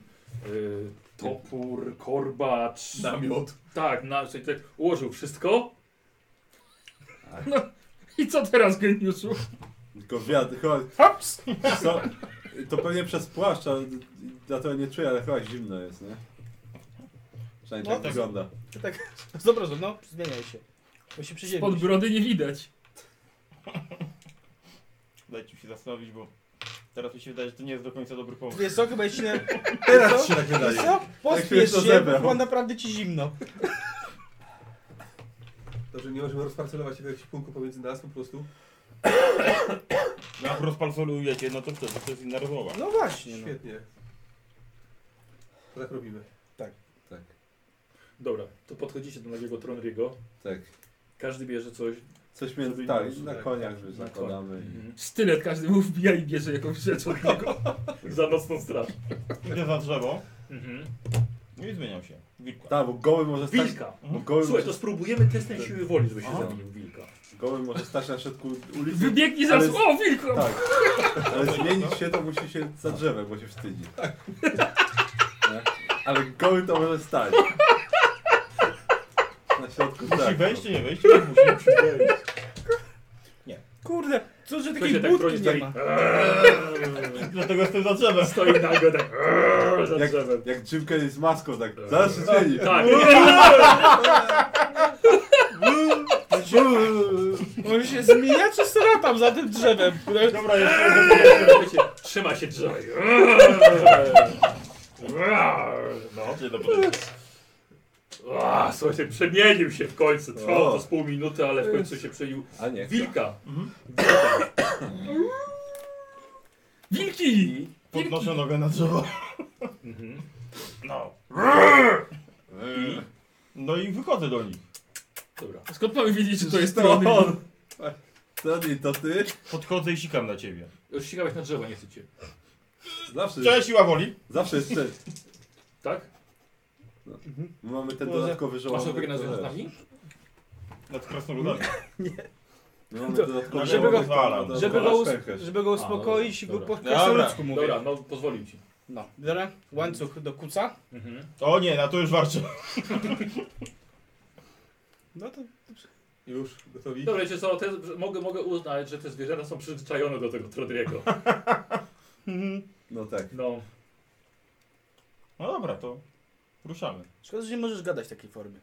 Speaker 2: y, topór, korbacz.
Speaker 1: Namiot.
Speaker 2: Tak, na, słuchajcie, tak ułożył wszystko.
Speaker 4: I co teraz, geniuszu?
Speaker 1: Tylko wiatr, chyba... Co? To pewnie przez płaszcz, ale dlatego nie czuję, ale chyba zimno jest, nie? Przynajmniej
Speaker 5: No
Speaker 1: tak
Speaker 5: tak.
Speaker 1: wygląda.
Speaker 5: Zobaczmy, no, zmieniaj się. Bo się
Speaker 4: Pod
Speaker 5: przyziemić.
Speaker 4: brody nie widać.
Speaker 3: Dajcie mi się zastanowić, bo teraz mi się wydaje, że to nie jest do końca dobry pomysł.
Speaker 5: Wiesz co, chyba jeśli...
Speaker 1: Teraz się tak
Speaker 5: Wiesz
Speaker 1: wydaje.
Speaker 5: co?
Speaker 1: wiesz,
Speaker 5: Pospiesz
Speaker 1: to
Speaker 5: się, bo
Speaker 1: zebrał.
Speaker 5: chyba naprawdę ci zimno.
Speaker 6: To, że nie możemy rozparcelować jakiegoś punktu pomiędzy nas po prostu.
Speaker 3: No, jak rozpalsolujecie, no to wtedy to jest inna rozmowa.
Speaker 5: No właśnie, no.
Speaker 6: Świetnie. To tak robimy.
Speaker 1: Tak,
Speaker 2: Dobra, to podchodzicie do nagiego Tronriego.
Speaker 1: tak.
Speaker 2: Każdy bierze coś.
Speaker 1: Coś między... Tak, na koniach już zakładamy.
Speaker 4: Sztylet każdy mu wbija i bierze jakąś rzecz od niego.
Speaker 2: Za nocną straż.
Speaker 3: Idę za drzewo
Speaker 2: Mhm.
Speaker 3: no i zmieniam się. Wilka.
Speaker 1: Tak, bo goły może stać...
Speaker 2: Wilka.
Speaker 1: Bo No goły,
Speaker 2: Słuchaj,
Speaker 1: może,
Speaker 2: to spróbujemy testem siły woli, żeby się
Speaker 1: Aha.
Speaker 2: zamienił w wilka.
Speaker 1: goły może stać na środku ulicy.
Speaker 4: Wybiegnie za...
Speaker 1: Ale-
Speaker 4: O, No wilko!
Speaker 1: Tak. Ale zmienić się to musi się za drzewem, bo się wstydzi. Nie? Ale goły to może stać. Na środku
Speaker 3: Musi
Speaker 1: tak.
Speaker 3: wejść czy nie wejść? Nie musi.
Speaker 5: Kurde, co, że
Speaker 2: Ktoś się tak
Speaker 5: takiej
Speaker 2: broni,
Speaker 5: budki nie
Speaker 2: stoi.
Speaker 5: ma.
Speaker 3: Dlatego jestem za drzewem.
Speaker 2: Stoi nago tak. Za
Speaker 1: Jak,
Speaker 2: drzewem.
Speaker 1: jak Jim Carrey z maską, tak. Zaraz się zmieni.
Speaker 2: Tak.
Speaker 5: On się zmienia, czy sra tam za tym drzewem? Kurde,
Speaker 3: Dobra, jest.
Speaker 2: Słuchajcie, Eee. Trzyma się drzewa.
Speaker 3: No, nie do podejścia.
Speaker 2: Eee. A, Słuchajcie, przemienił się w końcu. Trwało
Speaker 1: O.
Speaker 2: to z pół minuty, ale w końcu się przemienił.
Speaker 1: A nie.
Speaker 2: Wilka.
Speaker 4: Wilki!
Speaker 2: I...
Speaker 3: Podnoszę nogę na drzewo.
Speaker 2: Mhm.
Speaker 3: No. No i wychodzę do nich.
Speaker 2: Dobra.
Speaker 4: Skąd mamy wiedzieć, że to jest
Speaker 1: To
Speaker 4: trony?
Speaker 1: on. To nie, to ty.
Speaker 3: Podchodzę i sikam na ciebie.
Speaker 2: Już ścigałeś na drzewo, nie chcecie.
Speaker 1: Zawsze,
Speaker 3: Cześć, siła woli.
Speaker 1: zawsze jest ten.
Speaker 2: Tak?
Speaker 1: Mamy ten
Speaker 5: Może-
Speaker 1: dodatkowy żołądek.
Speaker 2: Masz opiekę na związkami?
Speaker 3: Nad krasnoludami.
Speaker 1: Mamy
Speaker 5: To-
Speaker 1: dodatkowy
Speaker 5: żeby go-
Speaker 1: żołądek.
Speaker 5: Żeby
Speaker 1: Dobra,
Speaker 5: go, us
Speaker 1: szczękę.
Speaker 5: żeby go uspokoić
Speaker 2: A,
Speaker 5: i
Speaker 2: dobra,
Speaker 5: go po
Speaker 3: dobra.
Speaker 5: krasnoludzku mówię.
Speaker 2: Dobra, no pozwolił ci.
Speaker 5: No, biorę łańcuch do kuca.
Speaker 2: Mhm.
Speaker 3: O nie, na to już warczę.
Speaker 5: No to
Speaker 6: Już, gotowi?
Speaker 2: Dobra, wiecie co, te, mogę, mogę uznać, że te zwierzęta są przyzwyczajone do tego Trodriego.
Speaker 1: No tak.
Speaker 2: No.
Speaker 3: No dobra, to ruszamy.
Speaker 5: szkoda, że nie możesz gadać w takiej formie.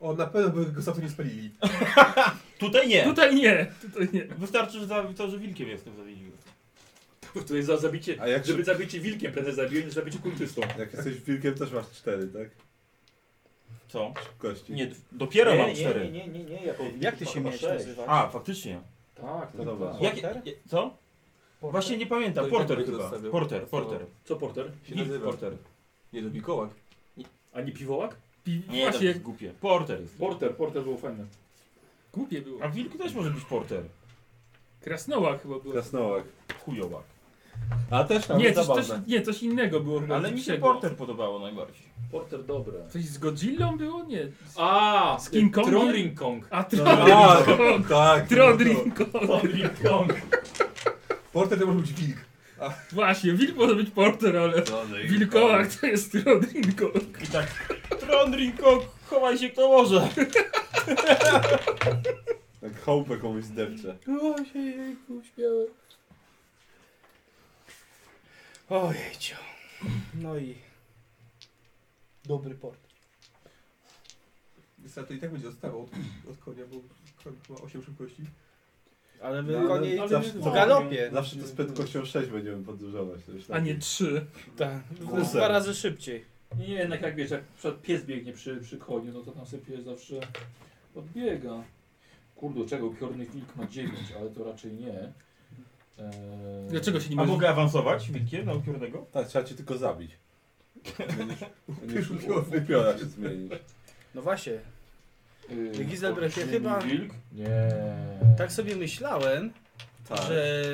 Speaker 6: O, na pewno by go za to nie spalili.
Speaker 3: Tutaj nie.
Speaker 4: Tutaj nie, tutaj nie.
Speaker 3: Wystarczy, że za, to, że wilkiem jestem zawinił.
Speaker 2: Tutaj za zabicie,
Speaker 1: A jak
Speaker 2: żeby zabicie wilkiem prędzej zabiję niż zabicie kultystą.
Speaker 1: Jak jesteś wilkiem, też masz cztery, tak?
Speaker 3: Co?
Speaker 1: Kości.
Speaker 3: Nie, dopiero mam cztery.
Speaker 10: Nie, nie, nie, nie, ja powinien-
Speaker 5: Jak ty się
Speaker 10: chyba
Speaker 5: miałeś
Speaker 10: sześć.
Speaker 5: nazywać?
Speaker 3: A, faktycznie.
Speaker 2: Tak,
Speaker 1: No
Speaker 2: tak.
Speaker 1: dobra.
Speaker 3: Jak,
Speaker 5: Porter?
Speaker 3: je- co? Właśnie nie pamiętam.
Speaker 6: To i tak
Speaker 3: Porter
Speaker 6: będzie
Speaker 3: chyba.
Speaker 6: zostawiał.
Speaker 3: Porter,
Speaker 6: Co?
Speaker 3: porter.
Speaker 2: Co Porter?
Speaker 6: Się
Speaker 3: Nick
Speaker 6: nazywa.
Speaker 3: Porter.
Speaker 6: Nie, to Mikołak.
Speaker 2: Ani piwołak?
Speaker 4: Pi... no
Speaker 3: Nie, to
Speaker 4: Właśnie,
Speaker 3: jest głupie. Porter jest.
Speaker 2: Porter, Porter był fajny.
Speaker 4: głupie było.
Speaker 3: A w wilku też może być porter.
Speaker 4: Krasnoła chyba była.
Speaker 1: Krasnołak.
Speaker 3: Chujowak.
Speaker 1: A też tam
Speaker 4: Nie
Speaker 1: jest
Speaker 4: coś,
Speaker 1: zabawne.
Speaker 4: coś, nie, coś innego było chyba.
Speaker 3: Ale mi się
Speaker 4: większego.
Speaker 3: porter podobało najbardziej.
Speaker 2: Porter dobre.
Speaker 4: Coś z Godzillą było? Nie.
Speaker 2: A,
Speaker 4: Z King Kongiem?
Speaker 2: Tron Ring Kong.
Speaker 4: A
Speaker 1: A,
Speaker 4: Trodring
Speaker 1: tak.
Speaker 4: Trodring
Speaker 2: Tron Ring Kong.
Speaker 6: Porter to może być wilk.
Speaker 4: Właśnie, wilk może być porter, ale
Speaker 3: no,
Speaker 4: wilkołak to jest Trodring
Speaker 3: I tak. Trondrinko, chowaj się kto może.
Speaker 1: Tak chałupę komuś zdepcze.
Speaker 5: O, się jejku, śmiałem. Ojejcio. No i... Dobry port.
Speaker 6: Więc to i tak będzie odstawał od, od konia, bo koń ma 8 szybkości.
Speaker 5: Ale my
Speaker 1: No,
Speaker 5: konie
Speaker 1: ale
Speaker 5: zawsze,
Speaker 1: to-
Speaker 5: w galopie.
Speaker 1: Zawsze to z prędkością 6 będziemy podróżować. to już
Speaker 4: A nie
Speaker 1: tak.
Speaker 4: trzy.
Speaker 5: Tak,
Speaker 1: Kusem.
Speaker 5: dwa razy szybciej.
Speaker 2: Nie, jednak jak wiesz, jak przed pies biegnie przy, przy koniu, no to tam sobie pies zawsze odbiega. Kurde, czego piorny wilk ma 9, ale to raczej nie. Eee,
Speaker 4: Dlaczego się nie
Speaker 3: A
Speaker 4: może...
Speaker 3: mogę awansować wilkiem na upiornego?
Speaker 1: Tak, trzeba cię tylko zabić. Będziesz upiora się zmienić.
Speaker 5: No właśnie,
Speaker 3: Y,
Speaker 2: Yy,
Speaker 5: Gizelbrecht, ja
Speaker 2: olbrzymi
Speaker 5: chyba-
Speaker 2: Wilk? Nie.
Speaker 5: tak sobie myślałem,
Speaker 1: Tak.
Speaker 5: że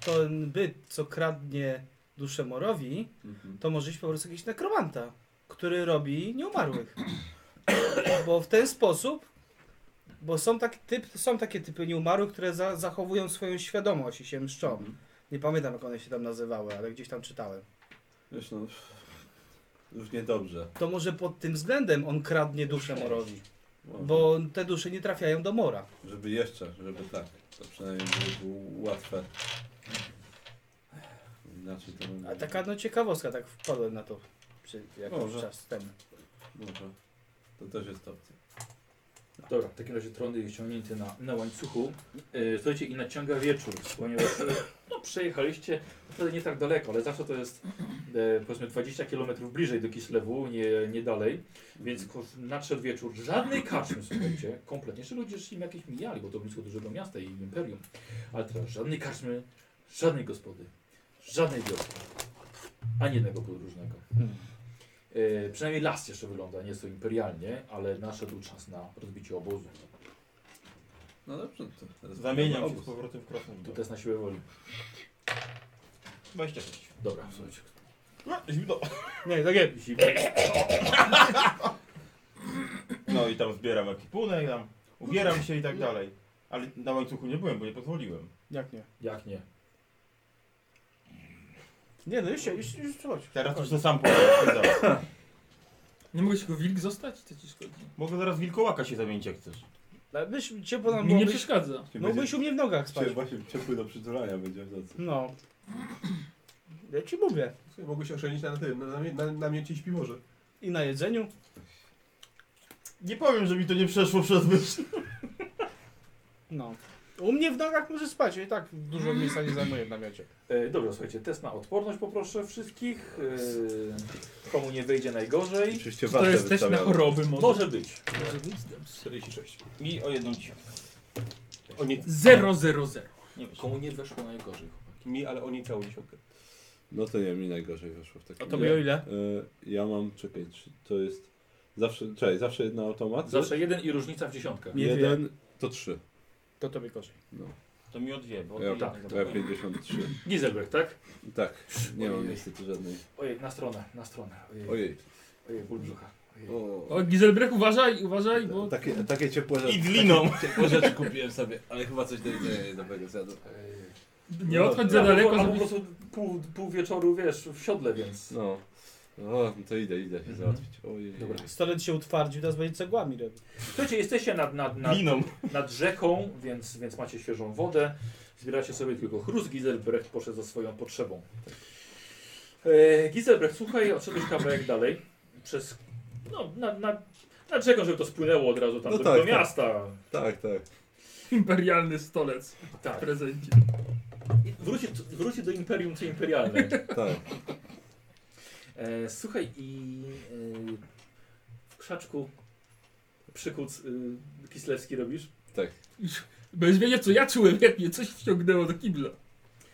Speaker 5: ten byt, co kradnie duszę morowi,
Speaker 1: Mhm.
Speaker 5: to może być po prostu jakiś nekromanta, który robi nieumarłych. Bo w ten sposób, bo są, tak typ, są takie typy nieumarłych, które za, zachowują swoją świadomość i się mszczą. Nie pamiętam jak one się tam nazywały, ale gdzieś tam czytałem.
Speaker 1: Wiesz, no... Już niedobrze.
Speaker 5: To może pod tym względem on kradnie duszę morowi,
Speaker 1: Może.
Speaker 5: bo te dusze nie trafiają do mora.
Speaker 1: Żeby jeszcze, żeby tak. To przynajmniej było, było łatwe. Inaczej to
Speaker 5: A
Speaker 1: będzie.
Speaker 5: taka no ciekawostka, tak wpadłem na to przy jakiś
Speaker 1: Może.
Speaker 5: czas temu.
Speaker 1: Może. To też jest opcja.
Speaker 2: Dobra, w takim razie tron jest ciągnięty na, na łańcuchu. Yy, słuchajcie, i naciąga wieczór, ponieważ yy, no, przejechaliście wtedy nie tak daleko, ale zawsze to jest e, powiedzmy 20 km bliżej do Kislewu, nie, nie dalej. Więc ko- nadszedł wieczór, żadnej kaczmy, słuchajcie, kompletnie. Jeszcze ludzie już im jakieś mijali, bo to blisko dużego miasta i imperium. Ale teraz żadnej kaczmy, żadnej gospody, żadnej wioski, ani jednego podróżnego. E, przynajmniej las jeszcze wygląda nieco imperialnie, ale nadszedł czas na rozbicie obozu.
Speaker 1: No dobrze, to teraz
Speaker 3: Zamieniam się
Speaker 1: obóz.
Speaker 3: z powrotem w krasnolud.
Speaker 2: Tu też na siłę woli.
Speaker 3: 26.
Speaker 2: Dobra, słuchajcie.
Speaker 3: A, No, Zimno.
Speaker 5: Nie, tak takie
Speaker 2: Zimno.
Speaker 3: No i tam zbieram ekipunek, tam ubieram się i tak dalej. Ale na łańcuchu nie byłem, bo nie pozwoliłem.
Speaker 5: Jak nie?
Speaker 2: Jak nie?
Speaker 5: Nie no już, się- już, już chodź.
Speaker 3: Teraz już to sam powiem.
Speaker 4: Nie mogłeś go wilk zostać? To ci szkodzi.
Speaker 3: Mogę zaraz w wilkołaka się zamienić jak chcesz.
Speaker 5: Ale byś ciepło nam
Speaker 4: Mi nie
Speaker 5: byłobyś,
Speaker 4: przeszkadza.
Speaker 1: Ci będzie-
Speaker 5: mógłbyś No, u mnie w nogach spać.
Speaker 1: Cię właśnie ciepły do przytulania będzie w nocy.
Speaker 5: No. Ja ci mówię.
Speaker 6: Mogły się oszczędzić na tym, na, namie- na, na mięcie i śpiworze.
Speaker 5: I na jedzeniu.
Speaker 3: Nie powiem, że mi to nie przeszło przez myśl.
Speaker 5: No. U mnie w nogach może spać, ja i tak dużo miejsca nie zajmuję w namiocie.
Speaker 2: E, dobra, słuchajcie, test na odporność poproszę wszystkich. E, komu nie wyjdzie najgorzej.
Speaker 1: Oczywiście
Speaker 4: Czy to
Speaker 1: wasze
Speaker 4: jest też na
Speaker 1: wystawiamy.
Speaker 4: choroby może?
Speaker 2: Może być.
Speaker 6: 46.
Speaker 3: Mi o jedną dzisiaj.
Speaker 6: O nie,
Speaker 4: Zero, zero, zero.
Speaker 3: Nie wiesz.
Speaker 2: Komu nie weszło najgorzej.
Speaker 6: mi, ale o nie całą dziesiątkę.
Speaker 1: No to nie, mi najgorzej wyszło w takim
Speaker 5: A tobie o ile?
Speaker 1: Y, Ja mam, czekaj, czy to jest. Zawsze, czekaj, zawsze jedna automat?
Speaker 2: Zawsze jeden i różnica w dziesiątkę.
Speaker 5: Nie
Speaker 1: jeden, to trzy.
Speaker 5: To tobie gorzej.
Speaker 3: To mi o dwie, bo
Speaker 1: Ja,
Speaker 2: tak,
Speaker 1: ja 53.
Speaker 2: Gizelberg, tak?
Speaker 1: Tak, nie mam
Speaker 2: Ojej.
Speaker 1: niestety żadnej.
Speaker 2: Ojej, na stronę, na stronę. Ojej,
Speaker 1: Ojej.
Speaker 2: ojej ból brzucha. Ojej.
Speaker 1: O,
Speaker 4: O, Gizelbrecht, uważaj, uważaj, bo...
Speaker 1: takie, takie ciepłe rzeczy.
Speaker 3: I gliną.
Speaker 1: Takie ciepłe rzeczy kupiłem sobie, ale chyba coś do jedzenia dobrego zjadłem.
Speaker 2: Ojej.
Speaker 4: Nie
Speaker 1: Tak.
Speaker 4: odchodź za
Speaker 2: Albo-
Speaker 4: daleko,
Speaker 2: Tak. albo po
Speaker 4: żebyś...
Speaker 2: prostu pół, pół wieczoru, wiesz, w siodle, więc...
Speaker 1: No. O, no to idę, idę się
Speaker 2: Mhm.
Speaker 1: załatwić. Ojej.
Speaker 2: Dobra.
Speaker 5: Stolet się utwardził, teraz będzie cegłami robił.
Speaker 2: Słuchajcie, jesteście nad, nad, nad,
Speaker 3: Gliną.
Speaker 2: nad rzeką, więc, więc macie świeżą wodę. Zbieracie sobie tylko chrust. Gizelbrecht poszedł za swoją potrzebą. E, Gizelbrecht, słuchaj, odszedłeś kawałek dalej. Przez. No, nad, nad, nad rzeką, żeby to spłynęło od razu tam
Speaker 1: No
Speaker 2: do,
Speaker 1: tak,
Speaker 2: do
Speaker 1: tak.
Speaker 2: miasta.
Speaker 1: Tak, tak.
Speaker 4: Imperialny stolec w
Speaker 2: Tak.
Speaker 4: prezencie.
Speaker 2: I Wróci, wróci do imperium, co imperialne.
Speaker 1: Tak.
Speaker 2: E, słuchaj, i e, w krzaczku przykuc e, kislewski robisz?
Speaker 1: Tak.
Speaker 4: Już Bez wiedzieć co ja czułem, jak mnie coś wciągnęło do kibla.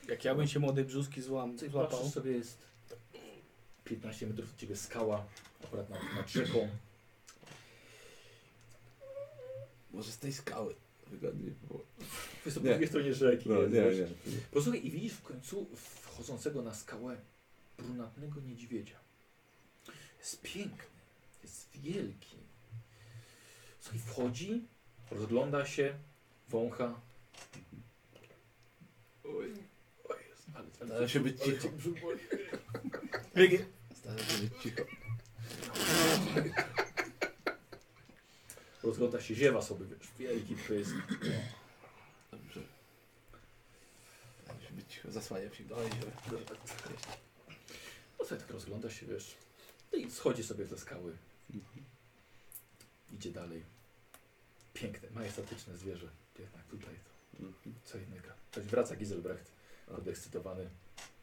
Speaker 5: Jak ja bym się młodej brzuski złam,
Speaker 2: Ty
Speaker 5: złapał.
Speaker 2: patrzysz sobie jest 15 metrów od ciebie skała, akurat nad, nad rzeką.
Speaker 1: Może z tej skały. Wygodniej było.
Speaker 2: Jest to po
Speaker 1: Nie.
Speaker 2: drugiej stronie rzeki.
Speaker 1: No,
Speaker 2: jest,
Speaker 1: nie,
Speaker 2: wiesz.
Speaker 1: nie.
Speaker 2: Posłuchaj, i widzisz w końcu wchodzącego na skałę brunatnego niedźwiedzia. Jest piękny, jest wielki. Słuchaj, wchodzi, rozgląda się, wącha. Oj, oj, jest, ale, ale,
Speaker 1: Stara się być
Speaker 2: ale
Speaker 1: cicho.
Speaker 2: cię brzuch boli.
Speaker 1: Stara się być cicho.
Speaker 2: Rozgląda się, ziewa sobie, wiesz, wielki pysk.
Speaker 1: Dobrze. Stara się być cicho. Zasłaniam się. Dalej,
Speaker 2: No sobie tak rozgląda się, wiesz. No i schodzi sobie ze skały. Idzie dalej. Piękne, majestatyczne zwierzę. Jednak tutaj to. Co innego. Ktoś wraca Giselbrecht, podekscytowany.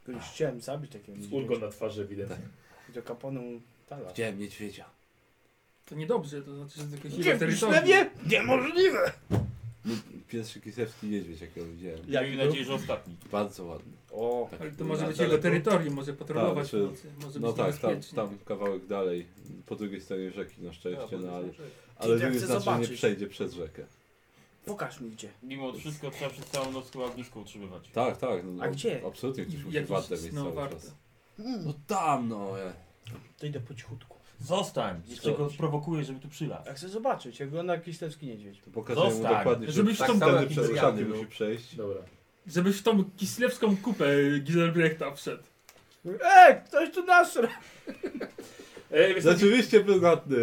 Speaker 5: Już chciałem zabić takiego
Speaker 2: Z ulgą na twarzy
Speaker 4: Tak.
Speaker 2: ewidentnie.
Speaker 5: Do kaponu tala.
Speaker 11: Chciałem niedźwiedzia.
Speaker 4: To niedobrze, to znaczy, że to jakieś
Speaker 5: Gdzie
Speaker 4: inne
Speaker 5: w
Speaker 4: terytorium.
Speaker 5: Wiślewie? Niemożliwe!
Speaker 11: Pierwszy kisewski niedźwiedź, jakiego widziałem.
Speaker 4: Jak Miejmy był? nadzieję, tak-
Speaker 3: że ostatni.
Speaker 11: Bardzo ładny.
Speaker 5: O,
Speaker 4: Ale to może być jego terytorium, może patrolować
Speaker 1: Tak, czy-
Speaker 4: w nocy, może
Speaker 1: no
Speaker 4: być
Speaker 1: tak, tam,
Speaker 4: niebezpiecznie.
Speaker 1: tam kawałek dalej, po drugiej stronie rzeki na
Speaker 3: A, po
Speaker 1: szczęście,
Speaker 3: drugiej
Speaker 1: no ale,
Speaker 3: stronie rzeki.
Speaker 1: ale
Speaker 5: Ja
Speaker 1: nie
Speaker 5: chcę
Speaker 1: znaczy, że nie
Speaker 5: zobaczyć.
Speaker 1: przejdzie przez rzekę.
Speaker 5: Pokaż mi gdzie.
Speaker 3: Mimo wszystko trzeba przez całą noc chyba ognisko utrzymywać.
Speaker 1: Tak, tak. No,
Speaker 5: A gdzie?
Speaker 1: Absolutnie, ktoś musi
Speaker 4: Jakieś
Speaker 1: wartę mieć
Speaker 4: no,
Speaker 1: cały
Speaker 4: warte.
Speaker 1: czas. Mm.
Speaker 11: No tam no. ja-
Speaker 5: To idę po cichutku.
Speaker 3: Zostań! Jeszcze go prowokuję, żeby tu przylazł.
Speaker 5: Ja chcę zobaczyć, jak wygląda kislewski niedźwiedź.
Speaker 1: Pokazuję mu
Speaker 3: Zostań.
Speaker 1: dokładnie,
Speaker 4: Żebyś
Speaker 1: tak
Speaker 4: tą
Speaker 1: samo
Speaker 4: drogę
Speaker 1: jak przez
Speaker 4: zjadł.
Speaker 1: szatnię musi przejść.
Speaker 2: Dobra.
Speaker 4: Żebyś w tą kislewską kupę Giselbrechta wszedł.
Speaker 5: Ej, ktoś tu nasra!
Speaker 2: E, więc
Speaker 1: Rzeczywiście brunatny.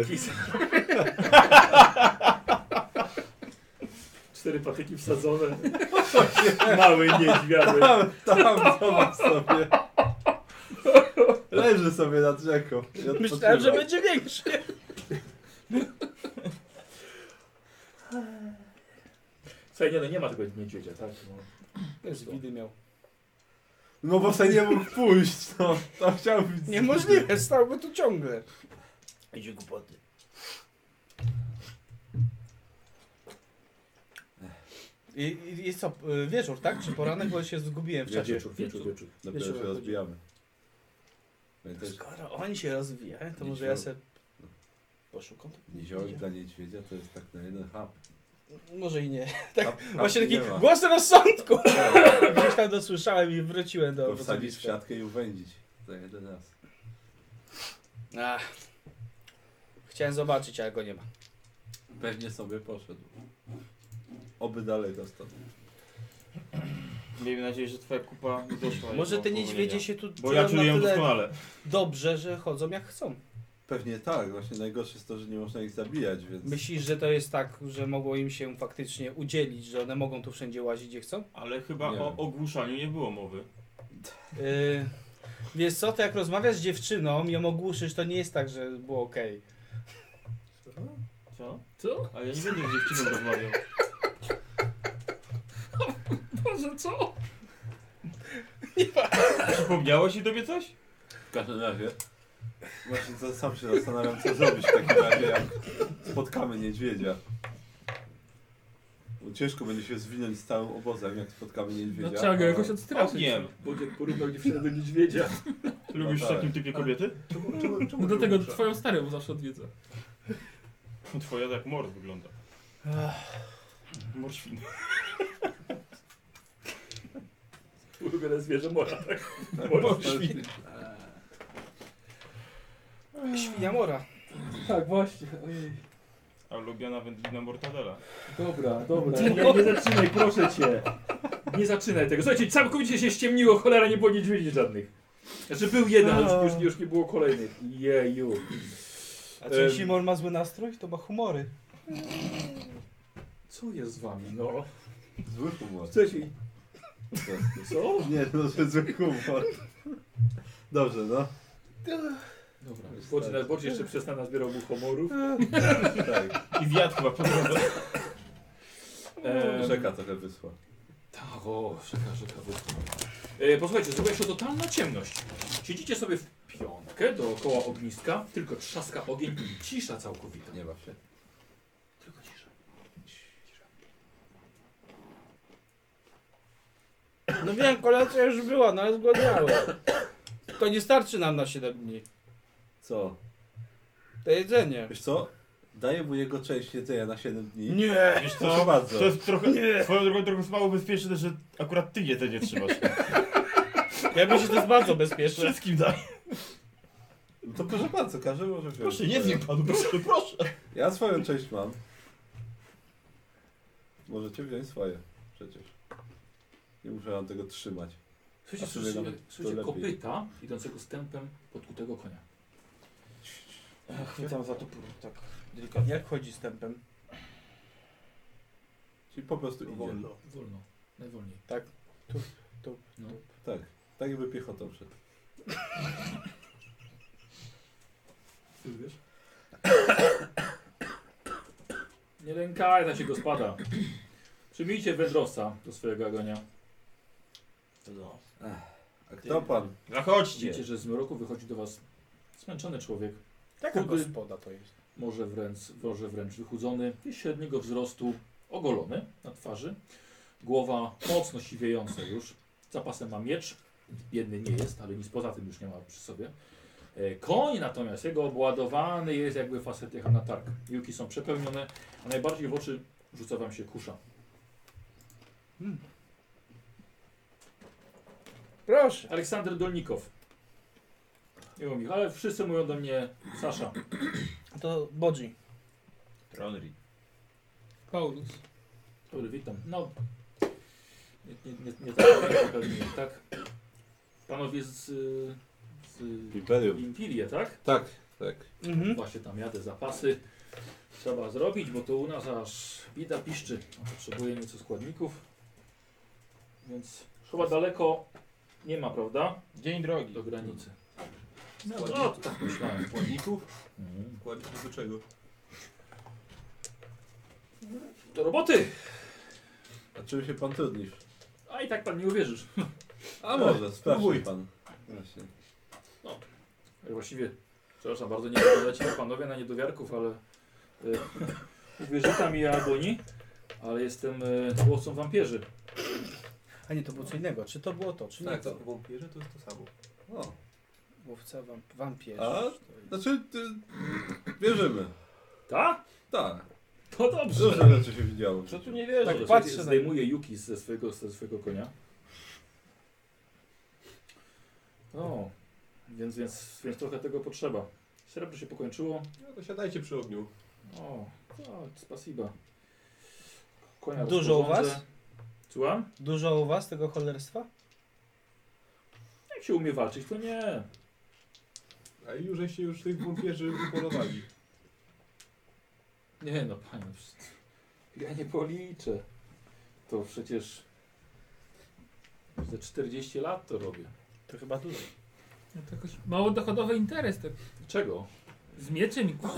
Speaker 2: cztery patyki wsadzone. Mały niedźwiadek.
Speaker 1: Tam, zobacz sobie. Leży sobie nad rzeką. i odpoczywa.
Speaker 5: Myślałem, że będzie większy.
Speaker 2: Słuchaj, nie, no nie ma tego niedźwiedzia, tak? No.
Speaker 5: Z widy miał.
Speaker 1: No bo sobie nie mógł pójść, no. To chciał być...
Speaker 5: Niemożliwe, stałby tu ciągle.
Speaker 10: Idzie głupoty.
Speaker 5: I, i, i co, y, wieczór, tak? Czy poranek, bo się zgubiłem w czasie.
Speaker 2: Wieczór, wieczór, wieczór.
Speaker 1: Dopiero
Speaker 5: Wieczorem
Speaker 1: się rozbijamy. Pamiętasz,
Speaker 5: Skoro oni się rozwijają, to
Speaker 1: Wieczór.
Speaker 5: może ja se poszukam.
Speaker 1: niziołek dla niedźwiedzia to jest tak na jeden hap.
Speaker 5: Może i nie.
Speaker 1: Hap- hap
Speaker 5: Tak, Właśnie taki
Speaker 1: No, nie ma.
Speaker 5: głos rozsądku! Gdzieś tam dosłyszałem i wróciłem do
Speaker 1: Tylko wsadzić w
Speaker 5: obozowiska.
Speaker 1: siatkę i uwędzić. Za jeden raz.
Speaker 5: Ach. Chciałem zobaczyć, ale go nie ma.
Speaker 1: Pewnie sobie poszedł. Oby dalej dostał.
Speaker 3: Miejmy nadzieję, że twoja kupa nie doszła.
Speaker 5: Może
Speaker 3: jego
Speaker 5: te niedźwiedzie
Speaker 3: powinienia.
Speaker 5: się tu
Speaker 3: Bo ja
Speaker 5: czują
Speaker 3: czuję
Speaker 5: na
Speaker 3: ją
Speaker 1: No
Speaker 5: tyle
Speaker 3: doskonale.
Speaker 5: dobrze, że chodzą jak chcą.
Speaker 1: Pewnie tak, właśnie najgorsze jest to, że nie można ich zabijać, więc...
Speaker 5: Myślisz, że to jest tak, że mogło im się faktycznie udzielić, że one mogą tu wszędzie łazić, gdzie chcą?
Speaker 3: Ale chyba
Speaker 1: Nie.
Speaker 3: o ogłuszaniu nie było mowy.
Speaker 5: Yy, wiesz co, to jak rozmawiasz z dziewczyną i ją ogłuszysz, to nie jest tak, że było okej.
Speaker 3: Co?
Speaker 4: Co?
Speaker 3: A ja nie będę z dziewczyną rozmawiał.
Speaker 4: Boże, co?
Speaker 3: Przypomniało się tobie coś?
Speaker 1: W każdym razie... Właśnie to sam się zastanawiam, co zrobić w takim razie, jak spotkamy niedźwiedzia. Bo ciężko będzie się zwinąć z całym obozem, jak spotkamy niedźwiedzia.
Speaker 4: No trzeba go
Speaker 1: a-
Speaker 4: jakoś odstraszyć. No
Speaker 3: Ogniem.
Speaker 2: Bodziek porównał dziewczynę do niedźwiedzia.
Speaker 3: Lubisz w
Speaker 1: tak.
Speaker 3: takim typie kobiety?
Speaker 6: Czemu, czemu, czemu
Speaker 4: No do tego
Speaker 6: muszę?
Speaker 4: twoją starą zawsze odwiedza.
Speaker 3: Twoja tak mord wygląda. Morświn.
Speaker 2: Ulubione zwierzę mora, tak?
Speaker 1: Tak,
Speaker 2: Boże,
Speaker 1: to-
Speaker 5: Świnia mora.
Speaker 2: Tak, właśnie. Ojej.
Speaker 3: A lubiana wędlina mortadela.
Speaker 2: Dobra, dobra. Nie, nie zaczynaj, proszę cię. Nie zaczynaj tego. Słuchajcie, całkowicie się ściemniło, cholera, nie było niedźwiedzi żadnych. Znaczy był jeden, ale już, już nie było kolejnych. Jeju.
Speaker 5: A
Speaker 2: Em.
Speaker 5: czy jeśli mor ma zły nastrój, to ma humory.
Speaker 2: Co jest z wami, no?
Speaker 1: Zły humor.
Speaker 2: Co się... Co?
Speaker 1: Nie, no że zły humor. Dobrze, no.
Speaker 2: Dobra, Bodzi, na- Bodzi jeszcze przez nas zbierał mu humorów.
Speaker 1: Tak.
Speaker 3: I wiatr chyba po drodze.
Speaker 2: Em,
Speaker 1: Rzeka trochę wyschła.
Speaker 2: Tak, o, rzeka, rzeka wyschła. E, posłuchajcie, zrobiła się totalna ciemność. Siedzicie sobie w piątkę dookoła ogniska, tylko trzaska ogień i cisza całkowita.
Speaker 1: Nie baw się.
Speaker 2: Tylko cisza. Cisza.
Speaker 5: No wiem, kolacja już była, no ale zgłodniałem. To nie starczy nam na 7 dni.
Speaker 1: Co?
Speaker 5: To jedzenie.
Speaker 1: Wiesz co? Daję mu jego część jedzenia na 7 dni.
Speaker 5: Nie!
Speaker 3: Wiesz
Speaker 1: Proszę
Speaker 3: co?
Speaker 1: bardzo.
Speaker 3: To jest trochę, nie. swoją drogą trochę jest mało bezpieczne, że akurat ty jedzenie trzymasz.
Speaker 5: Ja myślę, że to jest bardzo bezpieczne.
Speaker 3: Wszystkim daj.
Speaker 1: No To proszę bardzo, każdy może wziąć.
Speaker 3: Proszę, nie zjem panu, proszę, proszę.
Speaker 1: Ja swoją część mam. Możecie wziąć swoje. Przecież. Nie muszę wam tego trzymać.
Speaker 2: Słuchajcie,
Speaker 1: A sobie
Speaker 2: słyszycie,
Speaker 1: nawet to
Speaker 2: słyszycie
Speaker 1: lepiej.
Speaker 2: kopyta idącego stępem podkutego konia.
Speaker 3: Chwytam za topór, tak delikatnie.
Speaker 5: Jak chodzi z tempem?
Speaker 1: Czyli po prostu idzie.
Speaker 6: Wolno.
Speaker 2: Wolno, najwolniej.
Speaker 1: Tak. Tak jakby piechotą szedł.
Speaker 2: Ty wiesz? Nie lękaj, tam się go spada. Przyjmijcie wędrowca do swojego agonia.
Speaker 1: A kto pan?
Speaker 3: Zachodźcie.
Speaker 2: Widzicie, że z mroku wychodzi do was zmęczony człowiek.
Speaker 5: Taka
Speaker 2: Chudy,
Speaker 5: gospoda to jest.
Speaker 2: może wręcz, może wręcz wychudzony, jest średniego wzrostu, ogolony na twarzy, głowa mocno siwiejąca już, za pasem ma miecz, biedny nie jest, ale nic poza tym już nie ma przy sobie. E, Koń natomiast, jego obładowany jest jakby facet jechał na targ. Juki są przepełnione, a najbardziej w oczy rzuca wam się kusza.
Speaker 5: Hmm. Proszę.
Speaker 2: Aleksander Dolnikow. Jego mi, ale wszyscy mówią do mnie Sasza.
Speaker 5: To Bodzi.
Speaker 3: Ronri.
Speaker 4: Paulus.
Speaker 2: Dobry, witam. No, nie, nie, nie, nie tak, nie zapewniłem, tak? Panowie z, y, z
Speaker 1: Imperium.
Speaker 2: Impirie, tak?
Speaker 1: Tak, tak.
Speaker 5: Mhm.
Speaker 2: Właśnie tam jadę zapasy. Trzeba zrobić, bo to u nas aż bida piszczy. Potrzebuję nieco składników. Więc chyba daleko nie ma, prawda?
Speaker 3: Dzień drogi.
Speaker 2: Do granicy.
Speaker 4: No,
Speaker 2: o, tak myślałem.
Speaker 6: Składników?
Speaker 2: Mhm.
Speaker 6: Składników do czego?
Speaker 2: Do roboty!
Speaker 1: A czym się pan trudnisz?
Speaker 2: A i tak pan nie uwierzysz.
Speaker 1: A może, spróbuj
Speaker 6: spróbuj.
Speaker 1: pan. Właśnie.
Speaker 2: Ja Tak Właściwie, przepraszam, bardzo nie wyglądacie jak panowie na niedowiarków, ale y, uwierzyta mi Agoni, ale jestem y, głosą wampierzy.
Speaker 5: A nie, to było co innego. Czy to było to, czy nie
Speaker 6: Tak,
Speaker 5: to?
Speaker 6: to wampirze to jest to samo.
Speaker 1: O,
Speaker 5: Łowca wam, wampierz.
Speaker 1: A? znaczy, y, wierzymy.
Speaker 2: Tak?
Speaker 1: Tak.
Speaker 2: To dobrze.
Speaker 1: Dużo rzeczy się widziało.
Speaker 3: Co tu nie wiesz?
Speaker 5: Tak,
Speaker 2: Dobrze,
Speaker 5: patrzę
Speaker 2: słuchajcie,
Speaker 5: na-
Speaker 2: Zdejmuje Yuki ze swojego, ze swojego konia. O, więc, więc, więc trochę tego potrzeba. Srebro się pokończyło.
Speaker 6: No to siadajcie przy ogniu.
Speaker 2: O, tak, spasiba. Konia
Speaker 5: Dużo u
Speaker 2: rozporządzę.
Speaker 5: was?
Speaker 2: Słucham?
Speaker 5: Dużo u was tego cholerstwa?
Speaker 2: Jak się umie walczyć, to nie.
Speaker 6: A już żeście już tych wampierzy upolowali.
Speaker 2: Nie no, panie, no przecież ja nie policzę. To przecież ze 40 lat to robię.
Speaker 5: To chyba dużo.
Speaker 4: No to jakoś mało dochodowy interes tak.
Speaker 2: Czego?
Speaker 4: Z mieczem i kurwa.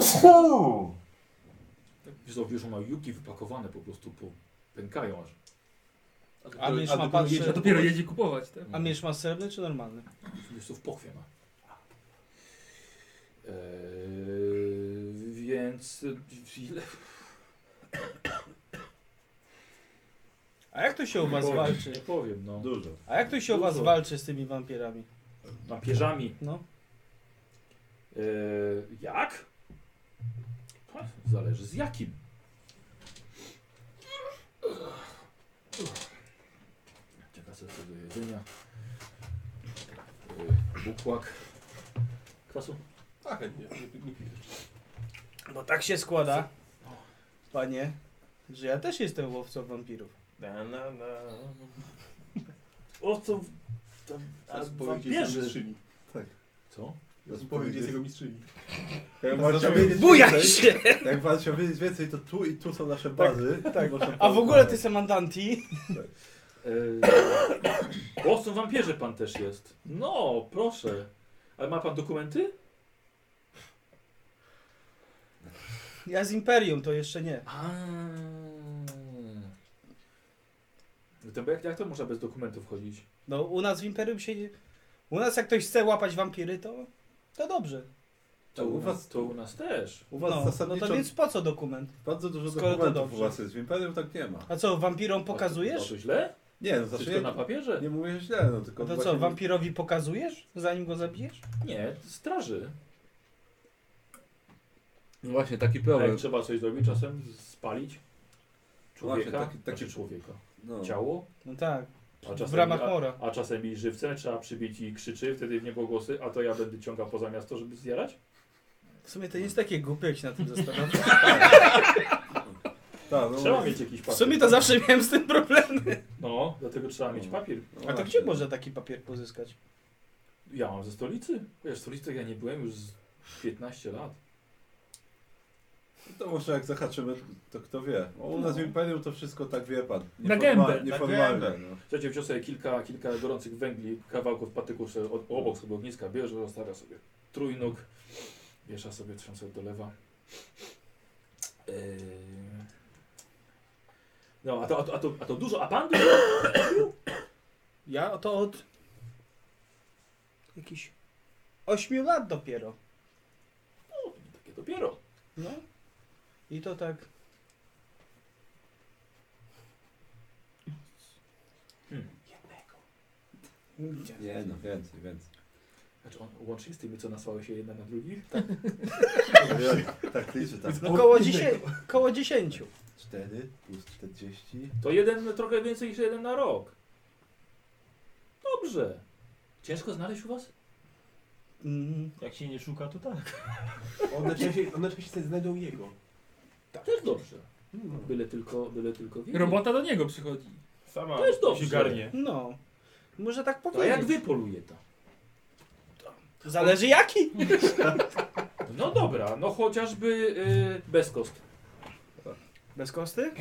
Speaker 2: Wiesz, co, wiesz, ona juki wypakowane po prostu po... pękają aż.
Speaker 5: A
Speaker 6: do-
Speaker 5: miecz
Speaker 6: a
Speaker 5: ma
Speaker 6: do-
Speaker 5: pan
Speaker 6: jedzie-
Speaker 4: A
Speaker 5: szer-
Speaker 4: dopiero jedzie kupować, tak?
Speaker 5: A miecz ma srebrny czy normalny?
Speaker 2: Wiesz, co w pochwie ma. Eee, więc ile?
Speaker 5: A jak to się u was
Speaker 2: powiem,
Speaker 5: walczy?
Speaker 2: Nie powiem, no.
Speaker 1: Dużo.
Speaker 5: A jak to się u was
Speaker 2: Dużo.
Speaker 5: walczy z tymi wampirami?
Speaker 2: Wampierzami.
Speaker 5: No.
Speaker 2: Eee, jak? Ha, Zależy z jakim. Czeka sobie do jedzenia. Eee, Bukłak. Kwasu?
Speaker 6: A chętnie, nie, nie pijesz.
Speaker 5: Bo tak się składa, panie, że ja też jestem łowcą wampirów.
Speaker 3: Na, na, na.
Speaker 2: O co? Tam,
Speaker 6: Teraz powiem, gdzie jest jego mistrzyni.
Speaker 2: Co?
Speaker 6: Teraz powiem, gdzie jest jego mistrzyni.
Speaker 1: Jak pan chciał wiedzieć
Speaker 5: Bujaj
Speaker 1: więcej-
Speaker 5: się!
Speaker 1: Jak pan chciał wiedzieć więcej, to tu i tu są nasze bazy. Tak,
Speaker 5: A w ogóle ty jestem Andanti.
Speaker 2: Yy, Eee, Głowcą wampierzy pan też jest. No, proszę. Ale ma pan dokumenty?
Speaker 5: Ja z Imperium, to jeszcze nie.
Speaker 2: No To jak, jak to można bez dokumentów chodzić?
Speaker 5: No u nas w Imperium się nie... U nas jak ktoś chce łapać wampiry, to... To dobrze.
Speaker 2: To u was, to u nas też.
Speaker 1: U was
Speaker 5: No, no
Speaker 1: zasadniczo
Speaker 5: to więc po co dokument?
Speaker 1: bardzo dużo
Speaker 5: skoro to
Speaker 1: dokumentów u
Speaker 5: dobrze.
Speaker 1: was jest. W Imperium tak nie ma.
Speaker 5: A co, wampirom
Speaker 2: A
Speaker 5: pokazujesz?
Speaker 2: to źle?
Speaker 1: Nie, no
Speaker 2: Wszystko
Speaker 1: znaczy
Speaker 2: na papierze?
Speaker 1: nie, nie mówię źle, no tylko
Speaker 5: A to co,
Speaker 1: właśnie-
Speaker 5: wampirowi pokazujesz, zanim go zabijesz?
Speaker 2: Nie, straży.
Speaker 11: No właśnie, taki
Speaker 2: A
Speaker 6: Tak,
Speaker 11: problem.
Speaker 2: jak trzeba coś zrobić, czasem spalić człowieka,
Speaker 1: Właśnie, taki- taki-
Speaker 2: znaczy człowieka.
Speaker 1: no.
Speaker 2: Ciało,
Speaker 5: No tak,
Speaker 2: a
Speaker 5: w
Speaker 2: czasem,
Speaker 5: ramach
Speaker 2: a,
Speaker 5: mora.
Speaker 2: a czasem i żywcem trzeba przybić i krzyczy, wtedy w niebo głosy, a to ja będę ciągał poza miasto, żeby zjarać?
Speaker 5: W sumie to nie jest takie głupie, jak się na tym zastanawiam.
Speaker 1: Tak, no,
Speaker 2: Trzeba mieć jakiś
Speaker 5: W
Speaker 2: papier.
Speaker 5: sumie to zawsze miałem z tym problemy.
Speaker 2: No, dlatego trzeba mieć papier.
Speaker 1: no
Speaker 5: A to
Speaker 1: właśnie.
Speaker 5: gdzie można taki papier pozyskać?
Speaker 2: Ja mam ze stolicy. Wiesz, w stolicy ja nie byłem już z 15 lat.
Speaker 1: To może jak zahaczymy, to kto wie. O, u
Speaker 5: No.
Speaker 1: nas w Imperium to wszystko tak wie pan.
Speaker 4: Na
Speaker 1: Nieforma-
Speaker 4: gębę.
Speaker 1: Nieformalne.
Speaker 3: Na
Speaker 1: no.
Speaker 2: Słuchajcie, wziął sobie kilka, kilka gorących węgli, kawałków patyków sobie od, obok sobie ogniska, bierze, zostawia sobie trójnóg, miesza sobie, trząsę dolewa. Eee, Yy. No, a to, a to, a to, a to dużo, a pan dużo?
Speaker 5: Ja to od jakichś 8 lat dopiero.
Speaker 2: Takie dopiero.
Speaker 5: No. I to tak. Jednego.
Speaker 11: Nie no, więcej, więcej.
Speaker 2: Znaczy on łącznie z tymi, co nasłały się jedna na drugich?
Speaker 11: Tak liczę, tak.
Speaker 5: No koło, dziesię- koło 10.
Speaker 11: 4 plus 40.
Speaker 2: To jeden, trochę więcej niż jeden na rok. Dobrze. Ciężko znaleźć u was?
Speaker 5: Mm,
Speaker 3: Jak się nie szuka, to tak.
Speaker 6: One częściej, one częściej znajdą jego.
Speaker 2: Tak. Też dobrze. Byle tylko, byle tylko wiedzieć.
Speaker 4: Robota do niego przychodzi.
Speaker 3: Sama
Speaker 2: To jest dobrze.
Speaker 3: się garnie.
Speaker 5: No. Może tak
Speaker 2: To
Speaker 5: powiedzieć.
Speaker 2: jak wy poluje to?
Speaker 5: Zależy jaki.
Speaker 2: No dobra, no chociażby y, bez kost.
Speaker 5: Bez kosty?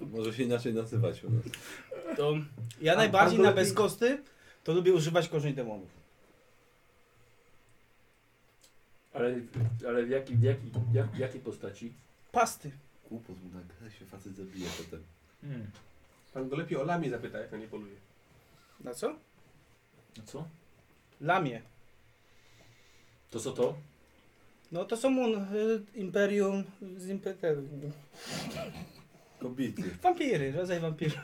Speaker 11: Może się inaczej nazywać u nas.
Speaker 5: To ja najbardziej na bez kosty to lubię używać korzeń demonów.
Speaker 2: Ale, ale w, jaki, w, jaki, jak, w jakiej postaci?
Speaker 5: Pasty.
Speaker 11: Głupot, bo nagle się facet zabije potem.
Speaker 2: Hmm.
Speaker 6: Pan go lepiej o lamię zapyta, jak na nie poluje.
Speaker 5: Na co?
Speaker 2: No co?
Speaker 5: Lamie.
Speaker 2: To co to?
Speaker 5: No to są on y, imperium z imperium.
Speaker 1: Kobity.
Speaker 5: Wampiry, rodzaj wampirów.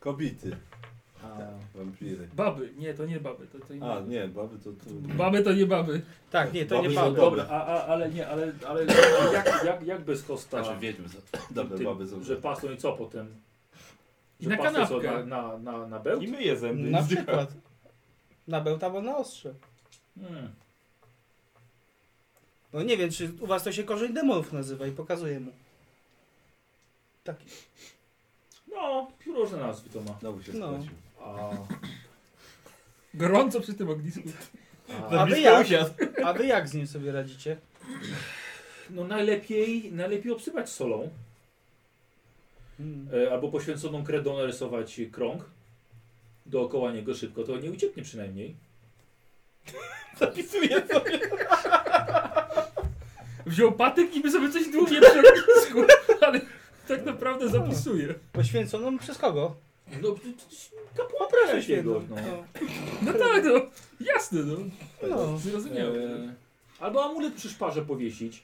Speaker 11: Kobity.
Speaker 2: A,
Speaker 1: Tak,
Speaker 11: Wampiry.
Speaker 4: Baby, nie, to nie baby, to, to nie
Speaker 11: A, nie, baby to... to...
Speaker 4: Baby to nie baby.
Speaker 5: Tak, nie, to
Speaker 11: Baby
Speaker 5: nie
Speaker 11: są
Speaker 5: baby.
Speaker 2: Dobra, a, a, ale nie, ale, ale jak, jak, jak bez kosta?
Speaker 11: Znaczy wiedźmy. Dobre
Speaker 2: Tym,
Speaker 11: baby są.
Speaker 2: że pasą i co potem?
Speaker 4: I
Speaker 2: Że
Speaker 4: na
Speaker 2: pasą co,
Speaker 4: kanapkę.
Speaker 2: Na, na, na, na bełt?
Speaker 3: I myje zęby.
Speaker 5: Na przykład. Na bełt albo na ostrze.
Speaker 2: Hmm.
Speaker 5: No nie wiem, czy u was to się korzeń demonów nazywa i pokazuję mu. Taki.
Speaker 2: No, różne nazwy to ma.
Speaker 11: Znowu się
Speaker 5: No.
Speaker 11: no.
Speaker 2: A,
Speaker 4: Gorąco przy tym ognisku.
Speaker 11: No.
Speaker 2: a,
Speaker 5: A wy, jak, a wy jak z nim sobie radzicie?
Speaker 2: no najlepiej, najlepiej obsypać solą.
Speaker 5: Hmm.
Speaker 2: E, albo poświęconą kredą narysować krąg dookoła niego szybko, to nie ucieknie przynajmniej.
Speaker 3: Zapisuję sobie.
Speaker 4: Wziął patyk i by sobie coś dłubie przy ognisku, ale tak naprawdę zapisuje.
Speaker 5: Poświęconą przez kogo?
Speaker 2: No, t- t- kapłan się go. No.
Speaker 4: No tak, no. Jasne, no.
Speaker 5: No,
Speaker 4: Zrozumiałem.
Speaker 2: E, albo amulet przy szparze powiesić.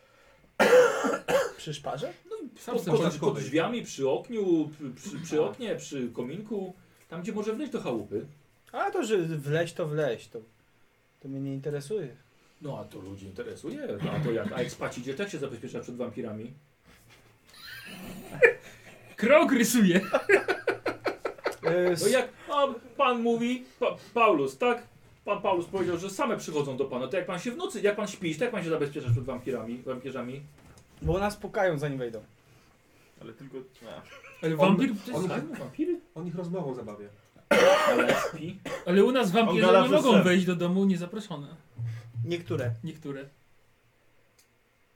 Speaker 5: przy szparze?
Speaker 4: Sam
Speaker 2: Pod,
Speaker 4: sobie
Speaker 2: pod, pod
Speaker 4: podatkowej.
Speaker 2: drzwiami, przy okniu, przy, przy, przy oknie, przy kominku. Tam, gdzie może wleźć do chałupy.
Speaker 5: A to, że wleź to wleź, to, to mnie nie interesuje.
Speaker 2: No a to ludzi interesuje. No, a to jak? A jak spać idzie, tak się zabezpiecza przed wampirami.
Speaker 4: Krok rysuje.
Speaker 5: E, s-
Speaker 2: No jak a pan mówi, pa, Paulus, tak? Pan Paulus powiedział, że same przychodzą do pana. To jak pan się w nocy, jak pan śpi, to jak pan się zabezpiecza przed wampirami, wampierzami?
Speaker 5: Bo nas pukają zanim wejdą.
Speaker 3: Ale tylko... A.
Speaker 4: Ale wampir...
Speaker 6: On-
Speaker 2: Tak, wampiry?
Speaker 6: On ich rozmową zabawia.
Speaker 2: Ale jak śpi.
Speaker 4: Ale u nas
Speaker 3: On gada
Speaker 4: wampirze nie
Speaker 3: przez
Speaker 4: mogą
Speaker 3: sen.
Speaker 4: wejść do domu niezaproszone.
Speaker 5: Niektóre.
Speaker 4: Niektóre.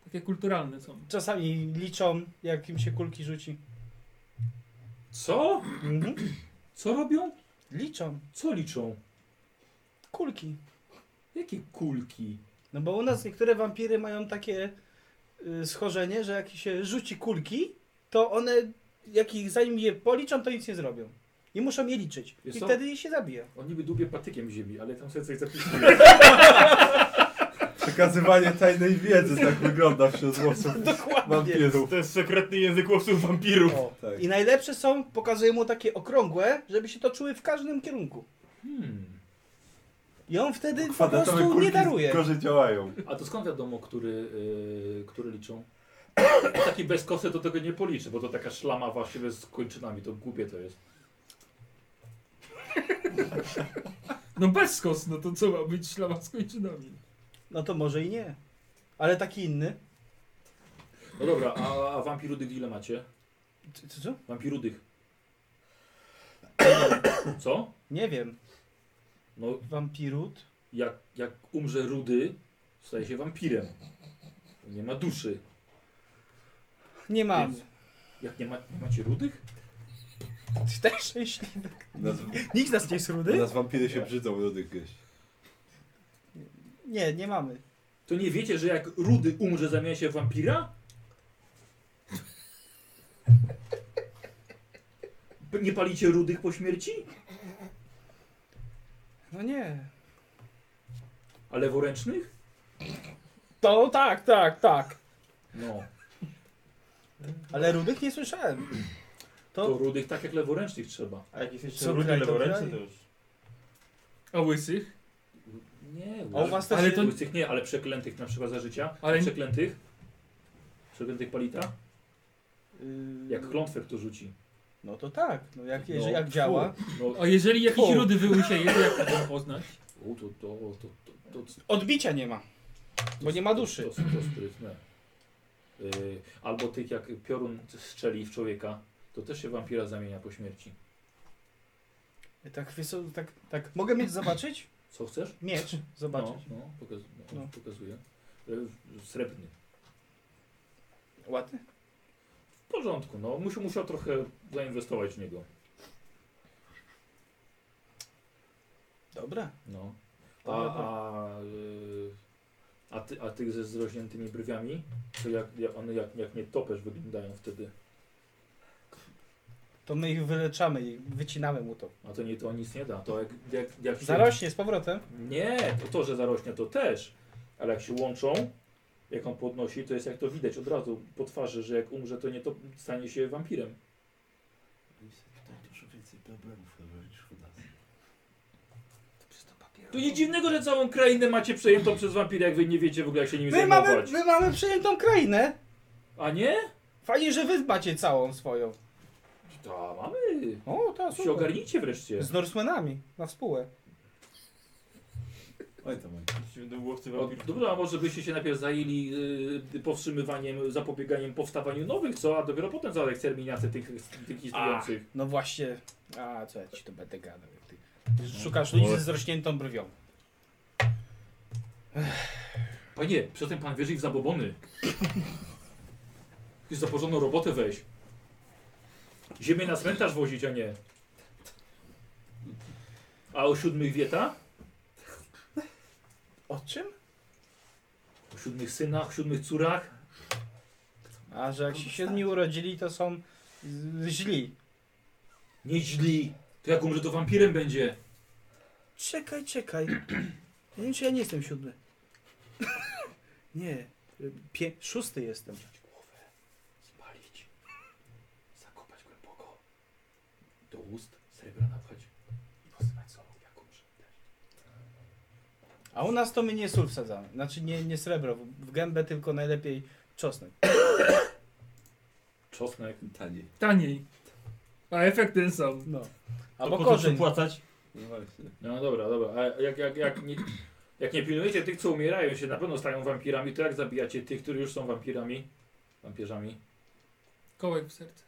Speaker 4: Takie kulturalne są.
Speaker 5: Czasami liczą, jak im się kulki rzuci.
Speaker 2: Co?
Speaker 5: Mhm.
Speaker 2: Co robią?
Speaker 5: Liczą.
Speaker 2: Co liczą?
Speaker 5: Kulki.
Speaker 2: Jakie kulki?
Speaker 5: No bo u nas niektóre wampiry mają takie y, schorzenie, że jak się rzuci kulki, to one, jak ich zanim je policzą, to nic nie zrobią. I muszą je liczyć.
Speaker 2: Wiesz
Speaker 5: I
Speaker 2: co?
Speaker 5: wtedy je się zabija.
Speaker 2: On niby dubie patykiem ziemi, ale tam sobie coś zapisuje.
Speaker 1: Przekazywanie tajnej wiedzy tak wygląda wśród łowców
Speaker 5: Tak Dokładnie.
Speaker 1: wampirów.
Speaker 3: To jest sekretny język łowców wampirów.
Speaker 5: O.
Speaker 1: Tak.
Speaker 5: I najlepsze są, pokazuję mu takie okrągłe, żeby się to czuły w każdym kierunku.
Speaker 2: Hmm.
Speaker 5: I on wtedy po
Speaker 1: Kwadratowe
Speaker 5: prostu
Speaker 1: kulki
Speaker 5: nie daruje.
Speaker 1: gorzej działają.
Speaker 2: No. A to skąd wiadomo, który, yy, który liczą? Taki bez kosy to tego nie policzy, bo to taka szlama właściwie z kończynami, to głupie to jest.
Speaker 4: No bez kos, no to co ma być ślama z kończynami?
Speaker 5: No to może i nie. Ale taki inny.
Speaker 2: No dobra, a, a wampirudych ile macie?
Speaker 5: Co, co, co?
Speaker 2: Wampirudych. Co?
Speaker 5: Nie wiem.
Speaker 2: No
Speaker 5: Wampirut.
Speaker 2: jak, jak umrze rudy, staje się wampirem. Nie ma duszy.
Speaker 5: Nie mam.
Speaker 2: Jak nie, ma, nie macie rudych?
Speaker 5: Ty też szczęśliwy.
Speaker 11: Nas,
Speaker 5: Nikt z nas
Speaker 1: No.
Speaker 5: nie jest rudy?
Speaker 11: nas wampiry się brzydzą do tych gdzieś.
Speaker 5: Nie, nie mamy.
Speaker 2: To nie wiecie, że jak Rudy umrze, zamienia się w wampira? P- Nie palicie rudych po śmierci?
Speaker 5: No nie.
Speaker 2: A leworęcznych?
Speaker 5: To tak, tak, tak.
Speaker 2: No.
Speaker 5: Ale rudych nie słyszałem.
Speaker 2: To,
Speaker 5: No.
Speaker 2: rudych tak jak leworęcznych trzeba.
Speaker 3: A jak jest jeszcze
Speaker 5: Co
Speaker 3: rudy
Speaker 5: kraj, to
Speaker 3: leworęczny,
Speaker 5: kraj?
Speaker 3: to już...
Speaker 4: A łysych?
Speaker 2: Nie,
Speaker 5: A u was też
Speaker 2: ale
Speaker 5: nie-
Speaker 2: to... łysych nie, ale przeklętych na przykład za życia.
Speaker 4: Ale-
Speaker 2: Ale przeklętych? Przeklętych palita?
Speaker 5: Yy,
Speaker 2: Jak klątwę kto rzuci.
Speaker 5: No to tak, no jak, jeżeli,
Speaker 2: No,
Speaker 5: jak działa.
Speaker 2: fu, No,
Speaker 4: A jeżeli jakiś
Speaker 5: Fu.
Speaker 4: rudy wyłysieje, to jak to poznać?
Speaker 2: u, to, to, to, to, to,
Speaker 5: Odbicia nie ma. Bo nie ma duszy.
Speaker 2: To, to, to sprytne. Yy, albo tych jak piorun strzeli w człowieka, to też się wampira zamienia po śmierci.
Speaker 5: Tak, wiesz co, tak, tak. Mogę mieć zobaczyć?
Speaker 2: Co chcesz?
Speaker 5: Miecz, zobaczyć.
Speaker 2: No, no, pokaz, no,
Speaker 5: No.
Speaker 2: pokazuję. Yy, Srebrny. No.
Speaker 5: Ładny?
Speaker 2: W porządku, no. Musiał, musiał trochę zainwestować w niego.
Speaker 5: Dobra.
Speaker 2: No. A, a, yy, a, ty, a tych ze zrośniętymi brwiami, to jak, jak one jak, jak nie topesz wyglądają wtedy.
Speaker 5: To my ich wyleczamy i wycinamy mu to.
Speaker 2: A to nie to nic nie da. To jak, jak, jak się-
Speaker 5: Zarośnie z powrotem.
Speaker 2: Nie, to, to, że zarośnie to też, ale jak się łączą, jak on podnosi, to jest jak to widać od razu po twarzy, że jak umrze, to nie to stanie się wampirem.
Speaker 11: Tutaj dużo więcej problemów robisz u nas.
Speaker 2: To nic dziwnego, że całą krainę macie przejętą przez wampira, jak wy nie wiecie w ogóle jak się nim
Speaker 5: My mamy,
Speaker 2: zajmować.
Speaker 5: my mamy przejętą krainę.
Speaker 2: A nie?
Speaker 5: Fajnie, że wy dbacie całą swoją.
Speaker 2: To mamy.
Speaker 5: O, ta
Speaker 2: Się
Speaker 5: super.
Speaker 2: ogarnijcie wreszcie.
Speaker 5: Z Norsemanami na spółę.
Speaker 11: Oj tam, oj.
Speaker 3: Jeśli będą łowcy
Speaker 2: O,
Speaker 3: wampirów.
Speaker 2: dobra, a może byście się najpierw zajęli yy, powstrzymywaniem, zapobieganiem powstawaniu nowych, co? A dopiero potem za eksterminację tych, tych istniejących.
Speaker 5: No właśnie. A co ja ci to będę gadał? Jak ty szukasz ludzi z rośniętą brwią.
Speaker 2: Panie, przedtem pan wierzy w zabobony. Już za porządną robotę weź. Ziemię na cmentarz wozić, a nie. A o siódmych wieta?
Speaker 5: O czym?
Speaker 2: O siódmych synach, siódmych córach?
Speaker 5: A że jak się siedmiu urodzili, to są z- źli.
Speaker 2: Nie źli. To jak umrze, to wampirem będzie.
Speaker 5: Czekaj, czekaj. Nie wiem, czy ja nie jestem siódmy. Nie. Pię szósty jestem.
Speaker 2: Spalić. Zakopać głęboko. Do ust srebra napchać. I posypać solą, jak umrze.
Speaker 5: A u nas to my nie sól wsadzamy. Znaczy nie, nie srebro. W- W gębę tylko najlepiej czosnek.
Speaker 2: Czosnek.
Speaker 11: Taniej.
Speaker 4: Taniej. A efekt ten sam.
Speaker 5: No.
Speaker 3: To
Speaker 5: Albo
Speaker 3: po co
Speaker 5: korzeń.
Speaker 3: płacać?
Speaker 11: No właśnie.
Speaker 2: No dobra, dobra. A jak, jak, jak, nie, jak nie pilnujecie tych, co umierają się, na pewno stają wampirami, to jak zabijacie tych, którzy już są wampirami? Wampierzami?
Speaker 4: Kołek w serce.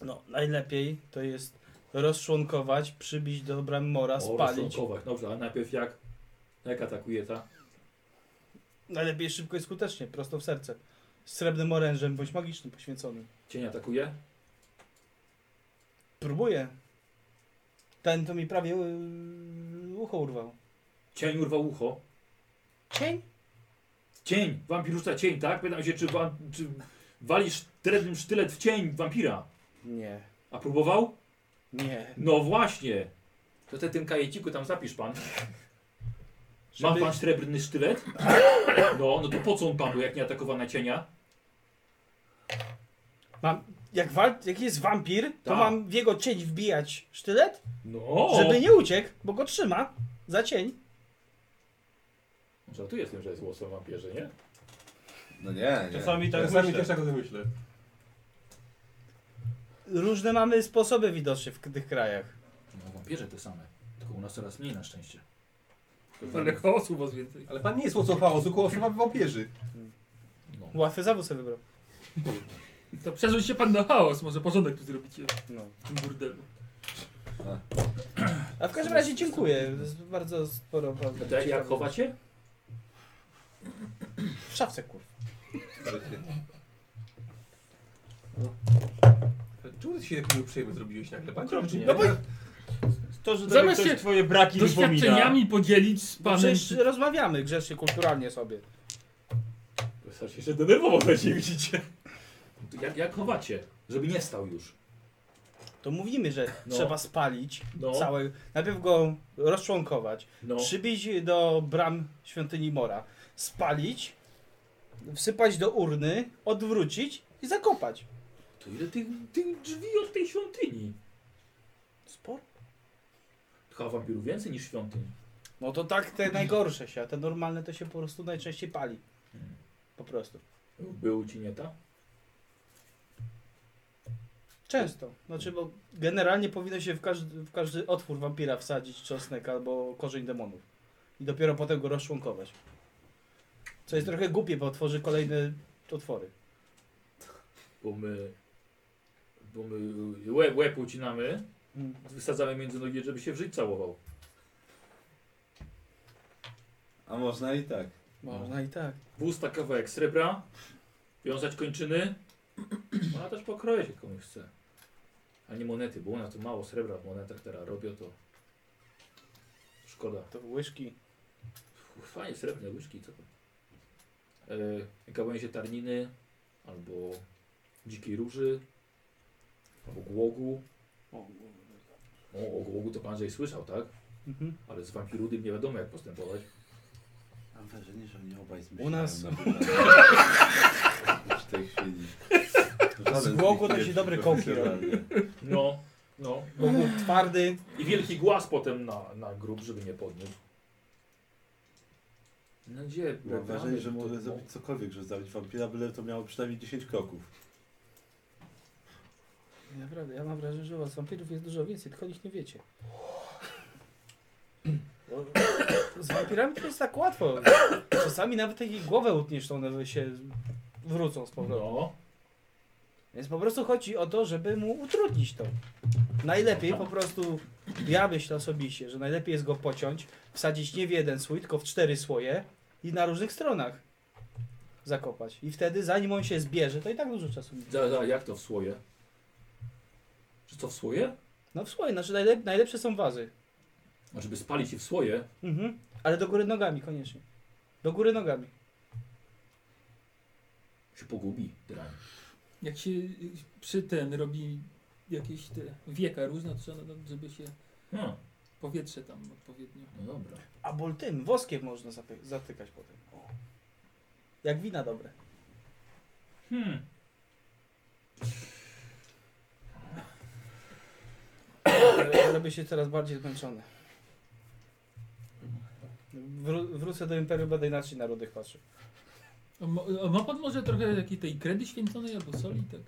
Speaker 5: No, najlepiej to jest rozczłonkować, przybić do bram mora,
Speaker 2: O,
Speaker 5: spalić.
Speaker 2: rozczłonkować. Dobrze, a najpierw jak? Jak atakuje ta?
Speaker 5: Najlepiej szybko i skutecznie, prosto w serce. Z srebrnym orężem bądź magicznym poświęconym.
Speaker 2: Cień atakuje?
Speaker 5: Próbuję. Ten to mi prawie yy, ucho urwał.
Speaker 2: Cień urwał ucho.
Speaker 5: Cień?
Speaker 2: Cień! Wampir rzuca cień, tak? Pytam się, czy, wa, czy walisz trednym sztylet w cień wampira?
Speaker 5: Nie.
Speaker 2: A próbował?
Speaker 5: Nie.
Speaker 2: No właśnie! To te tym kajeciku tam zapisz pan. Ma
Speaker 5: Żeby-
Speaker 2: pan srebrny sztylet? No, no to po co on panu, jak nie atakowana cienia?
Speaker 5: Mam, jak, wal, jak jest wampir, to
Speaker 2: Tak.
Speaker 5: mam w jego cień wbijać sztylet,
Speaker 2: No!
Speaker 5: żeby nie uciekł, bo go trzyma za cień.
Speaker 2: Żartuję z tym, że jest głos o wampirze, nie?
Speaker 11: No nie, nie.
Speaker 3: Czasami tak
Speaker 6: Czasami
Speaker 3: myślę.
Speaker 6: też tak o tym myślę.
Speaker 5: Różne mamy sposoby widocznie w k- tych krajach.
Speaker 2: No wampirze te same, tylko u nas coraz mniej na szczęście.
Speaker 4: Ale chaosu was więcej.
Speaker 6: Ale pan nie jest łocą chaosu, tylko łocą wampierzy.
Speaker 2: No.
Speaker 5: Łatwy zawód sobie wybrał.
Speaker 4: To przerzuć się pan na chaos, może porządek tu zrobicie
Speaker 5: No.
Speaker 4: w tym burdelu.
Speaker 5: A w każdym razie dziękuję. To jest Bardzo sporo
Speaker 2: A
Speaker 5: prawda.
Speaker 2: No to jak, jak chowacie?
Speaker 5: W szafce kurwa.
Speaker 6: Czemu ty się taki uprzejmy zrobiłeś nagle? Pan czy nie?
Speaker 5: No bo-
Speaker 3: To, że
Speaker 4: Zamiast
Speaker 3: Zamiast ktoś
Speaker 4: się
Speaker 3: twoje braki wypomina.
Speaker 4: Doświadczeniami podzielić z
Speaker 5: Bo
Speaker 4: panem.
Speaker 5: przecież rozmawiamy grzecznie, kulturalnie sobie.
Speaker 2: Zacznie się denerwował, będzie widzicie. To Jak, jak chowacie, żeby nie stał już.
Speaker 5: To mówimy, że
Speaker 2: No.
Speaker 5: trzeba spalić
Speaker 2: No.
Speaker 5: całe. Najpierw go rozczłonkować,
Speaker 2: No.
Speaker 5: przybić do bram świątyni Mora, spalić, wsypać do urny, odwrócić i zakopać.
Speaker 2: To ile tych, tych drzwi od tej świątyni? Sporo. Chyba wampirów więcej niż świątyń.
Speaker 5: No to tak te najgorsze się, a te normalne to się po prostu najczęściej pali. Po prostu.
Speaker 2: Był ci nie ta?
Speaker 5: Często. Znaczy, bo generalnie powinno się w każdy, w każdy otwór wampira wsadzić czosnek albo korzeń demonów. I dopiero potem go rozczłonkować. Co jest trochę głupie, bo otworzy kolejne otwory.
Speaker 2: Bo my, bo my łeb, łeb ucinamy, wysadzamy między nogi, żeby się w żyć całował.
Speaker 1: A można i tak.
Speaker 5: Można i tak.
Speaker 2: W usta kawałek srebra, wiązać kończyny. Ona też pokroje się komuś chce. A nie monety, bo u nas to mało srebra w monetach teraz robią to. Szkoda.
Speaker 5: To łyżki.
Speaker 2: Fajnie, srebrne łyżki, co tam. E, Gałęzie się tarniny, albo dzikiej róży, albo głogu. no tak. O, o głogu to pan Andrzej słyszał, tak?
Speaker 5: Mhm.
Speaker 2: Ale z wampirudym nie wiadomo jak postępować.
Speaker 11: Mam wrażenie, że oni obaj
Speaker 5: U
Speaker 11: zmyślają
Speaker 5: nas.
Speaker 11: na wybranie.
Speaker 1: W tej chwili.
Speaker 5: Z głogu to się dobre kołki robi.
Speaker 2: No, no.
Speaker 5: Głogu twardy.
Speaker 2: I wielki głaz potem na, na grób, żeby nie podniósł. No gdzie?
Speaker 1: Mam wrażenie, że
Speaker 2: to-
Speaker 1: mogę
Speaker 2: no.
Speaker 1: zrobić cokolwiek, żeby zabić wampira, byle to miało przynajmniej 10 kroków.
Speaker 5: Naprawdę, ja mam wrażenie, że u was wampirów jest dużo więcej, tylko o nich nie wiecie. Bo Z wampirami to jest tak łatwo. Czasami nawet jak ich głowę utniesz, to one się wrócą z powrotem.
Speaker 2: No.
Speaker 5: Więc po prostu chodzi o to, żeby mu utrudnić to. Najlepiej po prostu, ja myślę osobiście, że najlepiej jest go pociąć, wsadzić nie w jeden słój, tylko w cztery słoje i na różnych stronach zakopać. I wtedy, zanim on się zbierze, to i tak dużo czasu minie.
Speaker 2: Za, za, jak to w słoje? Czy to w słoje?
Speaker 5: No w słoje, znaczy najlep najlepsze są wazy.
Speaker 2: A żeby spalić je w słoje?
Speaker 5: Mhm. Ale do góry nogami koniecznie. Do góry nogami.
Speaker 2: się pogubi drań.
Speaker 4: Jak się y, przy ten robi jakieś te wieka różne, to trzeba, no, żeby się
Speaker 2: No,
Speaker 4: powietrze tam odpowiednio.
Speaker 2: no dobra.
Speaker 5: A bol tym, woskiem można zapy- zatykać potem. O. Jak wina dobre.
Speaker 2: Hmm.
Speaker 5: Ale Robię się coraz bardziej zmęczony. Wró- wrócę do Imperium, będę inaczej na rudych patrzył.
Speaker 4: A mo- a ma pan może trochę takiej tej kredy święconej albo soli, tak?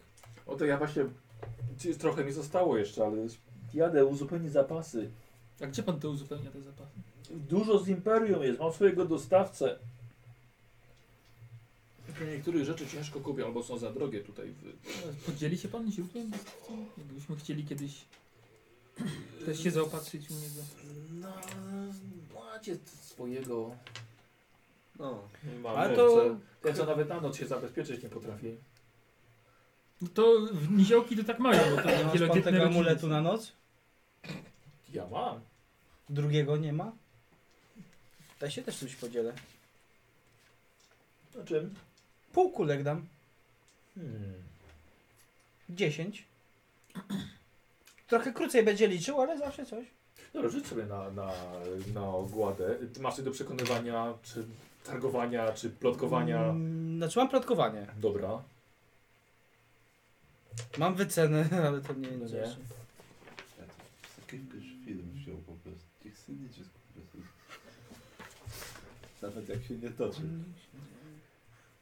Speaker 2: O to ja właśnie ci- trochę mi zostało jeszcze, ale jadę uzupełnić zapasy.
Speaker 4: A Tak, gdzie pan to uzupełnia te zapasy?
Speaker 2: Dużo z Imperium jest, mam swojego dostawcę. Tylko Niektórych rzeczy ciężko kupię, albo są za drogie tutaj. W...
Speaker 4: Podzieli się pan źródłem? Jakbyśmy chcieli kiedyś też się zaopatrzyć u niego.
Speaker 2: No, macie swojego.
Speaker 6: No.
Speaker 2: Ale to... Ten, co nawet na noc się zabezpieczyć nie potrafi.
Speaker 4: No to w- niziołki to tak mają, bo to
Speaker 5: Masz pan
Speaker 4: wielodzietne
Speaker 5: tego
Speaker 4: rodziny
Speaker 5: amuletu
Speaker 4: są.
Speaker 5: na noc?
Speaker 2: Ja mam.
Speaker 5: Drugiego nie ma? Ja się też czymś podzielę.
Speaker 2: Na czym?
Speaker 5: Pół kulek dam.
Speaker 2: Hmm.
Speaker 5: Dziesięć. Trochę krócej będzie liczył, ale zawsze coś.
Speaker 2: Dobra, No, rzuć sobie na, na, na ogładę. Ty masz coś do przekonywania, czy targowania, czy plotkowania.
Speaker 5: Mm, Znaczy mam plotkowanie.
Speaker 2: Dobra.
Speaker 5: Mam wycenę, ale to nie
Speaker 2: No
Speaker 5: jest
Speaker 2: nie.
Speaker 5: jeszcze.
Speaker 11: Ja to z kilka film wziął po prostu.
Speaker 1: Niech się liczy po prostu. Nawet jak się nie toczy.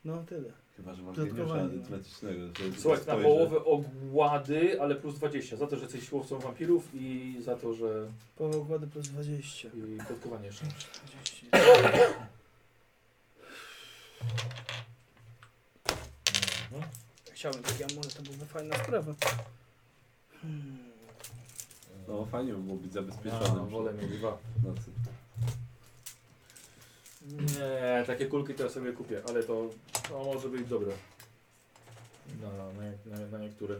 Speaker 5: No tyle.
Speaker 1: Chyba, że mam
Speaker 5: Plotkowanie,
Speaker 1: geniusza
Speaker 5: no.
Speaker 1: dyplomatycznego. że
Speaker 2: Słuchaj, na
Speaker 1: spojrzę.
Speaker 2: połowę ogłady, ale plus 20. Za to, że jesteś łowcą wampirów i za to, że
Speaker 5: Połowa ogłady plus 20.
Speaker 2: i plotkowanie jeszcze.
Speaker 5: 40. No.
Speaker 2: Mhm.
Speaker 5: Chciałbym taki amulet, to byłby fajna sprawa. Hmm.
Speaker 1: No fajnie by było być
Speaker 2: A,
Speaker 1: zabezpieczonym.
Speaker 2: No, wolę mieć dwa.
Speaker 1: w nocy.
Speaker 2: Nie, takie kulki to ja sobie kupię, ale to, to może być dobre. Na, na, na, na niektóre.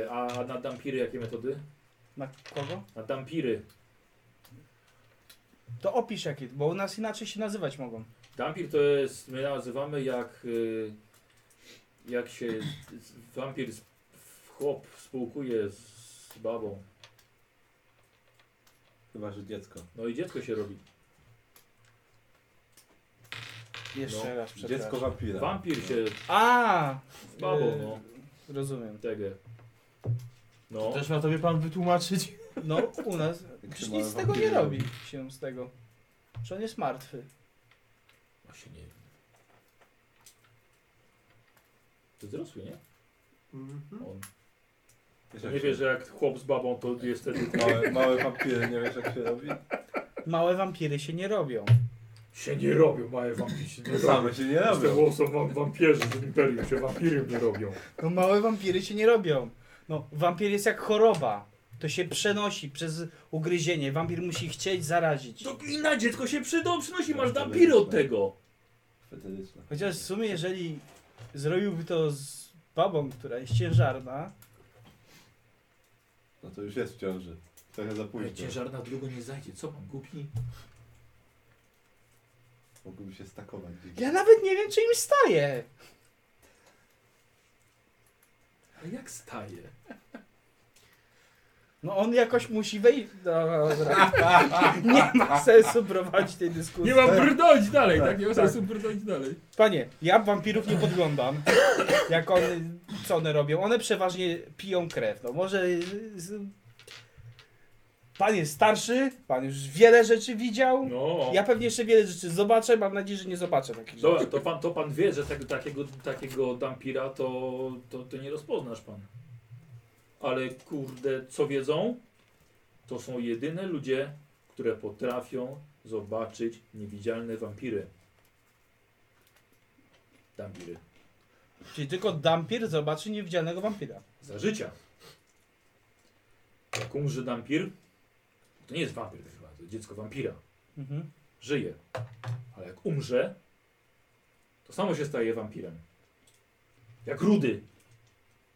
Speaker 2: E, a na dampiry jakie metody?
Speaker 5: Na kogo?
Speaker 2: Na dampiry.
Speaker 5: To opisz jakie, bo u nas inaczej się nazywać mogą.
Speaker 2: Dampir to jest, my nazywamy jak, y, jak się z- wampir, z- chłop spółkuje z babą.
Speaker 1: Chyba, że dziecko.
Speaker 2: No i dziecko się robi.
Speaker 5: Jeszcze
Speaker 2: No,
Speaker 5: raz przepraszam.
Speaker 1: dziecko wampira.
Speaker 2: Wampir się
Speaker 5: A!
Speaker 2: z babą,
Speaker 5: y,
Speaker 2: no.
Speaker 5: Rozumiem.
Speaker 2: Tego.
Speaker 3: To
Speaker 2: No.
Speaker 3: też ma tobie pan wytłumaczyć.
Speaker 5: No, u nas. Krzyż nic z tego nie robi się z tego. Że on jest martwy.
Speaker 2: Właśnie nie wiem. To wzrosły, nie? On.
Speaker 1: Wiesz,
Speaker 2: To
Speaker 1: jak
Speaker 2: nie
Speaker 1: się-
Speaker 2: wie, że jak chłop z babą, to jest wtedy...
Speaker 1: Małe, małe wampiry, nie wiesz jak się robi?
Speaker 5: Małe wampiry się nie robią.
Speaker 2: Się nie robią, małe wampiry się nie
Speaker 1: To
Speaker 2: robią.
Speaker 1: same się nie
Speaker 2: Z tego
Speaker 1: robią.
Speaker 2: są wam, wampierzy z Imperium, się wampirem nie robią.
Speaker 5: No małe wampiry się nie robią. No, wampir jest jak choroba. To się przenosi przez ugryzienie. Wampir musi chcieć zarazić.
Speaker 2: To No i na dziecko się przydą, przynosi, masz
Speaker 1: Dobra,
Speaker 2: dampiry od
Speaker 1: dobra.
Speaker 2: tego.
Speaker 1: Fetetyczne.
Speaker 5: Chociaż w sumie, jeżeli zrobiłby to z babą, która jest ciężarna,
Speaker 1: No to już jest w ciąży. Trochę za
Speaker 2: Ale
Speaker 1: późno.
Speaker 2: ciężarna długo nie zajdzie, co mam, głupi?
Speaker 1: Mogłyby się stakować gdzieś.
Speaker 5: ja nawet nie wiem, czy im staje.
Speaker 2: Ale jak staje?
Speaker 5: No on jakoś musi wejść. Dobra. Nie ma sensu prowadzić tej dyskusji.
Speaker 4: Nie mam brnąć dalej, tak? Nie ma sensu brnąć dalej.
Speaker 5: Panie, ja wampirów nie podglądam. Jak one, co one robią? One przeważnie piją krew. No może... z- Pan jest starszy, pan już wiele rzeczy widział.
Speaker 2: No.
Speaker 5: Ja pewnie jeszcze wiele rzeczy zobaczę, mam nadzieję, że nie zobaczę takich
Speaker 2: Dobra,
Speaker 5: rzeczy.
Speaker 2: to pan, to pan wie, że tak, takiego, takiego dampira to, to, to nie rozpoznasz pan. Ale kurde, co wiedzą? To są jedyne ludzie, które potrafią zobaczyć niewidzialne wampiry. Dampiry.
Speaker 5: Czyli tylko dampir zobaczy niewidzialnego wampira.
Speaker 2: Za życia. Jak umrze dampir, to nie jest wampir to chyba, to dziecko wampira.
Speaker 5: Mhm.
Speaker 2: Żyje. Ale jak umrze, to samo się staje wampirem. Jak rudy.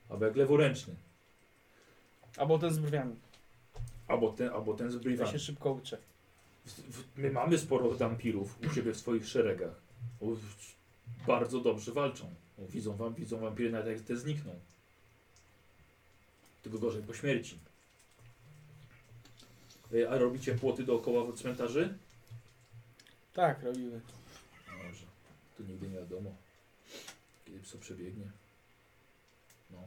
Speaker 2: Albo jak leworęczny.
Speaker 5: Albo ten z brwiami.
Speaker 2: Albo ten, albo ten z
Speaker 5: Ja
Speaker 2: brywami.
Speaker 5: się szybko uczę.
Speaker 2: W- w- My mamy sporo wampirów u siebie w swoich szeregach. O, w- Bardzo dobrze walczą. O, Widzą, wam, widzą wampiry nawet jak te znikną. Tylko gorzej po śmierci. Wy, A robicie płoty dookoła cmentarzy?
Speaker 5: Tak, robimy.
Speaker 2: Może. Tu nigdy nie wiadomo. Kiedy pso przebiegnie. No.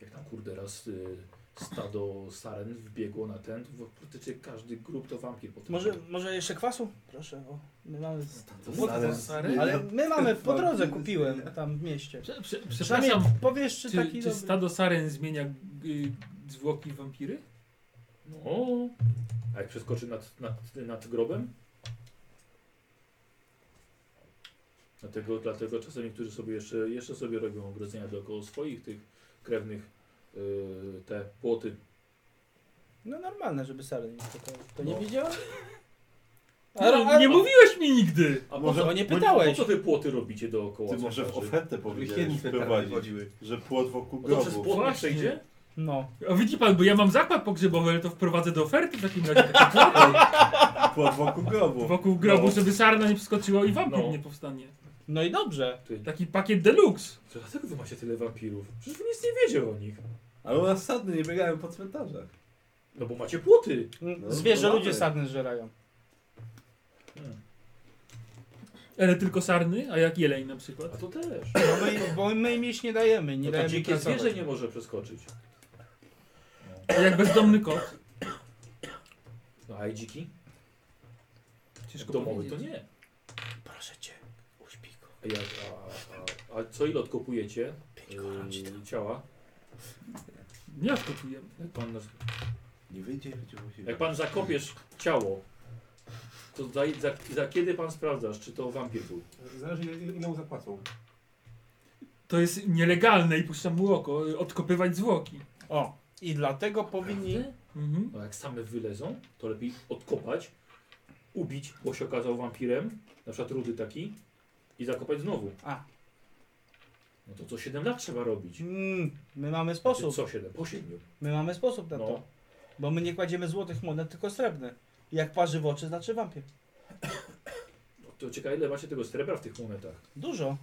Speaker 2: Jak tam kurde raz y, stado saren wbiegło na ten, to w- praktycznie każdy grup to wampir potem.
Speaker 5: Może, może jeszcze kwasu? Proszę, bo my mamy...
Speaker 1: Stare-
Speaker 4: stary.
Speaker 5: Ale my mamy po drodze, kupiłem tam w mieście.
Speaker 4: Prze, prze,
Speaker 5: Przynajmniej
Speaker 4: przepraszam,
Speaker 5: powiesz, czy,
Speaker 4: czy,
Speaker 5: taki
Speaker 4: czy
Speaker 5: dobry-
Speaker 4: stado saren zmienia y, zwłoki w wampiry?
Speaker 2: No. A jak przeskoczy nad, nad, nad grobem? Dlatego, dlatego czasem niektórzy sobie jeszcze, jeszcze sobie robią ogrodzenia dookoła swoich tych krewnych y, te płoty.
Speaker 5: No normalne, żeby Sary nie spotkał. To nie
Speaker 2: No.
Speaker 5: widziałem?
Speaker 4: Nie, nie mówiłeś mi nigdy!
Speaker 2: A
Speaker 5: Może o nie
Speaker 2: po-
Speaker 5: pytałeś.
Speaker 2: No Po co wy płoty robicie dookoła? znaczy?
Speaker 1: Ty może w
Speaker 2: cmentarzy?
Speaker 1: ofertę powinieneś wprowadzić, że płot wokół
Speaker 2: A No To przez
Speaker 1: grobu.
Speaker 2: płot nie
Speaker 4: Właśnie.
Speaker 2: przejdzie?
Speaker 5: No.
Speaker 4: A widzi pan, bo ja mam zakład pogrzebowy, ale to wprowadzę do oferty w takim razie taki
Speaker 1: Płot wokół grobu.
Speaker 4: wokół grobu,
Speaker 2: No.
Speaker 4: żeby sarna nie wskoczyła i wampir
Speaker 2: No.
Speaker 4: nie powstanie.
Speaker 5: No i dobrze.
Speaker 4: Taki pakiet deluxe.
Speaker 2: To dlatego wy macie tyle wampirów. Przecież wy nic nie wiecie o nich.
Speaker 1: Ale u nas sadny nie biegają po cmentarzach.
Speaker 2: No bo macie płoty.
Speaker 5: Mm,
Speaker 1: No,
Speaker 5: Zwierzę
Speaker 1: dodamy.
Speaker 5: ludzie sarny żerają.
Speaker 4: Ale tylko sarny, a jak jeleń na przykład.
Speaker 2: A to też.
Speaker 5: No my, bo my im jeść nie dajemy, nie
Speaker 2: No to
Speaker 5: dajemy
Speaker 2: dzikie
Speaker 5: pracować.
Speaker 2: zwierzę nie może przeskoczyć.
Speaker 4: A jak bezdomny kot.
Speaker 2: No a i dziki?
Speaker 4: Ciężko
Speaker 2: Domowy to
Speaker 4: powiedzieć.
Speaker 2: nie.
Speaker 5: Proszę cię, uśpij go.
Speaker 2: A, jak, a, a, a co ile odkopujecie
Speaker 5: tak.
Speaker 2: yy, ciała?
Speaker 4: Nie odkopujemy.
Speaker 2: Jak pan,
Speaker 1: Nie wyjdzie, będzie musi...
Speaker 2: jak pan zakopiesz ciało, to za, za, za kiedy pan sprawdzasz, czy to wampir był?
Speaker 6: Zależy ile, ile mu zapłacą.
Speaker 4: To jest nielegalne i puszczam mu oko, y, odkopywać zwłoki.
Speaker 5: O, i dlatego powinni...
Speaker 4: Mhm.
Speaker 2: No jak same wylezą, to lepiej odkopać, ubić, bo się okazał wampirem, na przykład rudy taki, i zakopać znowu.
Speaker 5: A.
Speaker 2: No to co 7 lat trzeba robić. Znaczy,
Speaker 5: Mm, my mamy sposób.
Speaker 2: Co 7? Po 7.
Speaker 5: My mamy sposób na
Speaker 2: No.
Speaker 5: to. Bo my nie kładziemy złotych monet, tylko srebrne. Jak parzywoczy, znaczy wampir.
Speaker 2: no To ciekawe, ile macie tego srebra w tych monetach.
Speaker 5: Dużo.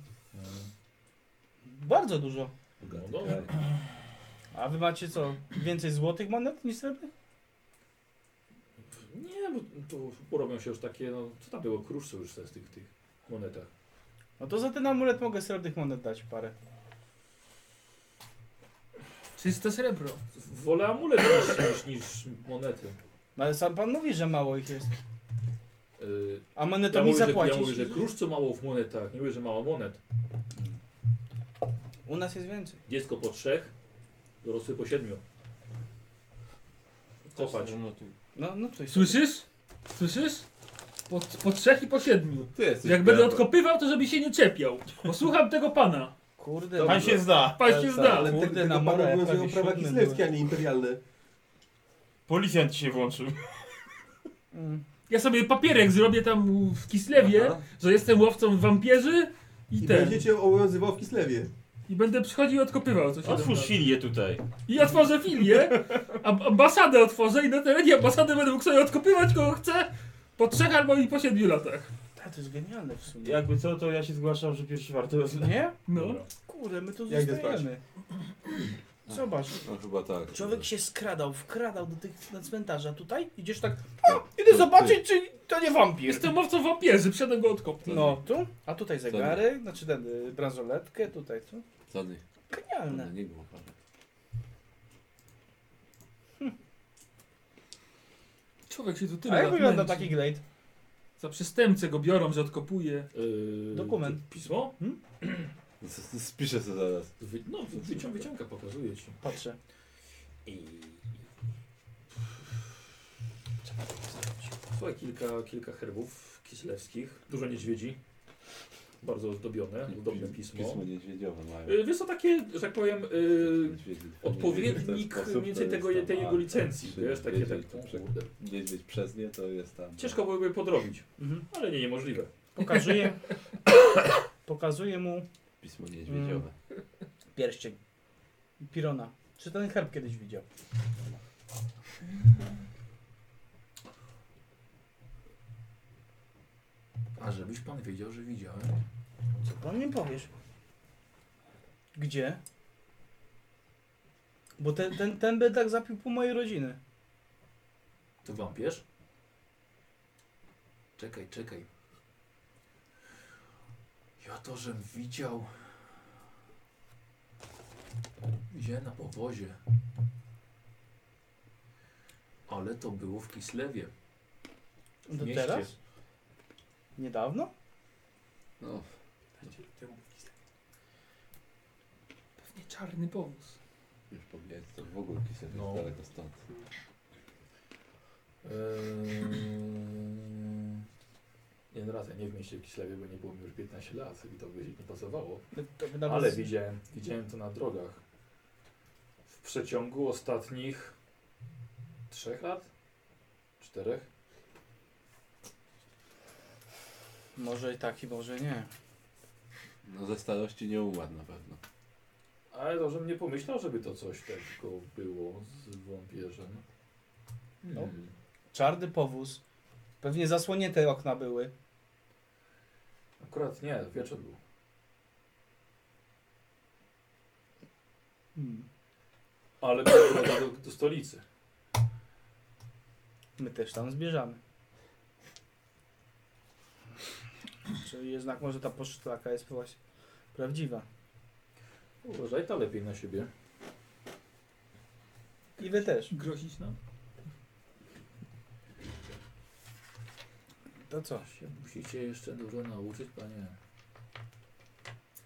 Speaker 5: Bardzo dużo.
Speaker 2: No dobra.
Speaker 5: A wy macie co? Więcej złotych monet niż srebrnych?
Speaker 2: Nie, bo tu porobią się już takie, no co tam było, krusz są już te z tych, tych monetach.
Speaker 5: No to za ten amulet mogę srebrnych monet dać parę.
Speaker 4: Czyste srebro.
Speaker 2: Wolę amulet niż, niż, niż monety.
Speaker 5: No ale sam pan mówi, że mało ich jest.
Speaker 2: Yy,
Speaker 5: A monetą
Speaker 2: ja
Speaker 5: mi
Speaker 2: mówię, że-
Speaker 5: zapłacisz?
Speaker 2: Ja mówię, że krusz co mało w monetach, nie mówię, że mało monet.
Speaker 5: U nas jest więcej.
Speaker 2: Dziecko po trzech, dorosły po siedmiu. Kopać.
Speaker 5: No, no coś.
Speaker 4: Słyszysz? Słyszysz? Po, po trzech i po siedmiu.
Speaker 1: Ty jesteś
Speaker 4: Jak będę
Speaker 1: prawda.
Speaker 4: odkopywał, to żeby się nie czepiał. Posłucham tego pana.
Speaker 5: Kurde, no,
Speaker 3: Pan się zna.
Speaker 4: Pan się zna.
Speaker 6: Ale
Speaker 5: Kurde,
Speaker 6: tego,
Speaker 5: na
Speaker 6: tego
Speaker 5: morę,
Speaker 6: pana
Speaker 5: jak
Speaker 6: obowiązują
Speaker 5: prawie
Speaker 6: prawa
Speaker 5: siódmy
Speaker 6: kislerskie,
Speaker 5: byłem.
Speaker 6: a nie imperialne.
Speaker 3: Policjant ci się włączył.
Speaker 5: Mm.
Speaker 4: Ja sobie papierek zrobię tam w Kislewie,
Speaker 6: Aha.
Speaker 4: że jestem łowcą wampierzy i,
Speaker 6: I
Speaker 4: ten.
Speaker 6: będziecie obowiązywał w Kislewie.
Speaker 4: I będę przychodził i odkopywał coś.
Speaker 3: Otwórz filię tutaj.
Speaker 4: I otworzę filię, a- ambasadę otworzę i na terenie ambasady będę mógł sobie odkopywać kogo chcę po trzech albo i po siedmiu latach.
Speaker 5: Ta, to jest genialne w sumie.
Speaker 3: Jakby co, to ja się zgłaszam, że pierwszy warto.
Speaker 5: Nie?
Speaker 4: No.
Speaker 5: Kurde, my tu
Speaker 6: Jak jest
Speaker 5: zostajemy. Zobacz.
Speaker 11: No chyba tak.
Speaker 5: Człowiek się skradał, wkradał do tych na cmentarza. Tutaj idziesz tak. O, idę zobaczyć, czy to nie wampir.
Speaker 4: Jestem łowcą wampierzy, przyjadę go odkopnąć.
Speaker 5: No tu, a tutaj zegary, znaczy ten y, bransoletkę, tutaj tu.
Speaker 11: Żadnych.
Speaker 5: Genialne.
Speaker 11: Nie było pana.
Speaker 4: Człowiek się tu
Speaker 5: A
Speaker 4: tyle
Speaker 5: jak
Speaker 4: lat
Speaker 5: wygląda
Speaker 4: męczy.
Speaker 5: taki glade?
Speaker 4: Za przestępcę go biorą, że odkopuje.
Speaker 2: Yy,
Speaker 5: Dokument.
Speaker 2: Pismo?
Speaker 1: Z- z- Spiszę sobie zaraz.
Speaker 2: Wy, no, wy- wycią, wyciąga pokazuje ci.
Speaker 5: Patrzę.
Speaker 2: I... Słuchaj, kilka, kilka herbów kislewskich, dużo niedźwiedzi, bardzo zdobione, zdobne pismo.
Speaker 1: Pismo niedźwiedziowe mają.
Speaker 2: Yy, Wiesz, to takie, że tak powiem, yy,
Speaker 1: Niedźwiedzi w ten
Speaker 2: odpowiednik
Speaker 1: sposób,
Speaker 2: mniej więcej
Speaker 1: to
Speaker 2: tego-
Speaker 1: jest
Speaker 2: tej
Speaker 1: tam,
Speaker 2: jego
Speaker 1: a,
Speaker 2: licencji,
Speaker 1: trzy
Speaker 2: wiesz, takie
Speaker 1: niedźwiedzie,
Speaker 2: tak,
Speaker 1: to
Speaker 2: o
Speaker 1: prze-
Speaker 2: kurde.
Speaker 1: Niedźwiedź przez nie to jest tam.
Speaker 2: ciężko byłoby podrobić,
Speaker 5: Mhm.
Speaker 2: ale nie niemożliwe.
Speaker 5: Pokazuję. Pokazuję mu
Speaker 11: Pismo niedźwiedziowe.
Speaker 5: Mm. pierścień. Pirona. Czy ten herb kiedyś widział?
Speaker 2: A żebyś pan wiedział, że widziałem.
Speaker 5: Co pan mi No powiesz? Gdzie? Bo ten, ten, ten by tak zapił pół mojej rodziny.
Speaker 2: To wampierz? Czekaj, czekaj. Ja to, żem widział. Widziałem na powozie. Ale to było w Kislewie. W
Speaker 5: Do
Speaker 2: mieście.
Speaker 5: teraz? Niedawno?
Speaker 11: No,
Speaker 4: Pewnie czarny powóz.
Speaker 11: już powiedziałem, to w ogóle pisem
Speaker 2: No.
Speaker 11: jest daleko stąd.
Speaker 2: Ehm, Jeden raz, ja nie w mieście w Kislewie, bo nie było mi już 15 lat i to by nie pasowało.
Speaker 5: No, To by nawet
Speaker 2: Ale
Speaker 5: z-
Speaker 2: widziałem, widziałem to na drogach. W przeciągu ostatnich trzech lat? Czterech?
Speaker 5: Może i tak, i może nie.
Speaker 11: No ze starości nie umarł na pewno.
Speaker 2: Ale to, żebym nie pomyślał, żeby to coś takiego było z wąpierzem.
Speaker 5: No.
Speaker 2: Hmm.
Speaker 5: Czarny powóz. Pewnie zasłonięte okna były.
Speaker 2: Akurat nie, wieczór był.
Speaker 5: Hmm,
Speaker 2: Ale do, do, do stolicy.
Speaker 5: My też tam zbierzamy. Czyli jednak może ta poszlaka jest właśnie prawdziwa.
Speaker 2: Uważaj to lepiej na siebie.
Speaker 5: I wy też.
Speaker 4: Grozić nam?
Speaker 5: To co?
Speaker 2: Się musicie jeszcze dużo nauczyć, panie.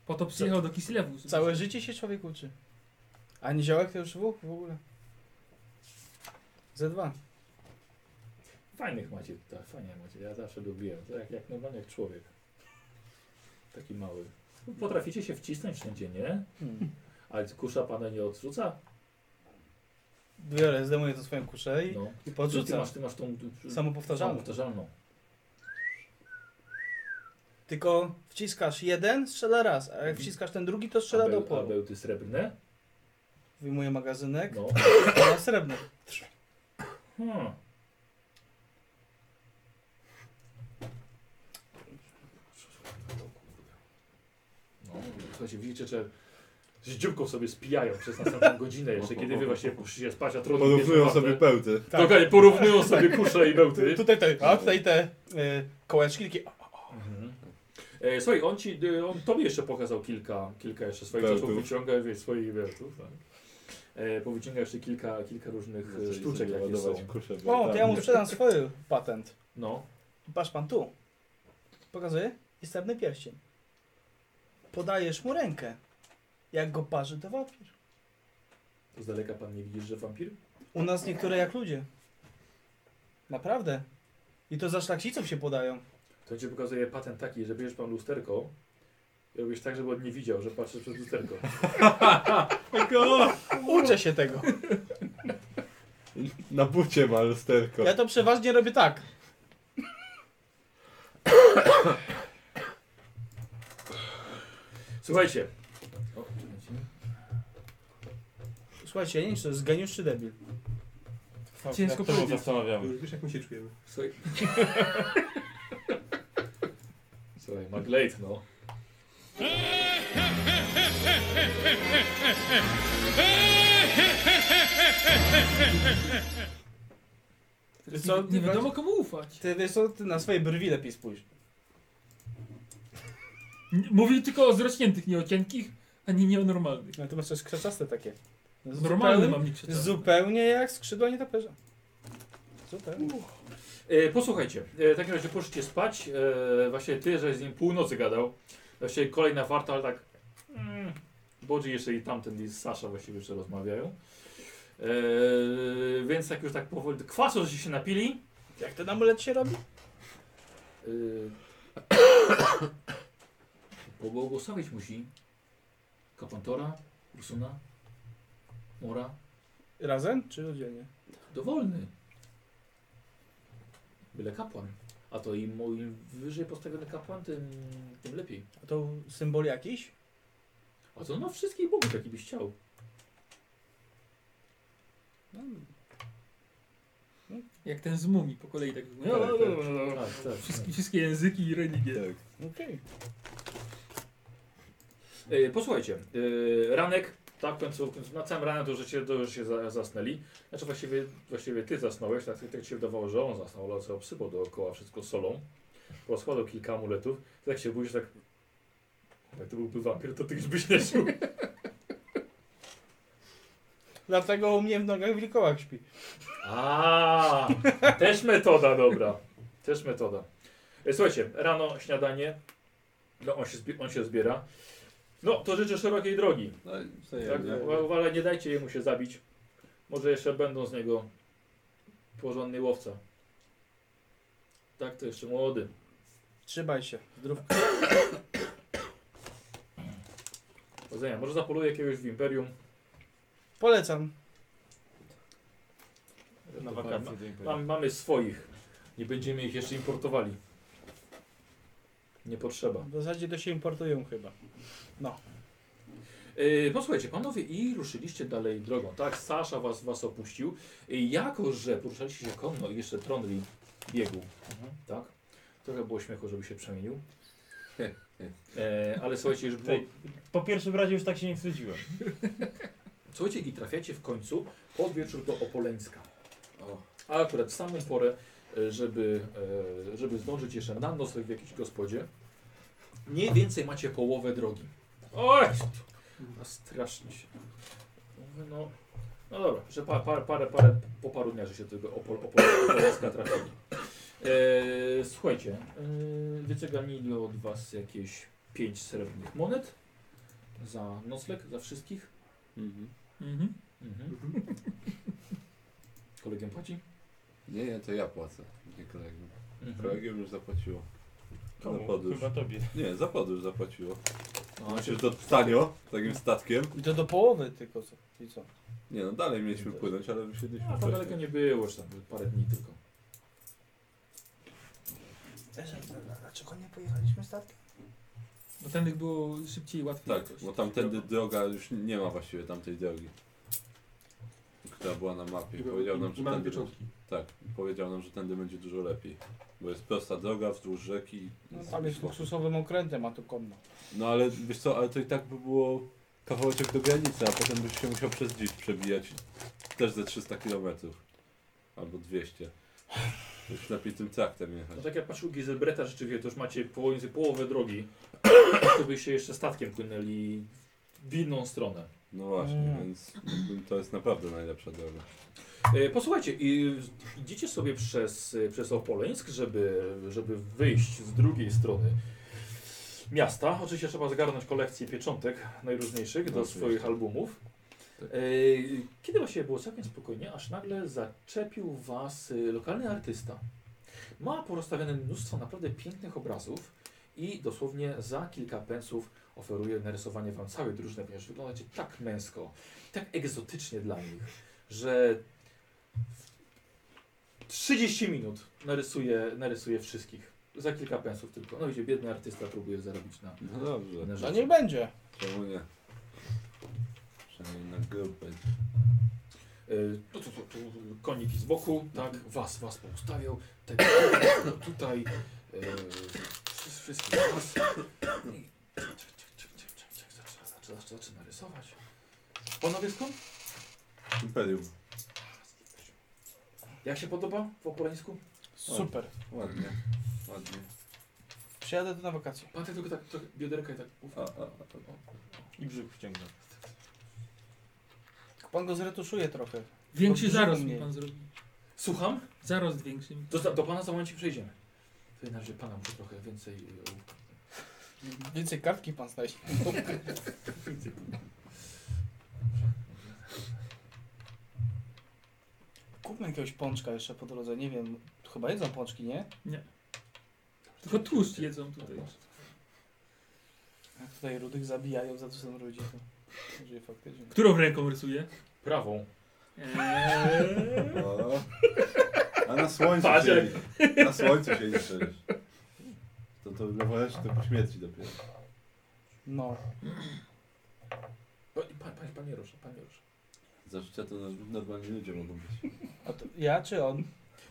Speaker 4: Po to przyjechał do Kislewu. żeby-
Speaker 5: Całe życie się człowiek uczy. Ani ziołek to już dwóch w ogóle. Ze dwa.
Speaker 2: Fajnych macie, tak, fajnie macie. Ja zawsze lubiłem. To jak, jak normalnie jak człowiek. Taki mały. No, Potraficie się wcisnąć wszędzie, nie?
Speaker 5: Hmm.
Speaker 2: Ale kusza pana nie odrzuca?
Speaker 5: Biorę, zdejmuję to swoją kuszę i,
Speaker 2: No.
Speaker 5: i
Speaker 2: Ty, ty
Speaker 5: podrzucam.
Speaker 2: masz, ty masz tą tu-
Speaker 5: Samopowtarzalną.
Speaker 2: samopowtarzalną.
Speaker 5: Tylko wciskasz jeden, strzela raz, a
Speaker 2: Mhm.
Speaker 5: jak wciskasz ten drugi, to strzela do
Speaker 2: A beł- a
Speaker 5: oporu. Tak.
Speaker 2: bełty srebrne?
Speaker 5: Wyjmuję magazynek,
Speaker 2: No.
Speaker 5: na srebrny.
Speaker 2: Hmm. No, Słuchajcie, widzicie, że z dzióbką sobie spijają przez następną godzinę jeszcze, kiedy wy właśnie poszliście spać, a trudno
Speaker 1: Porównują sobie pełty.
Speaker 2: Tak. no, Dokładnie, porównują sobie kusze i bełty.
Speaker 5: Tutaj, tutaj, a tutaj te y, kołeczki takie...
Speaker 2: E, słuchaj, on ci, e, on tobie jeszcze pokazał kilka, kilka jeszcze swoich
Speaker 1: Wertów.
Speaker 2: czasów, wyciąga wiesz, swoich wiertów, tak? E, powyciąga jeszcze kilka, kilka różnych e, sztuczek, jakie są.
Speaker 5: O, to ja
Speaker 2: Tak.
Speaker 5: mu sprzedam swój patent.
Speaker 2: No.
Speaker 5: Patrz pan tu. Pokazuję. Jest srebrny pierścień. Podajesz mu rękę. Jak go parzy, to wampir.
Speaker 2: Z daleka pan nie widzisz, że wampir?
Speaker 5: U nas niektóre jak ludzie. Naprawdę. I to za szlachciców się podają.
Speaker 2: To ci pokazuje patent taki, że bierzesz pan lusterko i robisz tak, żeby on nie widział, że patrzysz przez lusterko.
Speaker 5: Uczę się tego.
Speaker 1: Na bucie ma lusterko.
Speaker 5: Ja to przeważnie robię tak.
Speaker 2: Słuchajcie. O,
Speaker 5: Słuchajcie, ja nie wiem, czy to jest geniusz czy debil.
Speaker 3: Ciężko
Speaker 5: powiedzieć.
Speaker 3: zastanawiamy.
Speaker 6: Już wiesz, jak my się czujemy.
Speaker 2: Słuchaj. Słuchaj, Maglade, no.
Speaker 5: Wiesz co,
Speaker 4: Nie wiadomo komu ufać.
Speaker 5: Ty wiesz co, ty na swoje brwi lepiej spójrz.
Speaker 4: N- Mówił tylko o zrośniętych, nie o cienkich, ani nie o normalnych.
Speaker 5: No to masz też krzaczaste takie.
Speaker 4: Normalne mam nie krzaczaste.
Speaker 5: Zupełnie jak skrzydła nietoperza. Zupełnie.
Speaker 2: E, posłuchajcie, e, w takim razie poszliście spać. E, właśnie ty, że z nim północy gadał. Właściwie kolejna warta, ale tak. Mm, Bodzi jeszcze i tamten i Sasza właściwie jeszcze rozmawiają. E, więc jak już tak powoli. Kwasu, że się napili.
Speaker 5: Jak ten amulet się robi?
Speaker 2: E, pobłogosławić musi Kapantora, Ursuna, Mora.
Speaker 5: Razem czy oddzielnie?
Speaker 2: Dowolny. Byle kapłan. A to im, im wyżej postawiony kapłan, tym, tym lepiej.
Speaker 5: A to symbol jakiś?
Speaker 2: A to no wszystkich bogów, jaki byś chciał.
Speaker 4: Jak ten z mumii po kolei tak. No, no, no, no.
Speaker 2: Tak, tak.
Speaker 4: Wszystkie, wszystkie języki i religie.
Speaker 5: Okej.
Speaker 2: E, posłuchajcie, e, ranek, tak, w końcu, w końcu, na całym ranem to już się, to już się za, zasnęli. Znaczy właściwie, właściwie ty zasnąłeś, tak, tak ci się wydawało, że on zasnął, ale on sobie obsypał dookoła wszystko solą. Rozkładał kilka amuletów. Ty tak się budzisz, tak... Jak to byłby wampir, to ty już byś nie czuł.
Speaker 5: Dlatego u mnie w nogach wilkołak śpi.
Speaker 2: A, też metoda dobra. Też metoda. E, Słuchajcie, rano śniadanie. No, on się, zbi- on się zbiera. No, to życzę szerokiej drogi.
Speaker 1: No, i co ja
Speaker 2: Tak,
Speaker 1: wiem.
Speaker 2: uwa- uwa- ale nie dajcie jemu się zabić. Może jeszcze będą z niego porządny łowca. Tak, to jeszcze młody.
Speaker 5: Trzymaj się. Zdrówka.
Speaker 2: Powodzenia. Może zapoluje jakiegoś w Imperium.
Speaker 5: Polecam.
Speaker 3: Na
Speaker 2: To
Speaker 3: wakacje
Speaker 2: ma-
Speaker 3: do Imperium.
Speaker 2: Mam, mamy swoich. Nie będziemy ich jeszcze importowali. Nie potrzeba.
Speaker 5: W zasadzie to się importują chyba. No.
Speaker 2: Yy, posłuchajcie, panowie, i ruszyliście dalej drogą, tak? Sasza was, was opuścił. Yy, jako, że poruszaliście się konno i jeszcze Tronli biegł, tak? Trochę było śmiechu, żeby się przemienił. E, ale słuchajcie, już było...
Speaker 3: Tutaj, po pierwszym razie już tak się nie wstydziłem.
Speaker 2: Słuchajcie, i trafiacie w końcu pod wieczór do Opoleńska. A akurat w samą porę, e, żeby, e, żeby zdążyć jeszcze na noc w jakiejś gospodzie. Mniej więcej macie połowę drogi. Oj! No strasznie się. Mówię, No, no dobra, że pa, parę, parę, parę, po paru dniach, że się do tego opol, opol, Opoleńska trafili. E, słuchajcie, e, wyceganili od was jakieś 5 srebrnych monet za nocleg, za wszystkich.
Speaker 4: Mhm.
Speaker 2: Mhm. Kolegium płaci?
Speaker 1: Nie, nie, to ja płacę. Nie kolegium.
Speaker 2: Mhm.
Speaker 1: Kolegium już zapłaciło.
Speaker 3: Komu?
Speaker 1: Za podróż.
Speaker 3: Chyba tobie.
Speaker 1: Nie, za podróż zapłaciło.
Speaker 2: No,
Speaker 1: Przecież to tanio, takim statkiem.
Speaker 5: I to do połowy tylko co. I co?
Speaker 1: Nie no, dalej mieliśmy płynąć, ale wysiedliśmy
Speaker 2: A No, to daleko nie było, już tam parę dni tylko.
Speaker 10: Dlaczego nie pojechaliśmy statkiem?
Speaker 4: Bo tamtych było
Speaker 2: tak,
Speaker 4: szybciej i łatwiej.
Speaker 1: Tak, bo tamtędy droga już nie ma właściwie tamtej drogi. która była na mapie. I
Speaker 6: I mamy-
Speaker 1: powiedział nam,
Speaker 6: i
Speaker 1: że
Speaker 6: mamy
Speaker 1: tędy,
Speaker 6: pieczątki.
Speaker 1: tak, i powiedział nam, że tędy będzie dużo lepiej. Bo jest prosta droga wzdłuż rzeki.
Speaker 5: No, tam jest luksusowym okrętem, a tu konno.
Speaker 1: No ale wiesz co, ale to i tak by było kawałeczek do granicy, a potem byś się musiał przez dziś przebijać też ze 300 km. Albo 200. Już lepiej tym traktem jechać.
Speaker 2: No tak jak patrzył Gizelbreta rzeczywiście, to już macie połowę, połowę drogi. To byście jeszcze statkiem płynęli w inną stronę.
Speaker 1: No właśnie,
Speaker 2: Mm.
Speaker 1: więc jakby to jest naprawdę najlepsza droga.
Speaker 2: E, Posłuchajcie, i idziecie sobie przez, e, przez Opoleńsk, żeby, żeby wyjść z drugiej strony miasta. Oczywiście trzeba zgarnąć kolekcję pieczątek najróżniejszych do
Speaker 1: Oczywiście.
Speaker 2: swoich albumów. E, Kiedy właściwie było całkiem spokojnie, aż nagle zaczepił was e, lokalny artysta. Ma porozstawione mnóstwo naprawdę pięknych obrazów i dosłownie za kilka pensów oferuje narysowanie wam całej drużyny, ponieważ wyglądacie tak męsko, tak egzotycznie dla nich, że 30 minut narysuje, narysuje wszystkich. Za kilka pensów tylko. No idzie, biedny artysta próbuje zarobić na,
Speaker 1: No dobrze.
Speaker 2: na
Speaker 5: No
Speaker 2: rzeczy.
Speaker 5: niech będzie.
Speaker 1: Czemu nie? Przynajmniej na grupę.
Speaker 2: Y, Tu, tu, tu, tu koniki z boku, tak, was, was poustawiał, tak, tutaj, y, wszy- wszystkich was. I czek, czek, czek, czek, czek, czek, zaczyna- zaczyna- Zaczyna rysować. Panowie skąd?
Speaker 1: Imperium.
Speaker 2: Jak się podoba w Opoleńsku?
Speaker 5: Super.
Speaker 1: Ładnie. Ładnie.
Speaker 5: Przyjadę tu na wakacje.
Speaker 2: Patrzę tylko tak, trochę bioderka i tak uf,
Speaker 1: A, a, a.
Speaker 3: I brzuch wciągnął.
Speaker 5: Tylko Pan go zretuszuje trochę.
Speaker 4: Większy
Speaker 5: Dobrze,
Speaker 4: zarost
Speaker 5: że
Speaker 4: mi
Speaker 5: mniej.
Speaker 4: pan zrobi.
Speaker 2: Słucham?
Speaker 4: Zarost większy. mi.
Speaker 2: Do, do pana za momencie przejdziemy. To na razie pana muszę trochę więcej... y,
Speaker 5: Więcej kartki pan znajdzie. Kupmy jakiegoś pączka jeszcze po drodze, nie wiem. Chyba jedzą pączki, nie?
Speaker 4: Tylko tłuszcz jedzą tutaj.
Speaker 5: Jak tutaj rudych zabijają za to są ludzie, to żyje faktycznie.
Speaker 4: Którą ręką rysuje?
Speaker 2: Prawą.
Speaker 4: E, Eee,
Speaker 1: O. A na słońcu
Speaker 2: Patrz, jak-
Speaker 1: siedzi. Na słońcu siedzi przecież. To to lewoleś to po śmierci dopiero.
Speaker 5: No.
Speaker 2: O, No i Pan, pan, pan nie rusza, pan nie rusza.
Speaker 1: Za życia to nor- normalni ludzie mogą być.
Speaker 5: A to ja czy on?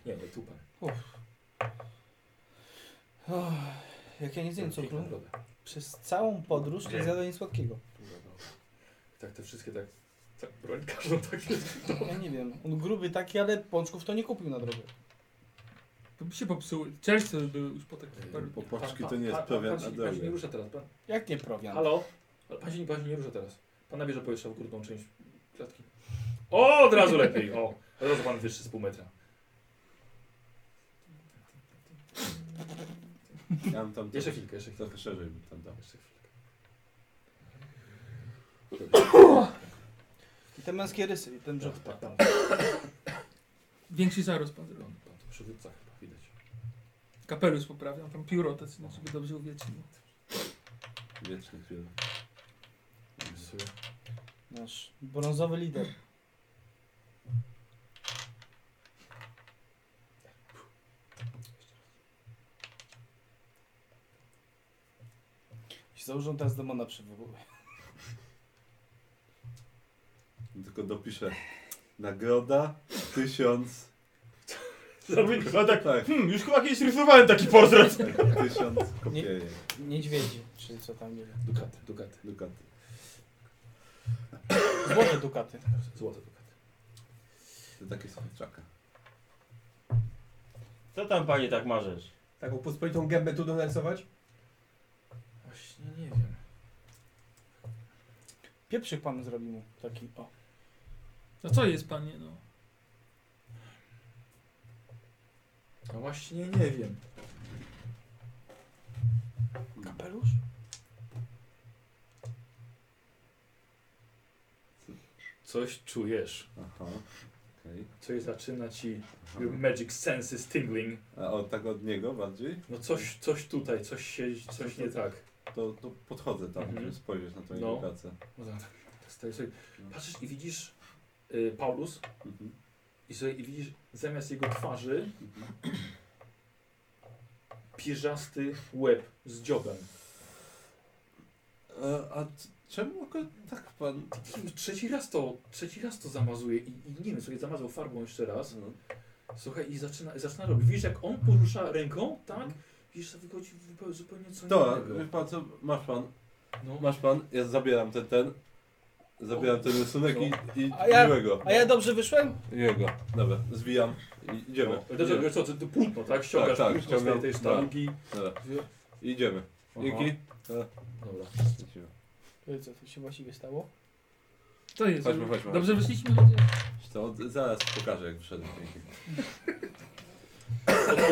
Speaker 2: Nie, nie, tu pan.
Speaker 5: Och, jak ja nie zjem cukru,
Speaker 2: Dobra, dobra.
Speaker 5: przez całą podróż nie zjadłem nic słodkiego.
Speaker 2: Tak, te wszystkie tak... Tak, broń każdą tak jest.
Speaker 5: Ja nie wiem, on gruby taki, ale pączków to nie kupił na drogę.
Speaker 4: to by się popsuły. Czerwce były już po takich paru...
Speaker 1: Bo paczki
Speaker 2: Pan-
Speaker 1: to nie jest
Speaker 2: pan-
Speaker 1: pewien
Speaker 2: pan, pan, się- pan się nie
Speaker 1: adel.
Speaker 2: rusza teraz, pan.
Speaker 5: Jak nie prowiant?
Speaker 2: Halo? Ale Pan się, nie- pan się nie rusza teraz. Pan nabierze powietrza w górną część klatki. O, od razu lepiej, o. Od razu pan wyższy z pół metra.
Speaker 1: Ja mam tam
Speaker 2: Jeszcze chwilkę, jeszcze chwilkę.
Speaker 1: trochę szerzej bym tam dał.
Speaker 2: Jeszcze chwilkę.
Speaker 5: I te męskie rysy, i ten brzuch.
Speaker 2: Tak, tak,
Speaker 4: Większy zarost pan zrobi.
Speaker 2: Pan, pan tu przywódca chyba widać.
Speaker 4: Kapelusz poprawiam, tam pióro tacy na sobie dobrze uwiecznił.
Speaker 1: Wiecznie chwilę.
Speaker 2: Rysuje.
Speaker 5: Nasz brązowy lider. I Założą teraz demona przywołuje.
Speaker 1: Tylko dopiszę. Nagroda tysiąc.
Speaker 3: Zrobię, no tak,
Speaker 1: Tak,
Speaker 3: hmm, już chyba kiedyś rysowałem taki portret.
Speaker 1: tysiąc kopiejek.
Speaker 5: Niedźwiedzi, czy co tam nie wiem.
Speaker 2: Dukaty, dukaty.
Speaker 1: Dukaty.
Speaker 5: Złote dukaty.
Speaker 2: Złote dukaty.
Speaker 1: To takie są czaka.
Speaker 3: Co tam panie tak marzysz?
Speaker 6: Taką pospolitą gębę tu donarysować?
Speaker 2: Właśnie nie wiem.
Speaker 5: Pieprzyk pan zrobi mu taki, o.
Speaker 4: No co jest panie, no?
Speaker 2: No właśnie nie wiem.
Speaker 5: Kapelusz?
Speaker 2: Coś czujesz.
Speaker 1: Aha. Okej.
Speaker 2: Coś zaczyna ci...
Speaker 1: Aha.
Speaker 2: Your magic senses tingling.
Speaker 1: A o, tak od niego bardziej?
Speaker 2: No coś, coś tutaj, coś się, coś nie tak.
Speaker 1: To, to podchodzę tam,
Speaker 2: Mhm.
Speaker 1: żeby spojrzeć na tą
Speaker 2: No.
Speaker 1: jego pracę.
Speaker 2: No tak, tak stoję sobie.
Speaker 1: No.
Speaker 2: Patrzysz i widzisz y, Paulus
Speaker 1: Mhm.
Speaker 2: i, sobie, i widzisz zamiast jego twarzy
Speaker 1: Mhm.
Speaker 2: pierzasty łeb z dziobem.
Speaker 1: Eee, E, a c- czemu go tak pan...
Speaker 2: Trzeci raz to, trzeci raz to zamazuje i, i nie wiem, sobie zamazał farbą jeszcze raz. Słuchaj, i zaczyna, zaczyna robić. Widzisz, jak on porusza ręką, tak? Widzisz, to wychodzi zupełnie- zupełnie co
Speaker 1: To,
Speaker 2: innego.
Speaker 1: wie pan co, masz pan.
Speaker 2: No.
Speaker 1: Masz pan, ja zabieram ten, ten. Zabieram ten rysunek i, i
Speaker 5: A ja,
Speaker 1: miłego.
Speaker 5: a ja dobrze wyszłem?
Speaker 1: Miłego, dobra, zwijam i idziemy.
Speaker 2: No, dobrze, wiesz co, ty- ty płótno, tak? Ściągasz
Speaker 1: tak,
Speaker 2: płótno z tej-
Speaker 1: ściągam,
Speaker 2: tej
Speaker 1: dobra,
Speaker 2: sztangi.
Speaker 1: Dobra, idziemy.
Speaker 2: Aha.
Speaker 1: Dzięki.
Speaker 2: Dobra.
Speaker 1: Idziemy.
Speaker 5: No i Co tu się właściwie stało?
Speaker 4: To jest.
Speaker 1: Chodźmy, chodźmy. Tak,
Speaker 4: Dobrze wyszliśmy ludzie.
Speaker 1: To zaraz pokażę jak wszedłem. Dzięki.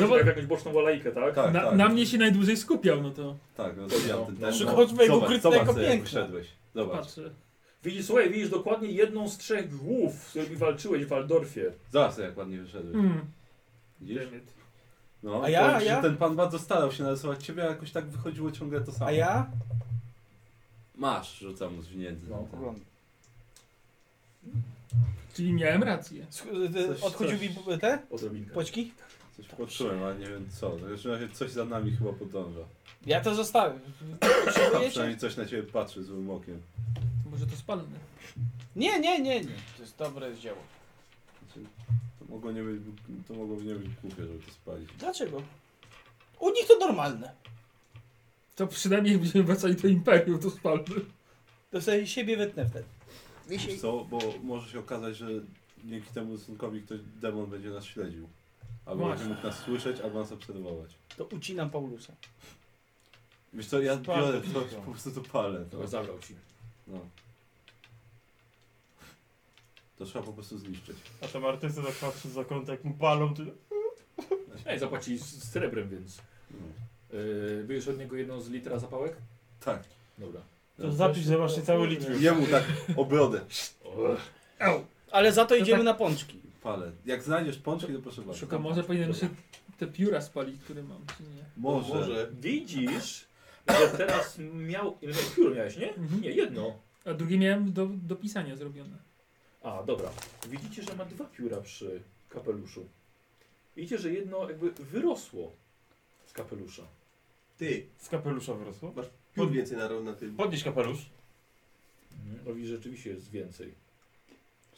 Speaker 2: No bo... jak jakąś boczną walejkę, tak?
Speaker 1: Tak,
Speaker 4: na,
Speaker 1: tak.
Speaker 4: na mnie się najdłużej skupiał, no to.
Speaker 1: Tak, no, zwijam ten, ten.
Speaker 4: Szukać mojego
Speaker 1: Zobacz,
Speaker 4: ukrytego
Speaker 1: zobacz, sobie, jak
Speaker 4: piękna.
Speaker 1: wszedłeś. Zobacz.
Speaker 4: Patrzę.
Speaker 2: Widzisz, słuchaj, widzisz dokładnie jedną z trzech głów, z którymi walczyłeś w Waldorfie.
Speaker 1: Zobacz jak ładnie wyszedłeś.
Speaker 2: Mm.
Speaker 4: Hmm,
Speaker 1: Widzisz? No,
Speaker 5: A ja,
Speaker 1: powiem ci,
Speaker 5: a ja?
Speaker 1: że ten pan bardzo starał się narysować ciebie, a jakoś tak wychodziło ciągle to samo.
Speaker 5: A ja?
Speaker 1: Masz, rzucam mu zwinięty. No,
Speaker 4: Czyli miałem rację.
Speaker 1: Coś-
Speaker 5: y, Odchodził
Speaker 1: coś. Tak.
Speaker 5: mi te
Speaker 2: Odrobinkę.
Speaker 5: poczki?
Speaker 1: Coś poczułem, ale nie wiem co. W każdym razie coś za nami chyba podąża.
Speaker 5: Ja to zostawię.
Speaker 1: A
Speaker 5: Potrzebujecie?
Speaker 1: przynajmniej coś na ciebie patrzy złym okiem.
Speaker 4: Może to spalmy.
Speaker 5: Nie, nie, nie, nie. To jest dobre dzieło.
Speaker 1: Znaczy, To mogło nie być, to mogło nie być głupie, żeby to spalić.
Speaker 5: Dlaczego? U nich to normalne.
Speaker 4: To przynajmniej jak będziemy wracali do Imperium, to spalmy.
Speaker 5: To sobie siebie wytnę wtedy.
Speaker 1: Wiesz co, bo może się okazać, że dzięki temu rysunkowi ktoś, demon będzie nas śledził. Albo
Speaker 5: Właśnie.
Speaker 1: będzie mógł nas słyszeć, albo nas obserwować.
Speaker 5: To ucinam Paulusa.
Speaker 1: Wiesz co, ja
Speaker 5: Spal-
Speaker 1: biorę to, po prostu to no. palę.
Speaker 2: Dobra, No, zabrał ci.
Speaker 1: No. To trzeba po prostu zniszczyć.
Speaker 3: A tam artysta tak patrzy za kąt, jak mu palą, ty...
Speaker 2: Ej, zapłacili No z z srebrem, więc.
Speaker 1: No.
Speaker 2: Yy, wyjesz od niego jedną z litra zapałek?
Speaker 1: Tak.
Speaker 2: Dobra.
Speaker 3: To zapisz, że masz niecały litr już.
Speaker 1: Jemu tak obrodę.
Speaker 5: Ale za to
Speaker 4: To
Speaker 5: idziemy
Speaker 4: tak-
Speaker 5: na pączki.
Speaker 1: Palę. Jak znajdziesz pączki, to proszę bardzo.
Speaker 4: Tylko może powinienem się te pióra spalić, które mam, czy nie?
Speaker 1: Może.
Speaker 2: Widzisz, że teraz miał. Ile miałeś? pióro miałeś, nie?
Speaker 3: Mhm.
Speaker 2: Nie, jedno.
Speaker 4: A drugie miałem do, do pisania zrobione.
Speaker 2: A, dobra. Widzicie, że ma dwa pióra przy kapeluszu. Widzicie, że jedno jakby wyrosło z kapelusza.
Speaker 6: Ty,
Speaker 3: Z kapelusza wyrosło?
Speaker 6: masz piór więcej na, na tym.
Speaker 3: Podnieś kapelusz.
Speaker 2: No widzisz, rzeczywiście jest więcej.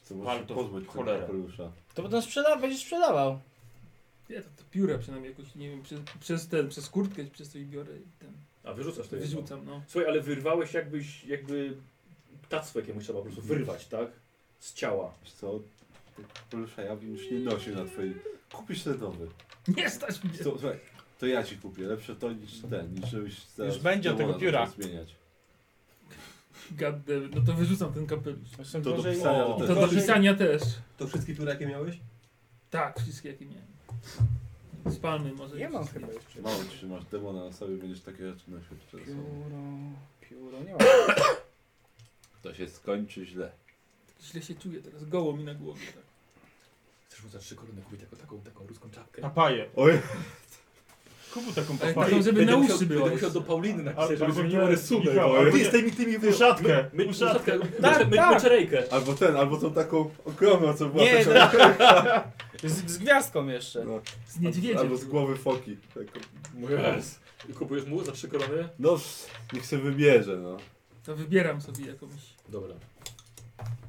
Speaker 1: To może się
Speaker 3: Warto,
Speaker 1: pozbyć tego
Speaker 3: cholera.
Speaker 1: kapelusza.
Speaker 5: To potem sprzeda będziesz sprzedawał.
Speaker 4: Nie, to, to pióra przynajmniej jakoś, nie wiem, przez, przez ten, przez kurtkę, czy przez coś biorę i ten.
Speaker 2: A wyrzucasz to jedno.
Speaker 4: Wyrzucam, no.
Speaker 2: Słuchaj, ale wyrwałeś jakbyś, jakby tacwę jakiemuś trzeba po prostu wyrwać, tak? Z ciała.
Speaker 1: Wiesz co, tego kapelusza ja bym już nie nosił na twojej... Kupisz ten nowy.
Speaker 4: Nie stać mnie!
Speaker 1: Wiesz co, słuchaj, to ja ci kupię. Lepsze to niż ten, niż żebyś zaraz
Speaker 5: Już będzie od tego
Speaker 1: demona
Speaker 5: pióra.
Speaker 1: zaczął zmieniać.
Speaker 4: God damn, it. no to wyrzucam ten kapelusz.
Speaker 5: Są
Speaker 1: To do
Speaker 5: gorzej-
Speaker 1: pisania to
Speaker 4: I
Speaker 1: też.
Speaker 4: to do pisania też.
Speaker 6: To wszystkie pióra, jakie miałeś?
Speaker 4: Tak, wszystkie jakie miałem. Spalmy może.
Speaker 5: Nie mam
Speaker 4: wszystkie.
Speaker 5: chyba jeszcze.
Speaker 1: Mało trzymasz demona na sobie, będziesz takie rzeczy nosił przed sobą.
Speaker 5: Pióro, pióro, nie mam.
Speaker 1: To się skończy źle.
Speaker 4: Źle się czuję teraz, goło mi na głowie. Tak.
Speaker 2: Chcesz rzucać trzy korony, kupić taką, taką, taką ruską czapkę.
Speaker 3: Papaję.
Speaker 1: Oj,
Speaker 3: Kupu taką
Speaker 4: Ale
Speaker 3: papaję.
Speaker 4: taką, żeby na
Speaker 2: Będę
Speaker 4: uszy
Speaker 2: musiał-
Speaker 4: była.
Speaker 2: Będę musiał do Pauliny
Speaker 3: A-
Speaker 2: napisać, żeby
Speaker 3: albo
Speaker 2: zmieniła
Speaker 3: nie,
Speaker 2: rysunek.
Speaker 3: Michał,
Speaker 2: Oj.
Speaker 3: albo
Speaker 2: Ty
Speaker 3: nie.
Speaker 2: z tymi, tymi...
Speaker 3: Uszatkę.
Speaker 2: My,
Speaker 3: Uszatkę.
Speaker 2: uszatkę, my,
Speaker 5: Tak,
Speaker 2: my,
Speaker 5: tak.
Speaker 2: myczerejkę.
Speaker 1: Albo ten, albo tą taką ogromną, co była
Speaker 5: Nie,
Speaker 1: taka-
Speaker 5: Z, z gwiazdką jeszcze.
Speaker 1: No.
Speaker 4: Z niedźwiedziem.
Speaker 1: Albo z głowy foki. Taką.
Speaker 2: Yes. No I kupujesz mu za trzy korony?
Speaker 1: No, niech sobie wybierze, no.
Speaker 4: To wybieram sobie jakąś
Speaker 2: Dobra.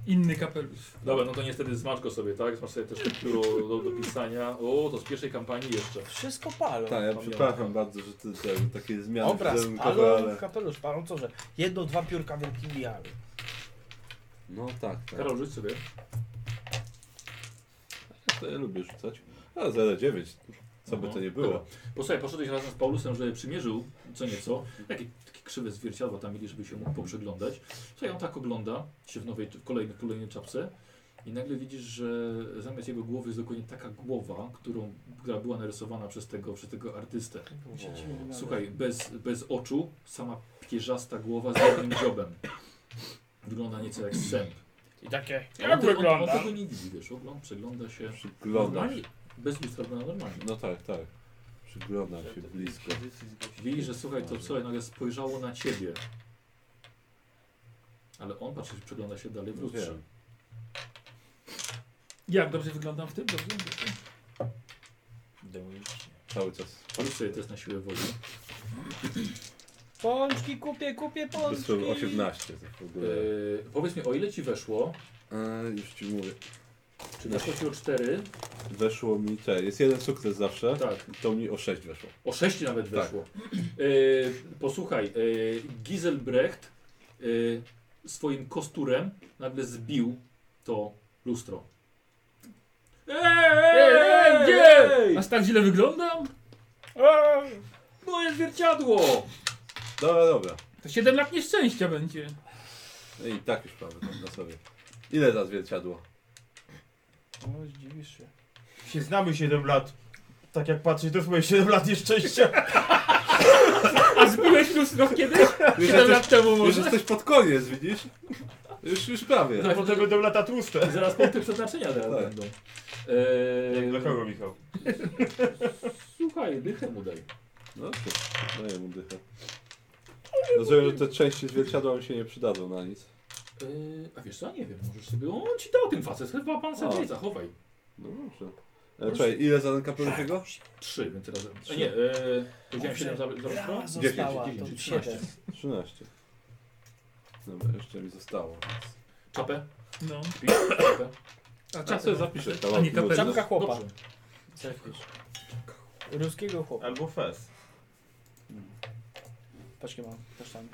Speaker 4: inny kapelusz.
Speaker 2: Dobra, no to niestety zmasz go sobie, tak? Zmasz sobie też to pióro do, do pisania. O, to z pierwszej kampanii jeszcze.
Speaker 5: Wszystko palą.
Speaker 1: Tak, ja
Speaker 2: Pamiętam.
Speaker 1: przepraszam bardzo, że ty, te, takie zmiany
Speaker 5: Obraz
Speaker 1: wizerunkowe,
Speaker 5: palą, kapelusz palą, co że? Jedno, dwa piórka wielkimi jamy.
Speaker 1: No tak, tak.
Speaker 2: Karol, rzuć sobie.
Speaker 1: To ja lubię rzucać. A 09, co by
Speaker 2: No,
Speaker 1: to nie było.
Speaker 2: dobra. Posłuchaj, poszedłeś razem z Paulusem, żeby przymierzył co nieco. Jakie takie krzywe zwierciadła tam mieli, żeby się mógł poprzeglądać. Słuchaj, on tak ogląda się w nowej, w kolejnej, kolejnej czapce i nagle widzisz, że zamiast jego głowy jest dokładnie taka głowa, którą, która była narysowana przez tego, przez tego artystę. Słuchaj, bez, bez oczu, sama pierzasta głowa z jednym dziobem. Wygląda nieco jak sęp.
Speaker 5: I takie.
Speaker 2: Ale on,
Speaker 5: Jak
Speaker 2: te- on, on
Speaker 5: wygląda?
Speaker 2: tego nie widzi, wiesz, ogląd, przegląda się
Speaker 1: Przyglądam się.
Speaker 2: normalnie, bez lustra wygląda normalnie.
Speaker 1: No tak, tak. Przyglądam się blisko.
Speaker 2: Widzi, że słuchaj, to co, nagle spojrzało na ciebie. Ale on patrzy, przegląda się dalej w
Speaker 1: No
Speaker 2: lustrze.
Speaker 1: wiem.
Speaker 4: Jak dobrze wyglądam w tym? Dobrze? Dobrze.
Speaker 1: Cały czas.
Speaker 2: Rzuć sobie test na siłę woli.
Speaker 5: Pączki kupię, kupię pączki.
Speaker 1: To są 18 to w ogóle.
Speaker 2: Yy, powiedz mi, o ile ci weszło?
Speaker 1: E, już ci mówię.
Speaker 2: Czy weszło ci o 4?
Speaker 1: Weszło mi te. Jest jeden sukces zawsze.
Speaker 2: Tak.
Speaker 1: To mi o 6 weszło.
Speaker 2: O 6 nawet
Speaker 1: Tak.
Speaker 2: weszło. Yy, posłuchaj, yy, Giselbrecht yy, swoim kosturem nagle zbił to lustro.
Speaker 4: Ej,
Speaker 2: ej!
Speaker 4: Aż tak źle wyglądam?
Speaker 2: Moje zwierciadło!
Speaker 1: Dobra, dobra.
Speaker 4: To 7 lat nieszczęścia będzie.
Speaker 1: No I tak już mamy tam na sobie. Ile za zwierciadło?
Speaker 12: No, zdziwisz się.
Speaker 3: Się znamy 7 lat. Tak jak patrzę, to jest moje 7 lat nieszczęścia.
Speaker 4: A zbiłeś lustro kiedyś?
Speaker 3: Już
Speaker 4: 7 lat temu
Speaker 3: już
Speaker 4: może?
Speaker 1: jesteś pod koniec, widzisz? Już, już prawie.
Speaker 2: No,
Speaker 3: Może będą lata tłuste.
Speaker 2: Zaraz punkty przeznaczenia teraz
Speaker 3: Tak.
Speaker 2: będą. Eee,
Speaker 3: Dla kogo, Michał?
Speaker 2: Słuchaj, dychę mu daj. E,
Speaker 1: No to daję mu dychę. Rozumiem, że te części zwierciadła mi się nie przydadzą na nic.
Speaker 2: Eee, a wiesz co, nie wiem, możesz sobie... On ci dał ten facet, chyba pan sobie
Speaker 1: A.
Speaker 2: zachowaj.
Speaker 1: No dobrze. E, czekaj, ile za ten kapelusz jego?
Speaker 2: Trzy, więc razem.
Speaker 1: Trzy.
Speaker 2: E, nie, eee, powiedziałem 7 za, za lustro?
Speaker 12: Brawa została,
Speaker 2: Dziewięć,
Speaker 12: to
Speaker 2: dziewięć,
Speaker 12: siedem.
Speaker 1: 13. Dobra, jeszcze mi zostało. Więc...
Speaker 2: Czapę?
Speaker 4: No.
Speaker 2: Pisz Czapę?
Speaker 4: A tak,
Speaker 1: czapę sobie zapiszę, to
Speaker 4: A nie
Speaker 1: mam
Speaker 4: kapelę.
Speaker 1: minutę. Czapka
Speaker 5: chłopa.
Speaker 2: Dobrze.
Speaker 5: Ruskiego chłopa.
Speaker 3: Albo fez.
Speaker 5: Paczki mam, też tam.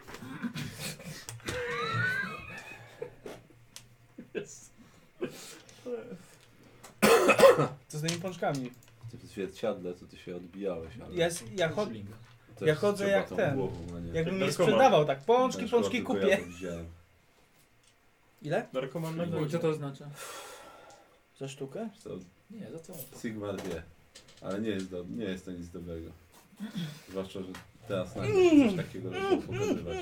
Speaker 5: Co z tymi pączkami?
Speaker 1: Ty w zwierciadle to ty się odbijałeś. Ale
Speaker 5: Ja, s- ja, chod,
Speaker 1: Też
Speaker 5: ja chodzę
Speaker 1: trzeba
Speaker 5: jak
Speaker 1: tą
Speaker 5: ten.
Speaker 1: głową, a nie-
Speaker 5: Jakbym nie
Speaker 1: Narkoman.
Speaker 5: sprzedawał tak. Pączki,
Speaker 1: Weszła,
Speaker 5: pączki
Speaker 1: tylko ja
Speaker 5: kupię.
Speaker 1: to widziałem.
Speaker 5: Ile?
Speaker 3: Narkoman
Speaker 4: na głowie. Co to oznacza?
Speaker 5: Za sztukę?
Speaker 1: To
Speaker 2: Nie, za całą.
Speaker 1: Sigma 2. Ale nie jest, do, nie jest to nic dobrego. Zwłaszcza, że teraz nagle coś takiego żeby było pokazywać.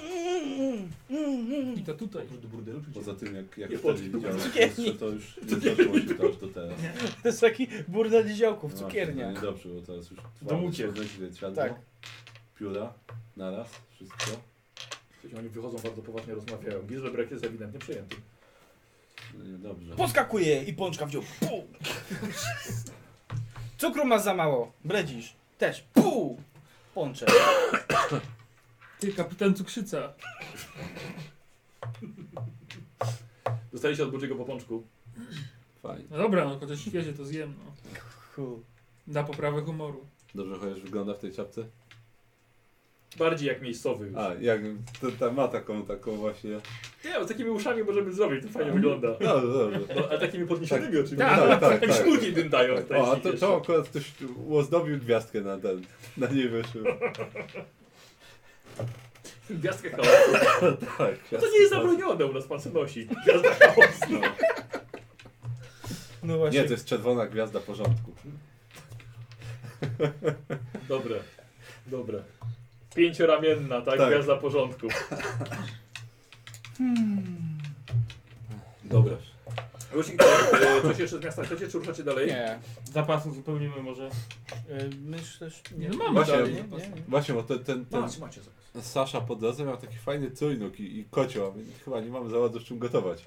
Speaker 4: I to tutaj.
Speaker 2: Do burdelu czy
Speaker 1: Poza tym jak, jak
Speaker 2: Nie
Speaker 1: wtedy
Speaker 2: podpił.
Speaker 1: widziałem
Speaker 5: Cukierni.
Speaker 1: lustrze, to już nie zdarzyło się to aż do teraz.
Speaker 5: To jest taki burdel ziołków,
Speaker 1: No
Speaker 5: cukiernia.
Speaker 1: właśnie, to Niedobrze, bo teraz już
Speaker 3: mucie.
Speaker 1: Światło,
Speaker 5: Tak.
Speaker 1: pióra, naraz, wszystko.
Speaker 2: Słuchajcie, Oni wychodzą bardzo poważnie, rozmawiają. Gizelbrecht jest ewidentnie przejęty.
Speaker 1: No Niedobrze.
Speaker 5: Poskakuje i pączka w dziób. Puu. Cukru masz za mało. Bredzisz. Też. Puu. Pączę.
Speaker 4: Ty, kapitan cukrzyca.
Speaker 2: Dostaliście od Bodziego po pączku.
Speaker 1: Fajnie.
Speaker 4: No dobra, no chociaż świeże to zjem, no.
Speaker 5: Cool.
Speaker 4: Na poprawę humoru.
Speaker 1: Dobrze chociaż wygląda w tej czapce?
Speaker 2: Bardziej jak miejscowy już.
Speaker 1: A, jak to, ta ma taką, taką właśnie...
Speaker 2: Nie, no, z takimi uszami możemy zrobić, to fajnie wygląda.
Speaker 1: Dobrze, dobrze.
Speaker 2: No, ale takimi podniesionymi
Speaker 1: Tak,
Speaker 2: oczywiście.
Speaker 1: tak, tak,
Speaker 2: Jak
Speaker 1: tak.
Speaker 2: sznurki dyndają.
Speaker 1: Tak, O, a to, to akurat ktoś tu ozdobił gwiazdkę na ten, na niej wyszło.
Speaker 2: no. Gwiazdkę chaosu.
Speaker 1: tak,
Speaker 2: No to nie jest zabronione, u nas pan se nosi. Gwiazda chaosu.
Speaker 5: No właśnie.
Speaker 1: Nie, to jest czerwona gwiazda porządku.
Speaker 2: Dobre, dobre. Pięcioramienna, tak?
Speaker 1: Tak.
Speaker 2: Gwiazda porządku.
Speaker 5: Hmm.
Speaker 2: Dobra. Wójcik, e, coś jeszcze z miasta chcecie, czy ruszacie dalej?
Speaker 5: Nie.
Speaker 3: Zapasów zupełnimy może.
Speaker 5: Y, Myślę, że...
Speaker 4: Nie, no mamy
Speaker 1: Właśnie,
Speaker 4: dalej, nie?
Speaker 5: nie, nie.
Speaker 1: Właśnie, bo ten, ten, ten
Speaker 2: Macie, macie zapas.
Speaker 1: Sasza po drodze miał taki fajny trójnóg i, i kocioł, a my chyba nie mamy za bardzo z czym gotować.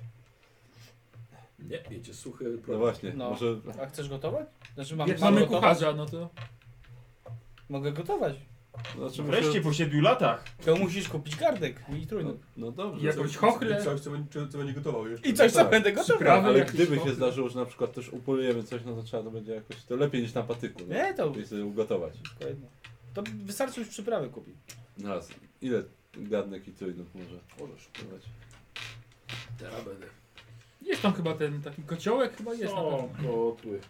Speaker 2: Nie, wiecie, suchy
Speaker 1: No
Speaker 2: produkt.
Speaker 1: właśnie,
Speaker 5: No.
Speaker 1: może...
Speaker 5: A chcesz gotować? Znaczy mam,
Speaker 4: Jak
Speaker 5: mam
Speaker 4: mamy
Speaker 5: gotować?
Speaker 4: kucharza, no to...
Speaker 5: Mogę gotować.
Speaker 1: Znaczy,
Speaker 3: Wreszcie
Speaker 1: może...
Speaker 3: po 7 latach.
Speaker 5: To musisz kupić gardek i trójnóg.
Speaker 1: No
Speaker 4: I
Speaker 1: dobrze.
Speaker 4: jakąś chochlę.
Speaker 6: Coś, co będzie, co będzie gotował jeszcze.
Speaker 5: I coś, co
Speaker 1: tak.
Speaker 5: będę gotował.
Speaker 4: Przyprawy
Speaker 1: Ale
Speaker 4: jakieś
Speaker 1: gdyby się
Speaker 4: chochle.
Speaker 1: zdarzyło, że na przykład też upolujemy coś, no to trzeba to będzie jakoś... To lepiej niż na patyku. No.
Speaker 5: Nie, to-
Speaker 1: Lepiej sobie ugotować.
Speaker 5: Tylko jedno. To wystarczy już przyprawy kupić.
Speaker 1: No Raz, ile garnek i trójnóg może?
Speaker 2: Możesz.
Speaker 1: gotować?
Speaker 2: Teraz będę.
Speaker 4: Jest tam chyba ten taki kociołek, chyba jest na
Speaker 2: Są
Speaker 4: pewno.
Speaker 2: kotły.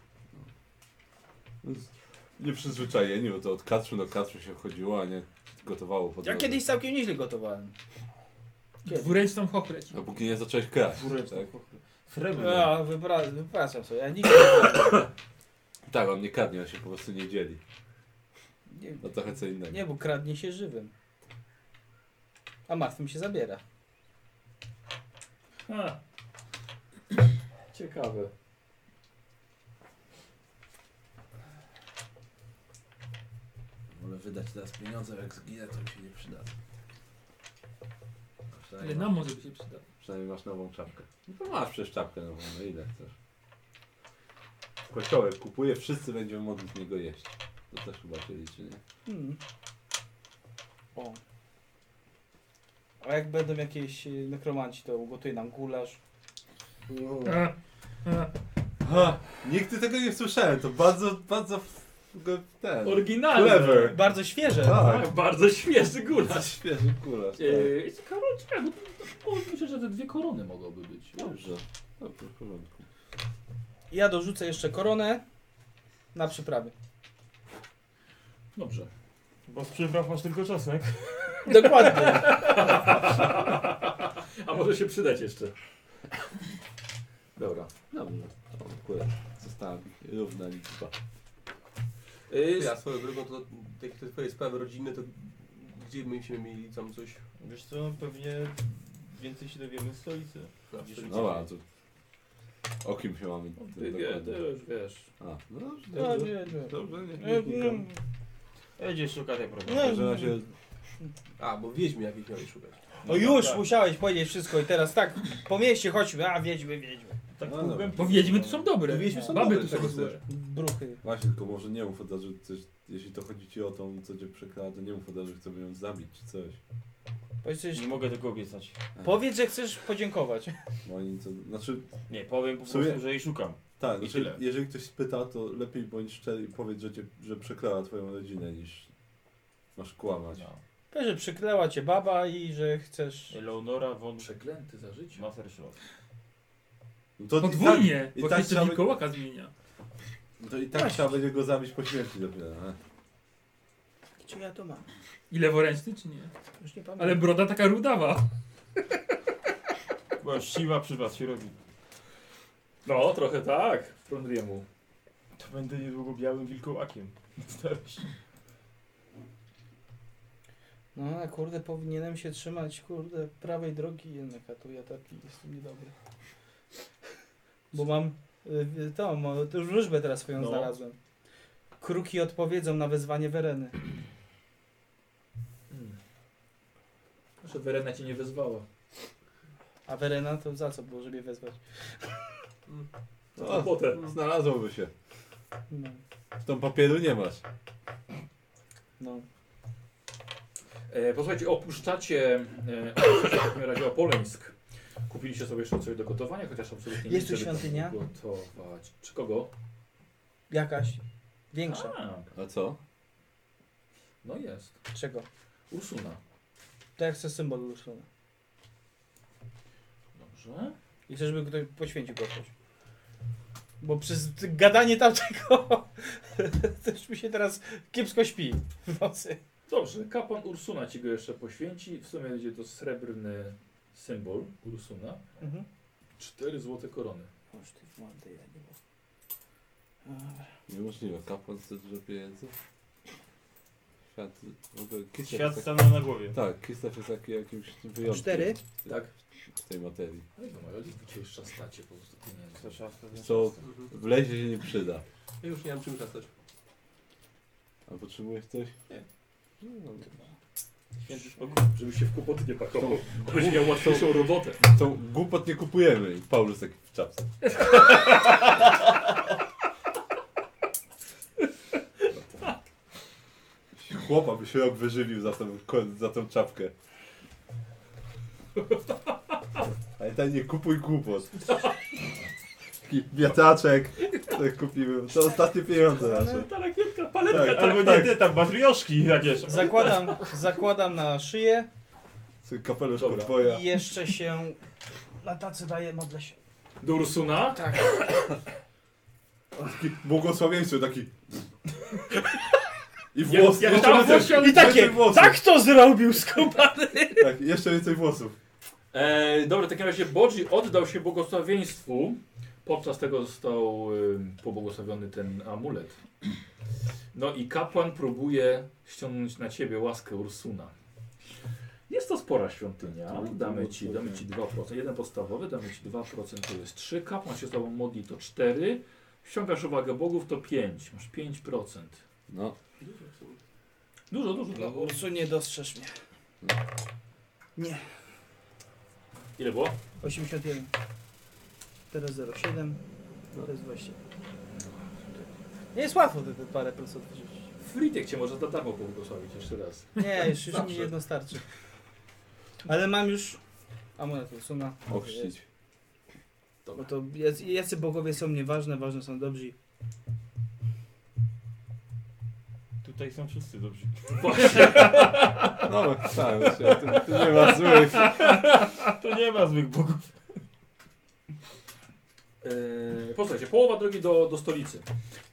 Speaker 1: Nieprzyzwyczajeni, bo to od katru do katru się chodziło, a nie gotowało po
Speaker 5: Ja
Speaker 1: drodze.
Speaker 5: kiedyś całkiem nieźle gotowałem. Kiedy?
Speaker 4: Dwuręczną chochleć.
Speaker 1: Dopóki nie zacząłeś kraść.
Speaker 3: Kureczne.
Speaker 1: Tak?
Speaker 3: Srebrne.
Speaker 5: Ja wybra- wypraszam sobie, ja nigdy
Speaker 1: tak, on nie kradnie, on się po prostu nie dzieli.
Speaker 5: nie,
Speaker 1: No trochę co innego.
Speaker 5: nie, bo kradnie się żywym. A martwym się zabiera.
Speaker 2: Ha. Ciekawe.
Speaker 13: Wolę wydać teraz pieniądze, jak zginę, to mi się nie przyda.
Speaker 4: Ale nam może by się przydał.
Speaker 1: Przynajmniej masz nową czapkę. No to masz przecież czapkę nową, no ile chcesz. Kościołek kupuję, wszyscy będziemy mogli z niego jeść. To też chyba się liczy, nie?
Speaker 5: Hmm. O. A jak będą jakieś e, nekromanci, to ugotuję nam gulasz.
Speaker 14: Ha, nigdy tego nie słyszałem, to bardzo, bardzo f- go- ten...
Speaker 2: Oryginalne.
Speaker 14: Clever.
Speaker 5: Bardzo świeże.
Speaker 14: Tak.
Speaker 2: Tak, bardzo świeży gulasz.
Speaker 14: Świeży gulasz, tak.
Speaker 2: Eee, Karol, czekaj, bo to- bo myślę, że te dwie korony mogłyby być.
Speaker 14: Dobrze. Dobrze, w porządku.
Speaker 5: Ja dorzucę jeszcze koronę na przyprawy.
Speaker 2: Dobrze.
Speaker 3: Bo z przypraw masz tylko czosnek.
Speaker 5: Dokładnie.
Speaker 2: A może się przydać jeszcze.
Speaker 1: Dobra, dobrze. No, To akurat została równa liczba. No
Speaker 2: Yy,
Speaker 6: Ja swoją drogą, to te, te twoje sprawy rodzinne, to gdzie myśmy mieli tam coś?
Speaker 3: Wiesz co, pewnie więcej się dowiemy z stolicy.
Speaker 6: Na
Speaker 3: Niż-
Speaker 6: stolicy.
Speaker 1: Dobra, to o kim się mamy
Speaker 2: Ty, wie, ty
Speaker 1: dokładnie?
Speaker 2: już wiesz.
Speaker 1: A, no dobrze,
Speaker 5: No,
Speaker 1: dobrze.
Speaker 5: nie, nie.
Speaker 1: Dobrze, nie,
Speaker 5: E,
Speaker 1: nie, nie,
Speaker 5: no,
Speaker 3: Jedziesz szukać tej
Speaker 5: No.
Speaker 3: problemu.
Speaker 1: nie. Że się
Speaker 6: A, bo wiedźmy jakieś miałeś szukać.
Speaker 5: No już musiałeś powiedzieć wszystko i teraz tak, po mieście chodźmy, a wiedźmy, wiedźmy.
Speaker 3: Tak
Speaker 1: No,
Speaker 3: no,
Speaker 4: Bo wiedźmy tu są dobre.
Speaker 6: Wiedźmy są
Speaker 4: Baby
Speaker 6: dobre,
Speaker 4: tu są
Speaker 6: tego
Speaker 4: złe.
Speaker 6: chcesz.
Speaker 5: Bruchy.
Speaker 1: Właśnie, tylko może nie mów od razu, coś, jeśli to chodzi ci o tą, co cię przekrada, to nie mów od razu, że chcemy ją zabić czy coś.
Speaker 5: Powiedz, że-
Speaker 3: Nie mogę tego obiecać.
Speaker 5: powiedz, że chcesz podziękować.
Speaker 1: Bo oni co, znaczy,
Speaker 3: Nie, powiem po
Speaker 1: W sumie-
Speaker 3: prostu, że jej szukam.
Speaker 1: tak,
Speaker 3: I
Speaker 1: znaczy,
Speaker 3: tyle.
Speaker 1: jeżeli ktoś spyta, to lepiej bądź szczery i powiedz, że, cię, że przekrada twoją rodzinę, niż masz kłamać.
Speaker 3: No.
Speaker 5: Powiedz, że przyklęła cię baba i że chcesz...
Speaker 3: Eleonora von
Speaker 2: Przeklęty za życie.
Speaker 3: Messerschmitt.
Speaker 1: No to
Speaker 4: Podwójnie,
Speaker 1: i
Speaker 4: bo
Speaker 1: tak
Speaker 4: jeszcze
Speaker 1: trzeba-
Speaker 4: Wilkołaka zmienia.
Speaker 1: To i tak trzeba będzie go zabić po śmierci dopiero, nie?
Speaker 5: Czy ja to mam?
Speaker 4: I leworęczny czy nie?
Speaker 5: Już nie pamiętam.
Speaker 4: Ale broda taka rudawa.
Speaker 3: Była siła przy was się robi.
Speaker 2: No, trochę tak. Prądriemu.
Speaker 3: To będę niedługo białym wilkołakiem.
Speaker 5: No, a kurde, powinienem się trzymać, kurde, prawej drogi jednak, a tu ja tak taki jestem niedobry. Bo mam y, tą, o, tę wróżbę teraz swoją
Speaker 3: No.
Speaker 5: znalazłem. Kruki odpowiedzą na wezwanie Wereny.
Speaker 2: Hmm. Że Werena cię nie wezwała.
Speaker 5: A Werena to za co było, żeby je wezwać?
Speaker 2: O, potem.
Speaker 1: Znalazłoby się.
Speaker 5: No,
Speaker 1: W tą papieru nie masz.
Speaker 5: no.
Speaker 2: E, posłuchajcie, opuszczacie e, opuszczacie w takim razie Opoleńsk. Kupiliście sobie jeszcze coś do gotowania, chociaż absolutnie
Speaker 5: Jest
Speaker 2: nie
Speaker 5: tu świątynia?
Speaker 2: gotować. Czy kogo?
Speaker 5: Jakaś większa.
Speaker 2: A,
Speaker 1: A co?
Speaker 2: no jest.
Speaker 5: Czego?
Speaker 2: Ursuna.
Speaker 5: To ja chcę symbol Urszula.
Speaker 2: Dobrze.
Speaker 5: I chcę, żeby ktoś poświęcił go coś. Bo przez t- gadanie tamtego też mi się teraz kiepsko śpi w nocy.
Speaker 2: Dobrze, kapłan Ursuna ci go jeszcze poświęci. W sumie będzie to srebrny symbol Ursuna.
Speaker 5: Mhm.
Speaker 2: Cztery złote korony.
Speaker 5: Boż ty w mordę, ja nie mogę.
Speaker 1: Niemożliwe, kapłan chce dużo pieniędzy. Świat, w ogóle Kislev
Speaker 3: Świat
Speaker 1: jest
Speaker 3: stanął na głowie.
Speaker 1: taki, Tak, Kislev jest taki jakimś wyjątkiem.
Speaker 5: Cztery?
Speaker 1: w-
Speaker 2: Tak. No
Speaker 1: W tej materii.
Speaker 2: Ale go mają dzisiaj szastacie po prostu pieniędzy.
Speaker 3: To szafka, nie?
Speaker 1: Co w lesie się nie przyda.
Speaker 6: Ja już nie mam czym czasać.
Speaker 1: A potrzebujesz coś? Nie.
Speaker 3: Święty spokój.
Speaker 2: Żebyś się w kłopoty nie pakował. Żebyś miał łatwiejszą robotę.
Speaker 1: To głupot nie kupujemy. I Paulus taki w czapce. Chłopa by się rok wyżywił za tą, za tą czapkę. Ale ten tak nie kupuj głupot. Taki wiataczek, tak kupimy. To ostatnie pieniądze nasze.
Speaker 2: Ta rakietka, paletka.
Speaker 1: Tak,
Speaker 3: Albo
Speaker 1: tak.
Speaker 3: nie, ty tam, matrioszki jakieś.
Speaker 5: Zakładam, zakładam na szyję
Speaker 1: Sobie Kapelusz
Speaker 2: Dobra.
Speaker 1: podwoja.
Speaker 5: i jeszcze się na tacy daję, modlę się.
Speaker 2: Do Ursuna?
Speaker 5: Tak.
Speaker 1: Taki błogosławieństwo, taki... I
Speaker 2: Ja-
Speaker 1: włosy.
Speaker 2: ja
Speaker 1: jeszcze
Speaker 2: tam
Speaker 1: więcej-
Speaker 2: włosi, ale
Speaker 5: I
Speaker 1: jeszcze
Speaker 5: takie,
Speaker 1: włosów.
Speaker 5: tak to zrobił skubany.
Speaker 1: Tak, jeszcze więcej włosów.
Speaker 2: E, dobra, w takim razie Bodzi oddał się błogosławieństwu. Podczas tego został y, pobłogosławiony ten amulet. No i kapłan próbuje ściągnąć na ciebie łaskę Ursuna. Jest to spora świątynia. Damy ci, damy ci 2%. Jeden podstawowy, damy ci 2%, to jest 3. Kapłan się z tobą modli, to 4. Ściągasz uwagę bogów, to 5. Masz 5%.
Speaker 1: No.
Speaker 2: Dużo, dużo.
Speaker 5: No Ursu, nie dostrzeż mnie. Nie,
Speaker 2: Ile było?
Speaker 5: 81. Teraz 07. To jest 20. Nie jest łatwo te, te parę procent wyrzucić.
Speaker 2: Fritek cię może za darmo pobłogosławić jeszcze raz.
Speaker 5: Nie, już, już mi
Speaker 2: Zawsze.
Speaker 5: jedno starczy. Ale mam już amulet Wilsona.
Speaker 1: Ochrzcić.
Speaker 5: Bo to jacy, jacy bogowie są nieważne, ważne są dobrzy.
Speaker 3: Tutaj są wszyscy dobrzy.
Speaker 1: No, bo chciałem się, tu- tu nie ma złych.
Speaker 3: Tu nie ma złych bogów.
Speaker 2: Eee, Posłuchajcie, połowa drogi do, do stolicy.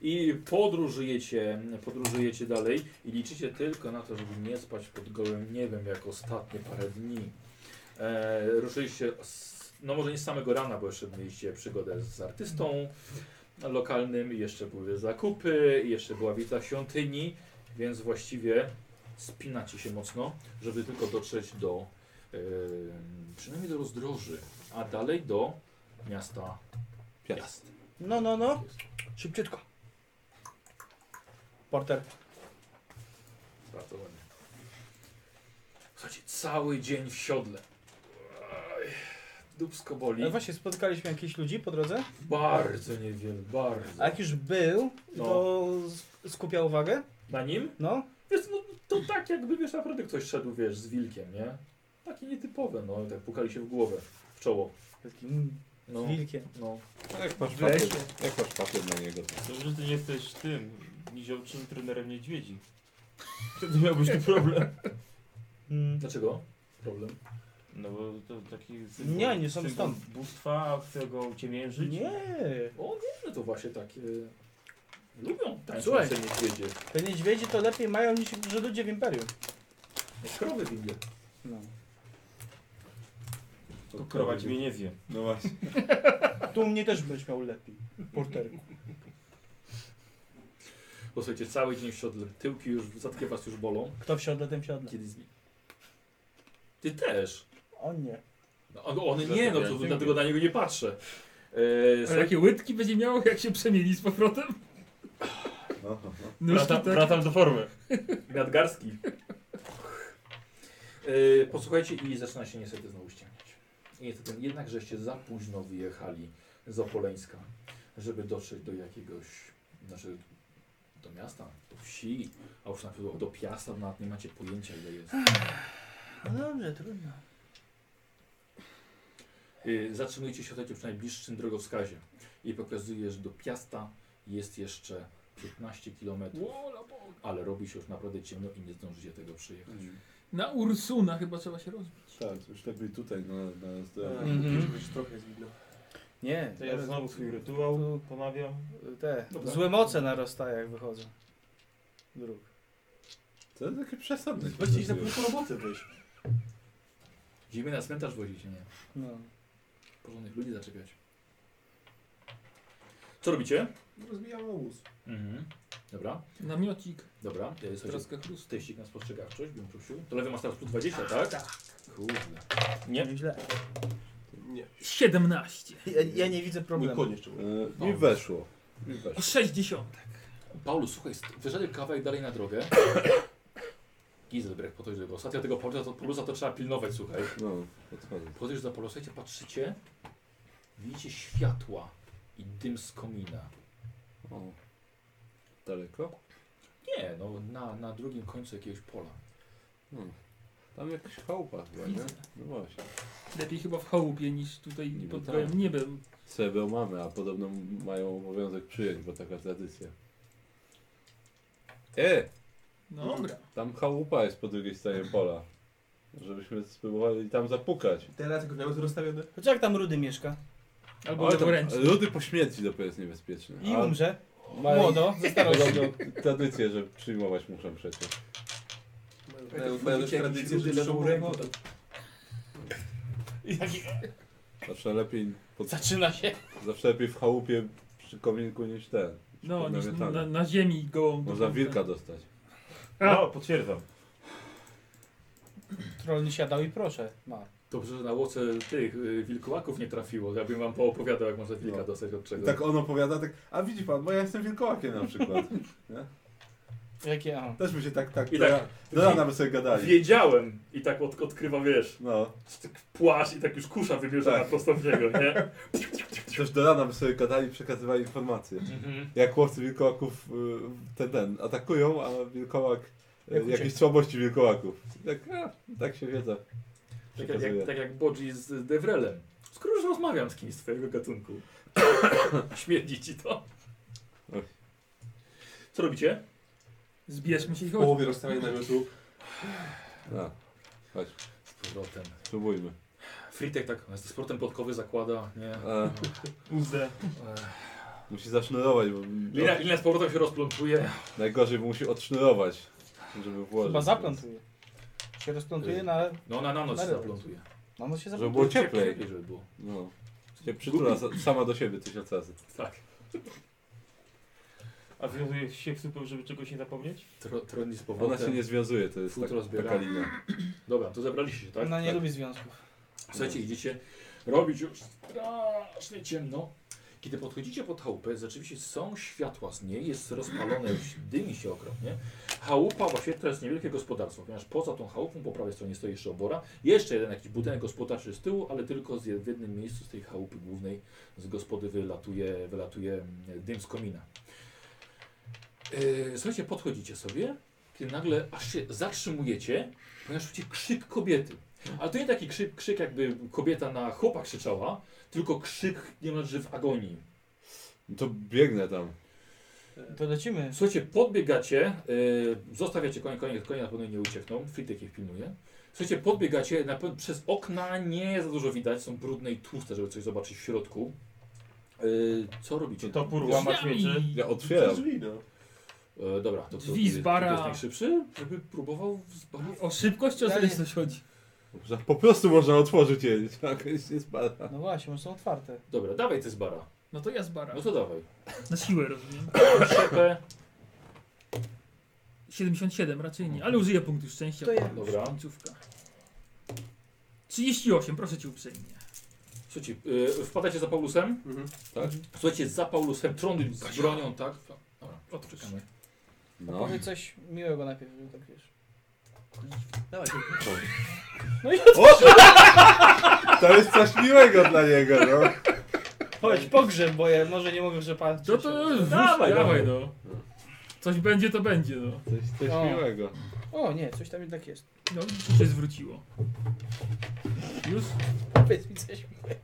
Speaker 2: I podróżujecie, podróżujecie dalej i liczycie tylko na to, żeby nie spać pod gołym niebem jak ostatnie parę dni. Eee, ruszyliście, z, no może nie z samego rana, bo jeszcze mieliście przygodę z artystą lokalnym, i jeszcze były zakupy, i jeszcze była wizyta świątyni, więc właściwie spinacie się mocno, żeby tylko dotrzeć do, eee, przynajmniej do rozdroży, a dalej do miasta Piast.
Speaker 15: No, no, no. Szybciutko. Porter.
Speaker 2: Bardzo ładnie. Słuchajcie, cały dzień w siodle. Aj, Dubsko boli.
Speaker 5: Ale E, właśnie, spotkaliśmy jakichś ludzi po drodze?
Speaker 2: No. Bardzo niewiele, bardzo.
Speaker 5: A jak już był,
Speaker 2: No.
Speaker 5: to s- skupia uwagę?
Speaker 2: Na nim?
Speaker 5: No.
Speaker 2: Wiesz, no, to tak jakby, wiesz, naprawdę ktoś szedł, wiesz, z wilkiem, nie? Takie nietypowe, no, tak pukali się w głowę, w czoło.
Speaker 5: Takim
Speaker 2: No,
Speaker 5: wilkiem.
Speaker 2: no.
Speaker 1: Jak masz
Speaker 3: W lesie.
Speaker 1: papier, jak masz papier na niego?
Speaker 3: Dobrze, że ty nie jesteś tym niziołczym trenerem niedźwiedzi. Wtedy miałbyś tu problem.
Speaker 5: Mm.
Speaker 2: Dlaczego? Problem.
Speaker 3: No bo to taki
Speaker 5: Nie, nie są
Speaker 3: symbol
Speaker 5: stąd.
Speaker 3: bóstwa, chcę go uciemiężyć.
Speaker 5: Nie.
Speaker 2: O nie, no to właśnie takie... Lubią
Speaker 5: Słuchaj.
Speaker 2: tańczące niedźwiedzie.
Speaker 5: Te niedźwiedzie to lepiej mają niż że ludzie w Imperium.
Speaker 2: Jak krowy w Indie.
Speaker 5: No.
Speaker 3: To krować mnie nie zje.
Speaker 1: No właśnie.
Speaker 5: Tu mnie też będziesz miał lepiej. Porterku.
Speaker 2: Posłuchajcie, cały dzień w siodle, tyłki już, zatkie was już bolą.
Speaker 5: Kto wsiadł, ten wsiadł.
Speaker 2: Kiedy z... Ty też.
Speaker 15: On nie.
Speaker 2: No, on- on nie, no to dlatego na niego nie patrzę. Eee,
Speaker 4: Ale jakie łydki będzie miał, jak się przemieni z powrotem?
Speaker 1: no,
Speaker 4: Nóżki
Speaker 3: Wracam,
Speaker 4: tak.
Speaker 3: wracam do formy.
Speaker 2: Nadgarski. Eee, posłuchajcie i zaczyna się niestety znowu ściemniać. I Niestety, jednak żeście za późno wyjechali z Opoleńska, żeby dotrzeć do jakiegoś, znaczy do miasta, do wsi, a już na pewno do Piasta, bo nawet nie macie pojęcia ile jest.
Speaker 5: No dobrze, trudno.
Speaker 2: Y, Zatrzymujcie się słuchajcie, przy najbliższym drogowskazie i pokazuje, że do Piasta jest jeszcze 15 km,
Speaker 4: Wola Boga.
Speaker 2: ale robi się już naprawdę ciemno i nie zdążycie tego przyjechać.
Speaker 4: Na Ursuna chyba trzeba się rozbić.
Speaker 1: Tak, już lepiej tutaj, no, na
Speaker 6: Tak.
Speaker 1: zdrowie.
Speaker 5: Mhm.
Speaker 6: Żeby się E, trochę zwinął.
Speaker 5: Nie.
Speaker 3: To ja
Speaker 5: teraz
Speaker 3: znowu swój rytuał ponawiam.
Speaker 5: Te
Speaker 3: Dobra.
Speaker 5: złe moce narastają jak wychodzą. Dróg.
Speaker 1: To jest takie przesadne.
Speaker 6: Właściwie iść na pół roboty wyjść.
Speaker 2: Zimy na cmentarz wozicie, nie?
Speaker 5: No.
Speaker 2: Porządnych ludzi zaczepiać. Co robicie?
Speaker 6: Rozbijamy łóz.
Speaker 2: Mhm. Dobra,
Speaker 4: Namiocik.
Speaker 2: dobra. Y, Słuchajcie,
Speaker 4: Troska chrust.
Speaker 2: teścik na spostrzegawczość bym prosił. To lewy masz teraz plus 20, tak? Kurde.
Speaker 3: Nie?
Speaker 5: Źle.
Speaker 6: Nie.
Speaker 4: 17.
Speaker 5: Ja, ja nie widzę
Speaker 6: Mój
Speaker 5: problemu.
Speaker 6: koń jeszcze był.
Speaker 1: E, Mi weszło. Mi
Speaker 4: I
Speaker 1: weszło.
Speaker 4: 60.
Speaker 2: Paulus, słuchaj, st- wyszedł kawałek dalej na drogę. Gizelbrecht po to, żeby ostatnio tego Paulusa to, Paulusa to trzeba pilnować, słuchaj.
Speaker 1: No, odchodzę.
Speaker 2: Podejdziesz za Paulusa, słuchajcie, patrzycie, widzicie światła i dym z komina.
Speaker 1: O. Daleko?
Speaker 2: Nie, no na, na drugim końcu jakiegoś pola.
Speaker 1: Hmm. Tam jakaś chałupa chyba, nie? No właśnie.
Speaker 4: Lepiej chyba w chałupie niż tutaj
Speaker 1: Niby
Speaker 4: pod
Speaker 1: tak.
Speaker 4: gołym niebem.
Speaker 1: Sebę mamy, a podobno mają obowiązek przyjąć, bo taka tradycja. E!
Speaker 4: No dobra.
Speaker 1: Tam chałupa jest po drugiej stronie pola. Żebyśmy spróbowali tam zapukać.
Speaker 6: Teraz jak miałem to rozstawione.
Speaker 5: Chociaż jak tam Rudy mieszka
Speaker 4: Albo
Speaker 1: Ale tam
Speaker 4: leworęczny.
Speaker 1: ludy po śmierci dopiero jest niebezpieczne.
Speaker 5: i
Speaker 1: A
Speaker 5: umrze.
Speaker 1: mają
Speaker 5: Młodo, ze starości.
Speaker 1: podobno tradycję, że przyjmować muszą przecież.
Speaker 6: E, Mają- Mają też tradycję, że lewą ręką.
Speaker 1: Zawsze lepiej, pod,
Speaker 5: Zaczyna się.
Speaker 1: zawsze lepiej w chałupie przy kominku niż ten.
Speaker 4: No, niż
Speaker 1: Namiotany.
Speaker 4: na, na ziemi gołą.
Speaker 1: Można wilka dostać.
Speaker 3: No, potwierdzam.
Speaker 5: Troll nie siadał i proszę. Ma.
Speaker 2: Dobrze, że na łoce tych y, wilkołaków nie trafiło. Ja bym wam poopowiadał, jak można wilka
Speaker 1: No.
Speaker 2: dostać od
Speaker 1: I
Speaker 2: czego.
Speaker 1: tak on opowiada, tak, a widzi pan, bo ja jestem wilkołakiem na przykład.
Speaker 5: Jakie? Aha.
Speaker 1: Też by się tak, tak,
Speaker 2: I
Speaker 1: I
Speaker 2: tak-
Speaker 1: tak do rana by sobie gadali.
Speaker 2: Wiedziałem i tak od, odkrywa, wiesz,
Speaker 1: No,
Speaker 2: płaszcz i tak już kusza wybierze
Speaker 1: Tak.
Speaker 2: na prosto w niego, nie?
Speaker 1: też do rana by sobie gadali i przekazywali informacje. Jak chłopcy wilkołaków y, ten, ten atakują, a wilkołak, y,
Speaker 5: Jak ucieka.
Speaker 1: jakieś słabości wilkołaków. I Tak, a, tak się wiedza.
Speaker 2: Tak jak, jak, tak jak Bodzi z Devrelem. Skoro już rozmawiam z kimś z twojego gatunku. Śmierdzi ci to.
Speaker 1: No.
Speaker 2: Co robicie?
Speaker 4: Zbierzmy się i chodźmy.
Speaker 6: Połowie rozstawienia namiotu.
Speaker 1: No, chodź.
Speaker 2: Z powrotem.
Speaker 1: Spróbujmy.
Speaker 2: Fritek tak z sportem podkowy zakłada, nie?
Speaker 1: E.
Speaker 4: Uzdę.
Speaker 2: E,
Speaker 1: Musi zasznurować, bo...
Speaker 2: Lina, lina z powrotem się rozplątuje.
Speaker 1: Najgorzej, bo musi odsznurować, żeby włożyć.
Speaker 5: Chyba zaplątuje. Się rozplątuje na...
Speaker 2: No na, na noc się
Speaker 5: ryb.
Speaker 2: zaplątuje.
Speaker 5: Na noc się
Speaker 1: Żeby
Speaker 5: zaplątuje.
Speaker 1: było cieplej.
Speaker 2: Cieplej, żeby było.
Speaker 1: No. Się przytula sa- sama do siebie tysiąc razy.
Speaker 2: Tak.
Speaker 3: A wiązuje się w super, żeby czegoś nie zapomnieć?
Speaker 2: Tro, troni z powrotem.
Speaker 1: Ona się nie związuje, to jest
Speaker 2: Futro
Speaker 1: tak,
Speaker 2: zbiera.
Speaker 1: taka linia.
Speaker 2: Dobra, to zebraliście się, tak?
Speaker 5: Ona No, nie
Speaker 2: tak.
Speaker 5: lubi związków.
Speaker 2: Słuchajcie, idziecie robić już strasznie ciemno. Kiedy podchodzicie pod chałupę, rzeczywiście są światła z niej, jest rozpalone, już dymi się okropnie. Chałupa oświetla jest niewielkie gospodarstwo, ponieważ poza tą chałupą po prawej stronie stoi jeszcze obora. Jeszcze jeden jakiś budynek gospodarczy z tyłu, ale tylko z jed- w jednym miejscu z tej chałupy głównej z gospody wylatuje, wylatuje mm, dym z komina. Yy, słuchajcie, podchodzicie sobie, kiedy nagle aż się zatrzymujecie, ponieważ czujecie krzyk kobiety. Ale to nie taki krzyk, krzyk jakby kobieta na chłopa krzyczała, tylko krzyk niemalże w agonii.
Speaker 1: No To biegnę tam.
Speaker 5: To lecimy.
Speaker 2: Słuchajcie, podbiegacie, yy, zostawiacie konie, konie, konie na pewno nie uciekną, Fritek ich pilnuje. Słuchajcie, podbiegacie, na, pe- przez okna nie za dużo widać, są brudne i tłuste, żeby coś zobaczyć w środku. Yy, co robicie?
Speaker 3: Topór łamać mieczy.
Speaker 1: Ja otwieram.
Speaker 6: Drzwi, no.
Speaker 2: E, dobra, to kto-
Speaker 4: Drzwi z bara.
Speaker 2: kto jest najszybszy, żeby próbował zbanować.
Speaker 4: O szybkość czy o
Speaker 5: Ja nie-
Speaker 4: zręczność chodzi?
Speaker 1: Że Po prostu można otworzyć je. Tak, nie spada.
Speaker 5: No właśnie, one są otwarte.
Speaker 2: Dobra, dawaj ty z bara.
Speaker 4: No to ja z bara.
Speaker 2: No to dawaj.
Speaker 4: Na siłę rozumiem.
Speaker 2: Szepę.
Speaker 4: 77 raczej nie, ale użyję punktu szczęścia. No,
Speaker 5: To ja.
Speaker 2: Dobra.
Speaker 4: Końcówka. 38, proszę cię uprzejmie.
Speaker 2: Słuchajcie, yy, wpadacie za Paulusem?
Speaker 1: Tak?
Speaker 2: Słuchajcie, za Paulusem, trony z bronią, tak? Dobra, odczekamy.
Speaker 1: No.
Speaker 5: Powiedz coś miłego najpierw, żeby tak wiesz. Dawaj.
Speaker 1: To jest coś miłego dla niego, no.
Speaker 5: Chodź, pogrzeb, bo ja może nie mogę przepatrzeć.
Speaker 4: No to wrzuć,
Speaker 2: Dawaj,
Speaker 4: dawaj,
Speaker 2: dawaj.
Speaker 4: no. Coś będzie, to będzie, no.
Speaker 1: Coś, coś
Speaker 5: O.
Speaker 1: miłego.
Speaker 5: O nie, coś tam jednak jest.
Speaker 4: No, już się zwróciło. Już?
Speaker 5: Powiedz mi coś miłego.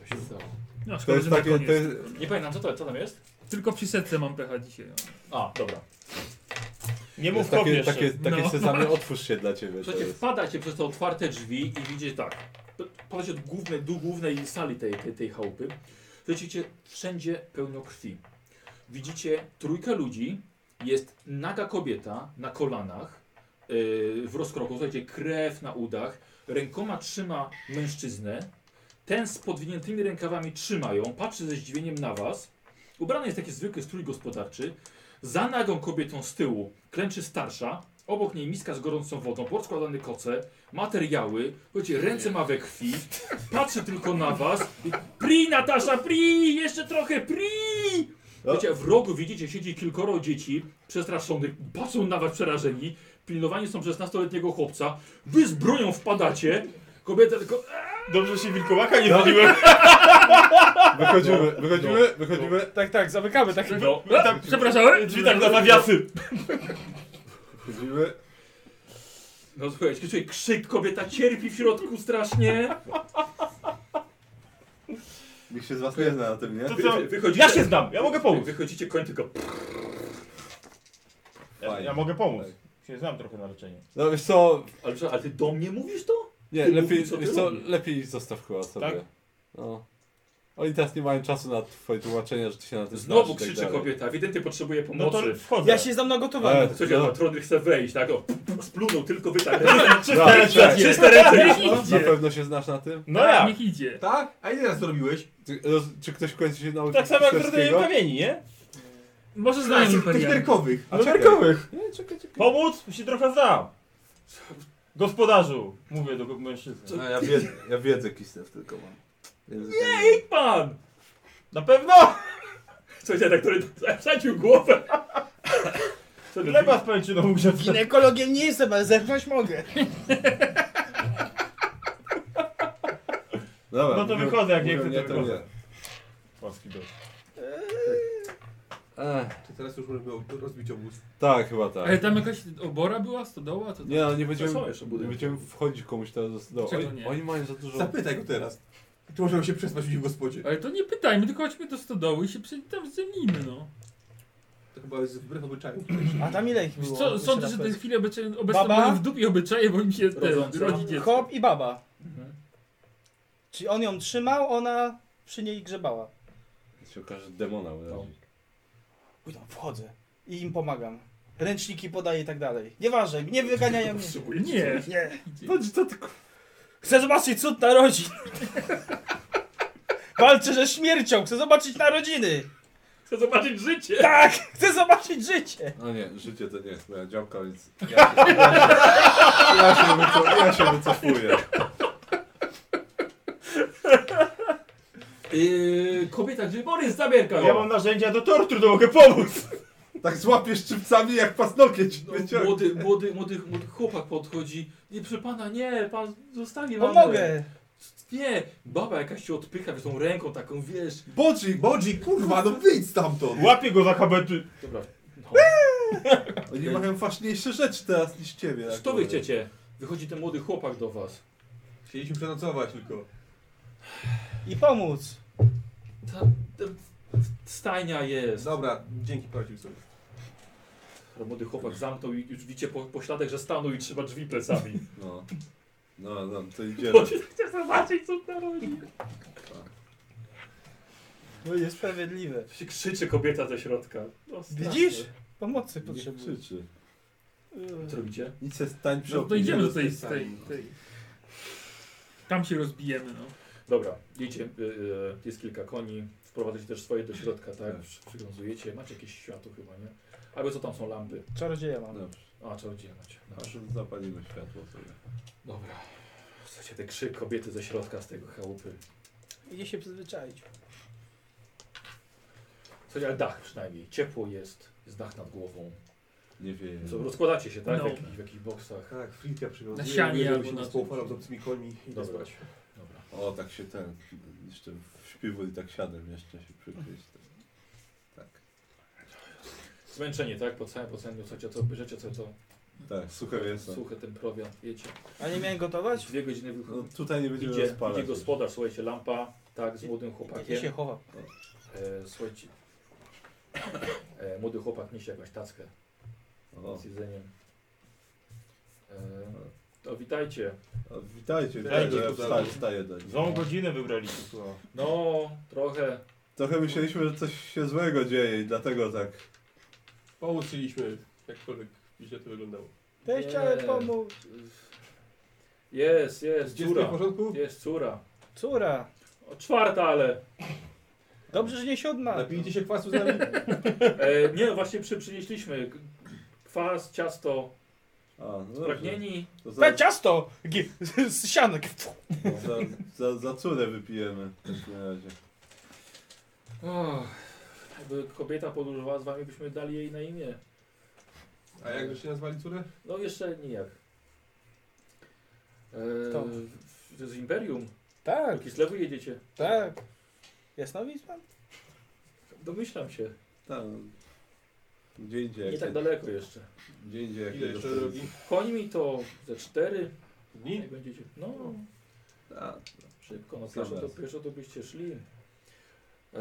Speaker 2: To się stało.
Speaker 4: No, szkoda,
Speaker 1: To jest
Speaker 4: że na
Speaker 1: takie...
Speaker 4: koniec.
Speaker 1: To jest...
Speaker 2: Nie pamiętam, co to, co tam jest?
Speaker 4: Tylko przy setce mam pecha dzisiaj. no.
Speaker 2: A, dobra.
Speaker 3: Nie
Speaker 1: To jest
Speaker 3: mów kopiesz.
Speaker 1: takie,
Speaker 3: jeszcze.
Speaker 1: takie, takie
Speaker 4: No.
Speaker 1: sezamie, otwórz się dla ciebie. To
Speaker 2: Słuchajcie,
Speaker 1: jest.
Speaker 2: wpadacie przez te otwarte drzwi i widzicie tak. Wpadacie do głównej, do głównej sali tej, tej, tej chałupy. Widzicie wszędzie pełno krwi. Widzicie trójkę ludzi. Jest naga kobieta na kolanach, yy, w rozkroku. Słuchajcie, krew na udach. Rękoma trzyma mężczyznę. Ten z podwiniętymi rękawami trzyma ją, patrzy ze zdziwieniem na was. Ubrany jest taki zwykły strój gospodarczy. Za nagą kobietą z tyłu klęczy starsza. Obok niej miska z gorącą wodą, porozkładane koce, materiały. Słuchajcie, ręce ma we krwi. Patrzy tylko na was. i Pri, Natasza, pri! Jeszcze trochę, pri! Słuchajcie, w rogu widzicie, siedzi kilkoro dzieci przestraszonych, patrzą na was przerażeni. Pilnowani są przez nastoletniego chłopca. Wy z bronią wpadacie. Kobieta tylko...
Speaker 3: Dobrze że się wilkołaka nie zrobiłem.
Speaker 1: Wychodzimy,
Speaker 4: No.
Speaker 1: wychodzimy, wychodzimy.
Speaker 5: Tak, tak, zamykamy tak.
Speaker 2: No.
Speaker 4: A, przepraszałem?
Speaker 3: Drzwi tak na nawiasy.
Speaker 1: Wychodzimy.
Speaker 2: No słuchajcie, słyszę krzyk, kobieta cierpi w środku strasznie.
Speaker 1: Nikt się z was nie zna na tym, nie?
Speaker 3: To co?
Speaker 2: Wychodzicie,
Speaker 3: Ja się znam, ja mogę pomóc.
Speaker 2: Wychodzicie, koń tylko...
Speaker 3: Ja, ja mogę pomóc. Się znam trochę na leczenie.
Speaker 1: No wiesz co,
Speaker 2: Ale, co, ale ty do mnie mówisz to?
Speaker 1: nie,
Speaker 2: Ty
Speaker 1: lepiej,
Speaker 2: mów, co ty
Speaker 1: wiesz co,
Speaker 2: robisz.
Speaker 1: lepiej zostaw chyba sobie.
Speaker 3: Tak?
Speaker 1: No. Oni teraz nie mają czasu na twoje tłumaczenia, że ty się na tym
Speaker 2: Znowu
Speaker 1: znasz i tak
Speaker 2: krzyczy
Speaker 1: dalej.
Speaker 2: kobieta, ewidentnie potrzebuje
Speaker 3: No to
Speaker 2: pomocy.
Speaker 3: wchodzę.
Speaker 5: Ja się znam na
Speaker 1: Ale,
Speaker 5: gotowanie.
Speaker 1: no,
Speaker 2: Słuchajcie, no. Trondry chce wejść, tak? O, splunął tylko wytarł.
Speaker 1: tak, tak.
Speaker 2: Czyste ręce!
Speaker 1: Na pewno się znasz na tym?
Speaker 3: No ja.
Speaker 4: Niech idzie.
Speaker 6: Tak? A ile raz to robiłeś?
Speaker 1: Ty, roz, czy ktoś w końcu się nauczył
Speaker 3: Tak samo jak rodzenie
Speaker 1: szwedzkiego?
Speaker 3: kamieni, nie?
Speaker 4: Może
Speaker 6: Tak,
Speaker 4: znają
Speaker 6: tych
Speaker 4: imperialnie.
Speaker 6: nerkowych.
Speaker 1: A
Speaker 6: No
Speaker 1: czekaj.
Speaker 6: nerkowych.
Speaker 3: Pomóc? Się trochę znam. Gospodarzu, mówię do mężczyzny.
Speaker 1: No, ja wiedzę, ja wiedzę kistew tylko mam. Język
Speaker 3: Idź pan! Na pewno!
Speaker 2: Słuchajcie, tak, który wsadził głowę. Co ty,
Speaker 3: Chleba z pęczyną musiał
Speaker 5: Ginekologiem nie jestem, ale zerknąć mogę.
Speaker 1: Dobra,
Speaker 3: No to wychodzę, jak nie
Speaker 1: mówią
Speaker 3: chcę, to
Speaker 1: nie, to
Speaker 3: wychodzę.
Speaker 1: nie.
Speaker 3: Polski dom.
Speaker 1: A,
Speaker 6: Czy teraz już możemy o- rozbić obóz?
Speaker 1: Tak, chyba tak.
Speaker 4: Ale tam jakaś obora była, stodoła? To
Speaker 1: Nie, no, nie będziemy,
Speaker 4: Co są jeszcze
Speaker 1: nie
Speaker 4: budynki?
Speaker 1: będziemy wchodzić komuś teraz do
Speaker 4: Dlaczego
Speaker 1: oni,
Speaker 4: nie?
Speaker 1: oni mają za dużo...
Speaker 6: Zapytaj go teraz. Czy możemy się przespać u nich w gospodzie?
Speaker 4: Ale to nie pytajmy, tylko chodźmy do stodoły i się przy- tam zdzielimy, no.
Speaker 6: To chyba jest wbrew obyczaju.
Speaker 5: A tam ile ich
Speaker 4: Wiesz
Speaker 5: było?
Speaker 4: Co,
Speaker 5: Jeszcze
Speaker 4: sądzę,
Speaker 5: raz
Speaker 4: że te
Speaker 5: powiedz.
Speaker 4: chwile obecne
Speaker 5: Baba?
Speaker 4: mają w dupie obyczaje, bo im się te
Speaker 5: Rodząca.
Speaker 4: rodzi dziecko.
Speaker 5: Hop i baba.
Speaker 4: Mhm.
Speaker 5: Czyli on ją trzymał, ona przy niej grzebała.
Speaker 1: się okaże demona urodzi.
Speaker 5: Pójdę, wchodzę i im pomagam. Ręczniki podaję i tak dalej. Nieważne, nie wyganiają mnie.
Speaker 4: Nie.
Speaker 5: Nie.
Speaker 1: Patrz, co ty... ku-
Speaker 5: Chcę zobaczyć cud narodzin. Walczę ze śmiercią, chcę zobaczyć narodziny.
Speaker 4: Chcę zobaczyć życie.
Speaker 5: Tak, chcę zobaczyć życie.
Speaker 1: No nie, życie to nie jest moja działka, więc ja się, ja się, wyco- ja się wycofuję.
Speaker 2: Yy, kobieta, gdzie Borys, zabierka go!
Speaker 3: Ja mam narzędzia do tortur, to mogę pomóc!
Speaker 1: Tak złapiesz szczypcami jak pasnokieć.
Speaker 2: No, młody, młody, młody, młody chłopak podchodzi. Nie, proszę pana, nie, pan zostawi wam.
Speaker 5: Pomogę.
Speaker 2: Nie, baba jakaś cię odpycha, wiesz, tą ręką taką, wiesz.
Speaker 6: Bodzi, Bodzi, kurwa, no wyjdź stamtąd!
Speaker 3: Łapię go za kabety!
Speaker 2: Dobra.
Speaker 1: Oni mają ważniejsze rzeczy teraz niż ciebie.
Speaker 2: Co
Speaker 1: tak
Speaker 2: to wy
Speaker 1: powiem.
Speaker 2: chcecie? Wychodzi ten młody chłopak do was.
Speaker 6: Chcieliśmy przenocować tylko.
Speaker 5: I pomóc.
Speaker 2: Ta, ta stajnia jest.
Speaker 6: Dobra, dzięki, prosił sobie.
Speaker 2: Ale Młody chłopak zamknął i już widzicie po, po śladach, że stanął i trzyma drzwi plecami.
Speaker 1: No. No, no, to idziemy.
Speaker 2: Chodź, Chcę zobaczyć, co tam robi.
Speaker 4: No
Speaker 5: To jest sprawiedliwe.
Speaker 2: Się krzyczy kobieta ze środka. No, straszne.
Speaker 5: Widzisz? Pomocy
Speaker 1: Nie
Speaker 5: potrzebuję.
Speaker 1: krzyczy.
Speaker 2: Co robicie?
Speaker 1: Nic się stań przy
Speaker 4: No to
Speaker 1: oknie.
Speaker 4: idziemy do tej, tej, tej. Tam się rozbijemy, no.
Speaker 2: Dobra, idziecie, y, y, jest kilka koni, wprowadzacie też swoje do środka, tak? Przywiązujecie, macie jakieś światło chyba, nie? Albo co tam są lampy?
Speaker 5: Czarodzieja mam.
Speaker 1: Dobrze.
Speaker 2: A, czarodzieje macie. Dobra.
Speaker 1: Aż zapalimy światło sobie.
Speaker 2: Dobra. Słuchajcie, te krzyk kobiety ze środka, z tego chałupy.
Speaker 5: Idzie się przyzwyczaić.
Speaker 2: Słuchajcie, ale dach przynajmniej, ciepło jest, jest dach nad głową.
Speaker 1: Nie wieje.
Speaker 2: Co, rozkładacie się, tak?
Speaker 4: No.
Speaker 2: W, jakich, w jakichś boksach.
Speaker 6: Tak, Fritka przywiązuje.
Speaker 4: Na sianie
Speaker 6: mówię, żeby
Speaker 4: albo
Speaker 6: się
Speaker 4: na
Speaker 6: nas
Speaker 4: czymś.
Speaker 6: połapała z obcymi końmi i
Speaker 2: Dobra.
Speaker 6: spać.
Speaker 2: Dobra.
Speaker 1: O, tak się ten. Jeszcze w śpiwu i tak siadam, jeszcze się przykryć. Tak.
Speaker 2: Zmęczenie, tak? Po całym, po całym, słuchajcie, co bierzecie, co to?
Speaker 1: Tak, suche mięso.
Speaker 2: Suche ten prowiant, wiecie.
Speaker 5: A nie miałem gotować?
Speaker 2: Dwie godziny
Speaker 1: No,
Speaker 2: wychodzą.
Speaker 1: tutaj nie będziemy
Speaker 2: Idzie,
Speaker 1: rozpalać.
Speaker 2: idzie
Speaker 1: już.
Speaker 2: gospodarz, słuchajcie, lampa, tak, z młodym chłopakiem.
Speaker 5: Ja się chowam.
Speaker 2: E, słuchajcie. E, młody chłopak niesie jakąś tackę
Speaker 1: O,
Speaker 2: z jedzeniem. E, to witajcie.
Speaker 1: o, witajcie,
Speaker 3: Witajcie,
Speaker 1: witajcie.
Speaker 3: gospodarzu.
Speaker 1: Wstaję, wstaję do nich.
Speaker 3: Złą godzinę wybraliście, słuchaj.
Speaker 2: No, trochę.
Speaker 1: Trochę myśleliśmy, że coś się złego dzieje i dlatego tak.
Speaker 6: Połączyliśmy, jakkolwiek źle to wyglądało.
Speaker 5: Też
Speaker 2: Nie.
Speaker 5: chciałem pomóc.
Speaker 2: Jest, jest,
Speaker 6: Dziecko w
Speaker 2: córa.
Speaker 6: porządku?
Speaker 2: Jest córa.
Speaker 5: Córa.
Speaker 2: O, czwarta, ale.
Speaker 5: Dobrze, że nie siódma.
Speaker 6: Napijcie się kwasu z nami?
Speaker 2: E, nie, właśnie przy, przynieśliśmy k- kwas, ciasto.
Speaker 1: A, no dobrze.
Speaker 2: Pragnieni.
Speaker 1: To za,
Speaker 5: Pe ciasto! G- z sianek.
Speaker 1: za, za, za córę wypijemy w takim razie.
Speaker 2: Och, Jakby kobieta podróżowała z wami, byśmy dali jej na imię.
Speaker 6: A jakby się nazwali córę?
Speaker 2: No jeszcze nijak.
Speaker 5: Kto?
Speaker 2: E, z Imperium.
Speaker 5: Tak,
Speaker 2: Do Kislewu jedziecie.
Speaker 5: tak. Jasnowic pan?
Speaker 2: Domyślam się.
Speaker 1: Tam. Gdzie indziej.
Speaker 2: Nie
Speaker 1: jak
Speaker 2: tak
Speaker 1: to-
Speaker 2: daleko jeszcze.
Speaker 1: Gdzie indziej. jak
Speaker 6: Ile
Speaker 1: to
Speaker 6: jeszcze
Speaker 1: dostaniemy.
Speaker 6: drogi?
Speaker 2: Koń mi to ze cztery.
Speaker 6: Dni?
Speaker 2: Jak będziecie. No,
Speaker 1: A,
Speaker 2: szybko. No,
Speaker 1: Sam
Speaker 2: pieszo to,
Speaker 1: raz.
Speaker 2: pieszo to byście szli. Eee,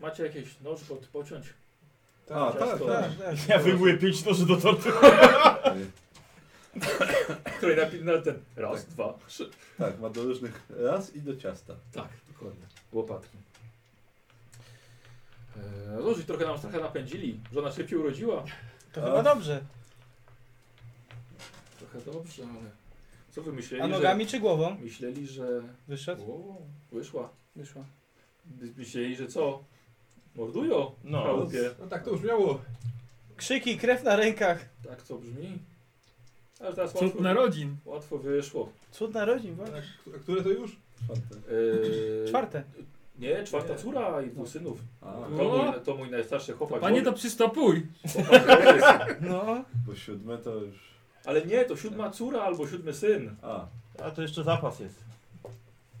Speaker 2: macie jakieś nóż pod, pociąć?
Speaker 1: A, tak,
Speaker 2: Ciasto,
Speaker 1: tak.
Speaker 3: Ja wyjmuję pięć noży do tortur.
Speaker 2: Które napi- na ten. Raz, dwa, trzy.
Speaker 1: Tak, ma do różnych raz i do ciasta.
Speaker 2: Tak, dokładnie. Łopatki. Eee, no, że trochę nam trochę napędzili. Żona szybciej urodziła.
Speaker 5: To
Speaker 1: A.
Speaker 5: chyba No dobrze.
Speaker 2: Trochę dobrze, ale. Co wy myśleli?
Speaker 5: A
Speaker 2: że-
Speaker 5: nogami czy głową?
Speaker 2: Myśleli, że.
Speaker 5: Wyszedł?
Speaker 2: O, wyszła.
Speaker 5: Wyszła.
Speaker 2: My- Myśleli, że co? Mordują
Speaker 3: No.
Speaker 2: w chałupie.
Speaker 6: No tak to już miało.
Speaker 5: Krzyki, krew na rękach.
Speaker 2: Tak to brzmi. Ale teraz
Speaker 4: Cud
Speaker 2: łatwo,
Speaker 4: narodzin.
Speaker 2: łatwo wyszło.
Speaker 5: Cud narodzin,
Speaker 6: A
Speaker 5: właśnie.
Speaker 6: k- które to już?
Speaker 1: Czwarte.
Speaker 2: Eee,
Speaker 5: Czwarte.
Speaker 2: Nie, No. czwarta córa i dwóch synów.
Speaker 1: A,
Speaker 2: To
Speaker 4: O!
Speaker 2: mój, to mój najstarszy chłopak.
Speaker 4: Panie to
Speaker 2: Borys.
Speaker 4: przystopuj.
Speaker 2: Chłopak Borys.
Speaker 5: No.
Speaker 1: bo siódme to już.
Speaker 2: Ale nie, to siódma córa albo siódmy syn.
Speaker 1: A,
Speaker 3: A to jeszcze zapas jest.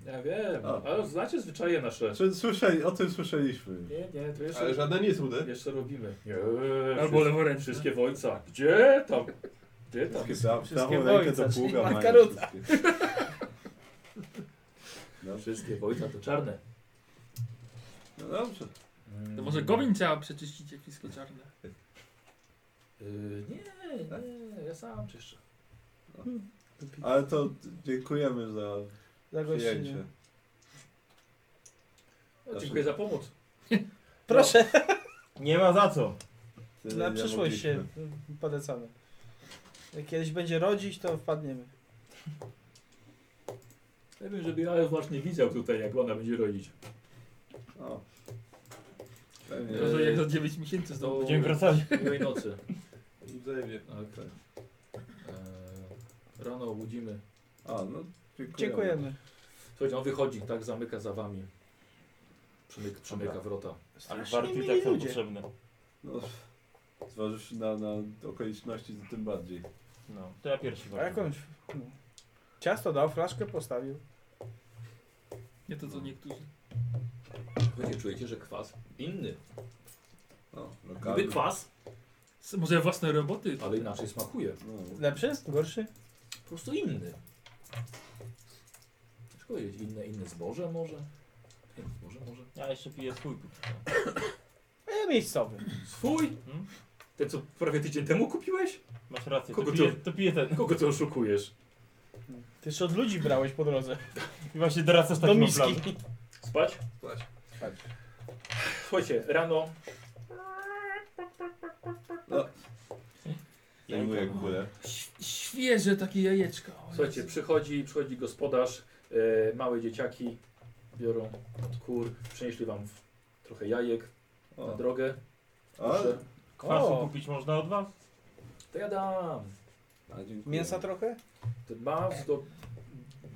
Speaker 2: Ja wiem,
Speaker 1: O.
Speaker 2: ale znacie zwyczaje nasze.
Speaker 1: Czy Znaczy, słyszeli, o tym słyszeliśmy.
Speaker 2: Nie, nie, to jeszcze...
Speaker 1: Ale żaden nie jest
Speaker 2: ude. Jeszcze robimy. Nie,
Speaker 1: Albo
Speaker 2: wszystkie-
Speaker 1: leworęczne.
Speaker 2: Wszystkie wojca. Gdzie tam? Gdzie tam?
Speaker 1: Wszystkie za- Wszystkie prawą rękę wojca, do pługa czyli mają
Speaker 2: karuta.
Speaker 1: Markaruta.
Speaker 2: No. Wszystkie wojca to czarne. Mm.
Speaker 1: No dobrze.
Speaker 4: To może goblin trzeba przeczyścić, jak wszystko czarne.
Speaker 2: Yy, nie, nie, ja sam czyszczę. No,
Speaker 1: Ale to dziękujemy za,
Speaker 5: Za gościnę.
Speaker 1: przyjęcie.
Speaker 2: No, dziękuję za pomoc.
Speaker 5: Proszę.
Speaker 3: Nie ma za co.
Speaker 5: Na przyszłość się y, polecamy. Jak kiedyś będzie rodzić, to wpadniemy.
Speaker 2: Ja wiem, żeby Jajo właśnie widział tutaj, jak ona będzie rodzić.
Speaker 1: O.
Speaker 2: Pewnie.
Speaker 4: Gorzej, jak za 9 miesięcy znowu
Speaker 2: To
Speaker 4: będziemy wracali.
Speaker 2: Miłej nocy.
Speaker 1: I wzajemnie.
Speaker 2: Tak. Eee, rano obudzimy.
Speaker 1: A, no dziękujemy.
Speaker 5: Dziękujemy.
Speaker 2: Słuchajcie, on wychodzi, tak zamyka za wami. Przymyk, przymyka wrota.
Speaker 3: Ale warty i tak są potrzebne.
Speaker 1: No, zważywszy na, na okoliczności, to tym bardziej.
Speaker 3: No, to ja pierwszy
Speaker 5: A jakąś. No. Ciasto dał, flaszkę postawił.
Speaker 4: Nie to co niektórzy.
Speaker 2: Słuchajcie, czujecie, że kwas inny.
Speaker 1: No,
Speaker 2: Niby kwas,
Speaker 4: S- Może własne roboty.
Speaker 2: ale inaczej smakuje.
Speaker 1: No,
Speaker 5: Lepszy? Gorszy?
Speaker 2: Po prostu inny. Ciężko powiedzieć, inne, inne zboże może? Inne zboże może?
Speaker 3: Ja jeszcze piję swój póki co.
Speaker 5: A ja miejscowy.
Speaker 2: Swój? Hmm? Ten, co prawie tydzień temu kupiłeś?
Speaker 3: Masz rację,
Speaker 2: Kogo
Speaker 3: to
Speaker 2: to-
Speaker 3: piję, to piję ten.
Speaker 2: Kogo ty oszukujesz?
Speaker 5: Ty jeszcze od ludzi brałeś po drodze.
Speaker 3: I właśnie dorastasz
Speaker 5: Do
Speaker 3: takim
Speaker 5: miski.
Speaker 3: planem.
Speaker 2: Spać?
Speaker 6: Spać.
Speaker 2: Słuchajcie, rano
Speaker 1: No. Zajmuję górę.
Speaker 4: Świeże takie jajeczka. O,
Speaker 2: Słuchajcie,
Speaker 4: Jezu.
Speaker 2: przychodzi, przychodzi gospodarz, e, małe dzieciaki biorą od kur, przynieśli wam w- trochę jajek
Speaker 1: O.
Speaker 2: na drogę.
Speaker 1: O.
Speaker 2: Proszę.
Speaker 3: Kwasu
Speaker 2: O.
Speaker 3: kupić można od was?
Speaker 2: To ja dam.
Speaker 1: A, dziękuję.
Speaker 5: Mięsa trochę?
Speaker 2: To Mam, to,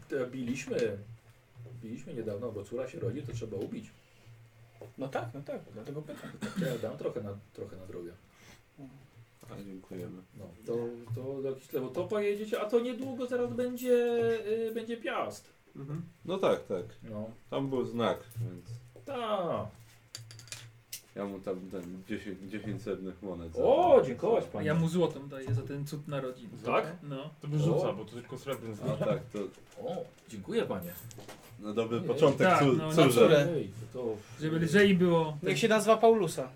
Speaker 2: to biliśmy. Biliśmy niedawno, bo córa się rodzi, to trzeba ubić.
Speaker 5: No tak, no tak, dlatego pytam.
Speaker 2: To ja dam trochę na, trochę na drogę.
Speaker 1: A, dziękujemy.
Speaker 2: No, to, to do jakiś lewo to pojedziecie, a to niedługo zaraz będzie, y, będzie piast.
Speaker 1: No tak, tak.
Speaker 2: No.
Speaker 1: Tam był znak, więc
Speaker 2: Tak.
Speaker 1: ja mu tam ten 10, 10 srebrnych monet.
Speaker 2: O, dziękować panie.
Speaker 4: Ja mu złotą daję za ten cud narodzin.
Speaker 2: Tak?
Speaker 4: No.
Speaker 3: To by rzuca,
Speaker 2: O.
Speaker 3: bo to tylko srebrny
Speaker 1: A
Speaker 3: znak.
Speaker 1: tak, to
Speaker 2: O, dziękuję panie.
Speaker 1: na dobry
Speaker 2: Ej,
Speaker 1: początek
Speaker 4: tak,
Speaker 1: cór,
Speaker 4: no, na
Speaker 1: córze.
Speaker 5: córę.
Speaker 2: Ej, to
Speaker 4: Żeby lżej było.
Speaker 5: Niech się nazywa Paulusa.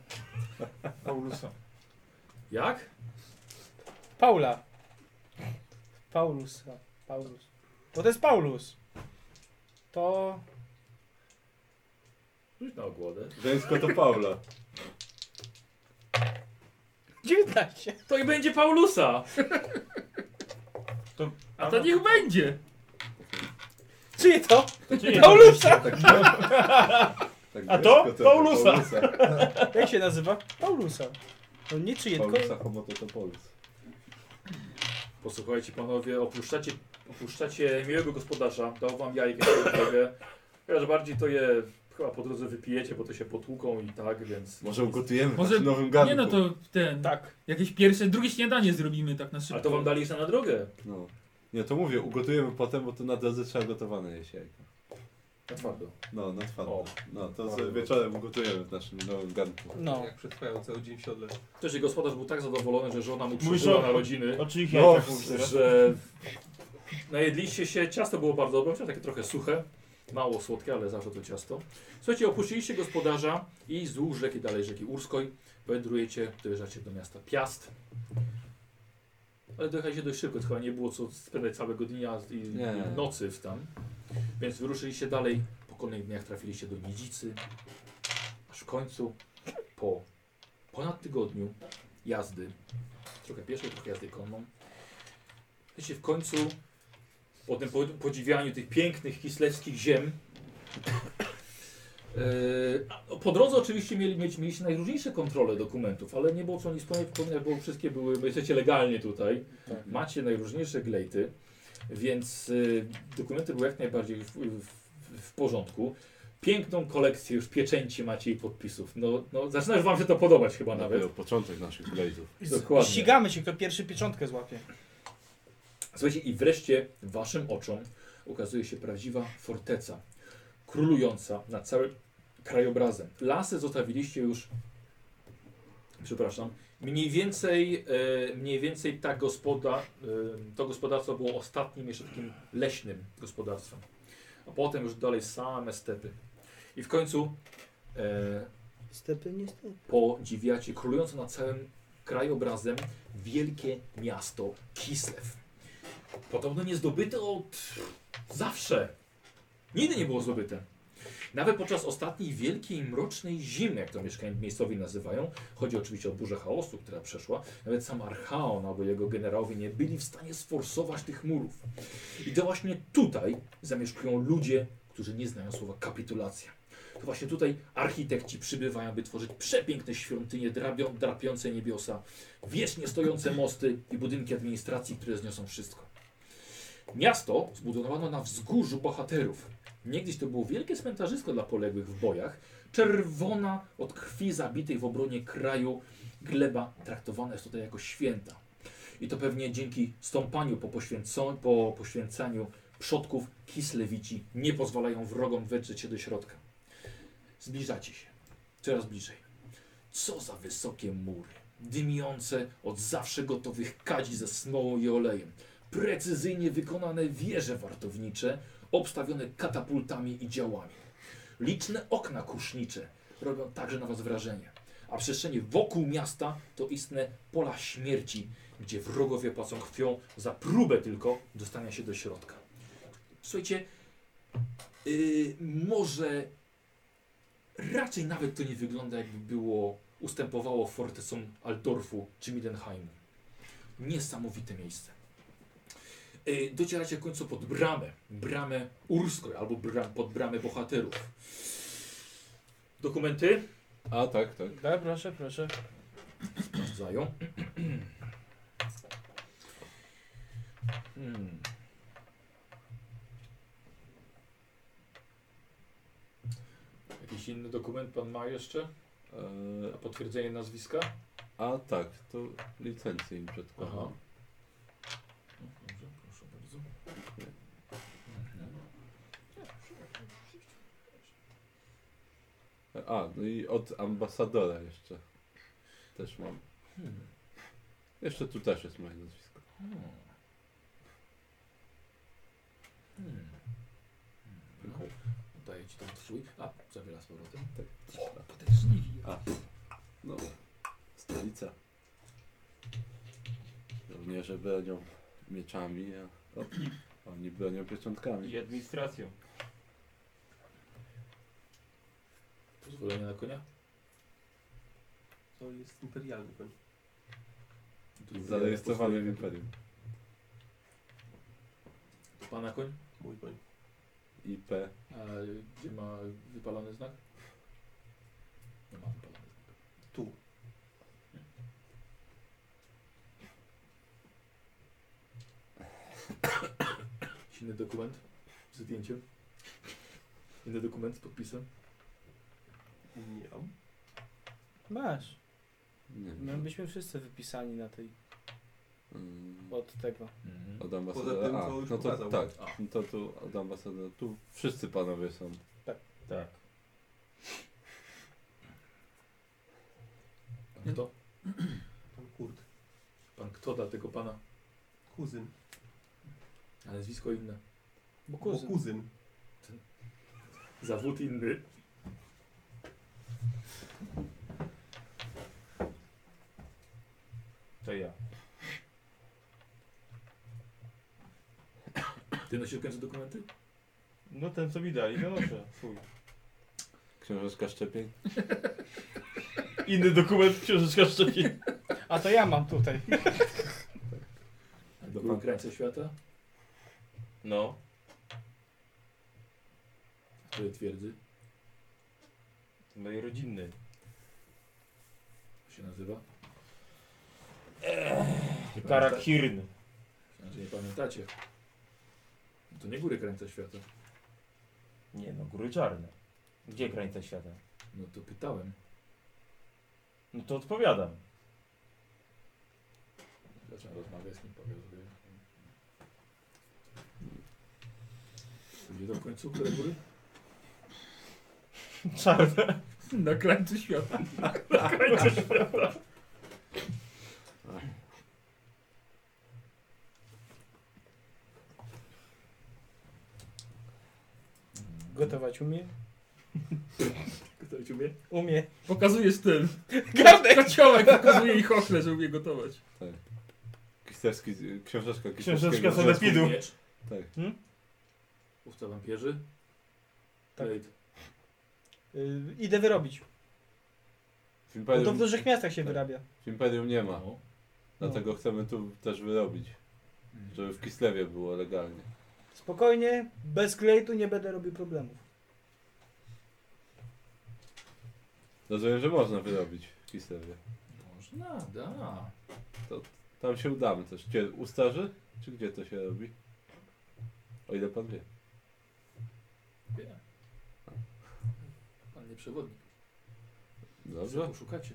Speaker 3: Paulusa.
Speaker 2: Jak?
Speaker 5: Paula. Paulusa. Paulus. Bo to jest Paulus. To.
Speaker 2: Rzuć na ogłodę.
Speaker 1: Żeńsko to Paula.
Speaker 5: 19.
Speaker 2: To i będzie Paulusa!
Speaker 3: To,
Speaker 4: A to niech będzie!
Speaker 5: Czyje to?
Speaker 3: Czyje to?
Speaker 5: Paulusa!
Speaker 1: Tak,
Speaker 3: A to?
Speaker 1: żeńsko
Speaker 3: Paulusa.
Speaker 5: Jak się nazywa? Paulusa. No nie czyje, tylko.
Speaker 1: Paulusa homo to to Paulus.
Speaker 2: Posłuchajcie panowie, opuszczacie, opuszczacie miłego gospodarza, dał wam jajkę na drogę. Chociaż bardziej to je chyba po drodze wypijecie, bo to się potłuką i tak, więc...
Speaker 1: Może ugotujemy
Speaker 4: Może-
Speaker 1: Może... w nowym garnku.
Speaker 4: Nie no to ten.
Speaker 5: Tak.
Speaker 4: Jakieś pierwsze, drugie śniadanie zrobimy tak na szybko.
Speaker 2: A to wam dali jeszcze na drogę,
Speaker 1: No. Nie, to mówię, ugotujemy potem, bo to na drodze trzeba gotowane jeść jajko.
Speaker 2: na twardo.
Speaker 1: No, na twardo.
Speaker 2: O.
Speaker 1: No, to sobie wieczorem ugotujemy w naszym nowym garnku.
Speaker 5: No.
Speaker 6: Jak przetrwają cały dzień w siodle.
Speaker 2: Też jej gospodarz był tak zadowolony, że żona mu
Speaker 3: Mówisz
Speaker 2: przeżyła
Speaker 3: o-
Speaker 2: narodziny,
Speaker 3: O czyich
Speaker 1: No,
Speaker 3: jajkach
Speaker 1: w-
Speaker 3: mówisz teraz?
Speaker 2: że najedliście się, ciasto było bardzo dobre, chociaż takie trochę suche, mało słodkie, ale zawsze to ciasto. Słuchajcie, opuściliście gospodarza i wzdłuż rzeki, dalej rzeki Urskoj, wędrujecie, dojeżdżacie do miasta Piast. Ale dojechaliście dość szybko, to chyba nie było co spędzać całego dnia i
Speaker 1: Nie.
Speaker 2: i nocy w tam. Więc wyruszyliście dalej, po kolejnych dniach trafiliście do Nidzicy. Aż w końcu, po ponad tygodniu jazdy, trochę pieszej, trochę jazdy konną, Wiecie, w końcu, po tym po- podziwianiu tych pięknych kislewskich ziem, Yy, a- no, po drodze oczywiście mieli, mieć, mieliście najróżniejsze kontrole dokumentów, ale nie było co o nich wspomnieć, wspomnieć, bo wszystkie były, bo jesteście legalnie tutaj, macie najróżniejsze glejty, więc yy, dokumenty były jak najbardziej w, w, w porządku. Piękną kolekcję już pieczęci macie i podpisów. No, no, zaczyna już wam się to podobać chyba nawet.
Speaker 1: Nawet początek naszych blazów.
Speaker 5: I
Speaker 2: Dokładnie.
Speaker 5: Ścigamy się, kto pierwszy pieczątkę złapie.
Speaker 2: Słuchajcie, i wreszcie waszym oczom ukazuje się prawdziwa forteca, królująca nad całym krajobrazem. Lasy zostawiliście już, przepraszam, mniej więcej, e, mniej więcej ta gospoda, e, to gospodarstwo było ostatnim jeszcze takim leśnym gospodarstwem. A potem już dalej same stepy. I w końcu e,
Speaker 10: Stepy nie stepy.
Speaker 2: podziwiacie królujące nad całym krajobrazem wielkie miasto Kislew. Podobno nie zdobyte od zawsze. Nigdy nie było zdobyte. Nawet podczas ostatniej wielkiej mrocznej zimy, jak to mieszkańcy miejscowi nazywają, chodzi oczywiście o burzę chaosu, która przeszła, nawet sam Archaon albo jego generałowie nie byli w stanie sforsować tych murów. I to właśnie tutaj zamieszkują ludzie, którzy nie znają słowa kapitulacja. To właśnie tutaj architekci przybywają, by tworzyć przepiękne świątynie drabią, drapiące niebiosa, wiecznie stojące mosty i budynki administracji, które zniosą wszystko. Miasto zbudowano na wzgórzu bohaterów. Niegdyś to było wielkie cmentarzysko dla poległych w bojach. Czerwona od krwi zabitej w obronie kraju gleba traktowana jest tutaj jako święta. I to pewnie dzięki stąpaniu po, poświęco- po poświęcaniu przodków Kislewici nie pozwalają wrogom wedrzeć się do środka. Zbliżacie się. Coraz bliżej. Co za wysokie mury. Dymiące od zawsze gotowych kadzi ze smołą i olejem. Precyzyjnie wykonane wieże wartownicze, obstawione katapultami i działami. Liczne okna kusznicze robią także na was wrażenie. A przestrzenie wokół miasta to istne pola śmierci, gdzie wrogowie płacą krwią za próbę tylko dostania się do środka. Słuchajcie, yy, może raczej nawet to nie wygląda jakby było, ustępowało fortecom Altdorfu czy Midenheimu. Niesamowite miejsce. Yy, docieracie w końcu pod bramę, bramę Urskoj albo bram, pod bramę bohaterów. Dokumenty?
Speaker 1: A tak, tak.
Speaker 5: Da, proszę, proszę.
Speaker 2: Sprawdzają. Hmm. Jakiś inny dokument pan ma jeszcze? Na potwierdzenie nazwiska?
Speaker 1: A tak, to licencję im
Speaker 2: Aha.
Speaker 1: przedkładam.
Speaker 2: No Dobrze, proszę bardzo.
Speaker 1: A, no i od ambasadora jeszcze. Też mam.
Speaker 2: Hmm.
Speaker 1: Jeszcze tu też jest moje nazwisko.
Speaker 2: Hmm. Hmm.
Speaker 1: Hmm.
Speaker 2: No, Daję ci tam trój. A, zabiera z powrotem.
Speaker 4: Potężliwi.
Speaker 1: A, no. Stolica. Żołnierze bronią mieczami, a o, oni bronią pieczątkami.
Speaker 3: I administracją.
Speaker 2: Pozwolenie na konia?
Speaker 6: To jest imperialny koń.
Speaker 1: Zarejestrowany w Imperium.
Speaker 2: To pana koń?
Speaker 6: Mój koń.
Speaker 1: IP.
Speaker 2: A gdzie ma wypalony znak? Nie ma wypalony znak.
Speaker 6: Tu.
Speaker 2: Jakiś Inny dokument z zdjęciem. Inny dokument z podpisem.
Speaker 6: Nie mam.
Speaker 5: Masz.
Speaker 1: Nie
Speaker 5: My
Speaker 3: No.
Speaker 1: wiem.
Speaker 5: byliśmy wszyscy wypisani na tej,
Speaker 1: Mm,
Speaker 5: od tego.
Speaker 1: Od
Speaker 6: Poza tym,
Speaker 1: ambasadora. A,
Speaker 6: co już
Speaker 1: no to
Speaker 6: pokazał.
Speaker 1: tak,
Speaker 2: A.
Speaker 1: no to tu od ambasadora. Tu wszyscy panowie są.
Speaker 3: Tak.
Speaker 2: Pan kto?
Speaker 6: Pan Kurt.
Speaker 2: Pan kto dla tego pana?
Speaker 6: Kuzyn.
Speaker 2: A nazwisko inne.
Speaker 5: Bo
Speaker 6: Bo
Speaker 5: kuzyn.
Speaker 6: kuzyn.
Speaker 2: Zawód inny.
Speaker 3: To ja.
Speaker 2: Ty nosisz w końcu dokumenty?
Speaker 3: No ten co mi dali, no noszę. Swój.
Speaker 1: Książeczka szczepień.
Speaker 3: Inny dokument, książeczka szczepień.
Speaker 5: A to ja mam tutaj.
Speaker 1: Do
Speaker 2: Były
Speaker 1: pana.
Speaker 2: krańce świata?
Speaker 3: No.
Speaker 2: Które twierdzy?
Speaker 3: To mojej rodzinny.
Speaker 2: Jak się nazywa? Nie
Speaker 3: Tak.
Speaker 2: pamiętacie?
Speaker 3: Karakirn.
Speaker 2: Znaczy nie pamiętacie. No To nie góry krańca świata.
Speaker 3: Nie no, góry czarne. Gdzie granica świata?
Speaker 2: No to pytałem.
Speaker 3: No to odpowiadam.
Speaker 2: Zacząłem rozmawiać z nim, powiem, że Gdzie to w końcu? Które góry?
Speaker 4: Czarne. Na krańcu świata. Na krańcu świata.
Speaker 5: Gotować umie?
Speaker 2: Gotować umie?
Speaker 5: Umie.
Speaker 4: Pokazujesz tym.
Speaker 5: Garnek!
Speaker 4: Kociołek pokazuje ich ochle, że umie gotować.
Speaker 1: Tak. Kisterski, książeczka
Speaker 3: Książeczka
Speaker 1: Kisterskiego
Speaker 3: Sanepidu.
Speaker 1: związku. Tak.
Speaker 5: Hmm?
Speaker 2: Łowca wampierzy? Tak.
Speaker 5: Y, idę wyrobić.
Speaker 6: No
Speaker 1: W Imperium-
Speaker 5: Bo No to w dużych miastach się
Speaker 1: tak.
Speaker 5: wyrabia.
Speaker 1: W Imperium nie
Speaker 3: No.
Speaker 1: ma.
Speaker 2: No,
Speaker 1: Dlatego chcemy tu też wyrobić.
Speaker 3: Mm.
Speaker 1: Żeby w Kislewie było legalnie.
Speaker 5: Spokojnie, bez klejtu nie będę robił problemów.
Speaker 1: Rozumiem, że można wyrobić w Kislewie.
Speaker 2: Można, da.
Speaker 1: To tam się udamy też. Gdzie? U starzy? Czy gdzie to się robi? O ile pan wie.
Speaker 2: Wiem. Pan nie przewodnik.
Speaker 1: Dobrze?
Speaker 2: Poszukacie.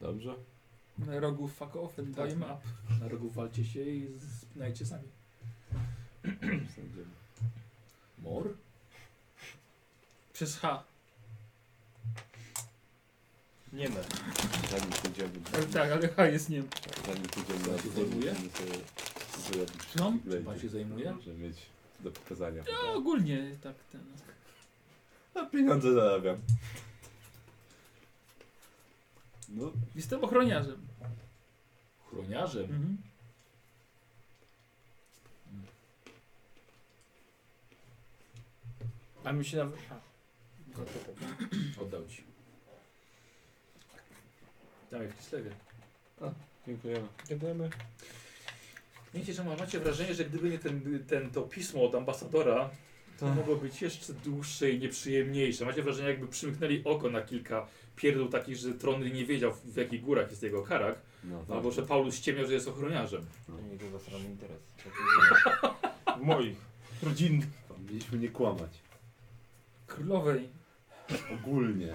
Speaker 1: Dobrze?
Speaker 4: Na rogu fuck off and
Speaker 2: Tak.
Speaker 4: time up.
Speaker 2: Na rogu walcie się i spinajcie sami.
Speaker 1: Sądzimy.
Speaker 2: Mor?
Speaker 4: Przez H.
Speaker 3: Nie ma.
Speaker 1: Zanim pójdziemy.
Speaker 4: Ale tak, ale H jest niem.
Speaker 1: Zanim pójdziemy na
Speaker 2: Pan się zajmuje?
Speaker 1: musimy sobie zrobić.
Speaker 4: No,
Speaker 1: glejdzie,
Speaker 2: Pan się zajmuje?
Speaker 1: Żeby mieć do pokazania.
Speaker 4: No ogólnie tak ten.
Speaker 1: A pieniądze zarabiam. No,
Speaker 4: Jestem ochroniarzem.
Speaker 2: Chroniarzem?
Speaker 4: Mhm.
Speaker 5: A mi się nawet... a.
Speaker 2: Oddał ci. Tam jak w Kislewie.
Speaker 1: dziękujemy.
Speaker 5: Dziękujemy.
Speaker 2: Wiecie, że ma- macie wrażenie, że gdyby nie ten, ten, to pismo od ambasadora, to mogło być jeszcze dłuższe i nieprzyjemniejsze. Macie wrażenie, jakby przymknęli oko na kilka pierdół takich, że Tronry nie wiedział, w jakich górach jest jego karak.
Speaker 1: No,
Speaker 2: Albo, że Paulus ściemniał, że jest ochroniarzem.
Speaker 3: To nie jego zasrany interes. W moich.
Speaker 1: Rodzinnych. Mieliśmy nie kłamać.
Speaker 4: Królowej.
Speaker 1: Ogólnie.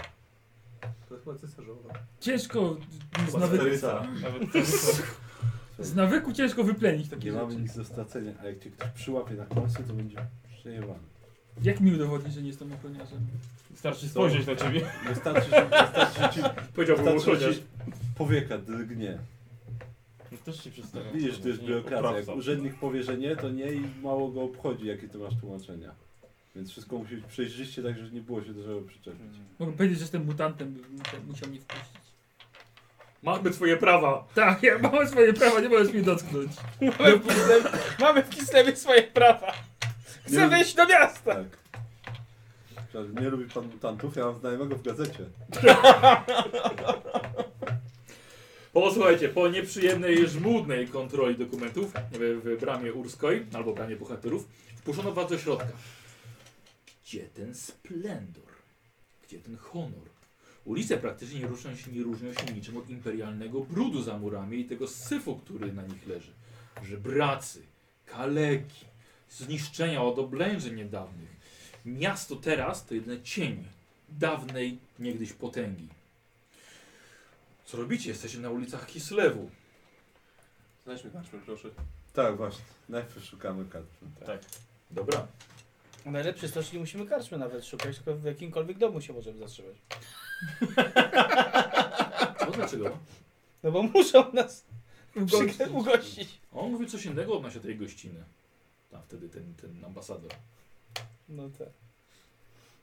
Speaker 6: To jest chyba cesarzowa.
Speaker 4: Ciężko z
Speaker 1: Chyba
Speaker 4: nawyku.
Speaker 1: steryca. Nawet
Speaker 4: Z nawyku ciężko wyplenić takie
Speaker 1: Nie mamy
Speaker 4: rzeczy.
Speaker 1: nic do stracenia, ale jak cię ktoś przyłapie na kłamstwo, to będzie przejebany.
Speaker 4: Jak mi udowodnić, że nie jestem ochroniarzem?
Speaker 3: Starczy spojrzeć na ciebie.
Speaker 1: Wystarczy, że wystarczy ci...
Speaker 3: Powiedziałbym
Speaker 1: wystarczy, że
Speaker 3: ochroniarz.
Speaker 1: ci powieka drgnie.
Speaker 3: No też się przedstawiam.
Speaker 1: Widzisz, to jest
Speaker 3: Nie,
Speaker 1: biurokracja. Jak
Speaker 3: oprawca.
Speaker 1: urzędnik powie, że nie, to nie i mało go obchodzi, jakie ty masz tłumaczenia. Więc wszystko musi być przejrzyście, tak żeby nie było się do czego przyczepić.
Speaker 4: Mogę powiedzieć, że jestem mutantem, bym musiał mnie wpuścić.
Speaker 2: Mamy twoje prawa!
Speaker 4: Tak, ja mam swoje prawa, nie możesz mnie dotknąć.
Speaker 5: Mamy w Kislewie, mamy w Kislewie swoje prawa. Chcę
Speaker 1: Nie-
Speaker 5: wejść do miasta.
Speaker 1: Tak. Że Nie lubi pan mutantów, ja mam znajomego w gazecie.
Speaker 2: Posłuchajcie, po nieprzyjemnej, żmudnej kontroli dokumentów w, w bramie Urskoj, albo bramie bohaterów, wpuszczono was do środka. Gdzie ten splendor? Gdzie ten honor? Ulice praktycznie nie różnią się, nie różnią się niczym od imperialnego brudu za murami i tego syfu, który na nich leży. Żebracy, kaleki, zniszczenia od oblężeń niedawnych. Miasto teraz to jedyne cień dawnej, niegdyś potęgi. Co robicie? Jesteście na ulicach Kislewu.
Speaker 6: Znajdźmy karczmy, proszę.
Speaker 1: Tak, właśnie. Najpierw szukamy kartki.
Speaker 3: Tak.
Speaker 2: Dobra.
Speaker 5: Najlepsze jest to, że nie musimy karczmy nawet szukać, tylko w jakimkolwiek domu się możemy zatrzymać.
Speaker 2: Co dlaczego?
Speaker 5: No bo muszą nas ugo- ugościć.
Speaker 2: On mówi coś innego odnośnie tej gościny. Tam wtedy ten, ten ambasador.
Speaker 5: No tak.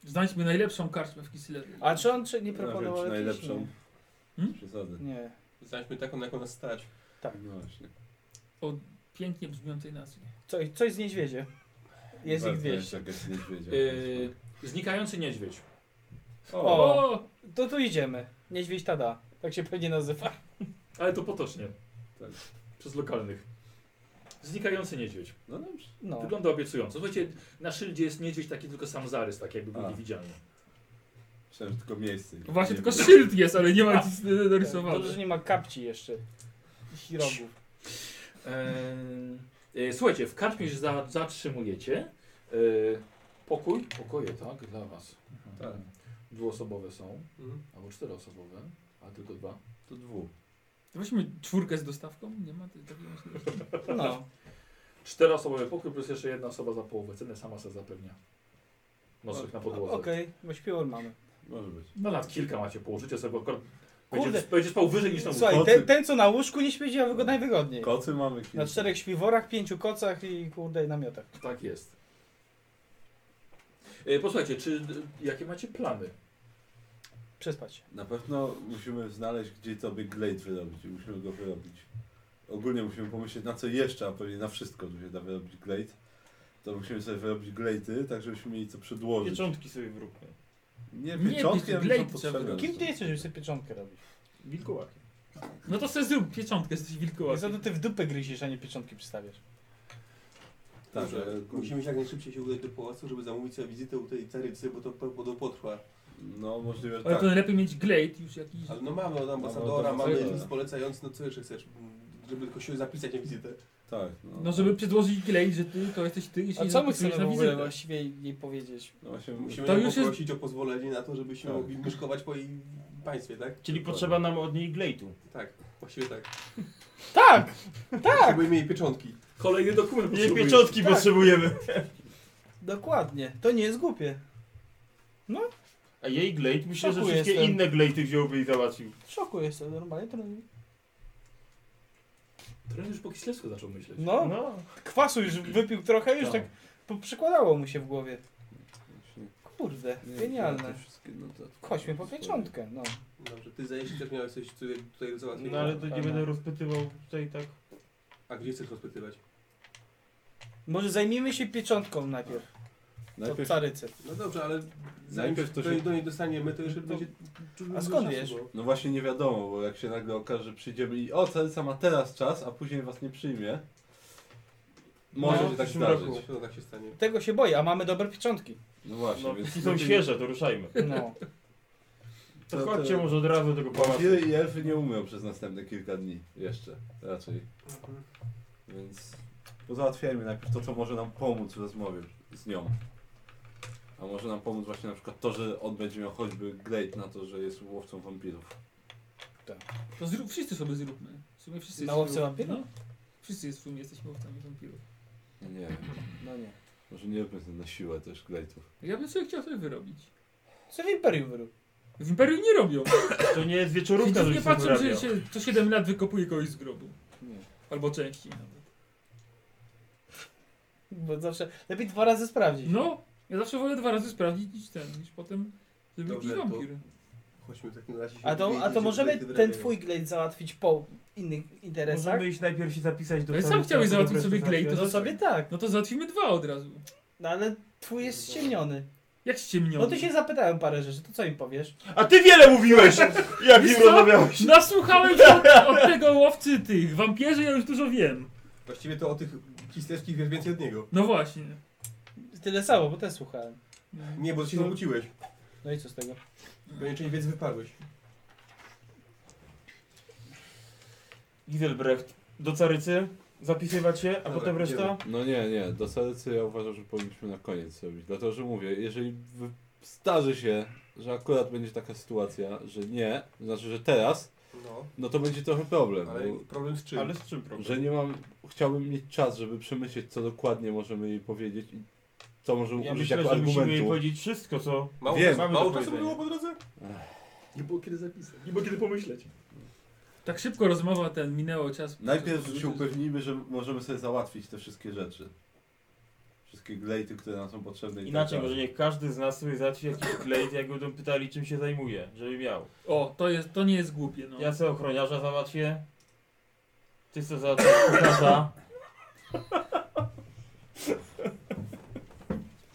Speaker 4: Znajdźmy najlepszą karczmę w Kislewie.
Speaker 5: A czy on czy nie
Speaker 1: Ja wiem,
Speaker 5: proponował
Speaker 1: czy
Speaker 5: jakiejś?
Speaker 1: najlepszą.
Speaker 4: Hmm?
Speaker 1: Przesady.
Speaker 5: Nie. nie.
Speaker 6: Znajdźmy taką, na jaką nas stać.
Speaker 1: No właśnie.
Speaker 4: O pięknie brzmiącej nazwie.
Speaker 5: Coś, coś z niedźwiedziem. Jest ich
Speaker 1: Bardzo
Speaker 5: 200.
Speaker 1: jakaś niedźwiedzia.
Speaker 2: Yy, znikający niedźwiedź.
Speaker 1: O,
Speaker 5: O! To tu idziemy. Niedźwiedź tada. Tak się pewnie nazywa.
Speaker 2: Ale to potocznie.
Speaker 1: Tak.
Speaker 2: Przez lokalnych. Znikający niedźwiedź.
Speaker 1: no dobrze.
Speaker 5: No.
Speaker 2: Wygląda obiecująco. Słuchajcie, na szyldzie jest niedźwiedź taki tylko sam zarys, tak jakby był
Speaker 1: A.
Speaker 2: niewidzialny.
Speaker 1: Myślałem, że tylko miejsce.
Speaker 4: Właśnie
Speaker 1: Nie
Speaker 4: tylko
Speaker 1: wiem.
Speaker 4: szyld jest, ale nie ma nic e,
Speaker 5: To,
Speaker 4: narysowane.
Speaker 5: że nie ma kapci jeszcze. I rogów.
Speaker 2: Eee, e, słuchajcie, w karczmie się za, zatrzymujecie. Eee, pokój? Pokoje, tak? Dla was.
Speaker 1: Tak.
Speaker 2: Dwuosobowe są,
Speaker 6: Mhm.
Speaker 2: albo czteroosobowe, a tylko dwa.
Speaker 1: To dwóch.
Speaker 4: To weźmy czwórkę z dostawką? Nie ma tej takiej możliwości.
Speaker 5: No.
Speaker 2: Czteroosobowy pokój plus jeszcze jedna osoba za połowę ceny sama sobie zapewnia. Nosek na podłodze.
Speaker 5: Okej, bo śpiwór mamy.
Speaker 1: Może być.
Speaker 2: No lat kilka macie, położycie sobie akurat.
Speaker 5: Kurde.
Speaker 2: Będzie, będzie spał wyżej niż na łóżku.
Speaker 5: Słuchaj, ten, ten co na łóżku nie śmieci, a wygo najwygodniej.
Speaker 1: Kocy mamy kilka.
Speaker 5: Na czterech śpiworach, pięciu kocach i kurde i namiotach.
Speaker 2: Tak jest. E, Posłuchajcie, czy e, jakie macie plany?
Speaker 5: Przespać.
Speaker 1: Na pewno musimy znaleźć, gdzie to by glade wyrobić i musimy go wyrobić. Ogólnie musimy pomyśleć na co jeszcze, a pewnie na wszystko, żeby się da wyrobić glade. To musimy sobie wyrobić glejty, tak żebyśmy mieli co przedłożyć.
Speaker 3: Pieczątki sobie wróbmy.
Speaker 1: Nie,
Speaker 4: Nie,
Speaker 1: pieczątki,
Speaker 4: pi-
Speaker 1: ale
Speaker 4: glejty
Speaker 1: są
Speaker 4: trzeba
Speaker 1: potrzebne.
Speaker 5: Kim ty jesteś, żeby sobie pieczątkę robić?
Speaker 3: Wilkołakiem.
Speaker 4: No to sobie zrób pieczątkę, jesteś
Speaker 5: Jezu,
Speaker 4: wilkołakiem.
Speaker 5: to ty w dupę gryziesz, a nie pieczątki przystawiasz.
Speaker 1: Tak,
Speaker 6: Dobrze,
Speaker 1: ale-
Speaker 6: musimy się jak najszybciej się udać do pałacu, żeby zamówić sobie wizytę u tej carycy, bo to podobno potrwa.
Speaker 1: No możliwe, że
Speaker 4: Ale
Speaker 1: tak.
Speaker 4: to lepiej mieć glade już jakiś.
Speaker 6: Ale no mamy od ambasadora,
Speaker 1: Mamy od
Speaker 6: mamy
Speaker 1: ambasadora.
Speaker 6: list polecający, no co jeszcze chcesz, żeby tylko się zapisać na wizytę.
Speaker 1: Tak,
Speaker 4: No żeby przedłożyć glade, że ty to jesteś ty, jeśli
Speaker 5: A co my
Speaker 4: zapisujesz
Speaker 5: chcemy w ogóle właściwie jej powiedzieć?
Speaker 1: No właśnie
Speaker 6: Musimy
Speaker 4: To
Speaker 6: ją
Speaker 4: już jest-
Speaker 6: poprosić o pozwolenie na to, żebyśmy
Speaker 1: Tak.
Speaker 6: mogli myszkować po jej państwie, tak?
Speaker 3: Czyli potrzeba nam od niej glejtu.
Speaker 6: Tak, właściwie tak.
Speaker 5: Tak! Tak!
Speaker 6: Potrzebujemy jej pieczątki.
Speaker 2: Kolejny dokument
Speaker 3: Jej pieczątki
Speaker 5: Tak.
Speaker 3: potrzebujemy.
Speaker 5: Dokładnie, to nie jest głupie.
Speaker 3: A jej glejt, myślę, że
Speaker 5: Szoku
Speaker 3: wszystkie
Speaker 5: jestem.
Speaker 3: inne glejty wziąłby i załatwił.
Speaker 5: W szoku jestem, normalnie trenuję.
Speaker 2: Tren już po kislewsku zaczął myśleć.
Speaker 5: No,
Speaker 3: No.
Speaker 5: kwasu już wypił trochę, już
Speaker 2: No.
Speaker 5: tak po- przykładało mu się w głowie. Kurde, genialne. Chodźmy po pieczątkę, no.
Speaker 6: Dobrze, ty zajeśli też miałeś coś tutaj, tutaj do załatwienia.
Speaker 3: No ale to nie
Speaker 5: Aha.
Speaker 3: będę rozpytywał tutaj tak.
Speaker 6: A gdzie chcesz rozpytywać?
Speaker 5: Może zajmijmy się pieczątką najpierw. To
Speaker 1: Najpierw-
Speaker 5: carycy.
Speaker 6: No dobrze, ale zanim
Speaker 1: Najpierw to
Speaker 6: to
Speaker 1: się-
Speaker 6: do niej dostaniemy, to jeszcze będzie...
Speaker 5: A skąd
Speaker 6: czasu,
Speaker 5: wiesz?
Speaker 6: bo-
Speaker 1: No właśnie nie wiadomo, bo jak się nagle okaże, że przyjdziemy i o, Celsa ma teraz czas, a później was nie przyjmie. Może
Speaker 6: No,
Speaker 1: się
Speaker 6: w
Speaker 1: tak
Speaker 6: przyszłym
Speaker 1: zdarzyć.
Speaker 6: roku. To tak się stanie.
Speaker 5: Tego się boję, a mamy dobre pieczątki.
Speaker 1: No właśnie,
Speaker 3: No,
Speaker 1: więc...
Speaker 3: jeśli są świeże, to ruszajmy.
Speaker 5: No.
Speaker 3: To,
Speaker 1: To- to-
Speaker 3: chodźcie może od razu do tego pałacu.
Speaker 1: Wampiry i elfy nie umrą przez następne kilka dni jeszcze, raczej. Więc pozałatwiajmy najpierw to, co może nam pomóc w rozmowie z nią. A może nam pomóc właśnie na przykład to, że on będzie miał choćby glejt na to, że jest łowcą wampirów.
Speaker 4: To zrób, wszyscy sobie zróbmy. W sumie wszyscy
Speaker 5: Na
Speaker 4: jesteśmy-
Speaker 5: łowce wampirów?
Speaker 4: No. Wszyscy jest- w sumie jesteśmy łowcami wampirów.
Speaker 1: Nie wiem,
Speaker 5: No nie.
Speaker 1: może nie róbmy na siłę też glejtów.
Speaker 4: Ja bym sobie chciał sobie wyrobić.
Speaker 5: Co w Imperium wyrób?
Speaker 4: W Imperium nie robią.
Speaker 3: To nie jest
Speaker 4: Widzów
Speaker 3: wieczorówka, że
Speaker 4: nie
Speaker 3: się
Speaker 4: patrzą,
Speaker 3: wyrabia.
Speaker 4: że się co 7 lat wykopuje kogoś z grobu.
Speaker 5: Nie.
Speaker 4: Albo częściej nawet.
Speaker 5: Bo zawsze lepiej dwa razy sprawdzić.
Speaker 4: No, ja zawsze wolę dwa razy sprawdzić niż ten, niż potem żeby
Speaker 6: Dobrze,
Speaker 4: jakiś
Speaker 6: to-
Speaker 4: wampir.
Speaker 6: Chodźmy w takim razie się
Speaker 5: A to, a
Speaker 6: dowiedzieć,
Speaker 5: to
Speaker 6: że
Speaker 5: możemy
Speaker 6: tutaj te
Speaker 5: ten
Speaker 6: drewniane-
Speaker 5: twój glejt załatwić po innych interesach?
Speaker 2: Tak?
Speaker 3: Możemy iść najpierw się zapisać do
Speaker 2: No
Speaker 4: Ale sam
Speaker 3: Tarycy,
Speaker 4: chciałeś
Speaker 3: a potem
Speaker 4: załatwić
Speaker 3: resztę
Speaker 4: sobie glejt,
Speaker 3: załatwiać.
Speaker 5: No sobie tak,
Speaker 4: No to załatwimy dwa od razu.
Speaker 5: no ale twój jest ściemniony.
Speaker 4: Jak ściemniony.
Speaker 5: No ty się zapytałem parę rzeczy, to co im powiesz?
Speaker 3: A ty wiele mówiłeś! Jak
Speaker 4: Wiesz
Speaker 3: nim
Speaker 4: co?
Speaker 3: rozmawiałeś?
Speaker 4: Nasłuchałem się od, od tego łowcy tych wampierzy, ja już dużo wiem.
Speaker 6: Właściwie to o tych kislewskich wiesz więcej od niego.
Speaker 4: No właśnie.
Speaker 5: Tyle samo, bo też słuchałem.
Speaker 6: Nie, bo się
Speaker 4: No.
Speaker 6: zakłóciłeś.
Speaker 5: No i co z tego?
Speaker 6: Pewnie część wiedzy wyparłeś.
Speaker 3: Gizelbrecht, do Carycy zapisywać się, a
Speaker 6: Dobra,
Speaker 3: potem reszta?
Speaker 6: idziemy.
Speaker 1: No nie, nie, do Salecy ja uważam, że powinniśmy na koniec robić. Dlatego, że mówię, jeżeli wy- zdarzy się, że akurat będzie taka sytuacja, że nie, znaczy, że teraz,
Speaker 6: No,
Speaker 1: no to będzie trochę problem.
Speaker 6: ale
Speaker 1: bo-
Speaker 6: problem z czym?
Speaker 3: Ale z czym problem?
Speaker 1: Że nie mam. Chciałbym mieć czas, żeby przemyśleć, co dokładnie możemy jej powiedzieć i co możemy
Speaker 3: Ja
Speaker 1: użyć
Speaker 3: myślę,
Speaker 1: jako
Speaker 3: że musimy jej
Speaker 1: argumentu.
Speaker 3: powiedzieć wszystko, co
Speaker 6: Mało,
Speaker 1: Wiem,
Speaker 6: czasu-
Speaker 3: mamy do
Speaker 6: mało czasu
Speaker 3: powiedzenia.
Speaker 6: było po drodze?
Speaker 11: Nie było kiedy zapisać, nie było kiedy pomyśleć.
Speaker 4: Tak szybko rozmowa ten minęło czas.
Speaker 1: Najpierw się upewnijmy, że możemy sobie załatwić te wszystkie rzeczy. Wszystkie glejty, które nam są potrzebne. i tak
Speaker 3: Inaczej,
Speaker 1: dalej.
Speaker 3: może niech każdy z nas sobie załatwi jakiś glejt, jak będą pytali, czym się zajmuje, żeby miał.
Speaker 4: O, to jest to nie jest głupie, no.
Speaker 3: Ja sobie ochroniarza załatwię. Ty co załatwiasz?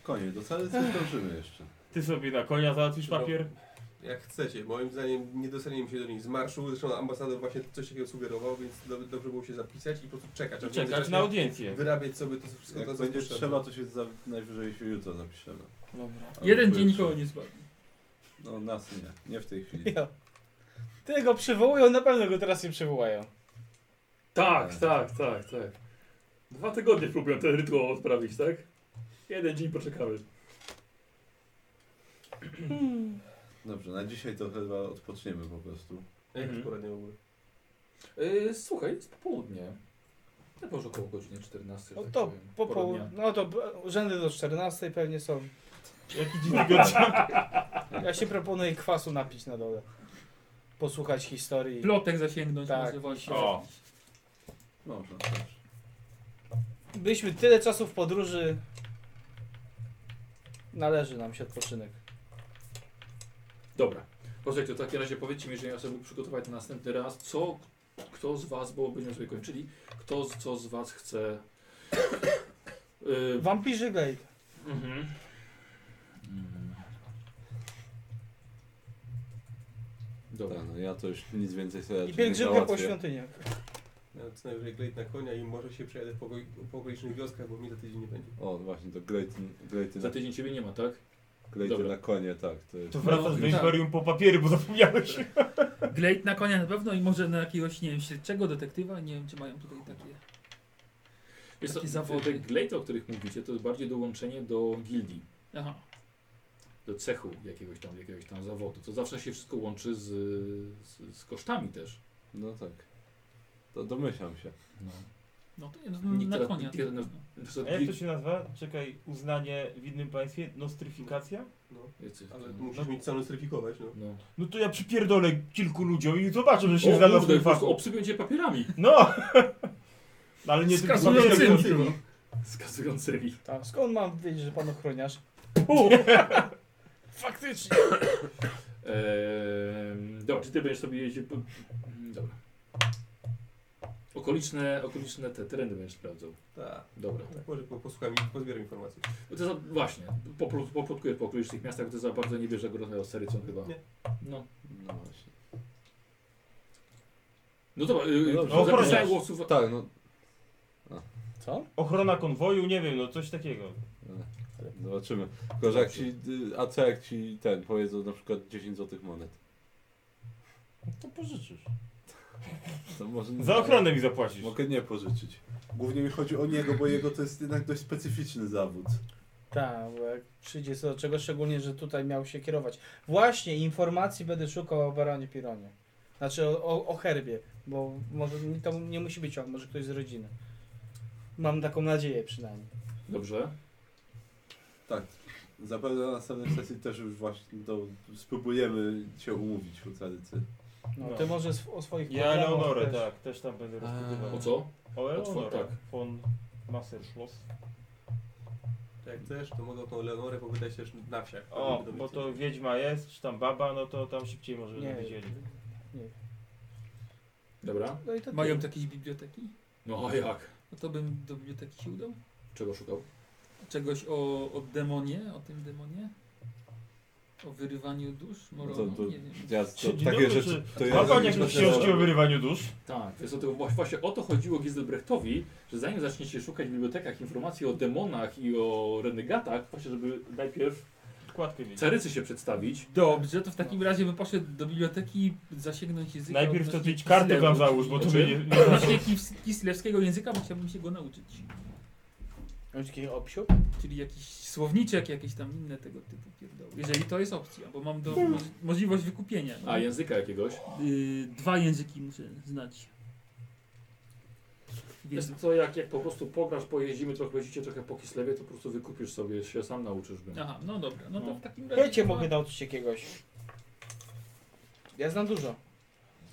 Speaker 1: Koniec, do Salecy zdążymy jeszcze.
Speaker 3: Ty sobie na konia załatwisz papier.
Speaker 1: No,
Speaker 6: Jak chcecie, moim zdaniem nie dostaniemy się do nich z marszu, zresztą ambasador właśnie coś takiego sugerował, więc do, dobrze było się zapisać i po prostu czekać. a
Speaker 3: I
Speaker 6: w
Speaker 3: czekać
Speaker 6: międzyczasie
Speaker 3: na audiencję.
Speaker 6: Wyrabiać sobie to wszystko,
Speaker 1: Jak
Speaker 6: to co
Speaker 1: będzie
Speaker 6: potrzebne.
Speaker 1: trzeba, to się za, najwyżej się jutro zapiszemy.
Speaker 3: Dobra.
Speaker 1: Albo
Speaker 4: Jeden dzień
Speaker 1: pojutrze.
Speaker 4: nikogo nie zbawi.
Speaker 1: No nas nie, nie w tej chwili.
Speaker 5: Ja. Tyle go przywołują, na pewno go teraz nie przywołają.
Speaker 2: Tak, tak, tak, tak. Dwa tygodnie próbują ten rytuał odprawić, tak? Jeden dzień poczekamy.
Speaker 1: Dobrze, na dzisiaj to chyba odpoczniemy po prostu.
Speaker 6: Jak
Speaker 3: Mhm.
Speaker 6: mhm. poradnie w ogóle.
Speaker 2: Yy, słuchaj, jest popołudnie. Ja może około godziny 14.
Speaker 5: No
Speaker 2: że tak
Speaker 5: to
Speaker 2: powiem,
Speaker 5: po
Speaker 2: pora
Speaker 5: południu.
Speaker 2: dnia.
Speaker 5: No to b- urzędy do 14 pewnie są. Jaki dziwny godzak. Ja się proponuję kwasu napić na dole. Posłuchać historii.
Speaker 4: Plotek zasięgnąć
Speaker 5: tak.
Speaker 4: może właśnie.
Speaker 5: O.
Speaker 1: Dobrze.
Speaker 5: Byliśmy tyle czasu w podróży. Należy nam się odpoczynek.
Speaker 2: Dobra. Posłuchajcie, w takim razie powiedzcie mi, jeżeli ja sobie mógł przygotować na następny raz, co kto z was, bo będziemy sobie kończyli, kto z- co z was chce. Yy,
Speaker 5: Wampirzy Gate.
Speaker 2: mhm.
Speaker 1: Dobra, no ja to już nic więcej sobie
Speaker 5: I
Speaker 1: raczej nie
Speaker 5: pielgrzymkę po
Speaker 1: załatwię.
Speaker 5: świątyniach.
Speaker 6: Ja co najwyżej glejt na konia i może się przejadę po, go- po okolicznych wioskach, bo mi za tydzień nie będzie.
Speaker 1: O, właśnie, to Grejty, grejty,
Speaker 2: Za tydzień ciebie nie ma, tak?
Speaker 1: grejty
Speaker 2: Dobra.
Speaker 1: na konie, tak. To jest...
Speaker 3: To wracasz do
Speaker 1: tak.
Speaker 3: Imperium po papiery, bo zapomniałeś.
Speaker 4: Glade na konia na pewno i może na jakiegoś, nie wiem, śledczego detektywa. Nie wiem, czy mają tutaj takie.
Speaker 2: Jest to,
Speaker 4: Takie zawody.
Speaker 2: te glejty, o których mówicie, to jest bardziej dołączenie do gildii,
Speaker 4: Aha.
Speaker 2: do cechu jakiegoś tam, jakiegoś tam zawodu. To zawsze się wszystko łączy z, z, z kosztami też.
Speaker 1: No tak. To domyślam się.
Speaker 2: No.
Speaker 4: No to nie, no, na
Speaker 2: Niektóre-
Speaker 4: konia.
Speaker 2: niektóre-
Speaker 4: na
Speaker 2: no,
Speaker 4: pewno.
Speaker 3: A jak to się nazywa? Czekaj, uznanie w innym państwie? Nostryfikacja?
Speaker 6: No,
Speaker 2: Wiecie,
Speaker 6: ale
Speaker 2: to-
Speaker 6: musisz mieć całą certyfikować, no.
Speaker 2: No.
Speaker 3: No to ja przypierdolę kilku ludziom i zobaczę, że się
Speaker 2: O
Speaker 3: znalazł w
Speaker 2: kurde, po
Speaker 3: tym
Speaker 2: prostu
Speaker 3: fachu.
Speaker 2: obsypią cię papierami.
Speaker 3: No! No Ale nie tylko
Speaker 4: Skazującymi.
Speaker 2: Skazującymi.
Speaker 5: A Tak. skąd mam wiedzieć, że pan ochroniarz? Faktycznie.
Speaker 2: Ehm, dobra, czy ty będziesz sobie jeździł po... Mm, Dobra. Okoliczne, okoliczne te tereny będziesz sprawdzał.
Speaker 6: Tak.
Speaker 2: Dobra.
Speaker 6: Tak, Może po- posłucham i pozbieram informacji.
Speaker 2: Bo to za, właśnie, poplu- poplotkujesz po okolicznych miastach, bo to za bardzo nie bierze gorącej osterycą chyba.
Speaker 6: Nie.
Speaker 2: No.
Speaker 1: No właśnie.
Speaker 2: No dobra, yy,
Speaker 1: No dobrze.
Speaker 2: no zapisałem
Speaker 3: Ochroniarz.
Speaker 2: głosów.
Speaker 1: Tak, no.
Speaker 5: Co?
Speaker 3: Ochrona konwoju, nie wiem, no coś takiego.
Speaker 1: Zobaczymy. Tylko, że jak ci, y, a co jak ci ten powiedzą na przykład 10 złotych monet?
Speaker 3: To pożyczysz.
Speaker 1: To może
Speaker 3: Za ochronę mi zapłacisz.
Speaker 1: Mogę nie pożyczyć. Głównie mi chodzi o niego, bo jego to jest jednak dość specyficzny zawód.
Speaker 5: Tak, bo jak przyjdzie co do czego, szczególnie, że tutaj miał się kierować. Właśnie informacji będę szukał o Baronie Pironie. Znaczy o, o, o herbie, bo może nie- to nie musi być on, może ktoś z rodziny. Mam taką nadzieję przynajmniej.
Speaker 2: Dobrze.
Speaker 1: Tak. Zapewne na następnej sesji też już właśnie to spróbujemy się umówić u tradycji.
Speaker 5: No,
Speaker 3: No.
Speaker 5: Ty może sw- o swoich
Speaker 3: Ja
Speaker 5: programach
Speaker 3: Eleonorę,
Speaker 5: też.
Speaker 3: tak, też tam będę rozpytywał.
Speaker 2: O co?
Speaker 3: O
Speaker 2: Otwór,
Speaker 3: Eleonorę.
Speaker 2: tak.
Speaker 3: Von Masserschloss.
Speaker 6: Tak, Jak chcesz, to mogę o tą Leonorę popytać też na wsiach.
Speaker 3: O,
Speaker 6: Będą
Speaker 3: bo
Speaker 6: wiedzieć.
Speaker 3: to wiedźma jest, czy tam baba, no to tam szybciej może
Speaker 5: Nie.
Speaker 3: widzieli.
Speaker 2: Dobra.
Speaker 5: No i
Speaker 1: Tak.
Speaker 5: to
Speaker 4: Mają
Speaker 5: tyle.
Speaker 4: jakieś biblioteki?
Speaker 2: No a jak?
Speaker 4: No to bym do biblioteki się udał.
Speaker 2: Czego szukał?
Speaker 4: Czegoś o, o demonie, o tym demonie? O wyrywaniu dusz?
Speaker 1: No
Speaker 4: Moronu?
Speaker 1: to, to,
Speaker 4: nie wiem.
Speaker 1: ja, to
Speaker 3: Dzień
Speaker 1: takie
Speaker 3: dobry,
Speaker 1: rzeczy. To
Speaker 3: czy- Ma
Speaker 1: ja
Speaker 3: pan jakieś książki o wyrywaniu dusz?
Speaker 2: Tak, więc o to, właśnie- właśnie o to chodziło Gizelbrechtowi, że zanim zaczniecie szukać w bibliotekach informacji o demonach i o renegatach, właśnie żeby najpierw
Speaker 3: Wkładkę mieć.
Speaker 2: carycy się przedstawić.
Speaker 4: Dobrze, to w takim razie bym poszedł do biblioteki zasięgnąć języka.
Speaker 3: Najpierw to
Speaker 4: odnośnie
Speaker 3: ty kartę tam
Speaker 4: Kislewu.
Speaker 3: załóż, bo to
Speaker 2: Znaczy-
Speaker 3: by nie... nie
Speaker 4: Odnośnie kis- kislewskiego języka, bo chciałbym się go nauczyć.
Speaker 5: Masz taki obsiu?
Speaker 4: Czyli jakiś słowniczek, jakieś tam inne tego typu pierdoły. Jeżeli to jest opcja, bo mam do, moż, możliwość wykupienia. no.
Speaker 2: A języka jakiegoś?
Speaker 4: Y, dwa języki muszę znać.
Speaker 2: Wiesz
Speaker 4: Więc
Speaker 2: co, jak, jak po prostu pograsz, pojeździmy trochę, będziecie trochę po Kislewie, to po prostu wykupisz sobie, się sam nauczysz go.
Speaker 4: Aha, no dobra, no to
Speaker 3: No.
Speaker 4: w takim razie.
Speaker 5: Ja cię
Speaker 4: chyba-
Speaker 5: mogę nauczyć jakiegoś. Ja znam dużo.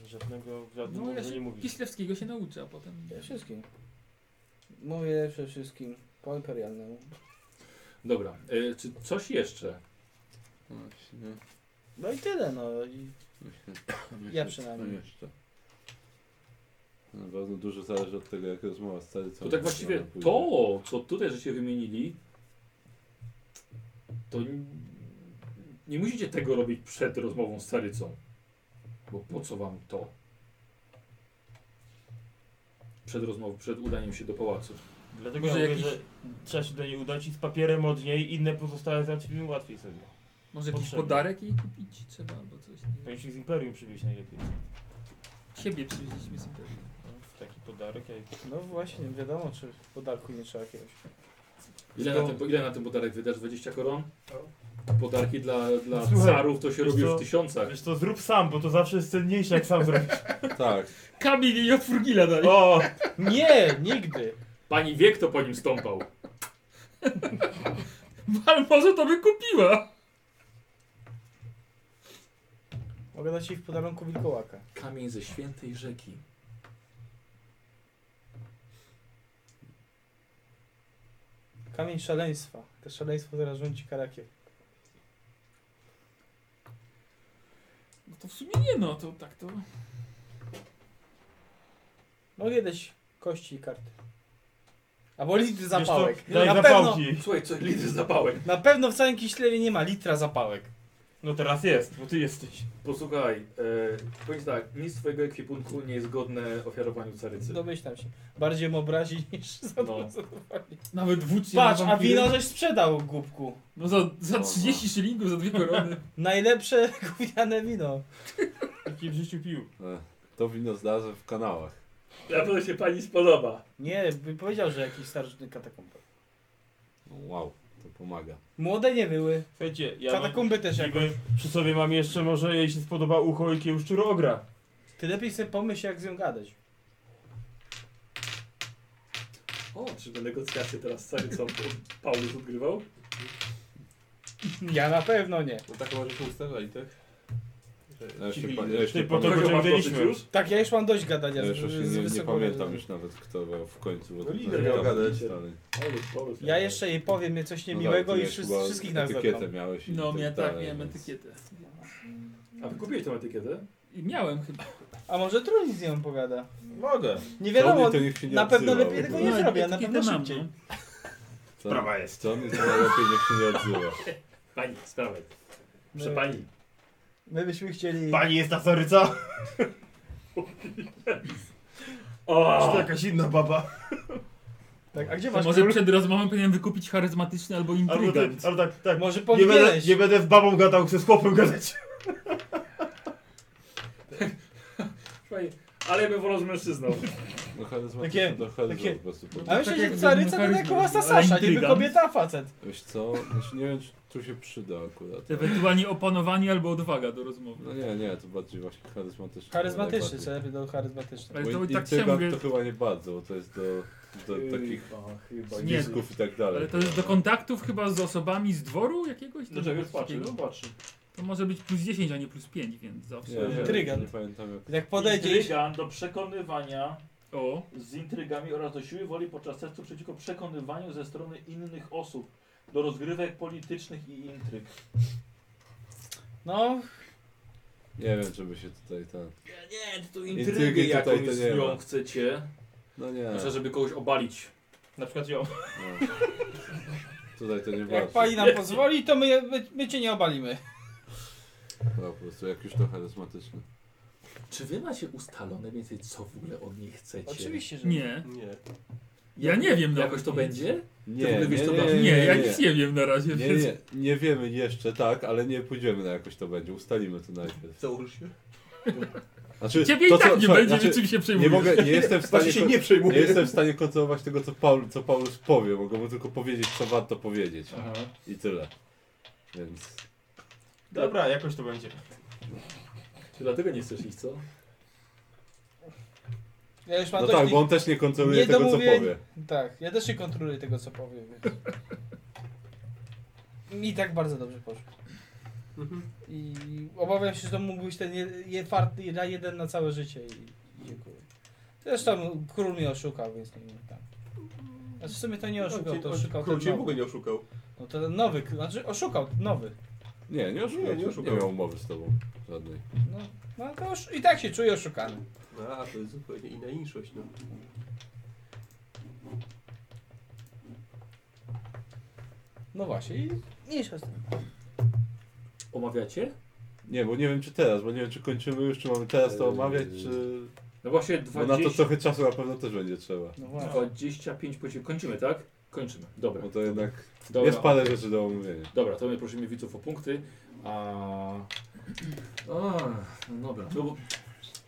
Speaker 3: Żadnego,
Speaker 4: No
Speaker 3: żadnego
Speaker 4: ja
Speaker 3: no, nie
Speaker 4: się
Speaker 3: mówisz.
Speaker 4: Kislewskiego się nauczę, a potem.
Speaker 5: Ja wszystkim. Mówię przede wszystkim po imperialnemu.
Speaker 2: Dobra, e, czy coś jeszcze?
Speaker 1: Właśnie.
Speaker 5: No i tyle, no i Ja przynajmniej.
Speaker 1: No jeszcze. Na pewno dużo zależy od tego, jak rozmowa z tradycją.
Speaker 2: To tak właściwie to, co tutaj żeście wymienili, to n- nie musicie tego robić przed rozmową z Carycą. Bo po co wam to? Przed rozmową, przed udaniem się do pałacu.
Speaker 3: Dlatego ja
Speaker 4: Może
Speaker 3: mówię,
Speaker 4: jakiś-
Speaker 3: że trzeba się do niej udać i z papierem od niej inne pozostałe zaczniemy łatwiej sobie.
Speaker 4: Może jakiś
Speaker 3: Potrzebny.
Speaker 4: podarek jej kupić trzeba albo coś. Nie wiem.
Speaker 3: Powinniśmy z Imperium przywieźć najlepiej.
Speaker 4: Siebie przywieźliśmy sobie.
Speaker 3: No, taki podarek, jak...
Speaker 5: no właśnie, wiadomo, czy podarku nie trzeba jakiegoś.
Speaker 2: Ile na ten, ile na ten podarek wydasz? 20 koron? Podarki dla, dla
Speaker 3: No. Słuchaj,
Speaker 2: carów to się
Speaker 3: wiesz
Speaker 2: robi
Speaker 3: co?
Speaker 2: w tysiącach.
Speaker 3: Wiesz to zrób sam, bo to zawsze jest cenniejsze jak sam zrobisz.
Speaker 1: Tak.
Speaker 4: Kamień i od Furgila dalej.
Speaker 3: O!
Speaker 5: Nie, nigdy!
Speaker 2: Pani wie, kto po nim stąpał.
Speaker 4: Ale może to by kupiła.
Speaker 5: Mogę dać jej w podarunku wilkołaka.
Speaker 2: Kamień ze świętej rzeki.
Speaker 5: Kamień szaleństwa. To szaleństwo teraz rządzi karakiem.
Speaker 4: No to w sumie nie no, to tak to...
Speaker 5: Mogę No dać kości i karty. Albo litr zapałek.
Speaker 3: daj zapałki. Słuchaj, co, litr zapałek.
Speaker 5: Na pewno w całym Kiślewie nie ma litra zapałek.
Speaker 3: No teraz jest, bo ty jesteś.
Speaker 2: Posłuchaj, e, powiedz tak, nic twojego ekwipunku nie jest godne ofiarowaniu carycy.
Speaker 5: Domyślam się. Bardziej mu obrazi niż
Speaker 2: No.
Speaker 5: zadowolenie.
Speaker 4: Nawet wódz nie ma
Speaker 5: Patrz, a
Speaker 4: wampiry.
Speaker 5: wino żeś sprzedał, głupku.
Speaker 4: No za, za 30 szylingów, za dwie korony.
Speaker 5: Najlepsze gówniane wino.
Speaker 3: Jaki w życiu pił.
Speaker 1: E, To wino zdarzę w kanałach.
Speaker 2: Na pewno się pani spodoba.
Speaker 5: Nie, by powiedział, że jakiś starożytny katakumba.
Speaker 1: No, wow, to pomaga.
Speaker 5: Młode nie były.
Speaker 3: Słuchajcie, ja
Speaker 5: Katakumby
Speaker 3: mam,
Speaker 5: też
Speaker 3: niby
Speaker 5: jakoś.
Speaker 3: Przy sobie mam jeszcze, może jej się spodoba ucho i kieł szczurogra.
Speaker 5: Ty lepiej sobie pomyśl, jak z nią gadać.
Speaker 2: O, czy te negocjacje teraz z carycą Paulus odgrywał?
Speaker 5: Ja na pewno nie.
Speaker 6: No tak może się ustawiali, tak?
Speaker 1: Ja już
Speaker 6: Cichili.
Speaker 1: nie, pa- ja już nie
Speaker 3: Ty, po to
Speaker 1: pamiętam,
Speaker 3: go
Speaker 2: No dosyć
Speaker 3: już?
Speaker 2: już?
Speaker 5: Tak, ja już mam dość gadania
Speaker 1: ja już
Speaker 5: z, z,
Speaker 1: właśnie nie, nie
Speaker 5: wysokowiedzeniem.
Speaker 1: pamiętam już nawet kto był w końcu. bo
Speaker 2: No
Speaker 1: to
Speaker 2: lider
Speaker 1: nie
Speaker 2: miał
Speaker 1: gadać
Speaker 2: gadać.
Speaker 1: stary.
Speaker 2: Paulus, Paulus.
Speaker 5: Ja jeszcze jej powiem jej coś
Speaker 1: No
Speaker 5: niemiłego
Speaker 1: tak,
Speaker 5: i
Speaker 1: ty
Speaker 5: wszyscy,
Speaker 1: chyba
Speaker 5: wszystkich nas
Speaker 1: Etykietę
Speaker 5: zebrał.
Speaker 1: miałeś i
Speaker 4: No,
Speaker 1: tak
Speaker 4: miałem tak,
Speaker 1: dalej,
Speaker 4: miałem
Speaker 1: więc-
Speaker 4: etykietę.
Speaker 2: A wy kupiłeś tą etykietę?
Speaker 4: I miałem chyba.
Speaker 5: A może trudniej z nią pogada?
Speaker 3: Mogę.
Speaker 5: Nie wiadomo,
Speaker 1: Żadnej to niech się nie
Speaker 5: na pewno
Speaker 1: odzywa,
Speaker 5: lepiej
Speaker 1: bo
Speaker 5: tego
Speaker 1: to-
Speaker 5: nie
Speaker 4: No,
Speaker 5: zrobię, a na
Speaker 4: etykietę
Speaker 5: pewno
Speaker 4: mam,
Speaker 5: szybciej.
Speaker 4: no.
Speaker 1: Co-
Speaker 3: Sprawa jest.
Speaker 1: Co on jest najlepiej, niech się nie odzywa.
Speaker 2: Pani, sprawaj. Proszę
Speaker 5: My-
Speaker 2: pani.
Speaker 5: My byśmy chcieli...
Speaker 3: Pani jest ta soryca? Czy
Speaker 2: O!
Speaker 3: to jakaś inna baba?
Speaker 5: Tak, a gdzie
Speaker 4: To
Speaker 5: masz
Speaker 4: może
Speaker 5: może,
Speaker 4: przed rozmową powinienem wykupić charyzmatyczny albo
Speaker 3: Albo, ty,
Speaker 4: intrygant.
Speaker 3: albo tak, tak.
Speaker 5: może
Speaker 3: Nie będę,
Speaker 5: powinieneś.
Speaker 3: nie będę z babą gadał, chcę z chłopem gadać.
Speaker 2: Słuchaj, Ale ja bym wolał z mężczyzną.
Speaker 1: No charyzma
Speaker 5: Takie-
Speaker 1: do charyzma
Speaker 5: takie-
Speaker 1: po prostu.
Speaker 5: A
Speaker 1: podnosi.
Speaker 5: myślę,
Speaker 4: tak
Speaker 5: że
Speaker 4: jak
Speaker 5: caryca to
Speaker 4: charyzma,
Speaker 5: taka łasa
Speaker 4: ale
Speaker 5: Sasza, niby
Speaker 4: intrygant.
Speaker 5: kobieta, a facet.
Speaker 1: Wiesz co, znaczy nie wiem czy tu się przyda akurat.
Speaker 4: Ewentualnie opanowanie albo odwaga do rozmowy.
Speaker 1: No nie, nie, to bardziej właśnie charyzmatyczny.
Speaker 5: Charyzmatyczny, co
Speaker 1: najbardziej.
Speaker 5: lepiej do charyzmatycznego.
Speaker 4: Ale
Speaker 1: Bo
Speaker 4: to i tak się
Speaker 1: intrygant
Speaker 4: mówię,
Speaker 1: to chyba nie bardzo, bo to jest do, do takich
Speaker 2: Chyba, chyba Yy, nie.
Speaker 4: Nie.
Speaker 1: znisków i tak dalej.
Speaker 4: ale to jest do kontaktów chyba z osobami z dworu jakiegoś? To
Speaker 2: Dlaczego
Speaker 4: coś
Speaker 2: patrzy?
Speaker 4: takiego?
Speaker 2: No patrzy.
Speaker 4: To może być plus 10, a nie plus 5, więc zawsze.
Speaker 1: Nie, nie,
Speaker 5: Intrygant.
Speaker 1: Nie pamiętam jak...
Speaker 5: Jak podejdziesz,
Speaker 2: Intrygan do przekonywania
Speaker 4: O,
Speaker 2: z intrygami oraz do siły woli podczas testu przeciwko przekonywaniu ze strony innych osób do rozgrywek politycznych i intryg.
Speaker 5: no,
Speaker 1: Nie wiem, czy by się tutaj ten...
Speaker 2: Nie, to
Speaker 1: Intrygi tutaj to nie ma.
Speaker 2: chcecie.
Speaker 1: No nie,
Speaker 2: Znaczy, żeby kogoś obalić.
Speaker 3: Na przykład ją.
Speaker 1: no. Tutaj to nie
Speaker 5: jak
Speaker 1: bardzo.
Speaker 5: pani nam pozwoli, to my, my, my cię nie obalimy.
Speaker 1: No po prostu, jak już to charyzmatyczny.
Speaker 2: Czy wy macie ustalone więcej, co w ogóle od niej chcecie?
Speaker 5: Oczywiście, że
Speaker 4: nie.
Speaker 6: Nie.
Speaker 4: Ja nie wiem nawet.
Speaker 2: no, Jakoś to będzie?
Speaker 1: Nie,
Speaker 2: w ogóle
Speaker 1: nie,
Speaker 2: wiesz,
Speaker 1: nie,
Speaker 2: to
Speaker 1: nie,
Speaker 2: da-
Speaker 4: Nie, ja nic
Speaker 1: nie.
Speaker 4: nie wiem na razie,
Speaker 1: Nie,
Speaker 4: więc
Speaker 1: nie, nie wiemy jeszcze, tak, ale nie pójdziemy na jakoś to będzie, ustalimy to najpierw.
Speaker 6: Założ się.
Speaker 1: Znaczy,
Speaker 4: ciebie i tak nie
Speaker 1: słuchaj,
Speaker 4: będzie,
Speaker 1: znaczy,
Speaker 4: czym się
Speaker 1: nie
Speaker 4: przejmujesz.
Speaker 1: mogę, nie jestem w stanie,
Speaker 6: Właśnie się
Speaker 1: kon-
Speaker 6: nie przejmuję.
Speaker 1: jestem w stanie kontrolować tego, co, Paul, co Paulus powie, mogę mu tylko powiedzieć, co warto powiedzieć i tyle. Więc
Speaker 3: Dobra, jakoś to będzie.
Speaker 2: Czy dlatego nie chcesz iść, co?
Speaker 5: Ja już mam
Speaker 1: No
Speaker 5: dość
Speaker 1: tak,
Speaker 5: tych-
Speaker 1: bo on też nie kontroluje
Speaker 5: nie
Speaker 1: tego, co
Speaker 5: domówień.
Speaker 1: powie.
Speaker 5: Tak, ja też nie kontroluję tego, co powiem. więc- Mi tak bardzo dobrze poszło.
Speaker 6: Mhm.
Speaker 5: I obawiam się, że to mógł być ten je- je- farty na jeden na całe życie i i dziękuję. Zresztą król mnie oszukał, więc nie wiem tam. Znaczy w sumie to nie oszukał, to oszukał ten
Speaker 6: No, Król cię w ogóle
Speaker 5: nowy.
Speaker 6: nie oszukał.
Speaker 5: No to ten nowy, król- znaczy oszukał, nowy.
Speaker 1: Nie, nie oszukał.
Speaker 6: Nie,
Speaker 1: Nie,
Speaker 6: nie
Speaker 1: nie,
Speaker 6: oszukał.
Speaker 1: miał umowy z tobą żadnej.
Speaker 5: No, no to osz- i tak się czuję oszukany.
Speaker 6: A, to jest zupełnie inna inszość, no.
Speaker 5: No właśnie i mniejsza z tym.
Speaker 2: Omawiacie?
Speaker 1: Nie, bo nie wiem czy teraz, bo nie wiem czy kończymy już, czy mamy teraz to
Speaker 2: Eee,
Speaker 1: omawiać, czy...
Speaker 2: No właśnie
Speaker 1: Bo na to
Speaker 2: 20...
Speaker 1: trochę czasu na pewno też będzie trzeba.
Speaker 5: No właśnie.
Speaker 2: 25 pociek. Kończymy, tak? Kończymy. Dobra.
Speaker 1: Bo to jednak
Speaker 2: Dobra.
Speaker 1: jest parę rzeczy do omówienia.
Speaker 2: Dobra, to my prosimy widzów o punkty. A... O, no dobra. No bo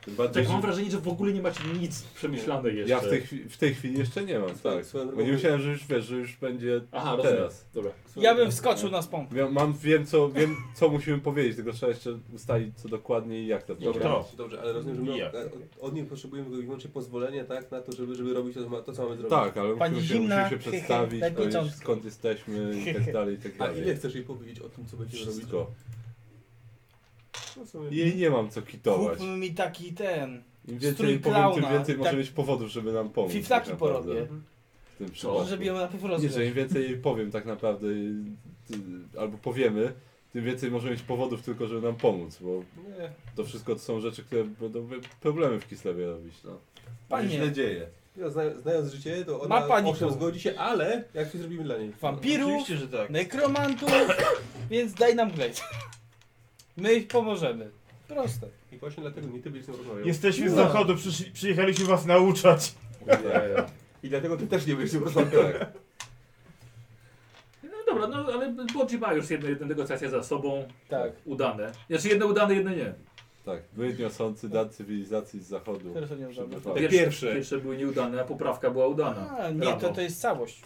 Speaker 1: Tym bardziej,
Speaker 2: Tak mam
Speaker 1: że-
Speaker 2: wrażenie, że w ogóle nie macie nic przemyślane jeszcze.
Speaker 1: Ja w tej, chwili, w tej chwili jeszcze nie mam, tak.
Speaker 2: Swoją
Speaker 1: Bo
Speaker 2: drogą-
Speaker 1: nie myślałem, że już wiesz, że już będzie
Speaker 2: Aha, rozumiem.
Speaker 1: teraz.
Speaker 2: Dobra.
Speaker 5: Ja bym wskoczył na spąk.
Speaker 1: Ja, mam, wiem, co, wiem co musimy powiedzieć, tylko trzeba jeszcze ustalić co dokładnie i jak to
Speaker 6: Dobrze,
Speaker 3: No.
Speaker 1: zrobić.
Speaker 6: dobrze, ale rozumiem, że my
Speaker 1: Nijak.
Speaker 6: od- od nich potrzebujemy tylko i wyłącznie pozwolenia, tak, na to, żeby, żeby robić to, to, co mamy zrobić.
Speaker 1: Tak, ale musimy się, musimy się przedstawić, powiedzieć, skąd jesteśmy i tak dalej, i tak
Speaker 6: A
Speaker 1: dalej.
Speaker 6: ile chcesz jej powiedzieć o tym, co będziemy robić?
Speaker 1: Wszystko.
Speaker 6: No, w sumie-
Speaker 1: Jej nie mam co kitować.
Speaker 5: Kupmy mi taki ten.
Speaker 1: Im więcej
Speaker 5: strój
Speaker 1: powiem,
Speaker 5: klauna.
Speaker 1: tym więcej może
Speaker 5: tak
Speaker 1: mieć powodów, żeby nam pomóc.
Speaker 5: Fiflaki
Speaker 1: tak naprawdę.
Speaker 5: porobię.
Speaker 1: W tym
Speaker 6: Mhm.
Speaker 1: przypadku.
Speaker 5: żeby ją najpierw
Speaker 1: Nie,
Speaker 5: rozgrzać.
Speaker 1: że im więcej jej powiem tak naprawdę, y, y, albo powiemy, tym więcej może mieć powodów tylko, żeby nam pomóc, bo
Speaker 6: Nie.
Speaker 1: to wszystko to są rzeczy, które będą problemy w Kislewie robić. No.
Speaker 6: Panie.
Speaker 1: Źle dzieje.
Speaker 6: Ja zna, znając życie, to
Speaker 5: Ma
Speaker 6: ona
Speaker 5: pani
Speaker 6: owszem
Speaker 5: tu.
Speaker 6: zgodzi się, ale jak coś zrobimy dla niej?
Speaker 5: Wampirów,
Speaker 6: Oczywiście, że tak.
Speaker 5: nekromantów, więc daj nam glejt. My ich pomożemy. Proste.
Speaker 6: I właśnie dlatego nie ty będziesz z nią rozmawiał.
Speaker 3: Jesteśmy z zachodu, przyszli, przyjechaliśmy was nauczać.
Speaker 6: I dlatego ty też nie będziesz z nią rozmawiał.
Speaker 2: No dobra, no ale Bodzi ma już jedne, jedne negocjacje za sobą.
Speaker 5: Tak.
Speaker 2: Udane. Znaczy jedne udane, jedne nie.
Speaker 1: Tak, my niosący dar cywilizacji z zachodu.
Speaker 5: Teraz to nie udane.
Speaker 1: przybywamy.
Speaker 2: Pierwsze, pierwsze były nieudane, a poprawka była udana.
Speaker 5: A, nie, to, to jest całość.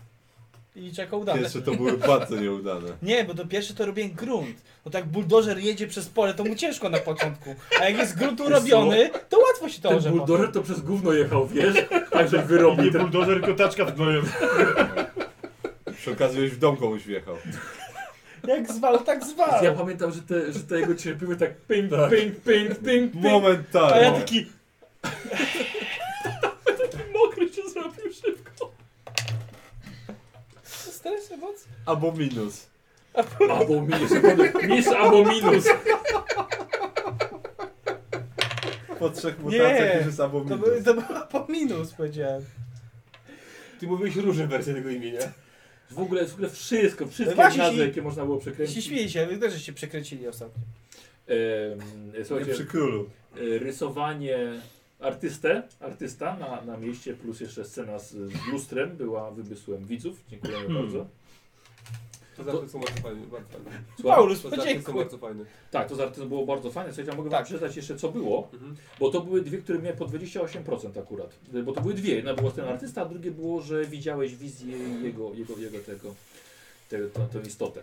Speaker 5: I czeka udane.
Speaker 1: Pierwsze to były bardzo nieudane.
Speaker 5: Nie, bo to pierwsze to robię grunt. Bo tak buldożer jedzie przez pole, to mu ciężko na początku. A jak jest grunt urobiony, to łatwo się to
Speaker 2: Ten
Speaker 5: orze potem.
Speaker 2: buldożer to przez gówno jechał, wiesz? Także wyrobił.
Speaker 3: Nie buldożer, kotaczka w gnoju.
Speaker 1: Przy okazji już w dom komuś wjechał.
Speaker 5: Jak zwał, tak zwał.
Speaker 2: Ja pamiętam, że te, że te jego cierpiły tak ping, ping, ping, ping, ping.
Speaker 1: Momentalnie.
Speaker 2: A ja taki... taki mokry się zrobił szybko.
Speaker 5: Stres, emocji.
Speaker 1: Albo minus.
Speaker 2: Albo minus. Minus albo minus.
Speaker 1: Po trzech mutacjach
Speaker 5: Nie,
Speaker 1: już jest albo
Speaker 5: to,
Speaker 1: minus.
Speaker 5: by, to była po minus, powiedziałem.
Speaker 6: Ty mówiłeś różne wersje tego imienia.
Speaker 2: W ogóle, w ogóle wszystko,
Speaker 1: No
Speaker 2: wszystkie
Speaker 5: Właśnie
Speaker 2: nazwy,
Speaker 5: się-
Speaker 2: jakie można było
Speaker 5: Się
Speaker 2: przekręcić.
Speaker 5: śmieje się, wy też żeście przekręcili ostatnio.
Speaker 2: Em, Słuchajcie,
Speaker 1: Nie przy królu.
Speaker 2: e, rysowanie artystę, artysta na, na mieście, plus jeszcze scena z, z lustrem była wybysłem widzów. Dziękujemy
Speaker 6: Hmm.
Speaker 2: bardzo.
Speaker 6: To zawsze są bardzo fajne. Bardzo fajne.
Speaker 2: Słucham?
Speaker 6: To zawsze są bardzo fajne.
Speaker 2: Tak, to z artyzmu było bardzo fajne. Słuchajcie, ja mogę wam przeczytać jeszcze co było, bo to były dwie, które miały po 28% akurat. Bo to były dwie. Jedna była ten artysta, a drugie było, że widziałeś wizję jego, jego, jego tego, tego, tą, tą istotę.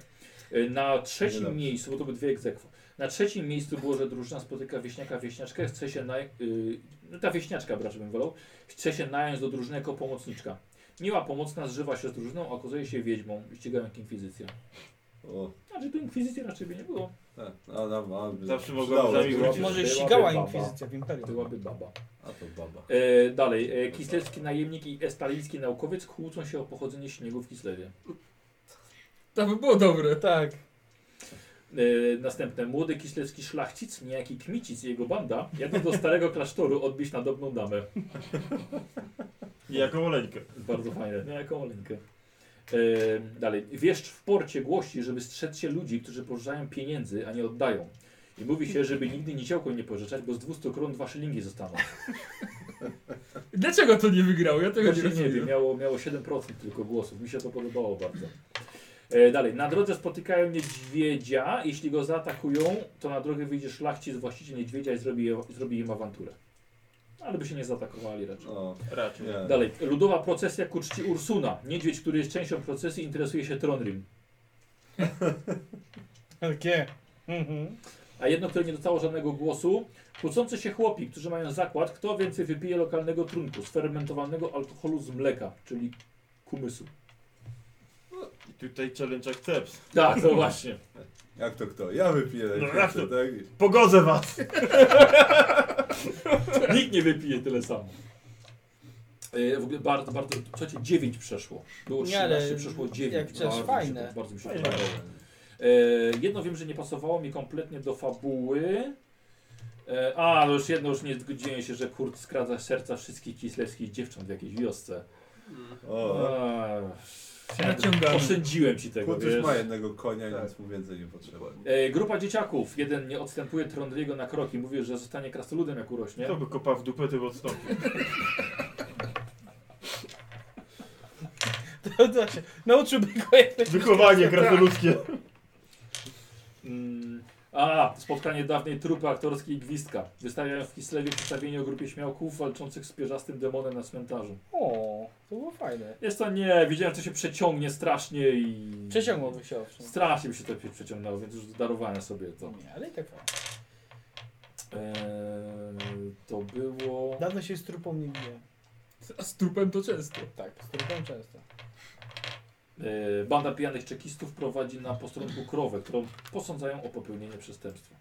Speaker 2: E, Na trzecim miejscu, bo to były dwie egzekwo. Na trzecim miejscu było, że drużyna spotyka wieśniaka, wieśniaczkę, chce się naj... y, no ta wieśniaczka, raczej bym wolał, chce się nająć do drużyny jako pomocniczka. Miła pomocna zżywa się z drużyną, a okazuje się wiedźmą i ścigają inkwizycję.
Speaker 1: O,
Speaker 2: Znaczy tu inkwizycji raczej by nie było.
Speaker 1: tak. A, na, a,
Speaker 3: Zawsze
Speaker 1: przydało
Speaker 3: mogłem
Speaker 1: się.
Speaker 3: sami wrócić.
Speaker 5: Może
Speaker 2: Byłaby
Speaker 5: ścigała
Speaker 2: baba.
Speaker 5: inkwizycja w Imperium.
Speaker 2: Byłaby baba.
Speaker 1: A to baba.
Speaker 2: E, dalej. E, kislewski najemnik i estaliński naukowiec kłócą się o pochodzenie śniegu w Kislewie.
Speaker 4: To by było dobre.
Speaker 5: Tak.
Speaker 2: E, następne. Młody kislewski szlachcic, niejaki Kmicic i jego banda jadą do starego klasztoru odbić nadobną damę.
Speaker 3: I jaką oleńkę.
Speaker 2: Bardzo fajne. No, jaką olinkę. E, dalej. Wieszcz w porcie głosi, żeby strzec się ludzi, którzy pożyczają pieniędzy, a nie oddają. I mówi się, żeby nigdy niciałką nie pożyczać, bo z 200 kron dwa szylingi zostaną.
Speaker 4: Dlaczego to nie wygrało? Ja tego nie
Speaker 2: Właśnie nie wiem,
Speaker 4: rozumiem.
Speaker 2: miało, miało 7% tylko głosów. Mi się to podobało bardzo. E, dalej, na drodze spotykają niedźwiedzia. Jeśli go zaatakują, to na drogę wyjdzie szlachcic, właściciel niedźwiedzia i zrobi, je- zrobi im awanturę. Ale by się nie zaatakowali raczej.
Speaker 1: O,
Speaker 3: Raczej.
Speaker 4: E.
Speaker 1: nie.
Speaker 2: Dalej, ludowa procesja ku czci Ursuna. Niedźwiedź, który jest częścią procesji, interesuje się Tronrim.
Speaker 5: Takie. tak, Mhm.
Speaker 2: A jedno, które nie dostało żadnego głosu. Kłócący się chłopi, którzy mają zakład, kto więcej wypije lokalnego trunku, sfermentowanego alkoholu z mleka, czyli kumysu.
Speaker 3: I tutaj challenge accepts.
Speaker 2: Tak, to właśnie.
Speaker 1: Jak to kto? Ja wypiję
Speaker 3: No
Speaker 1: najpierw,
Speaker 3: jak to?
Speaker 1: tak?
Speaker 3: Pogodzę was!
Speaker 2: Nikt nie wypije tyle samo. E, W ogóle bardzo, bardzo, słuchajcie, 9 przeszło. Było
Speaker 5: Nie,
Speaker 2: 13,
Speaker 5: ale
Speaker 2: przeszło
Speaker 5: jak
Speaker 2: 9.
Speaker 5: też
Speaker 2: bardzo mi się
Speaker 5: fajne.
Speaker 2: to- Bardzo mi się to
Speaker 5: Fajne.
Speaker 2: podobało. E, Jedno wiem, że nie pasowało mi kompletnie do fabuły. E, A, no już jedno, już nie zgodziłem się, że Kurt skradza serca wszystkich kislewskich dziewcząt w jakiejś wiosce.
Speaker 1: O.
Speaker 2: A,
Speaker 4: Naciągamy.
Speaker 2: Oszczędziłem ci tego,
Speaker 1: Kurt już
Speaker 2: wiesz.
Speaker 1: ma jednego konia,
Speaker 3: Tak.
Speaker 1: więc mu więcej nie potrzeba.
Speaker 2: E, Grupa dzieciaków. Jeden nie odstępuje Trondriego na kroki. Mówił, że zostanie krasnoludem jak urośnie.
Speaker 3: To by kopa w dupę, to by odstąpił.
Speaker 5: To, znaczy, to się, nauczyłby go jak
Speaker 3: Wychowanie krasnoludzkie.
Speaker 2: Mm, A, spotkanie dawnej trupy aktorskiej Gwizdka. Wystawiają w Kislewie przedstawienie o grupie śmiałków walczących z pierzastym demonem na cmentarzu.
Speaker 5: O, to było fajne.
Speaker 2: Jest to nie, wiedziałem, co się przeciągnie strasznie i...
Speaker 5: Przeciągłoby się owszem.
Speaker 2: Strasznie by się to przeciągnęło, więc już darowałem sobie to.
Speaker 5: Nie, ale i tak fajnie.
Speaker 2: Eee, to było...
Speaker 10: Dawno się z trupą nie biłem.
Speaker 4: A z trupem to często.
Speaker 5: Tak, z trupem często.
Speaker 2: E, Banda pijanych czekistów prowadzi na posterunku krowę, którą posądzają o popełnienie przestępstwa.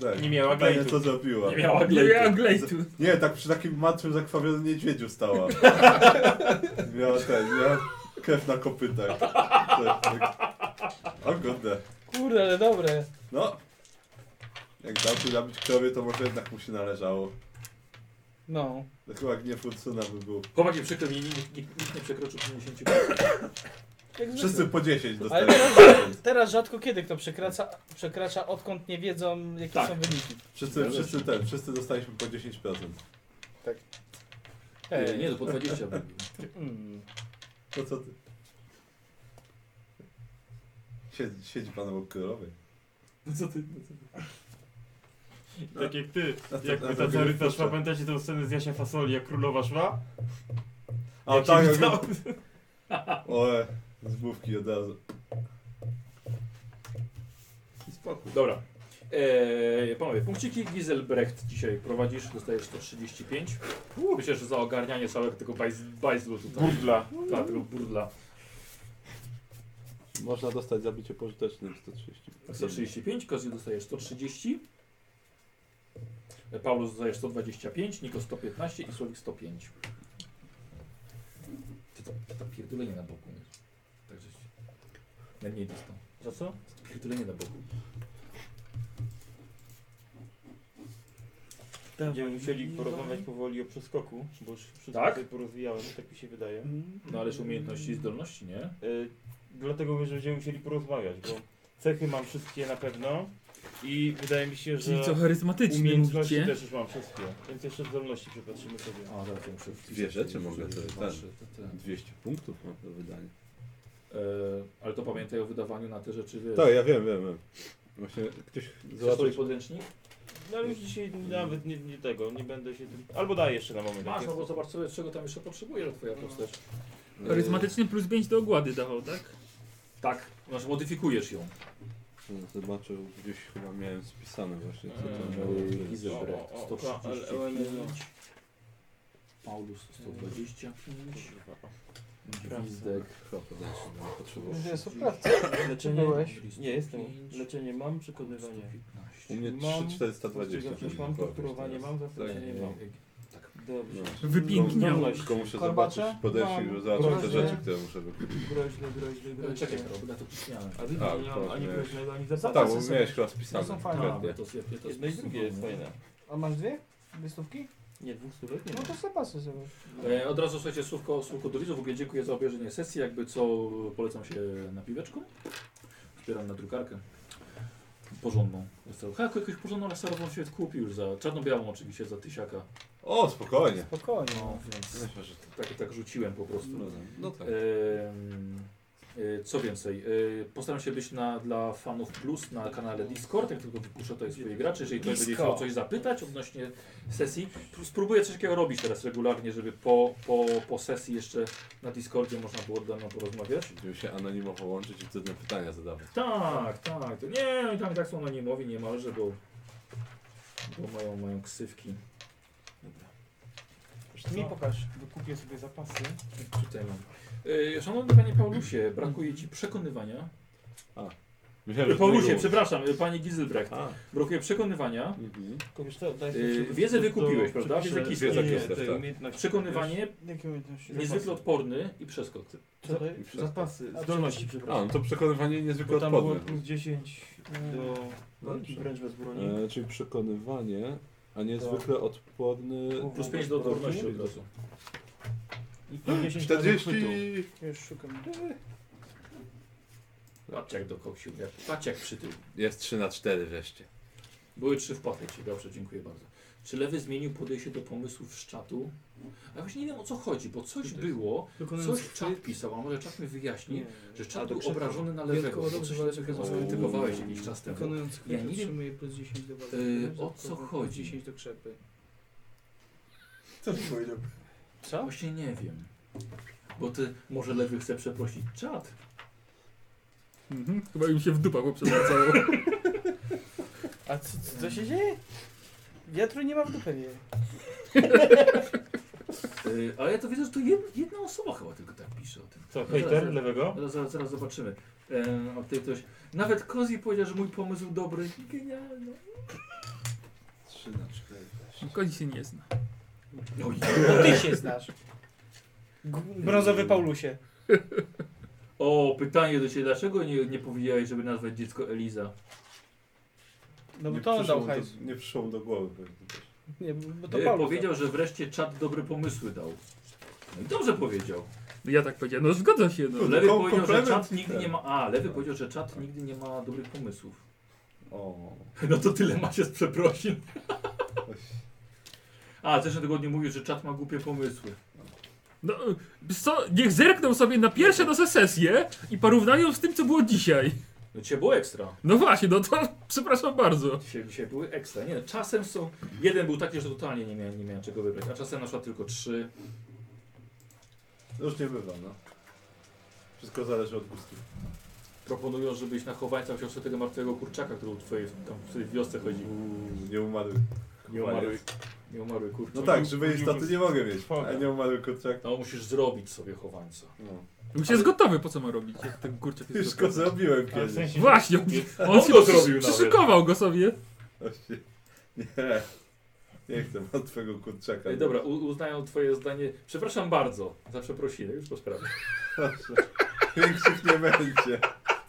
Speaker 1: Tak.
Speaker 3: Nie miała
Speaker 1: Pytanie,
Speaker 3: glejtu.
Speaker 1: co zrobiła.
Speaker 2: Nie miała
Speaker 4: glejtu. Nie miała No glejtu.
Speaker 1: Nie, tak przy takim martwym zakrwawionym niedźwiedziu stała. miała ten, miała krew na kopytach. Tak, tak. O, godne.
Speaker 5: Kurde, ale dobre.
Speaker 1: No. Jak dał tu zabić krowie, to może jednak mu się należało.
Speaker 5: No.
Speaker 1: To chyba gniew Hudsona by był.
Speaker 2: Chłopaki, przykro mi, nikt, nikt, nikt nie przekroczył 50 metrów.
Speaker 5: Jak
Speaker 1: Wszyscy
Speaker 5: zwykle.
Speaker 1: po 10
Speaker 5: Ale
Speaker 1: dostali.
Speaker 5: teraz, teraz rzadko kiedy kto przekracza, przekracza odkąd nie wiedzą jakie
Speaker 1: Tak.
Speaker 5: są wyniki.
Speaker 1: Wszyscy, wszyscy ten, wszyscy dostaliśmy po 10%.
Speaker 5: Tak.
Speaker 2: Nie, nie, to po 20 było.
Speaker 5: Mm.
Speaker 1: To co ty? Siedzi, siedzi pan obok królowej.
Speaker 2: No Co ty?
Speaker 3: Tak jak ty,
Speaker 1: Na to-
Speaker 3: jak
Speaker 1: na
Speaker 3: ta
Speaker 1: to
Speaker 3: caryta
Speaker 1: gryfusa.
Speaker 3: szła, pamiętacie tę scenę z Jasia Fasoli, jak królowa szła?
Speaker 1: A
Speaker 3: Jak się
Speaker 1: tak,
Speaker 3: widziało-
Speaker 1: jak... Oe, z główki od razu.
Speaker 2: Spoko. Dobra. Eee, panowie, punkciki Giselbrecht dzisiaj prowadzisz, dostajesz 135. Myślę, że za ogarnianie całego tego bajz, bajzlu tutaj.
Speaker 3: Burdla.
Speaker 2: Tak, tego burdla.
Speaker 1: Można dostać zabicie pożytecznym 130.
Speaker 2: 135, Kozio dostajesz 130. Paulus dostajesz 125, Niko 115 i Słowik 105. Ty to, to pierdolenie na boku. nie? Tak Także się- najmniej dostał. Za co? Pierdolenie na boku.
Speaker 3: Będziemy musieli porozmawiać powoli o przeskoku, bo już wszystko
Speaker 2: Tak?
Speaker 3: sobie porozwijałem, tak mi się wydaje.
Speaker 2: No ależ umiejętności i zdolności, nie?
Speaker 3: Y, dlatego mówię, że będziemy musieli porozmawiać, bo cechy mam wszystkie na pewno i wydaje mi się, że
Speaker 4: Czyli co, charyzmatyczny
Speaker 3: umiejętności
Speaker 4: mówicie?
Speaker 3: też już mam wszystkie, więc jeszcze zdolności przepatrzymy sobie.
Speaker 2: A, dobra, to muszę
Speaker 16: Dwie rzeczy mogę to ten.
Speaker 2: Patrzę, to ten.
Speaker 16: 200 punktów mam do wydania.
Speaker 2: E, ale to pamiętaj o wydawaniu na te rzeczy, wiesz.
Speaker 1: Tak, ja wiem, wiem, wiem. Właśnie ktoś
Speaker 2: Chcesz
Speaker 1: załatwił
Speaker 2: sobie podręcznik?
Speaker 3: No ale już dzisiaj nawet nie, nie tego, nie będę się tym... Albo daj jeszcze na moment.
Speaker 2: Masz,
Speaker 3: jak
Speaker 2: no bo
Speaker 3: jest.
Speaker 2: zobacz sobie, czego tam jeszcze potrzebuje twoja postać.
Speaker 4: Charyzmatyczny plus 5 do ogłady dawał, tak?
Speaker 2: Tak, masz, modyfikujesz ją.
Speaker 3: E,
Speaker 1: Zobaczył, gdzieś chyba miałem spisane właśnie, co to
Speaker 3: Mm.
Speaker 2: Eee,
Speaker 1: miało być.
Speaker 2: Giselbrecht
Speaker 3: O, o, o, o, ale-
Speaker 2: 135. Paulus 125. Gwizdek.
Speaker 5: Że jest oprawca.
Speaker 3: Leczenie
Speaker 5: Byłeś?
Speaker 3: Nie, jestem. no Leczenie mam, przekonywanie.
Speaker 1: U mnie
Speaker 3: Mam,
Speaker 1: 3420.
Speaker 3: Ostrzegawczość mam, torturowanie mam,
Speaker 2: Tak,
Speaker 3: zastraszenie mam.
Speaker 2: E,
Speaker 3: Dobrze.
Speaker 4: Wypiękniało.
Speaker 1: No, Tylko muszę
Speaker 3: Korbacze?
Speaker 1: zobaczyć podręcznik,
Speaker 3: Mam.
Speaker 1: żeby zobaczyć te
Speaker 3: Groźne.
Speaker 1: rzeczy, które muszę wykupić.
Speaker 3: Groźne, groźne, groźne.
Speaker 2: e, Czekaj, Karol, bo ja to pisałem.
Speaker 3: A widzisz,
Speaker 1: A,
Speaker 3: nie mam
Speaker 1: to
Speaker 3: ani
Speaker 1: nie.
Speaker 3: groźnego, ani
Speaker 1: Tak,
Speaker 3: zapasu.
Speaker 1: bo miałeś chyba spisane.
Speaker 5: są fajne.
Speaker 1: Dokładnie.
Speaker 2: Ja to zje- ja to
Speaker 3: Jedno i drugie jest fajne.
Speaker 5: A masz dwie? Dwie stówki?
Speaker 3: Nie, dwóch stówek nie
Speaker 5: No
Speaker 3: ma.
Speaker 5: to zapasy sobie.
Speaker 2: E, Od razu słuchajcie, słówko, słówko do widzów. W ogóle dziękuję za obejrzenie sesji. Jakby co, polecam się na piweczku. Zbieram na drukarkę. Porządną. Jest to- Chyba jakąś porządną laserową się kupił już za czarno-białą oczywiście, za tysiaka.
Speaker 1: O, spokojnie.
Speaker 5: Spokojnie.
Speaker 2: No, więc tak, tak rzuciłem po prostu.
Speaker 1: No tak.
Speaker 2: Em, e, Co więcej, e, postaram się być na, dla fanów plus na kanale Discord, jak tylko wypuszczę tutaj swoich graczy, jeżeli ktoś będzie
Speaker 5: Disco.
Speaker 2: chciał coś zapytać odnośnie sesji, pr- spróbuję coś takiego robić teraz regularnie, żeby po, po, po sesji jeszcze na Discordzie można było ze mną porozmawiać.
Speaker 1: Będziemy się anonimo połączyć i wtedy pytania zadawać.
Speaker 2: Tak, tak, to nie, oni tam i tak są anonimowi niemalże, bo, bo mają, mają ksywki.
Speaker 3: Mi pokaż, wykupię sobie zapasy.
Speaker 2: Tutaj mam. E, Szanowny Panie Paulusie, brakuje Ci przekonywania.
Speaker 1: Myślałem, że
Speaker 2: Paulusie,
Speaker 1: drugi-
Speaker 2: przepraszam, e, Panie Gizelbrecht.
Speaker 1: A.
Speaker 2: Brakuje przekonywania.
Speaker 1: Mhm.
Speaker 3: Tylko wiesz co, daj
Speaker 2: Yy,
Speaker 3: sobie-
Speaker 2: wiedzę
Speaker 3: do-
Speaker 2: wykupiłeś,
Speaker 3: do-
Speaker 2: prawda?
Speaker 3: Wiedzę
Speaker 2: Że-
Speaker 3: kister,
Speaker 1: wiedzę
Speaker 3: nie,
Speaker 1: kister,
Speaker 3: tej
Speaker 1: tak.
Speaker 3: umiejętności.
Speaker 2: Przekonywanie,
Speaker 10: Jakie umiejętności?
Speaker 2: niezwykle odporny i przeskok.
Speaker 3: Co daj?
Speaker 1: Wszystko.
Speaker 3: Zapasy,
Speaker 10: A,
Speaker 3: zdolności,
Speaker 1: A,
Speaker 3: przepraszam.
Speaker 1: no to przekonywanie niezwykle
Speaker 3: Bo tam było
Speaker 1: odporne.
Speaker 3: plus 10
Speaker 5: yy,
Speaker 3: do walki
Speaker 1: Dobrze.
Speaker 3: wręcz bez broni.
Speaker 1: E, czyli przekonywanie, a niezwykle odporny...
Speaker 2: Plus 5 do odporności od razu.
Speaker 3: I plus 10 do wychwytu.
Speaker 1: 40!
Speaker 10: Już szukam.
Speaker 2: Patrzcie jak do koksiu, jak, patrzcie jak przytył.
Speaker 1: Jest 3 na 4 wreszcie.
Speaker 2: Były trzy w pakiecie, dobrze, dziękuję bardzo. Czy lewy zmienił podejście do pomysłów szczatu? A właśnie nie wiem o co chodzi, bo coś było,
Speaker 11: Dokonując
Speaker 2: coś czat pisał, a może czat mi wyjaśni,
Speaker 11: Nie,
Speaker 2: że
Speaker 11: ale
Speaker 2: czat był
Speaker 11: krzywo.
Speaker 2: obrażony na lewego,
Speaker 11: Wielko
Speaker 2: bo coś
Speaker 11: dobrze
Speaker 2: lewego
Speaker 11: walczył.
Speaker 2: skrytykowałeś jakiś czas temu.
Speaker 10: Wykonując
Speaker 2: Ja
Speaker 10: kryt
Speaker 2: nie wiem,
Speaker 10: otrzymuje plus 10 do walki.
Speaker 2: Yy,
Speaker 10: Dobrze,
Speaker 2: o co
Speaker 10: plus
Speaker 2: chodzi?
Speaker 10: 10 do krzepy.
Speaker 2: Co ci powiedział? Co? Właśnie nie wiem. Bo ty może lewy chce przeprosić czat.
Speaker 4: Mhm. Chyba im się w dupach poprzewracało.
Speaker 5: A co, co,
Speaker 3: Yy.
Speaker 5: co się dzieje? Wiatru nie ma w dupę, nie.
Speaker 2: Yy, ale ja to widzę, że to jed, jedna osoba chyba tylko tak pisze o tym.
Speaker 3: Co,
Speaker 2: No
Speaker 3: hejter
Speaker 2: zaraz-
Speaker 3: lewego?
Speaker 2: Zaraz, zaraz, zaraz zobaczymy. E, a tutaj ktoś. Nawet Kozi powiedział, że mój pomysł dobry. Genialny.
Speaker 11: Trzy na cztery.
Speaker 4: Kozi się nie zna.
Speaker 2: Oj.
Speaker 5: No ty się znasz. G- brązowy Paulusie.
Speaker 2: O, pytanie do ciebie, dlaczego nie, nie powiedziałeś, żeby nazwać dziecko Eliza?
Speaker 5: No bo
Speaker 1: Nie
Speaker 5: to on
Speaker 1: przyszło
Speaker 5: dał
Speaker 1: mu to-
Speaker 5: hajs.
Speaker 1: Nie przyszło mu do głowy. pewnie też.
Speaker 5: Nie, bo to
Speaker 2: E,
Speaker 5: Paulus.
Speaker 2: powiedział, że wreszcie czat dobre pomysły dał. No i dobrze powiedział.
Speaker 4: Ja tak powiedziałem, no zgadza się. No.
Speaker 2: No, lewy powiedział, że czat nigdy nie ma. A, lewy powiedział, że czat nigdy nie ma dobrych pomysłów.
Speaker 1: O.
Speaker 2: No to tyle macie z przeprosin. A, w zeszłym tygodniu mówił, że czat ma głupie pomysły.
Speaker 4: No, wiesz co, niech zerkną sobie na pierwsze nasze sesje i porównają z tym, co było dzisiaj.
Speaker 2: No cię było ekstra.
Speaker 4: No właśnie, no to przepraszam bardzo.
Speaker 2: Dzisiaj, dzisiaj były ekstra. Nie, no, czasem są. Jeden był taki, że totalnie nie miałem, nie miałem czego wybrać, a czasem na przykład tylko trzy.
Speaker 1: Już nie bywa, no. Wszystko zależy od gustu.
Speaker 2: Proponują, żebyś na chowańca wziął sobie tego martwego kurczaka, który u twojej, tam w twojej wiosce chodzi.
Speaker 1: Nie umarły.
Speaker 2: Nie umarły. Nie umarły kurczak.
Speaker 1: No tak, żywej istoty nie mogę mieć, a nie
Speaker 2: umarły kurczak. No musisz zrobić sobie chowańca.
Speaker 4: Już jest gotowy, po co ma robić, jak ten kurczak jest
Speaker 1: Już go
Speaker 4: gotowy.
Speaker 1: zrobiłem
Speaker 4: Ale
Speaker 1: kiedyś.
Speaker 4: w sensie- Właśnie, on, on,
Speaker 2: On
Speaker 4: sobie
Speaker 2: go
Speaker 4: przy-
Speaker 2: zrobił nawet.
Speaker 4: przyszykował go sobie.
Speaker 1: Właśnie. Nie. Nie chcę od twojego kurczaka.
Speaker 2: Ej, dobra, u- uznają twoje zdanie. Przepraszam bardzo za przeprosiny, już po sprawie.
Speaker 1: Większych nie będzie.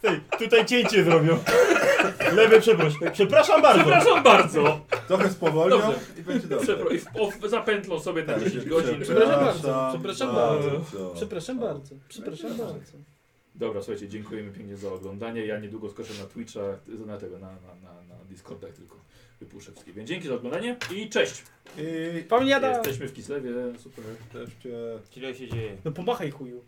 Speaker 3: Tej, tutaj cięcie zrobią. Lewy przeproś. Przepraszam bardzo.
Speaker 2: Przepraszam bardzo.
Speaker 1: Trochę spowolnią
Speaker 2: Dobrze.
Speaker 1: i będzie dobrze.
Speaker 2: Przepro- i w- o- zapętlą sobie na
Speaker 1: Tak,
Speaker 2: 10 godzin.
Speaker 5: Przepraszam bardzo. Przepraszam bardzo. Przepraszam bardzo. Przepraszam
Speaker 2: Przepraszam
Speaker 5: bardzo.
Speaker 2: Dobra, słuchajcie, dziękujemy pięknie za oglądanie. Ja niedługo skoczę na Twitcha, na tego, na, na, na, na Discordach tylko wypuszczę wszystkie. Więc dzięki za oglądanie i cześć!
Speaker 1: I
Speaker 5: Pamiada!
Speaker 2: Jesteśmy w Kislewie, super.
Speaker 1: Też cię...
Speaker 3: Tyle się dzieje.
Speaker 5: No pomachaj chuju.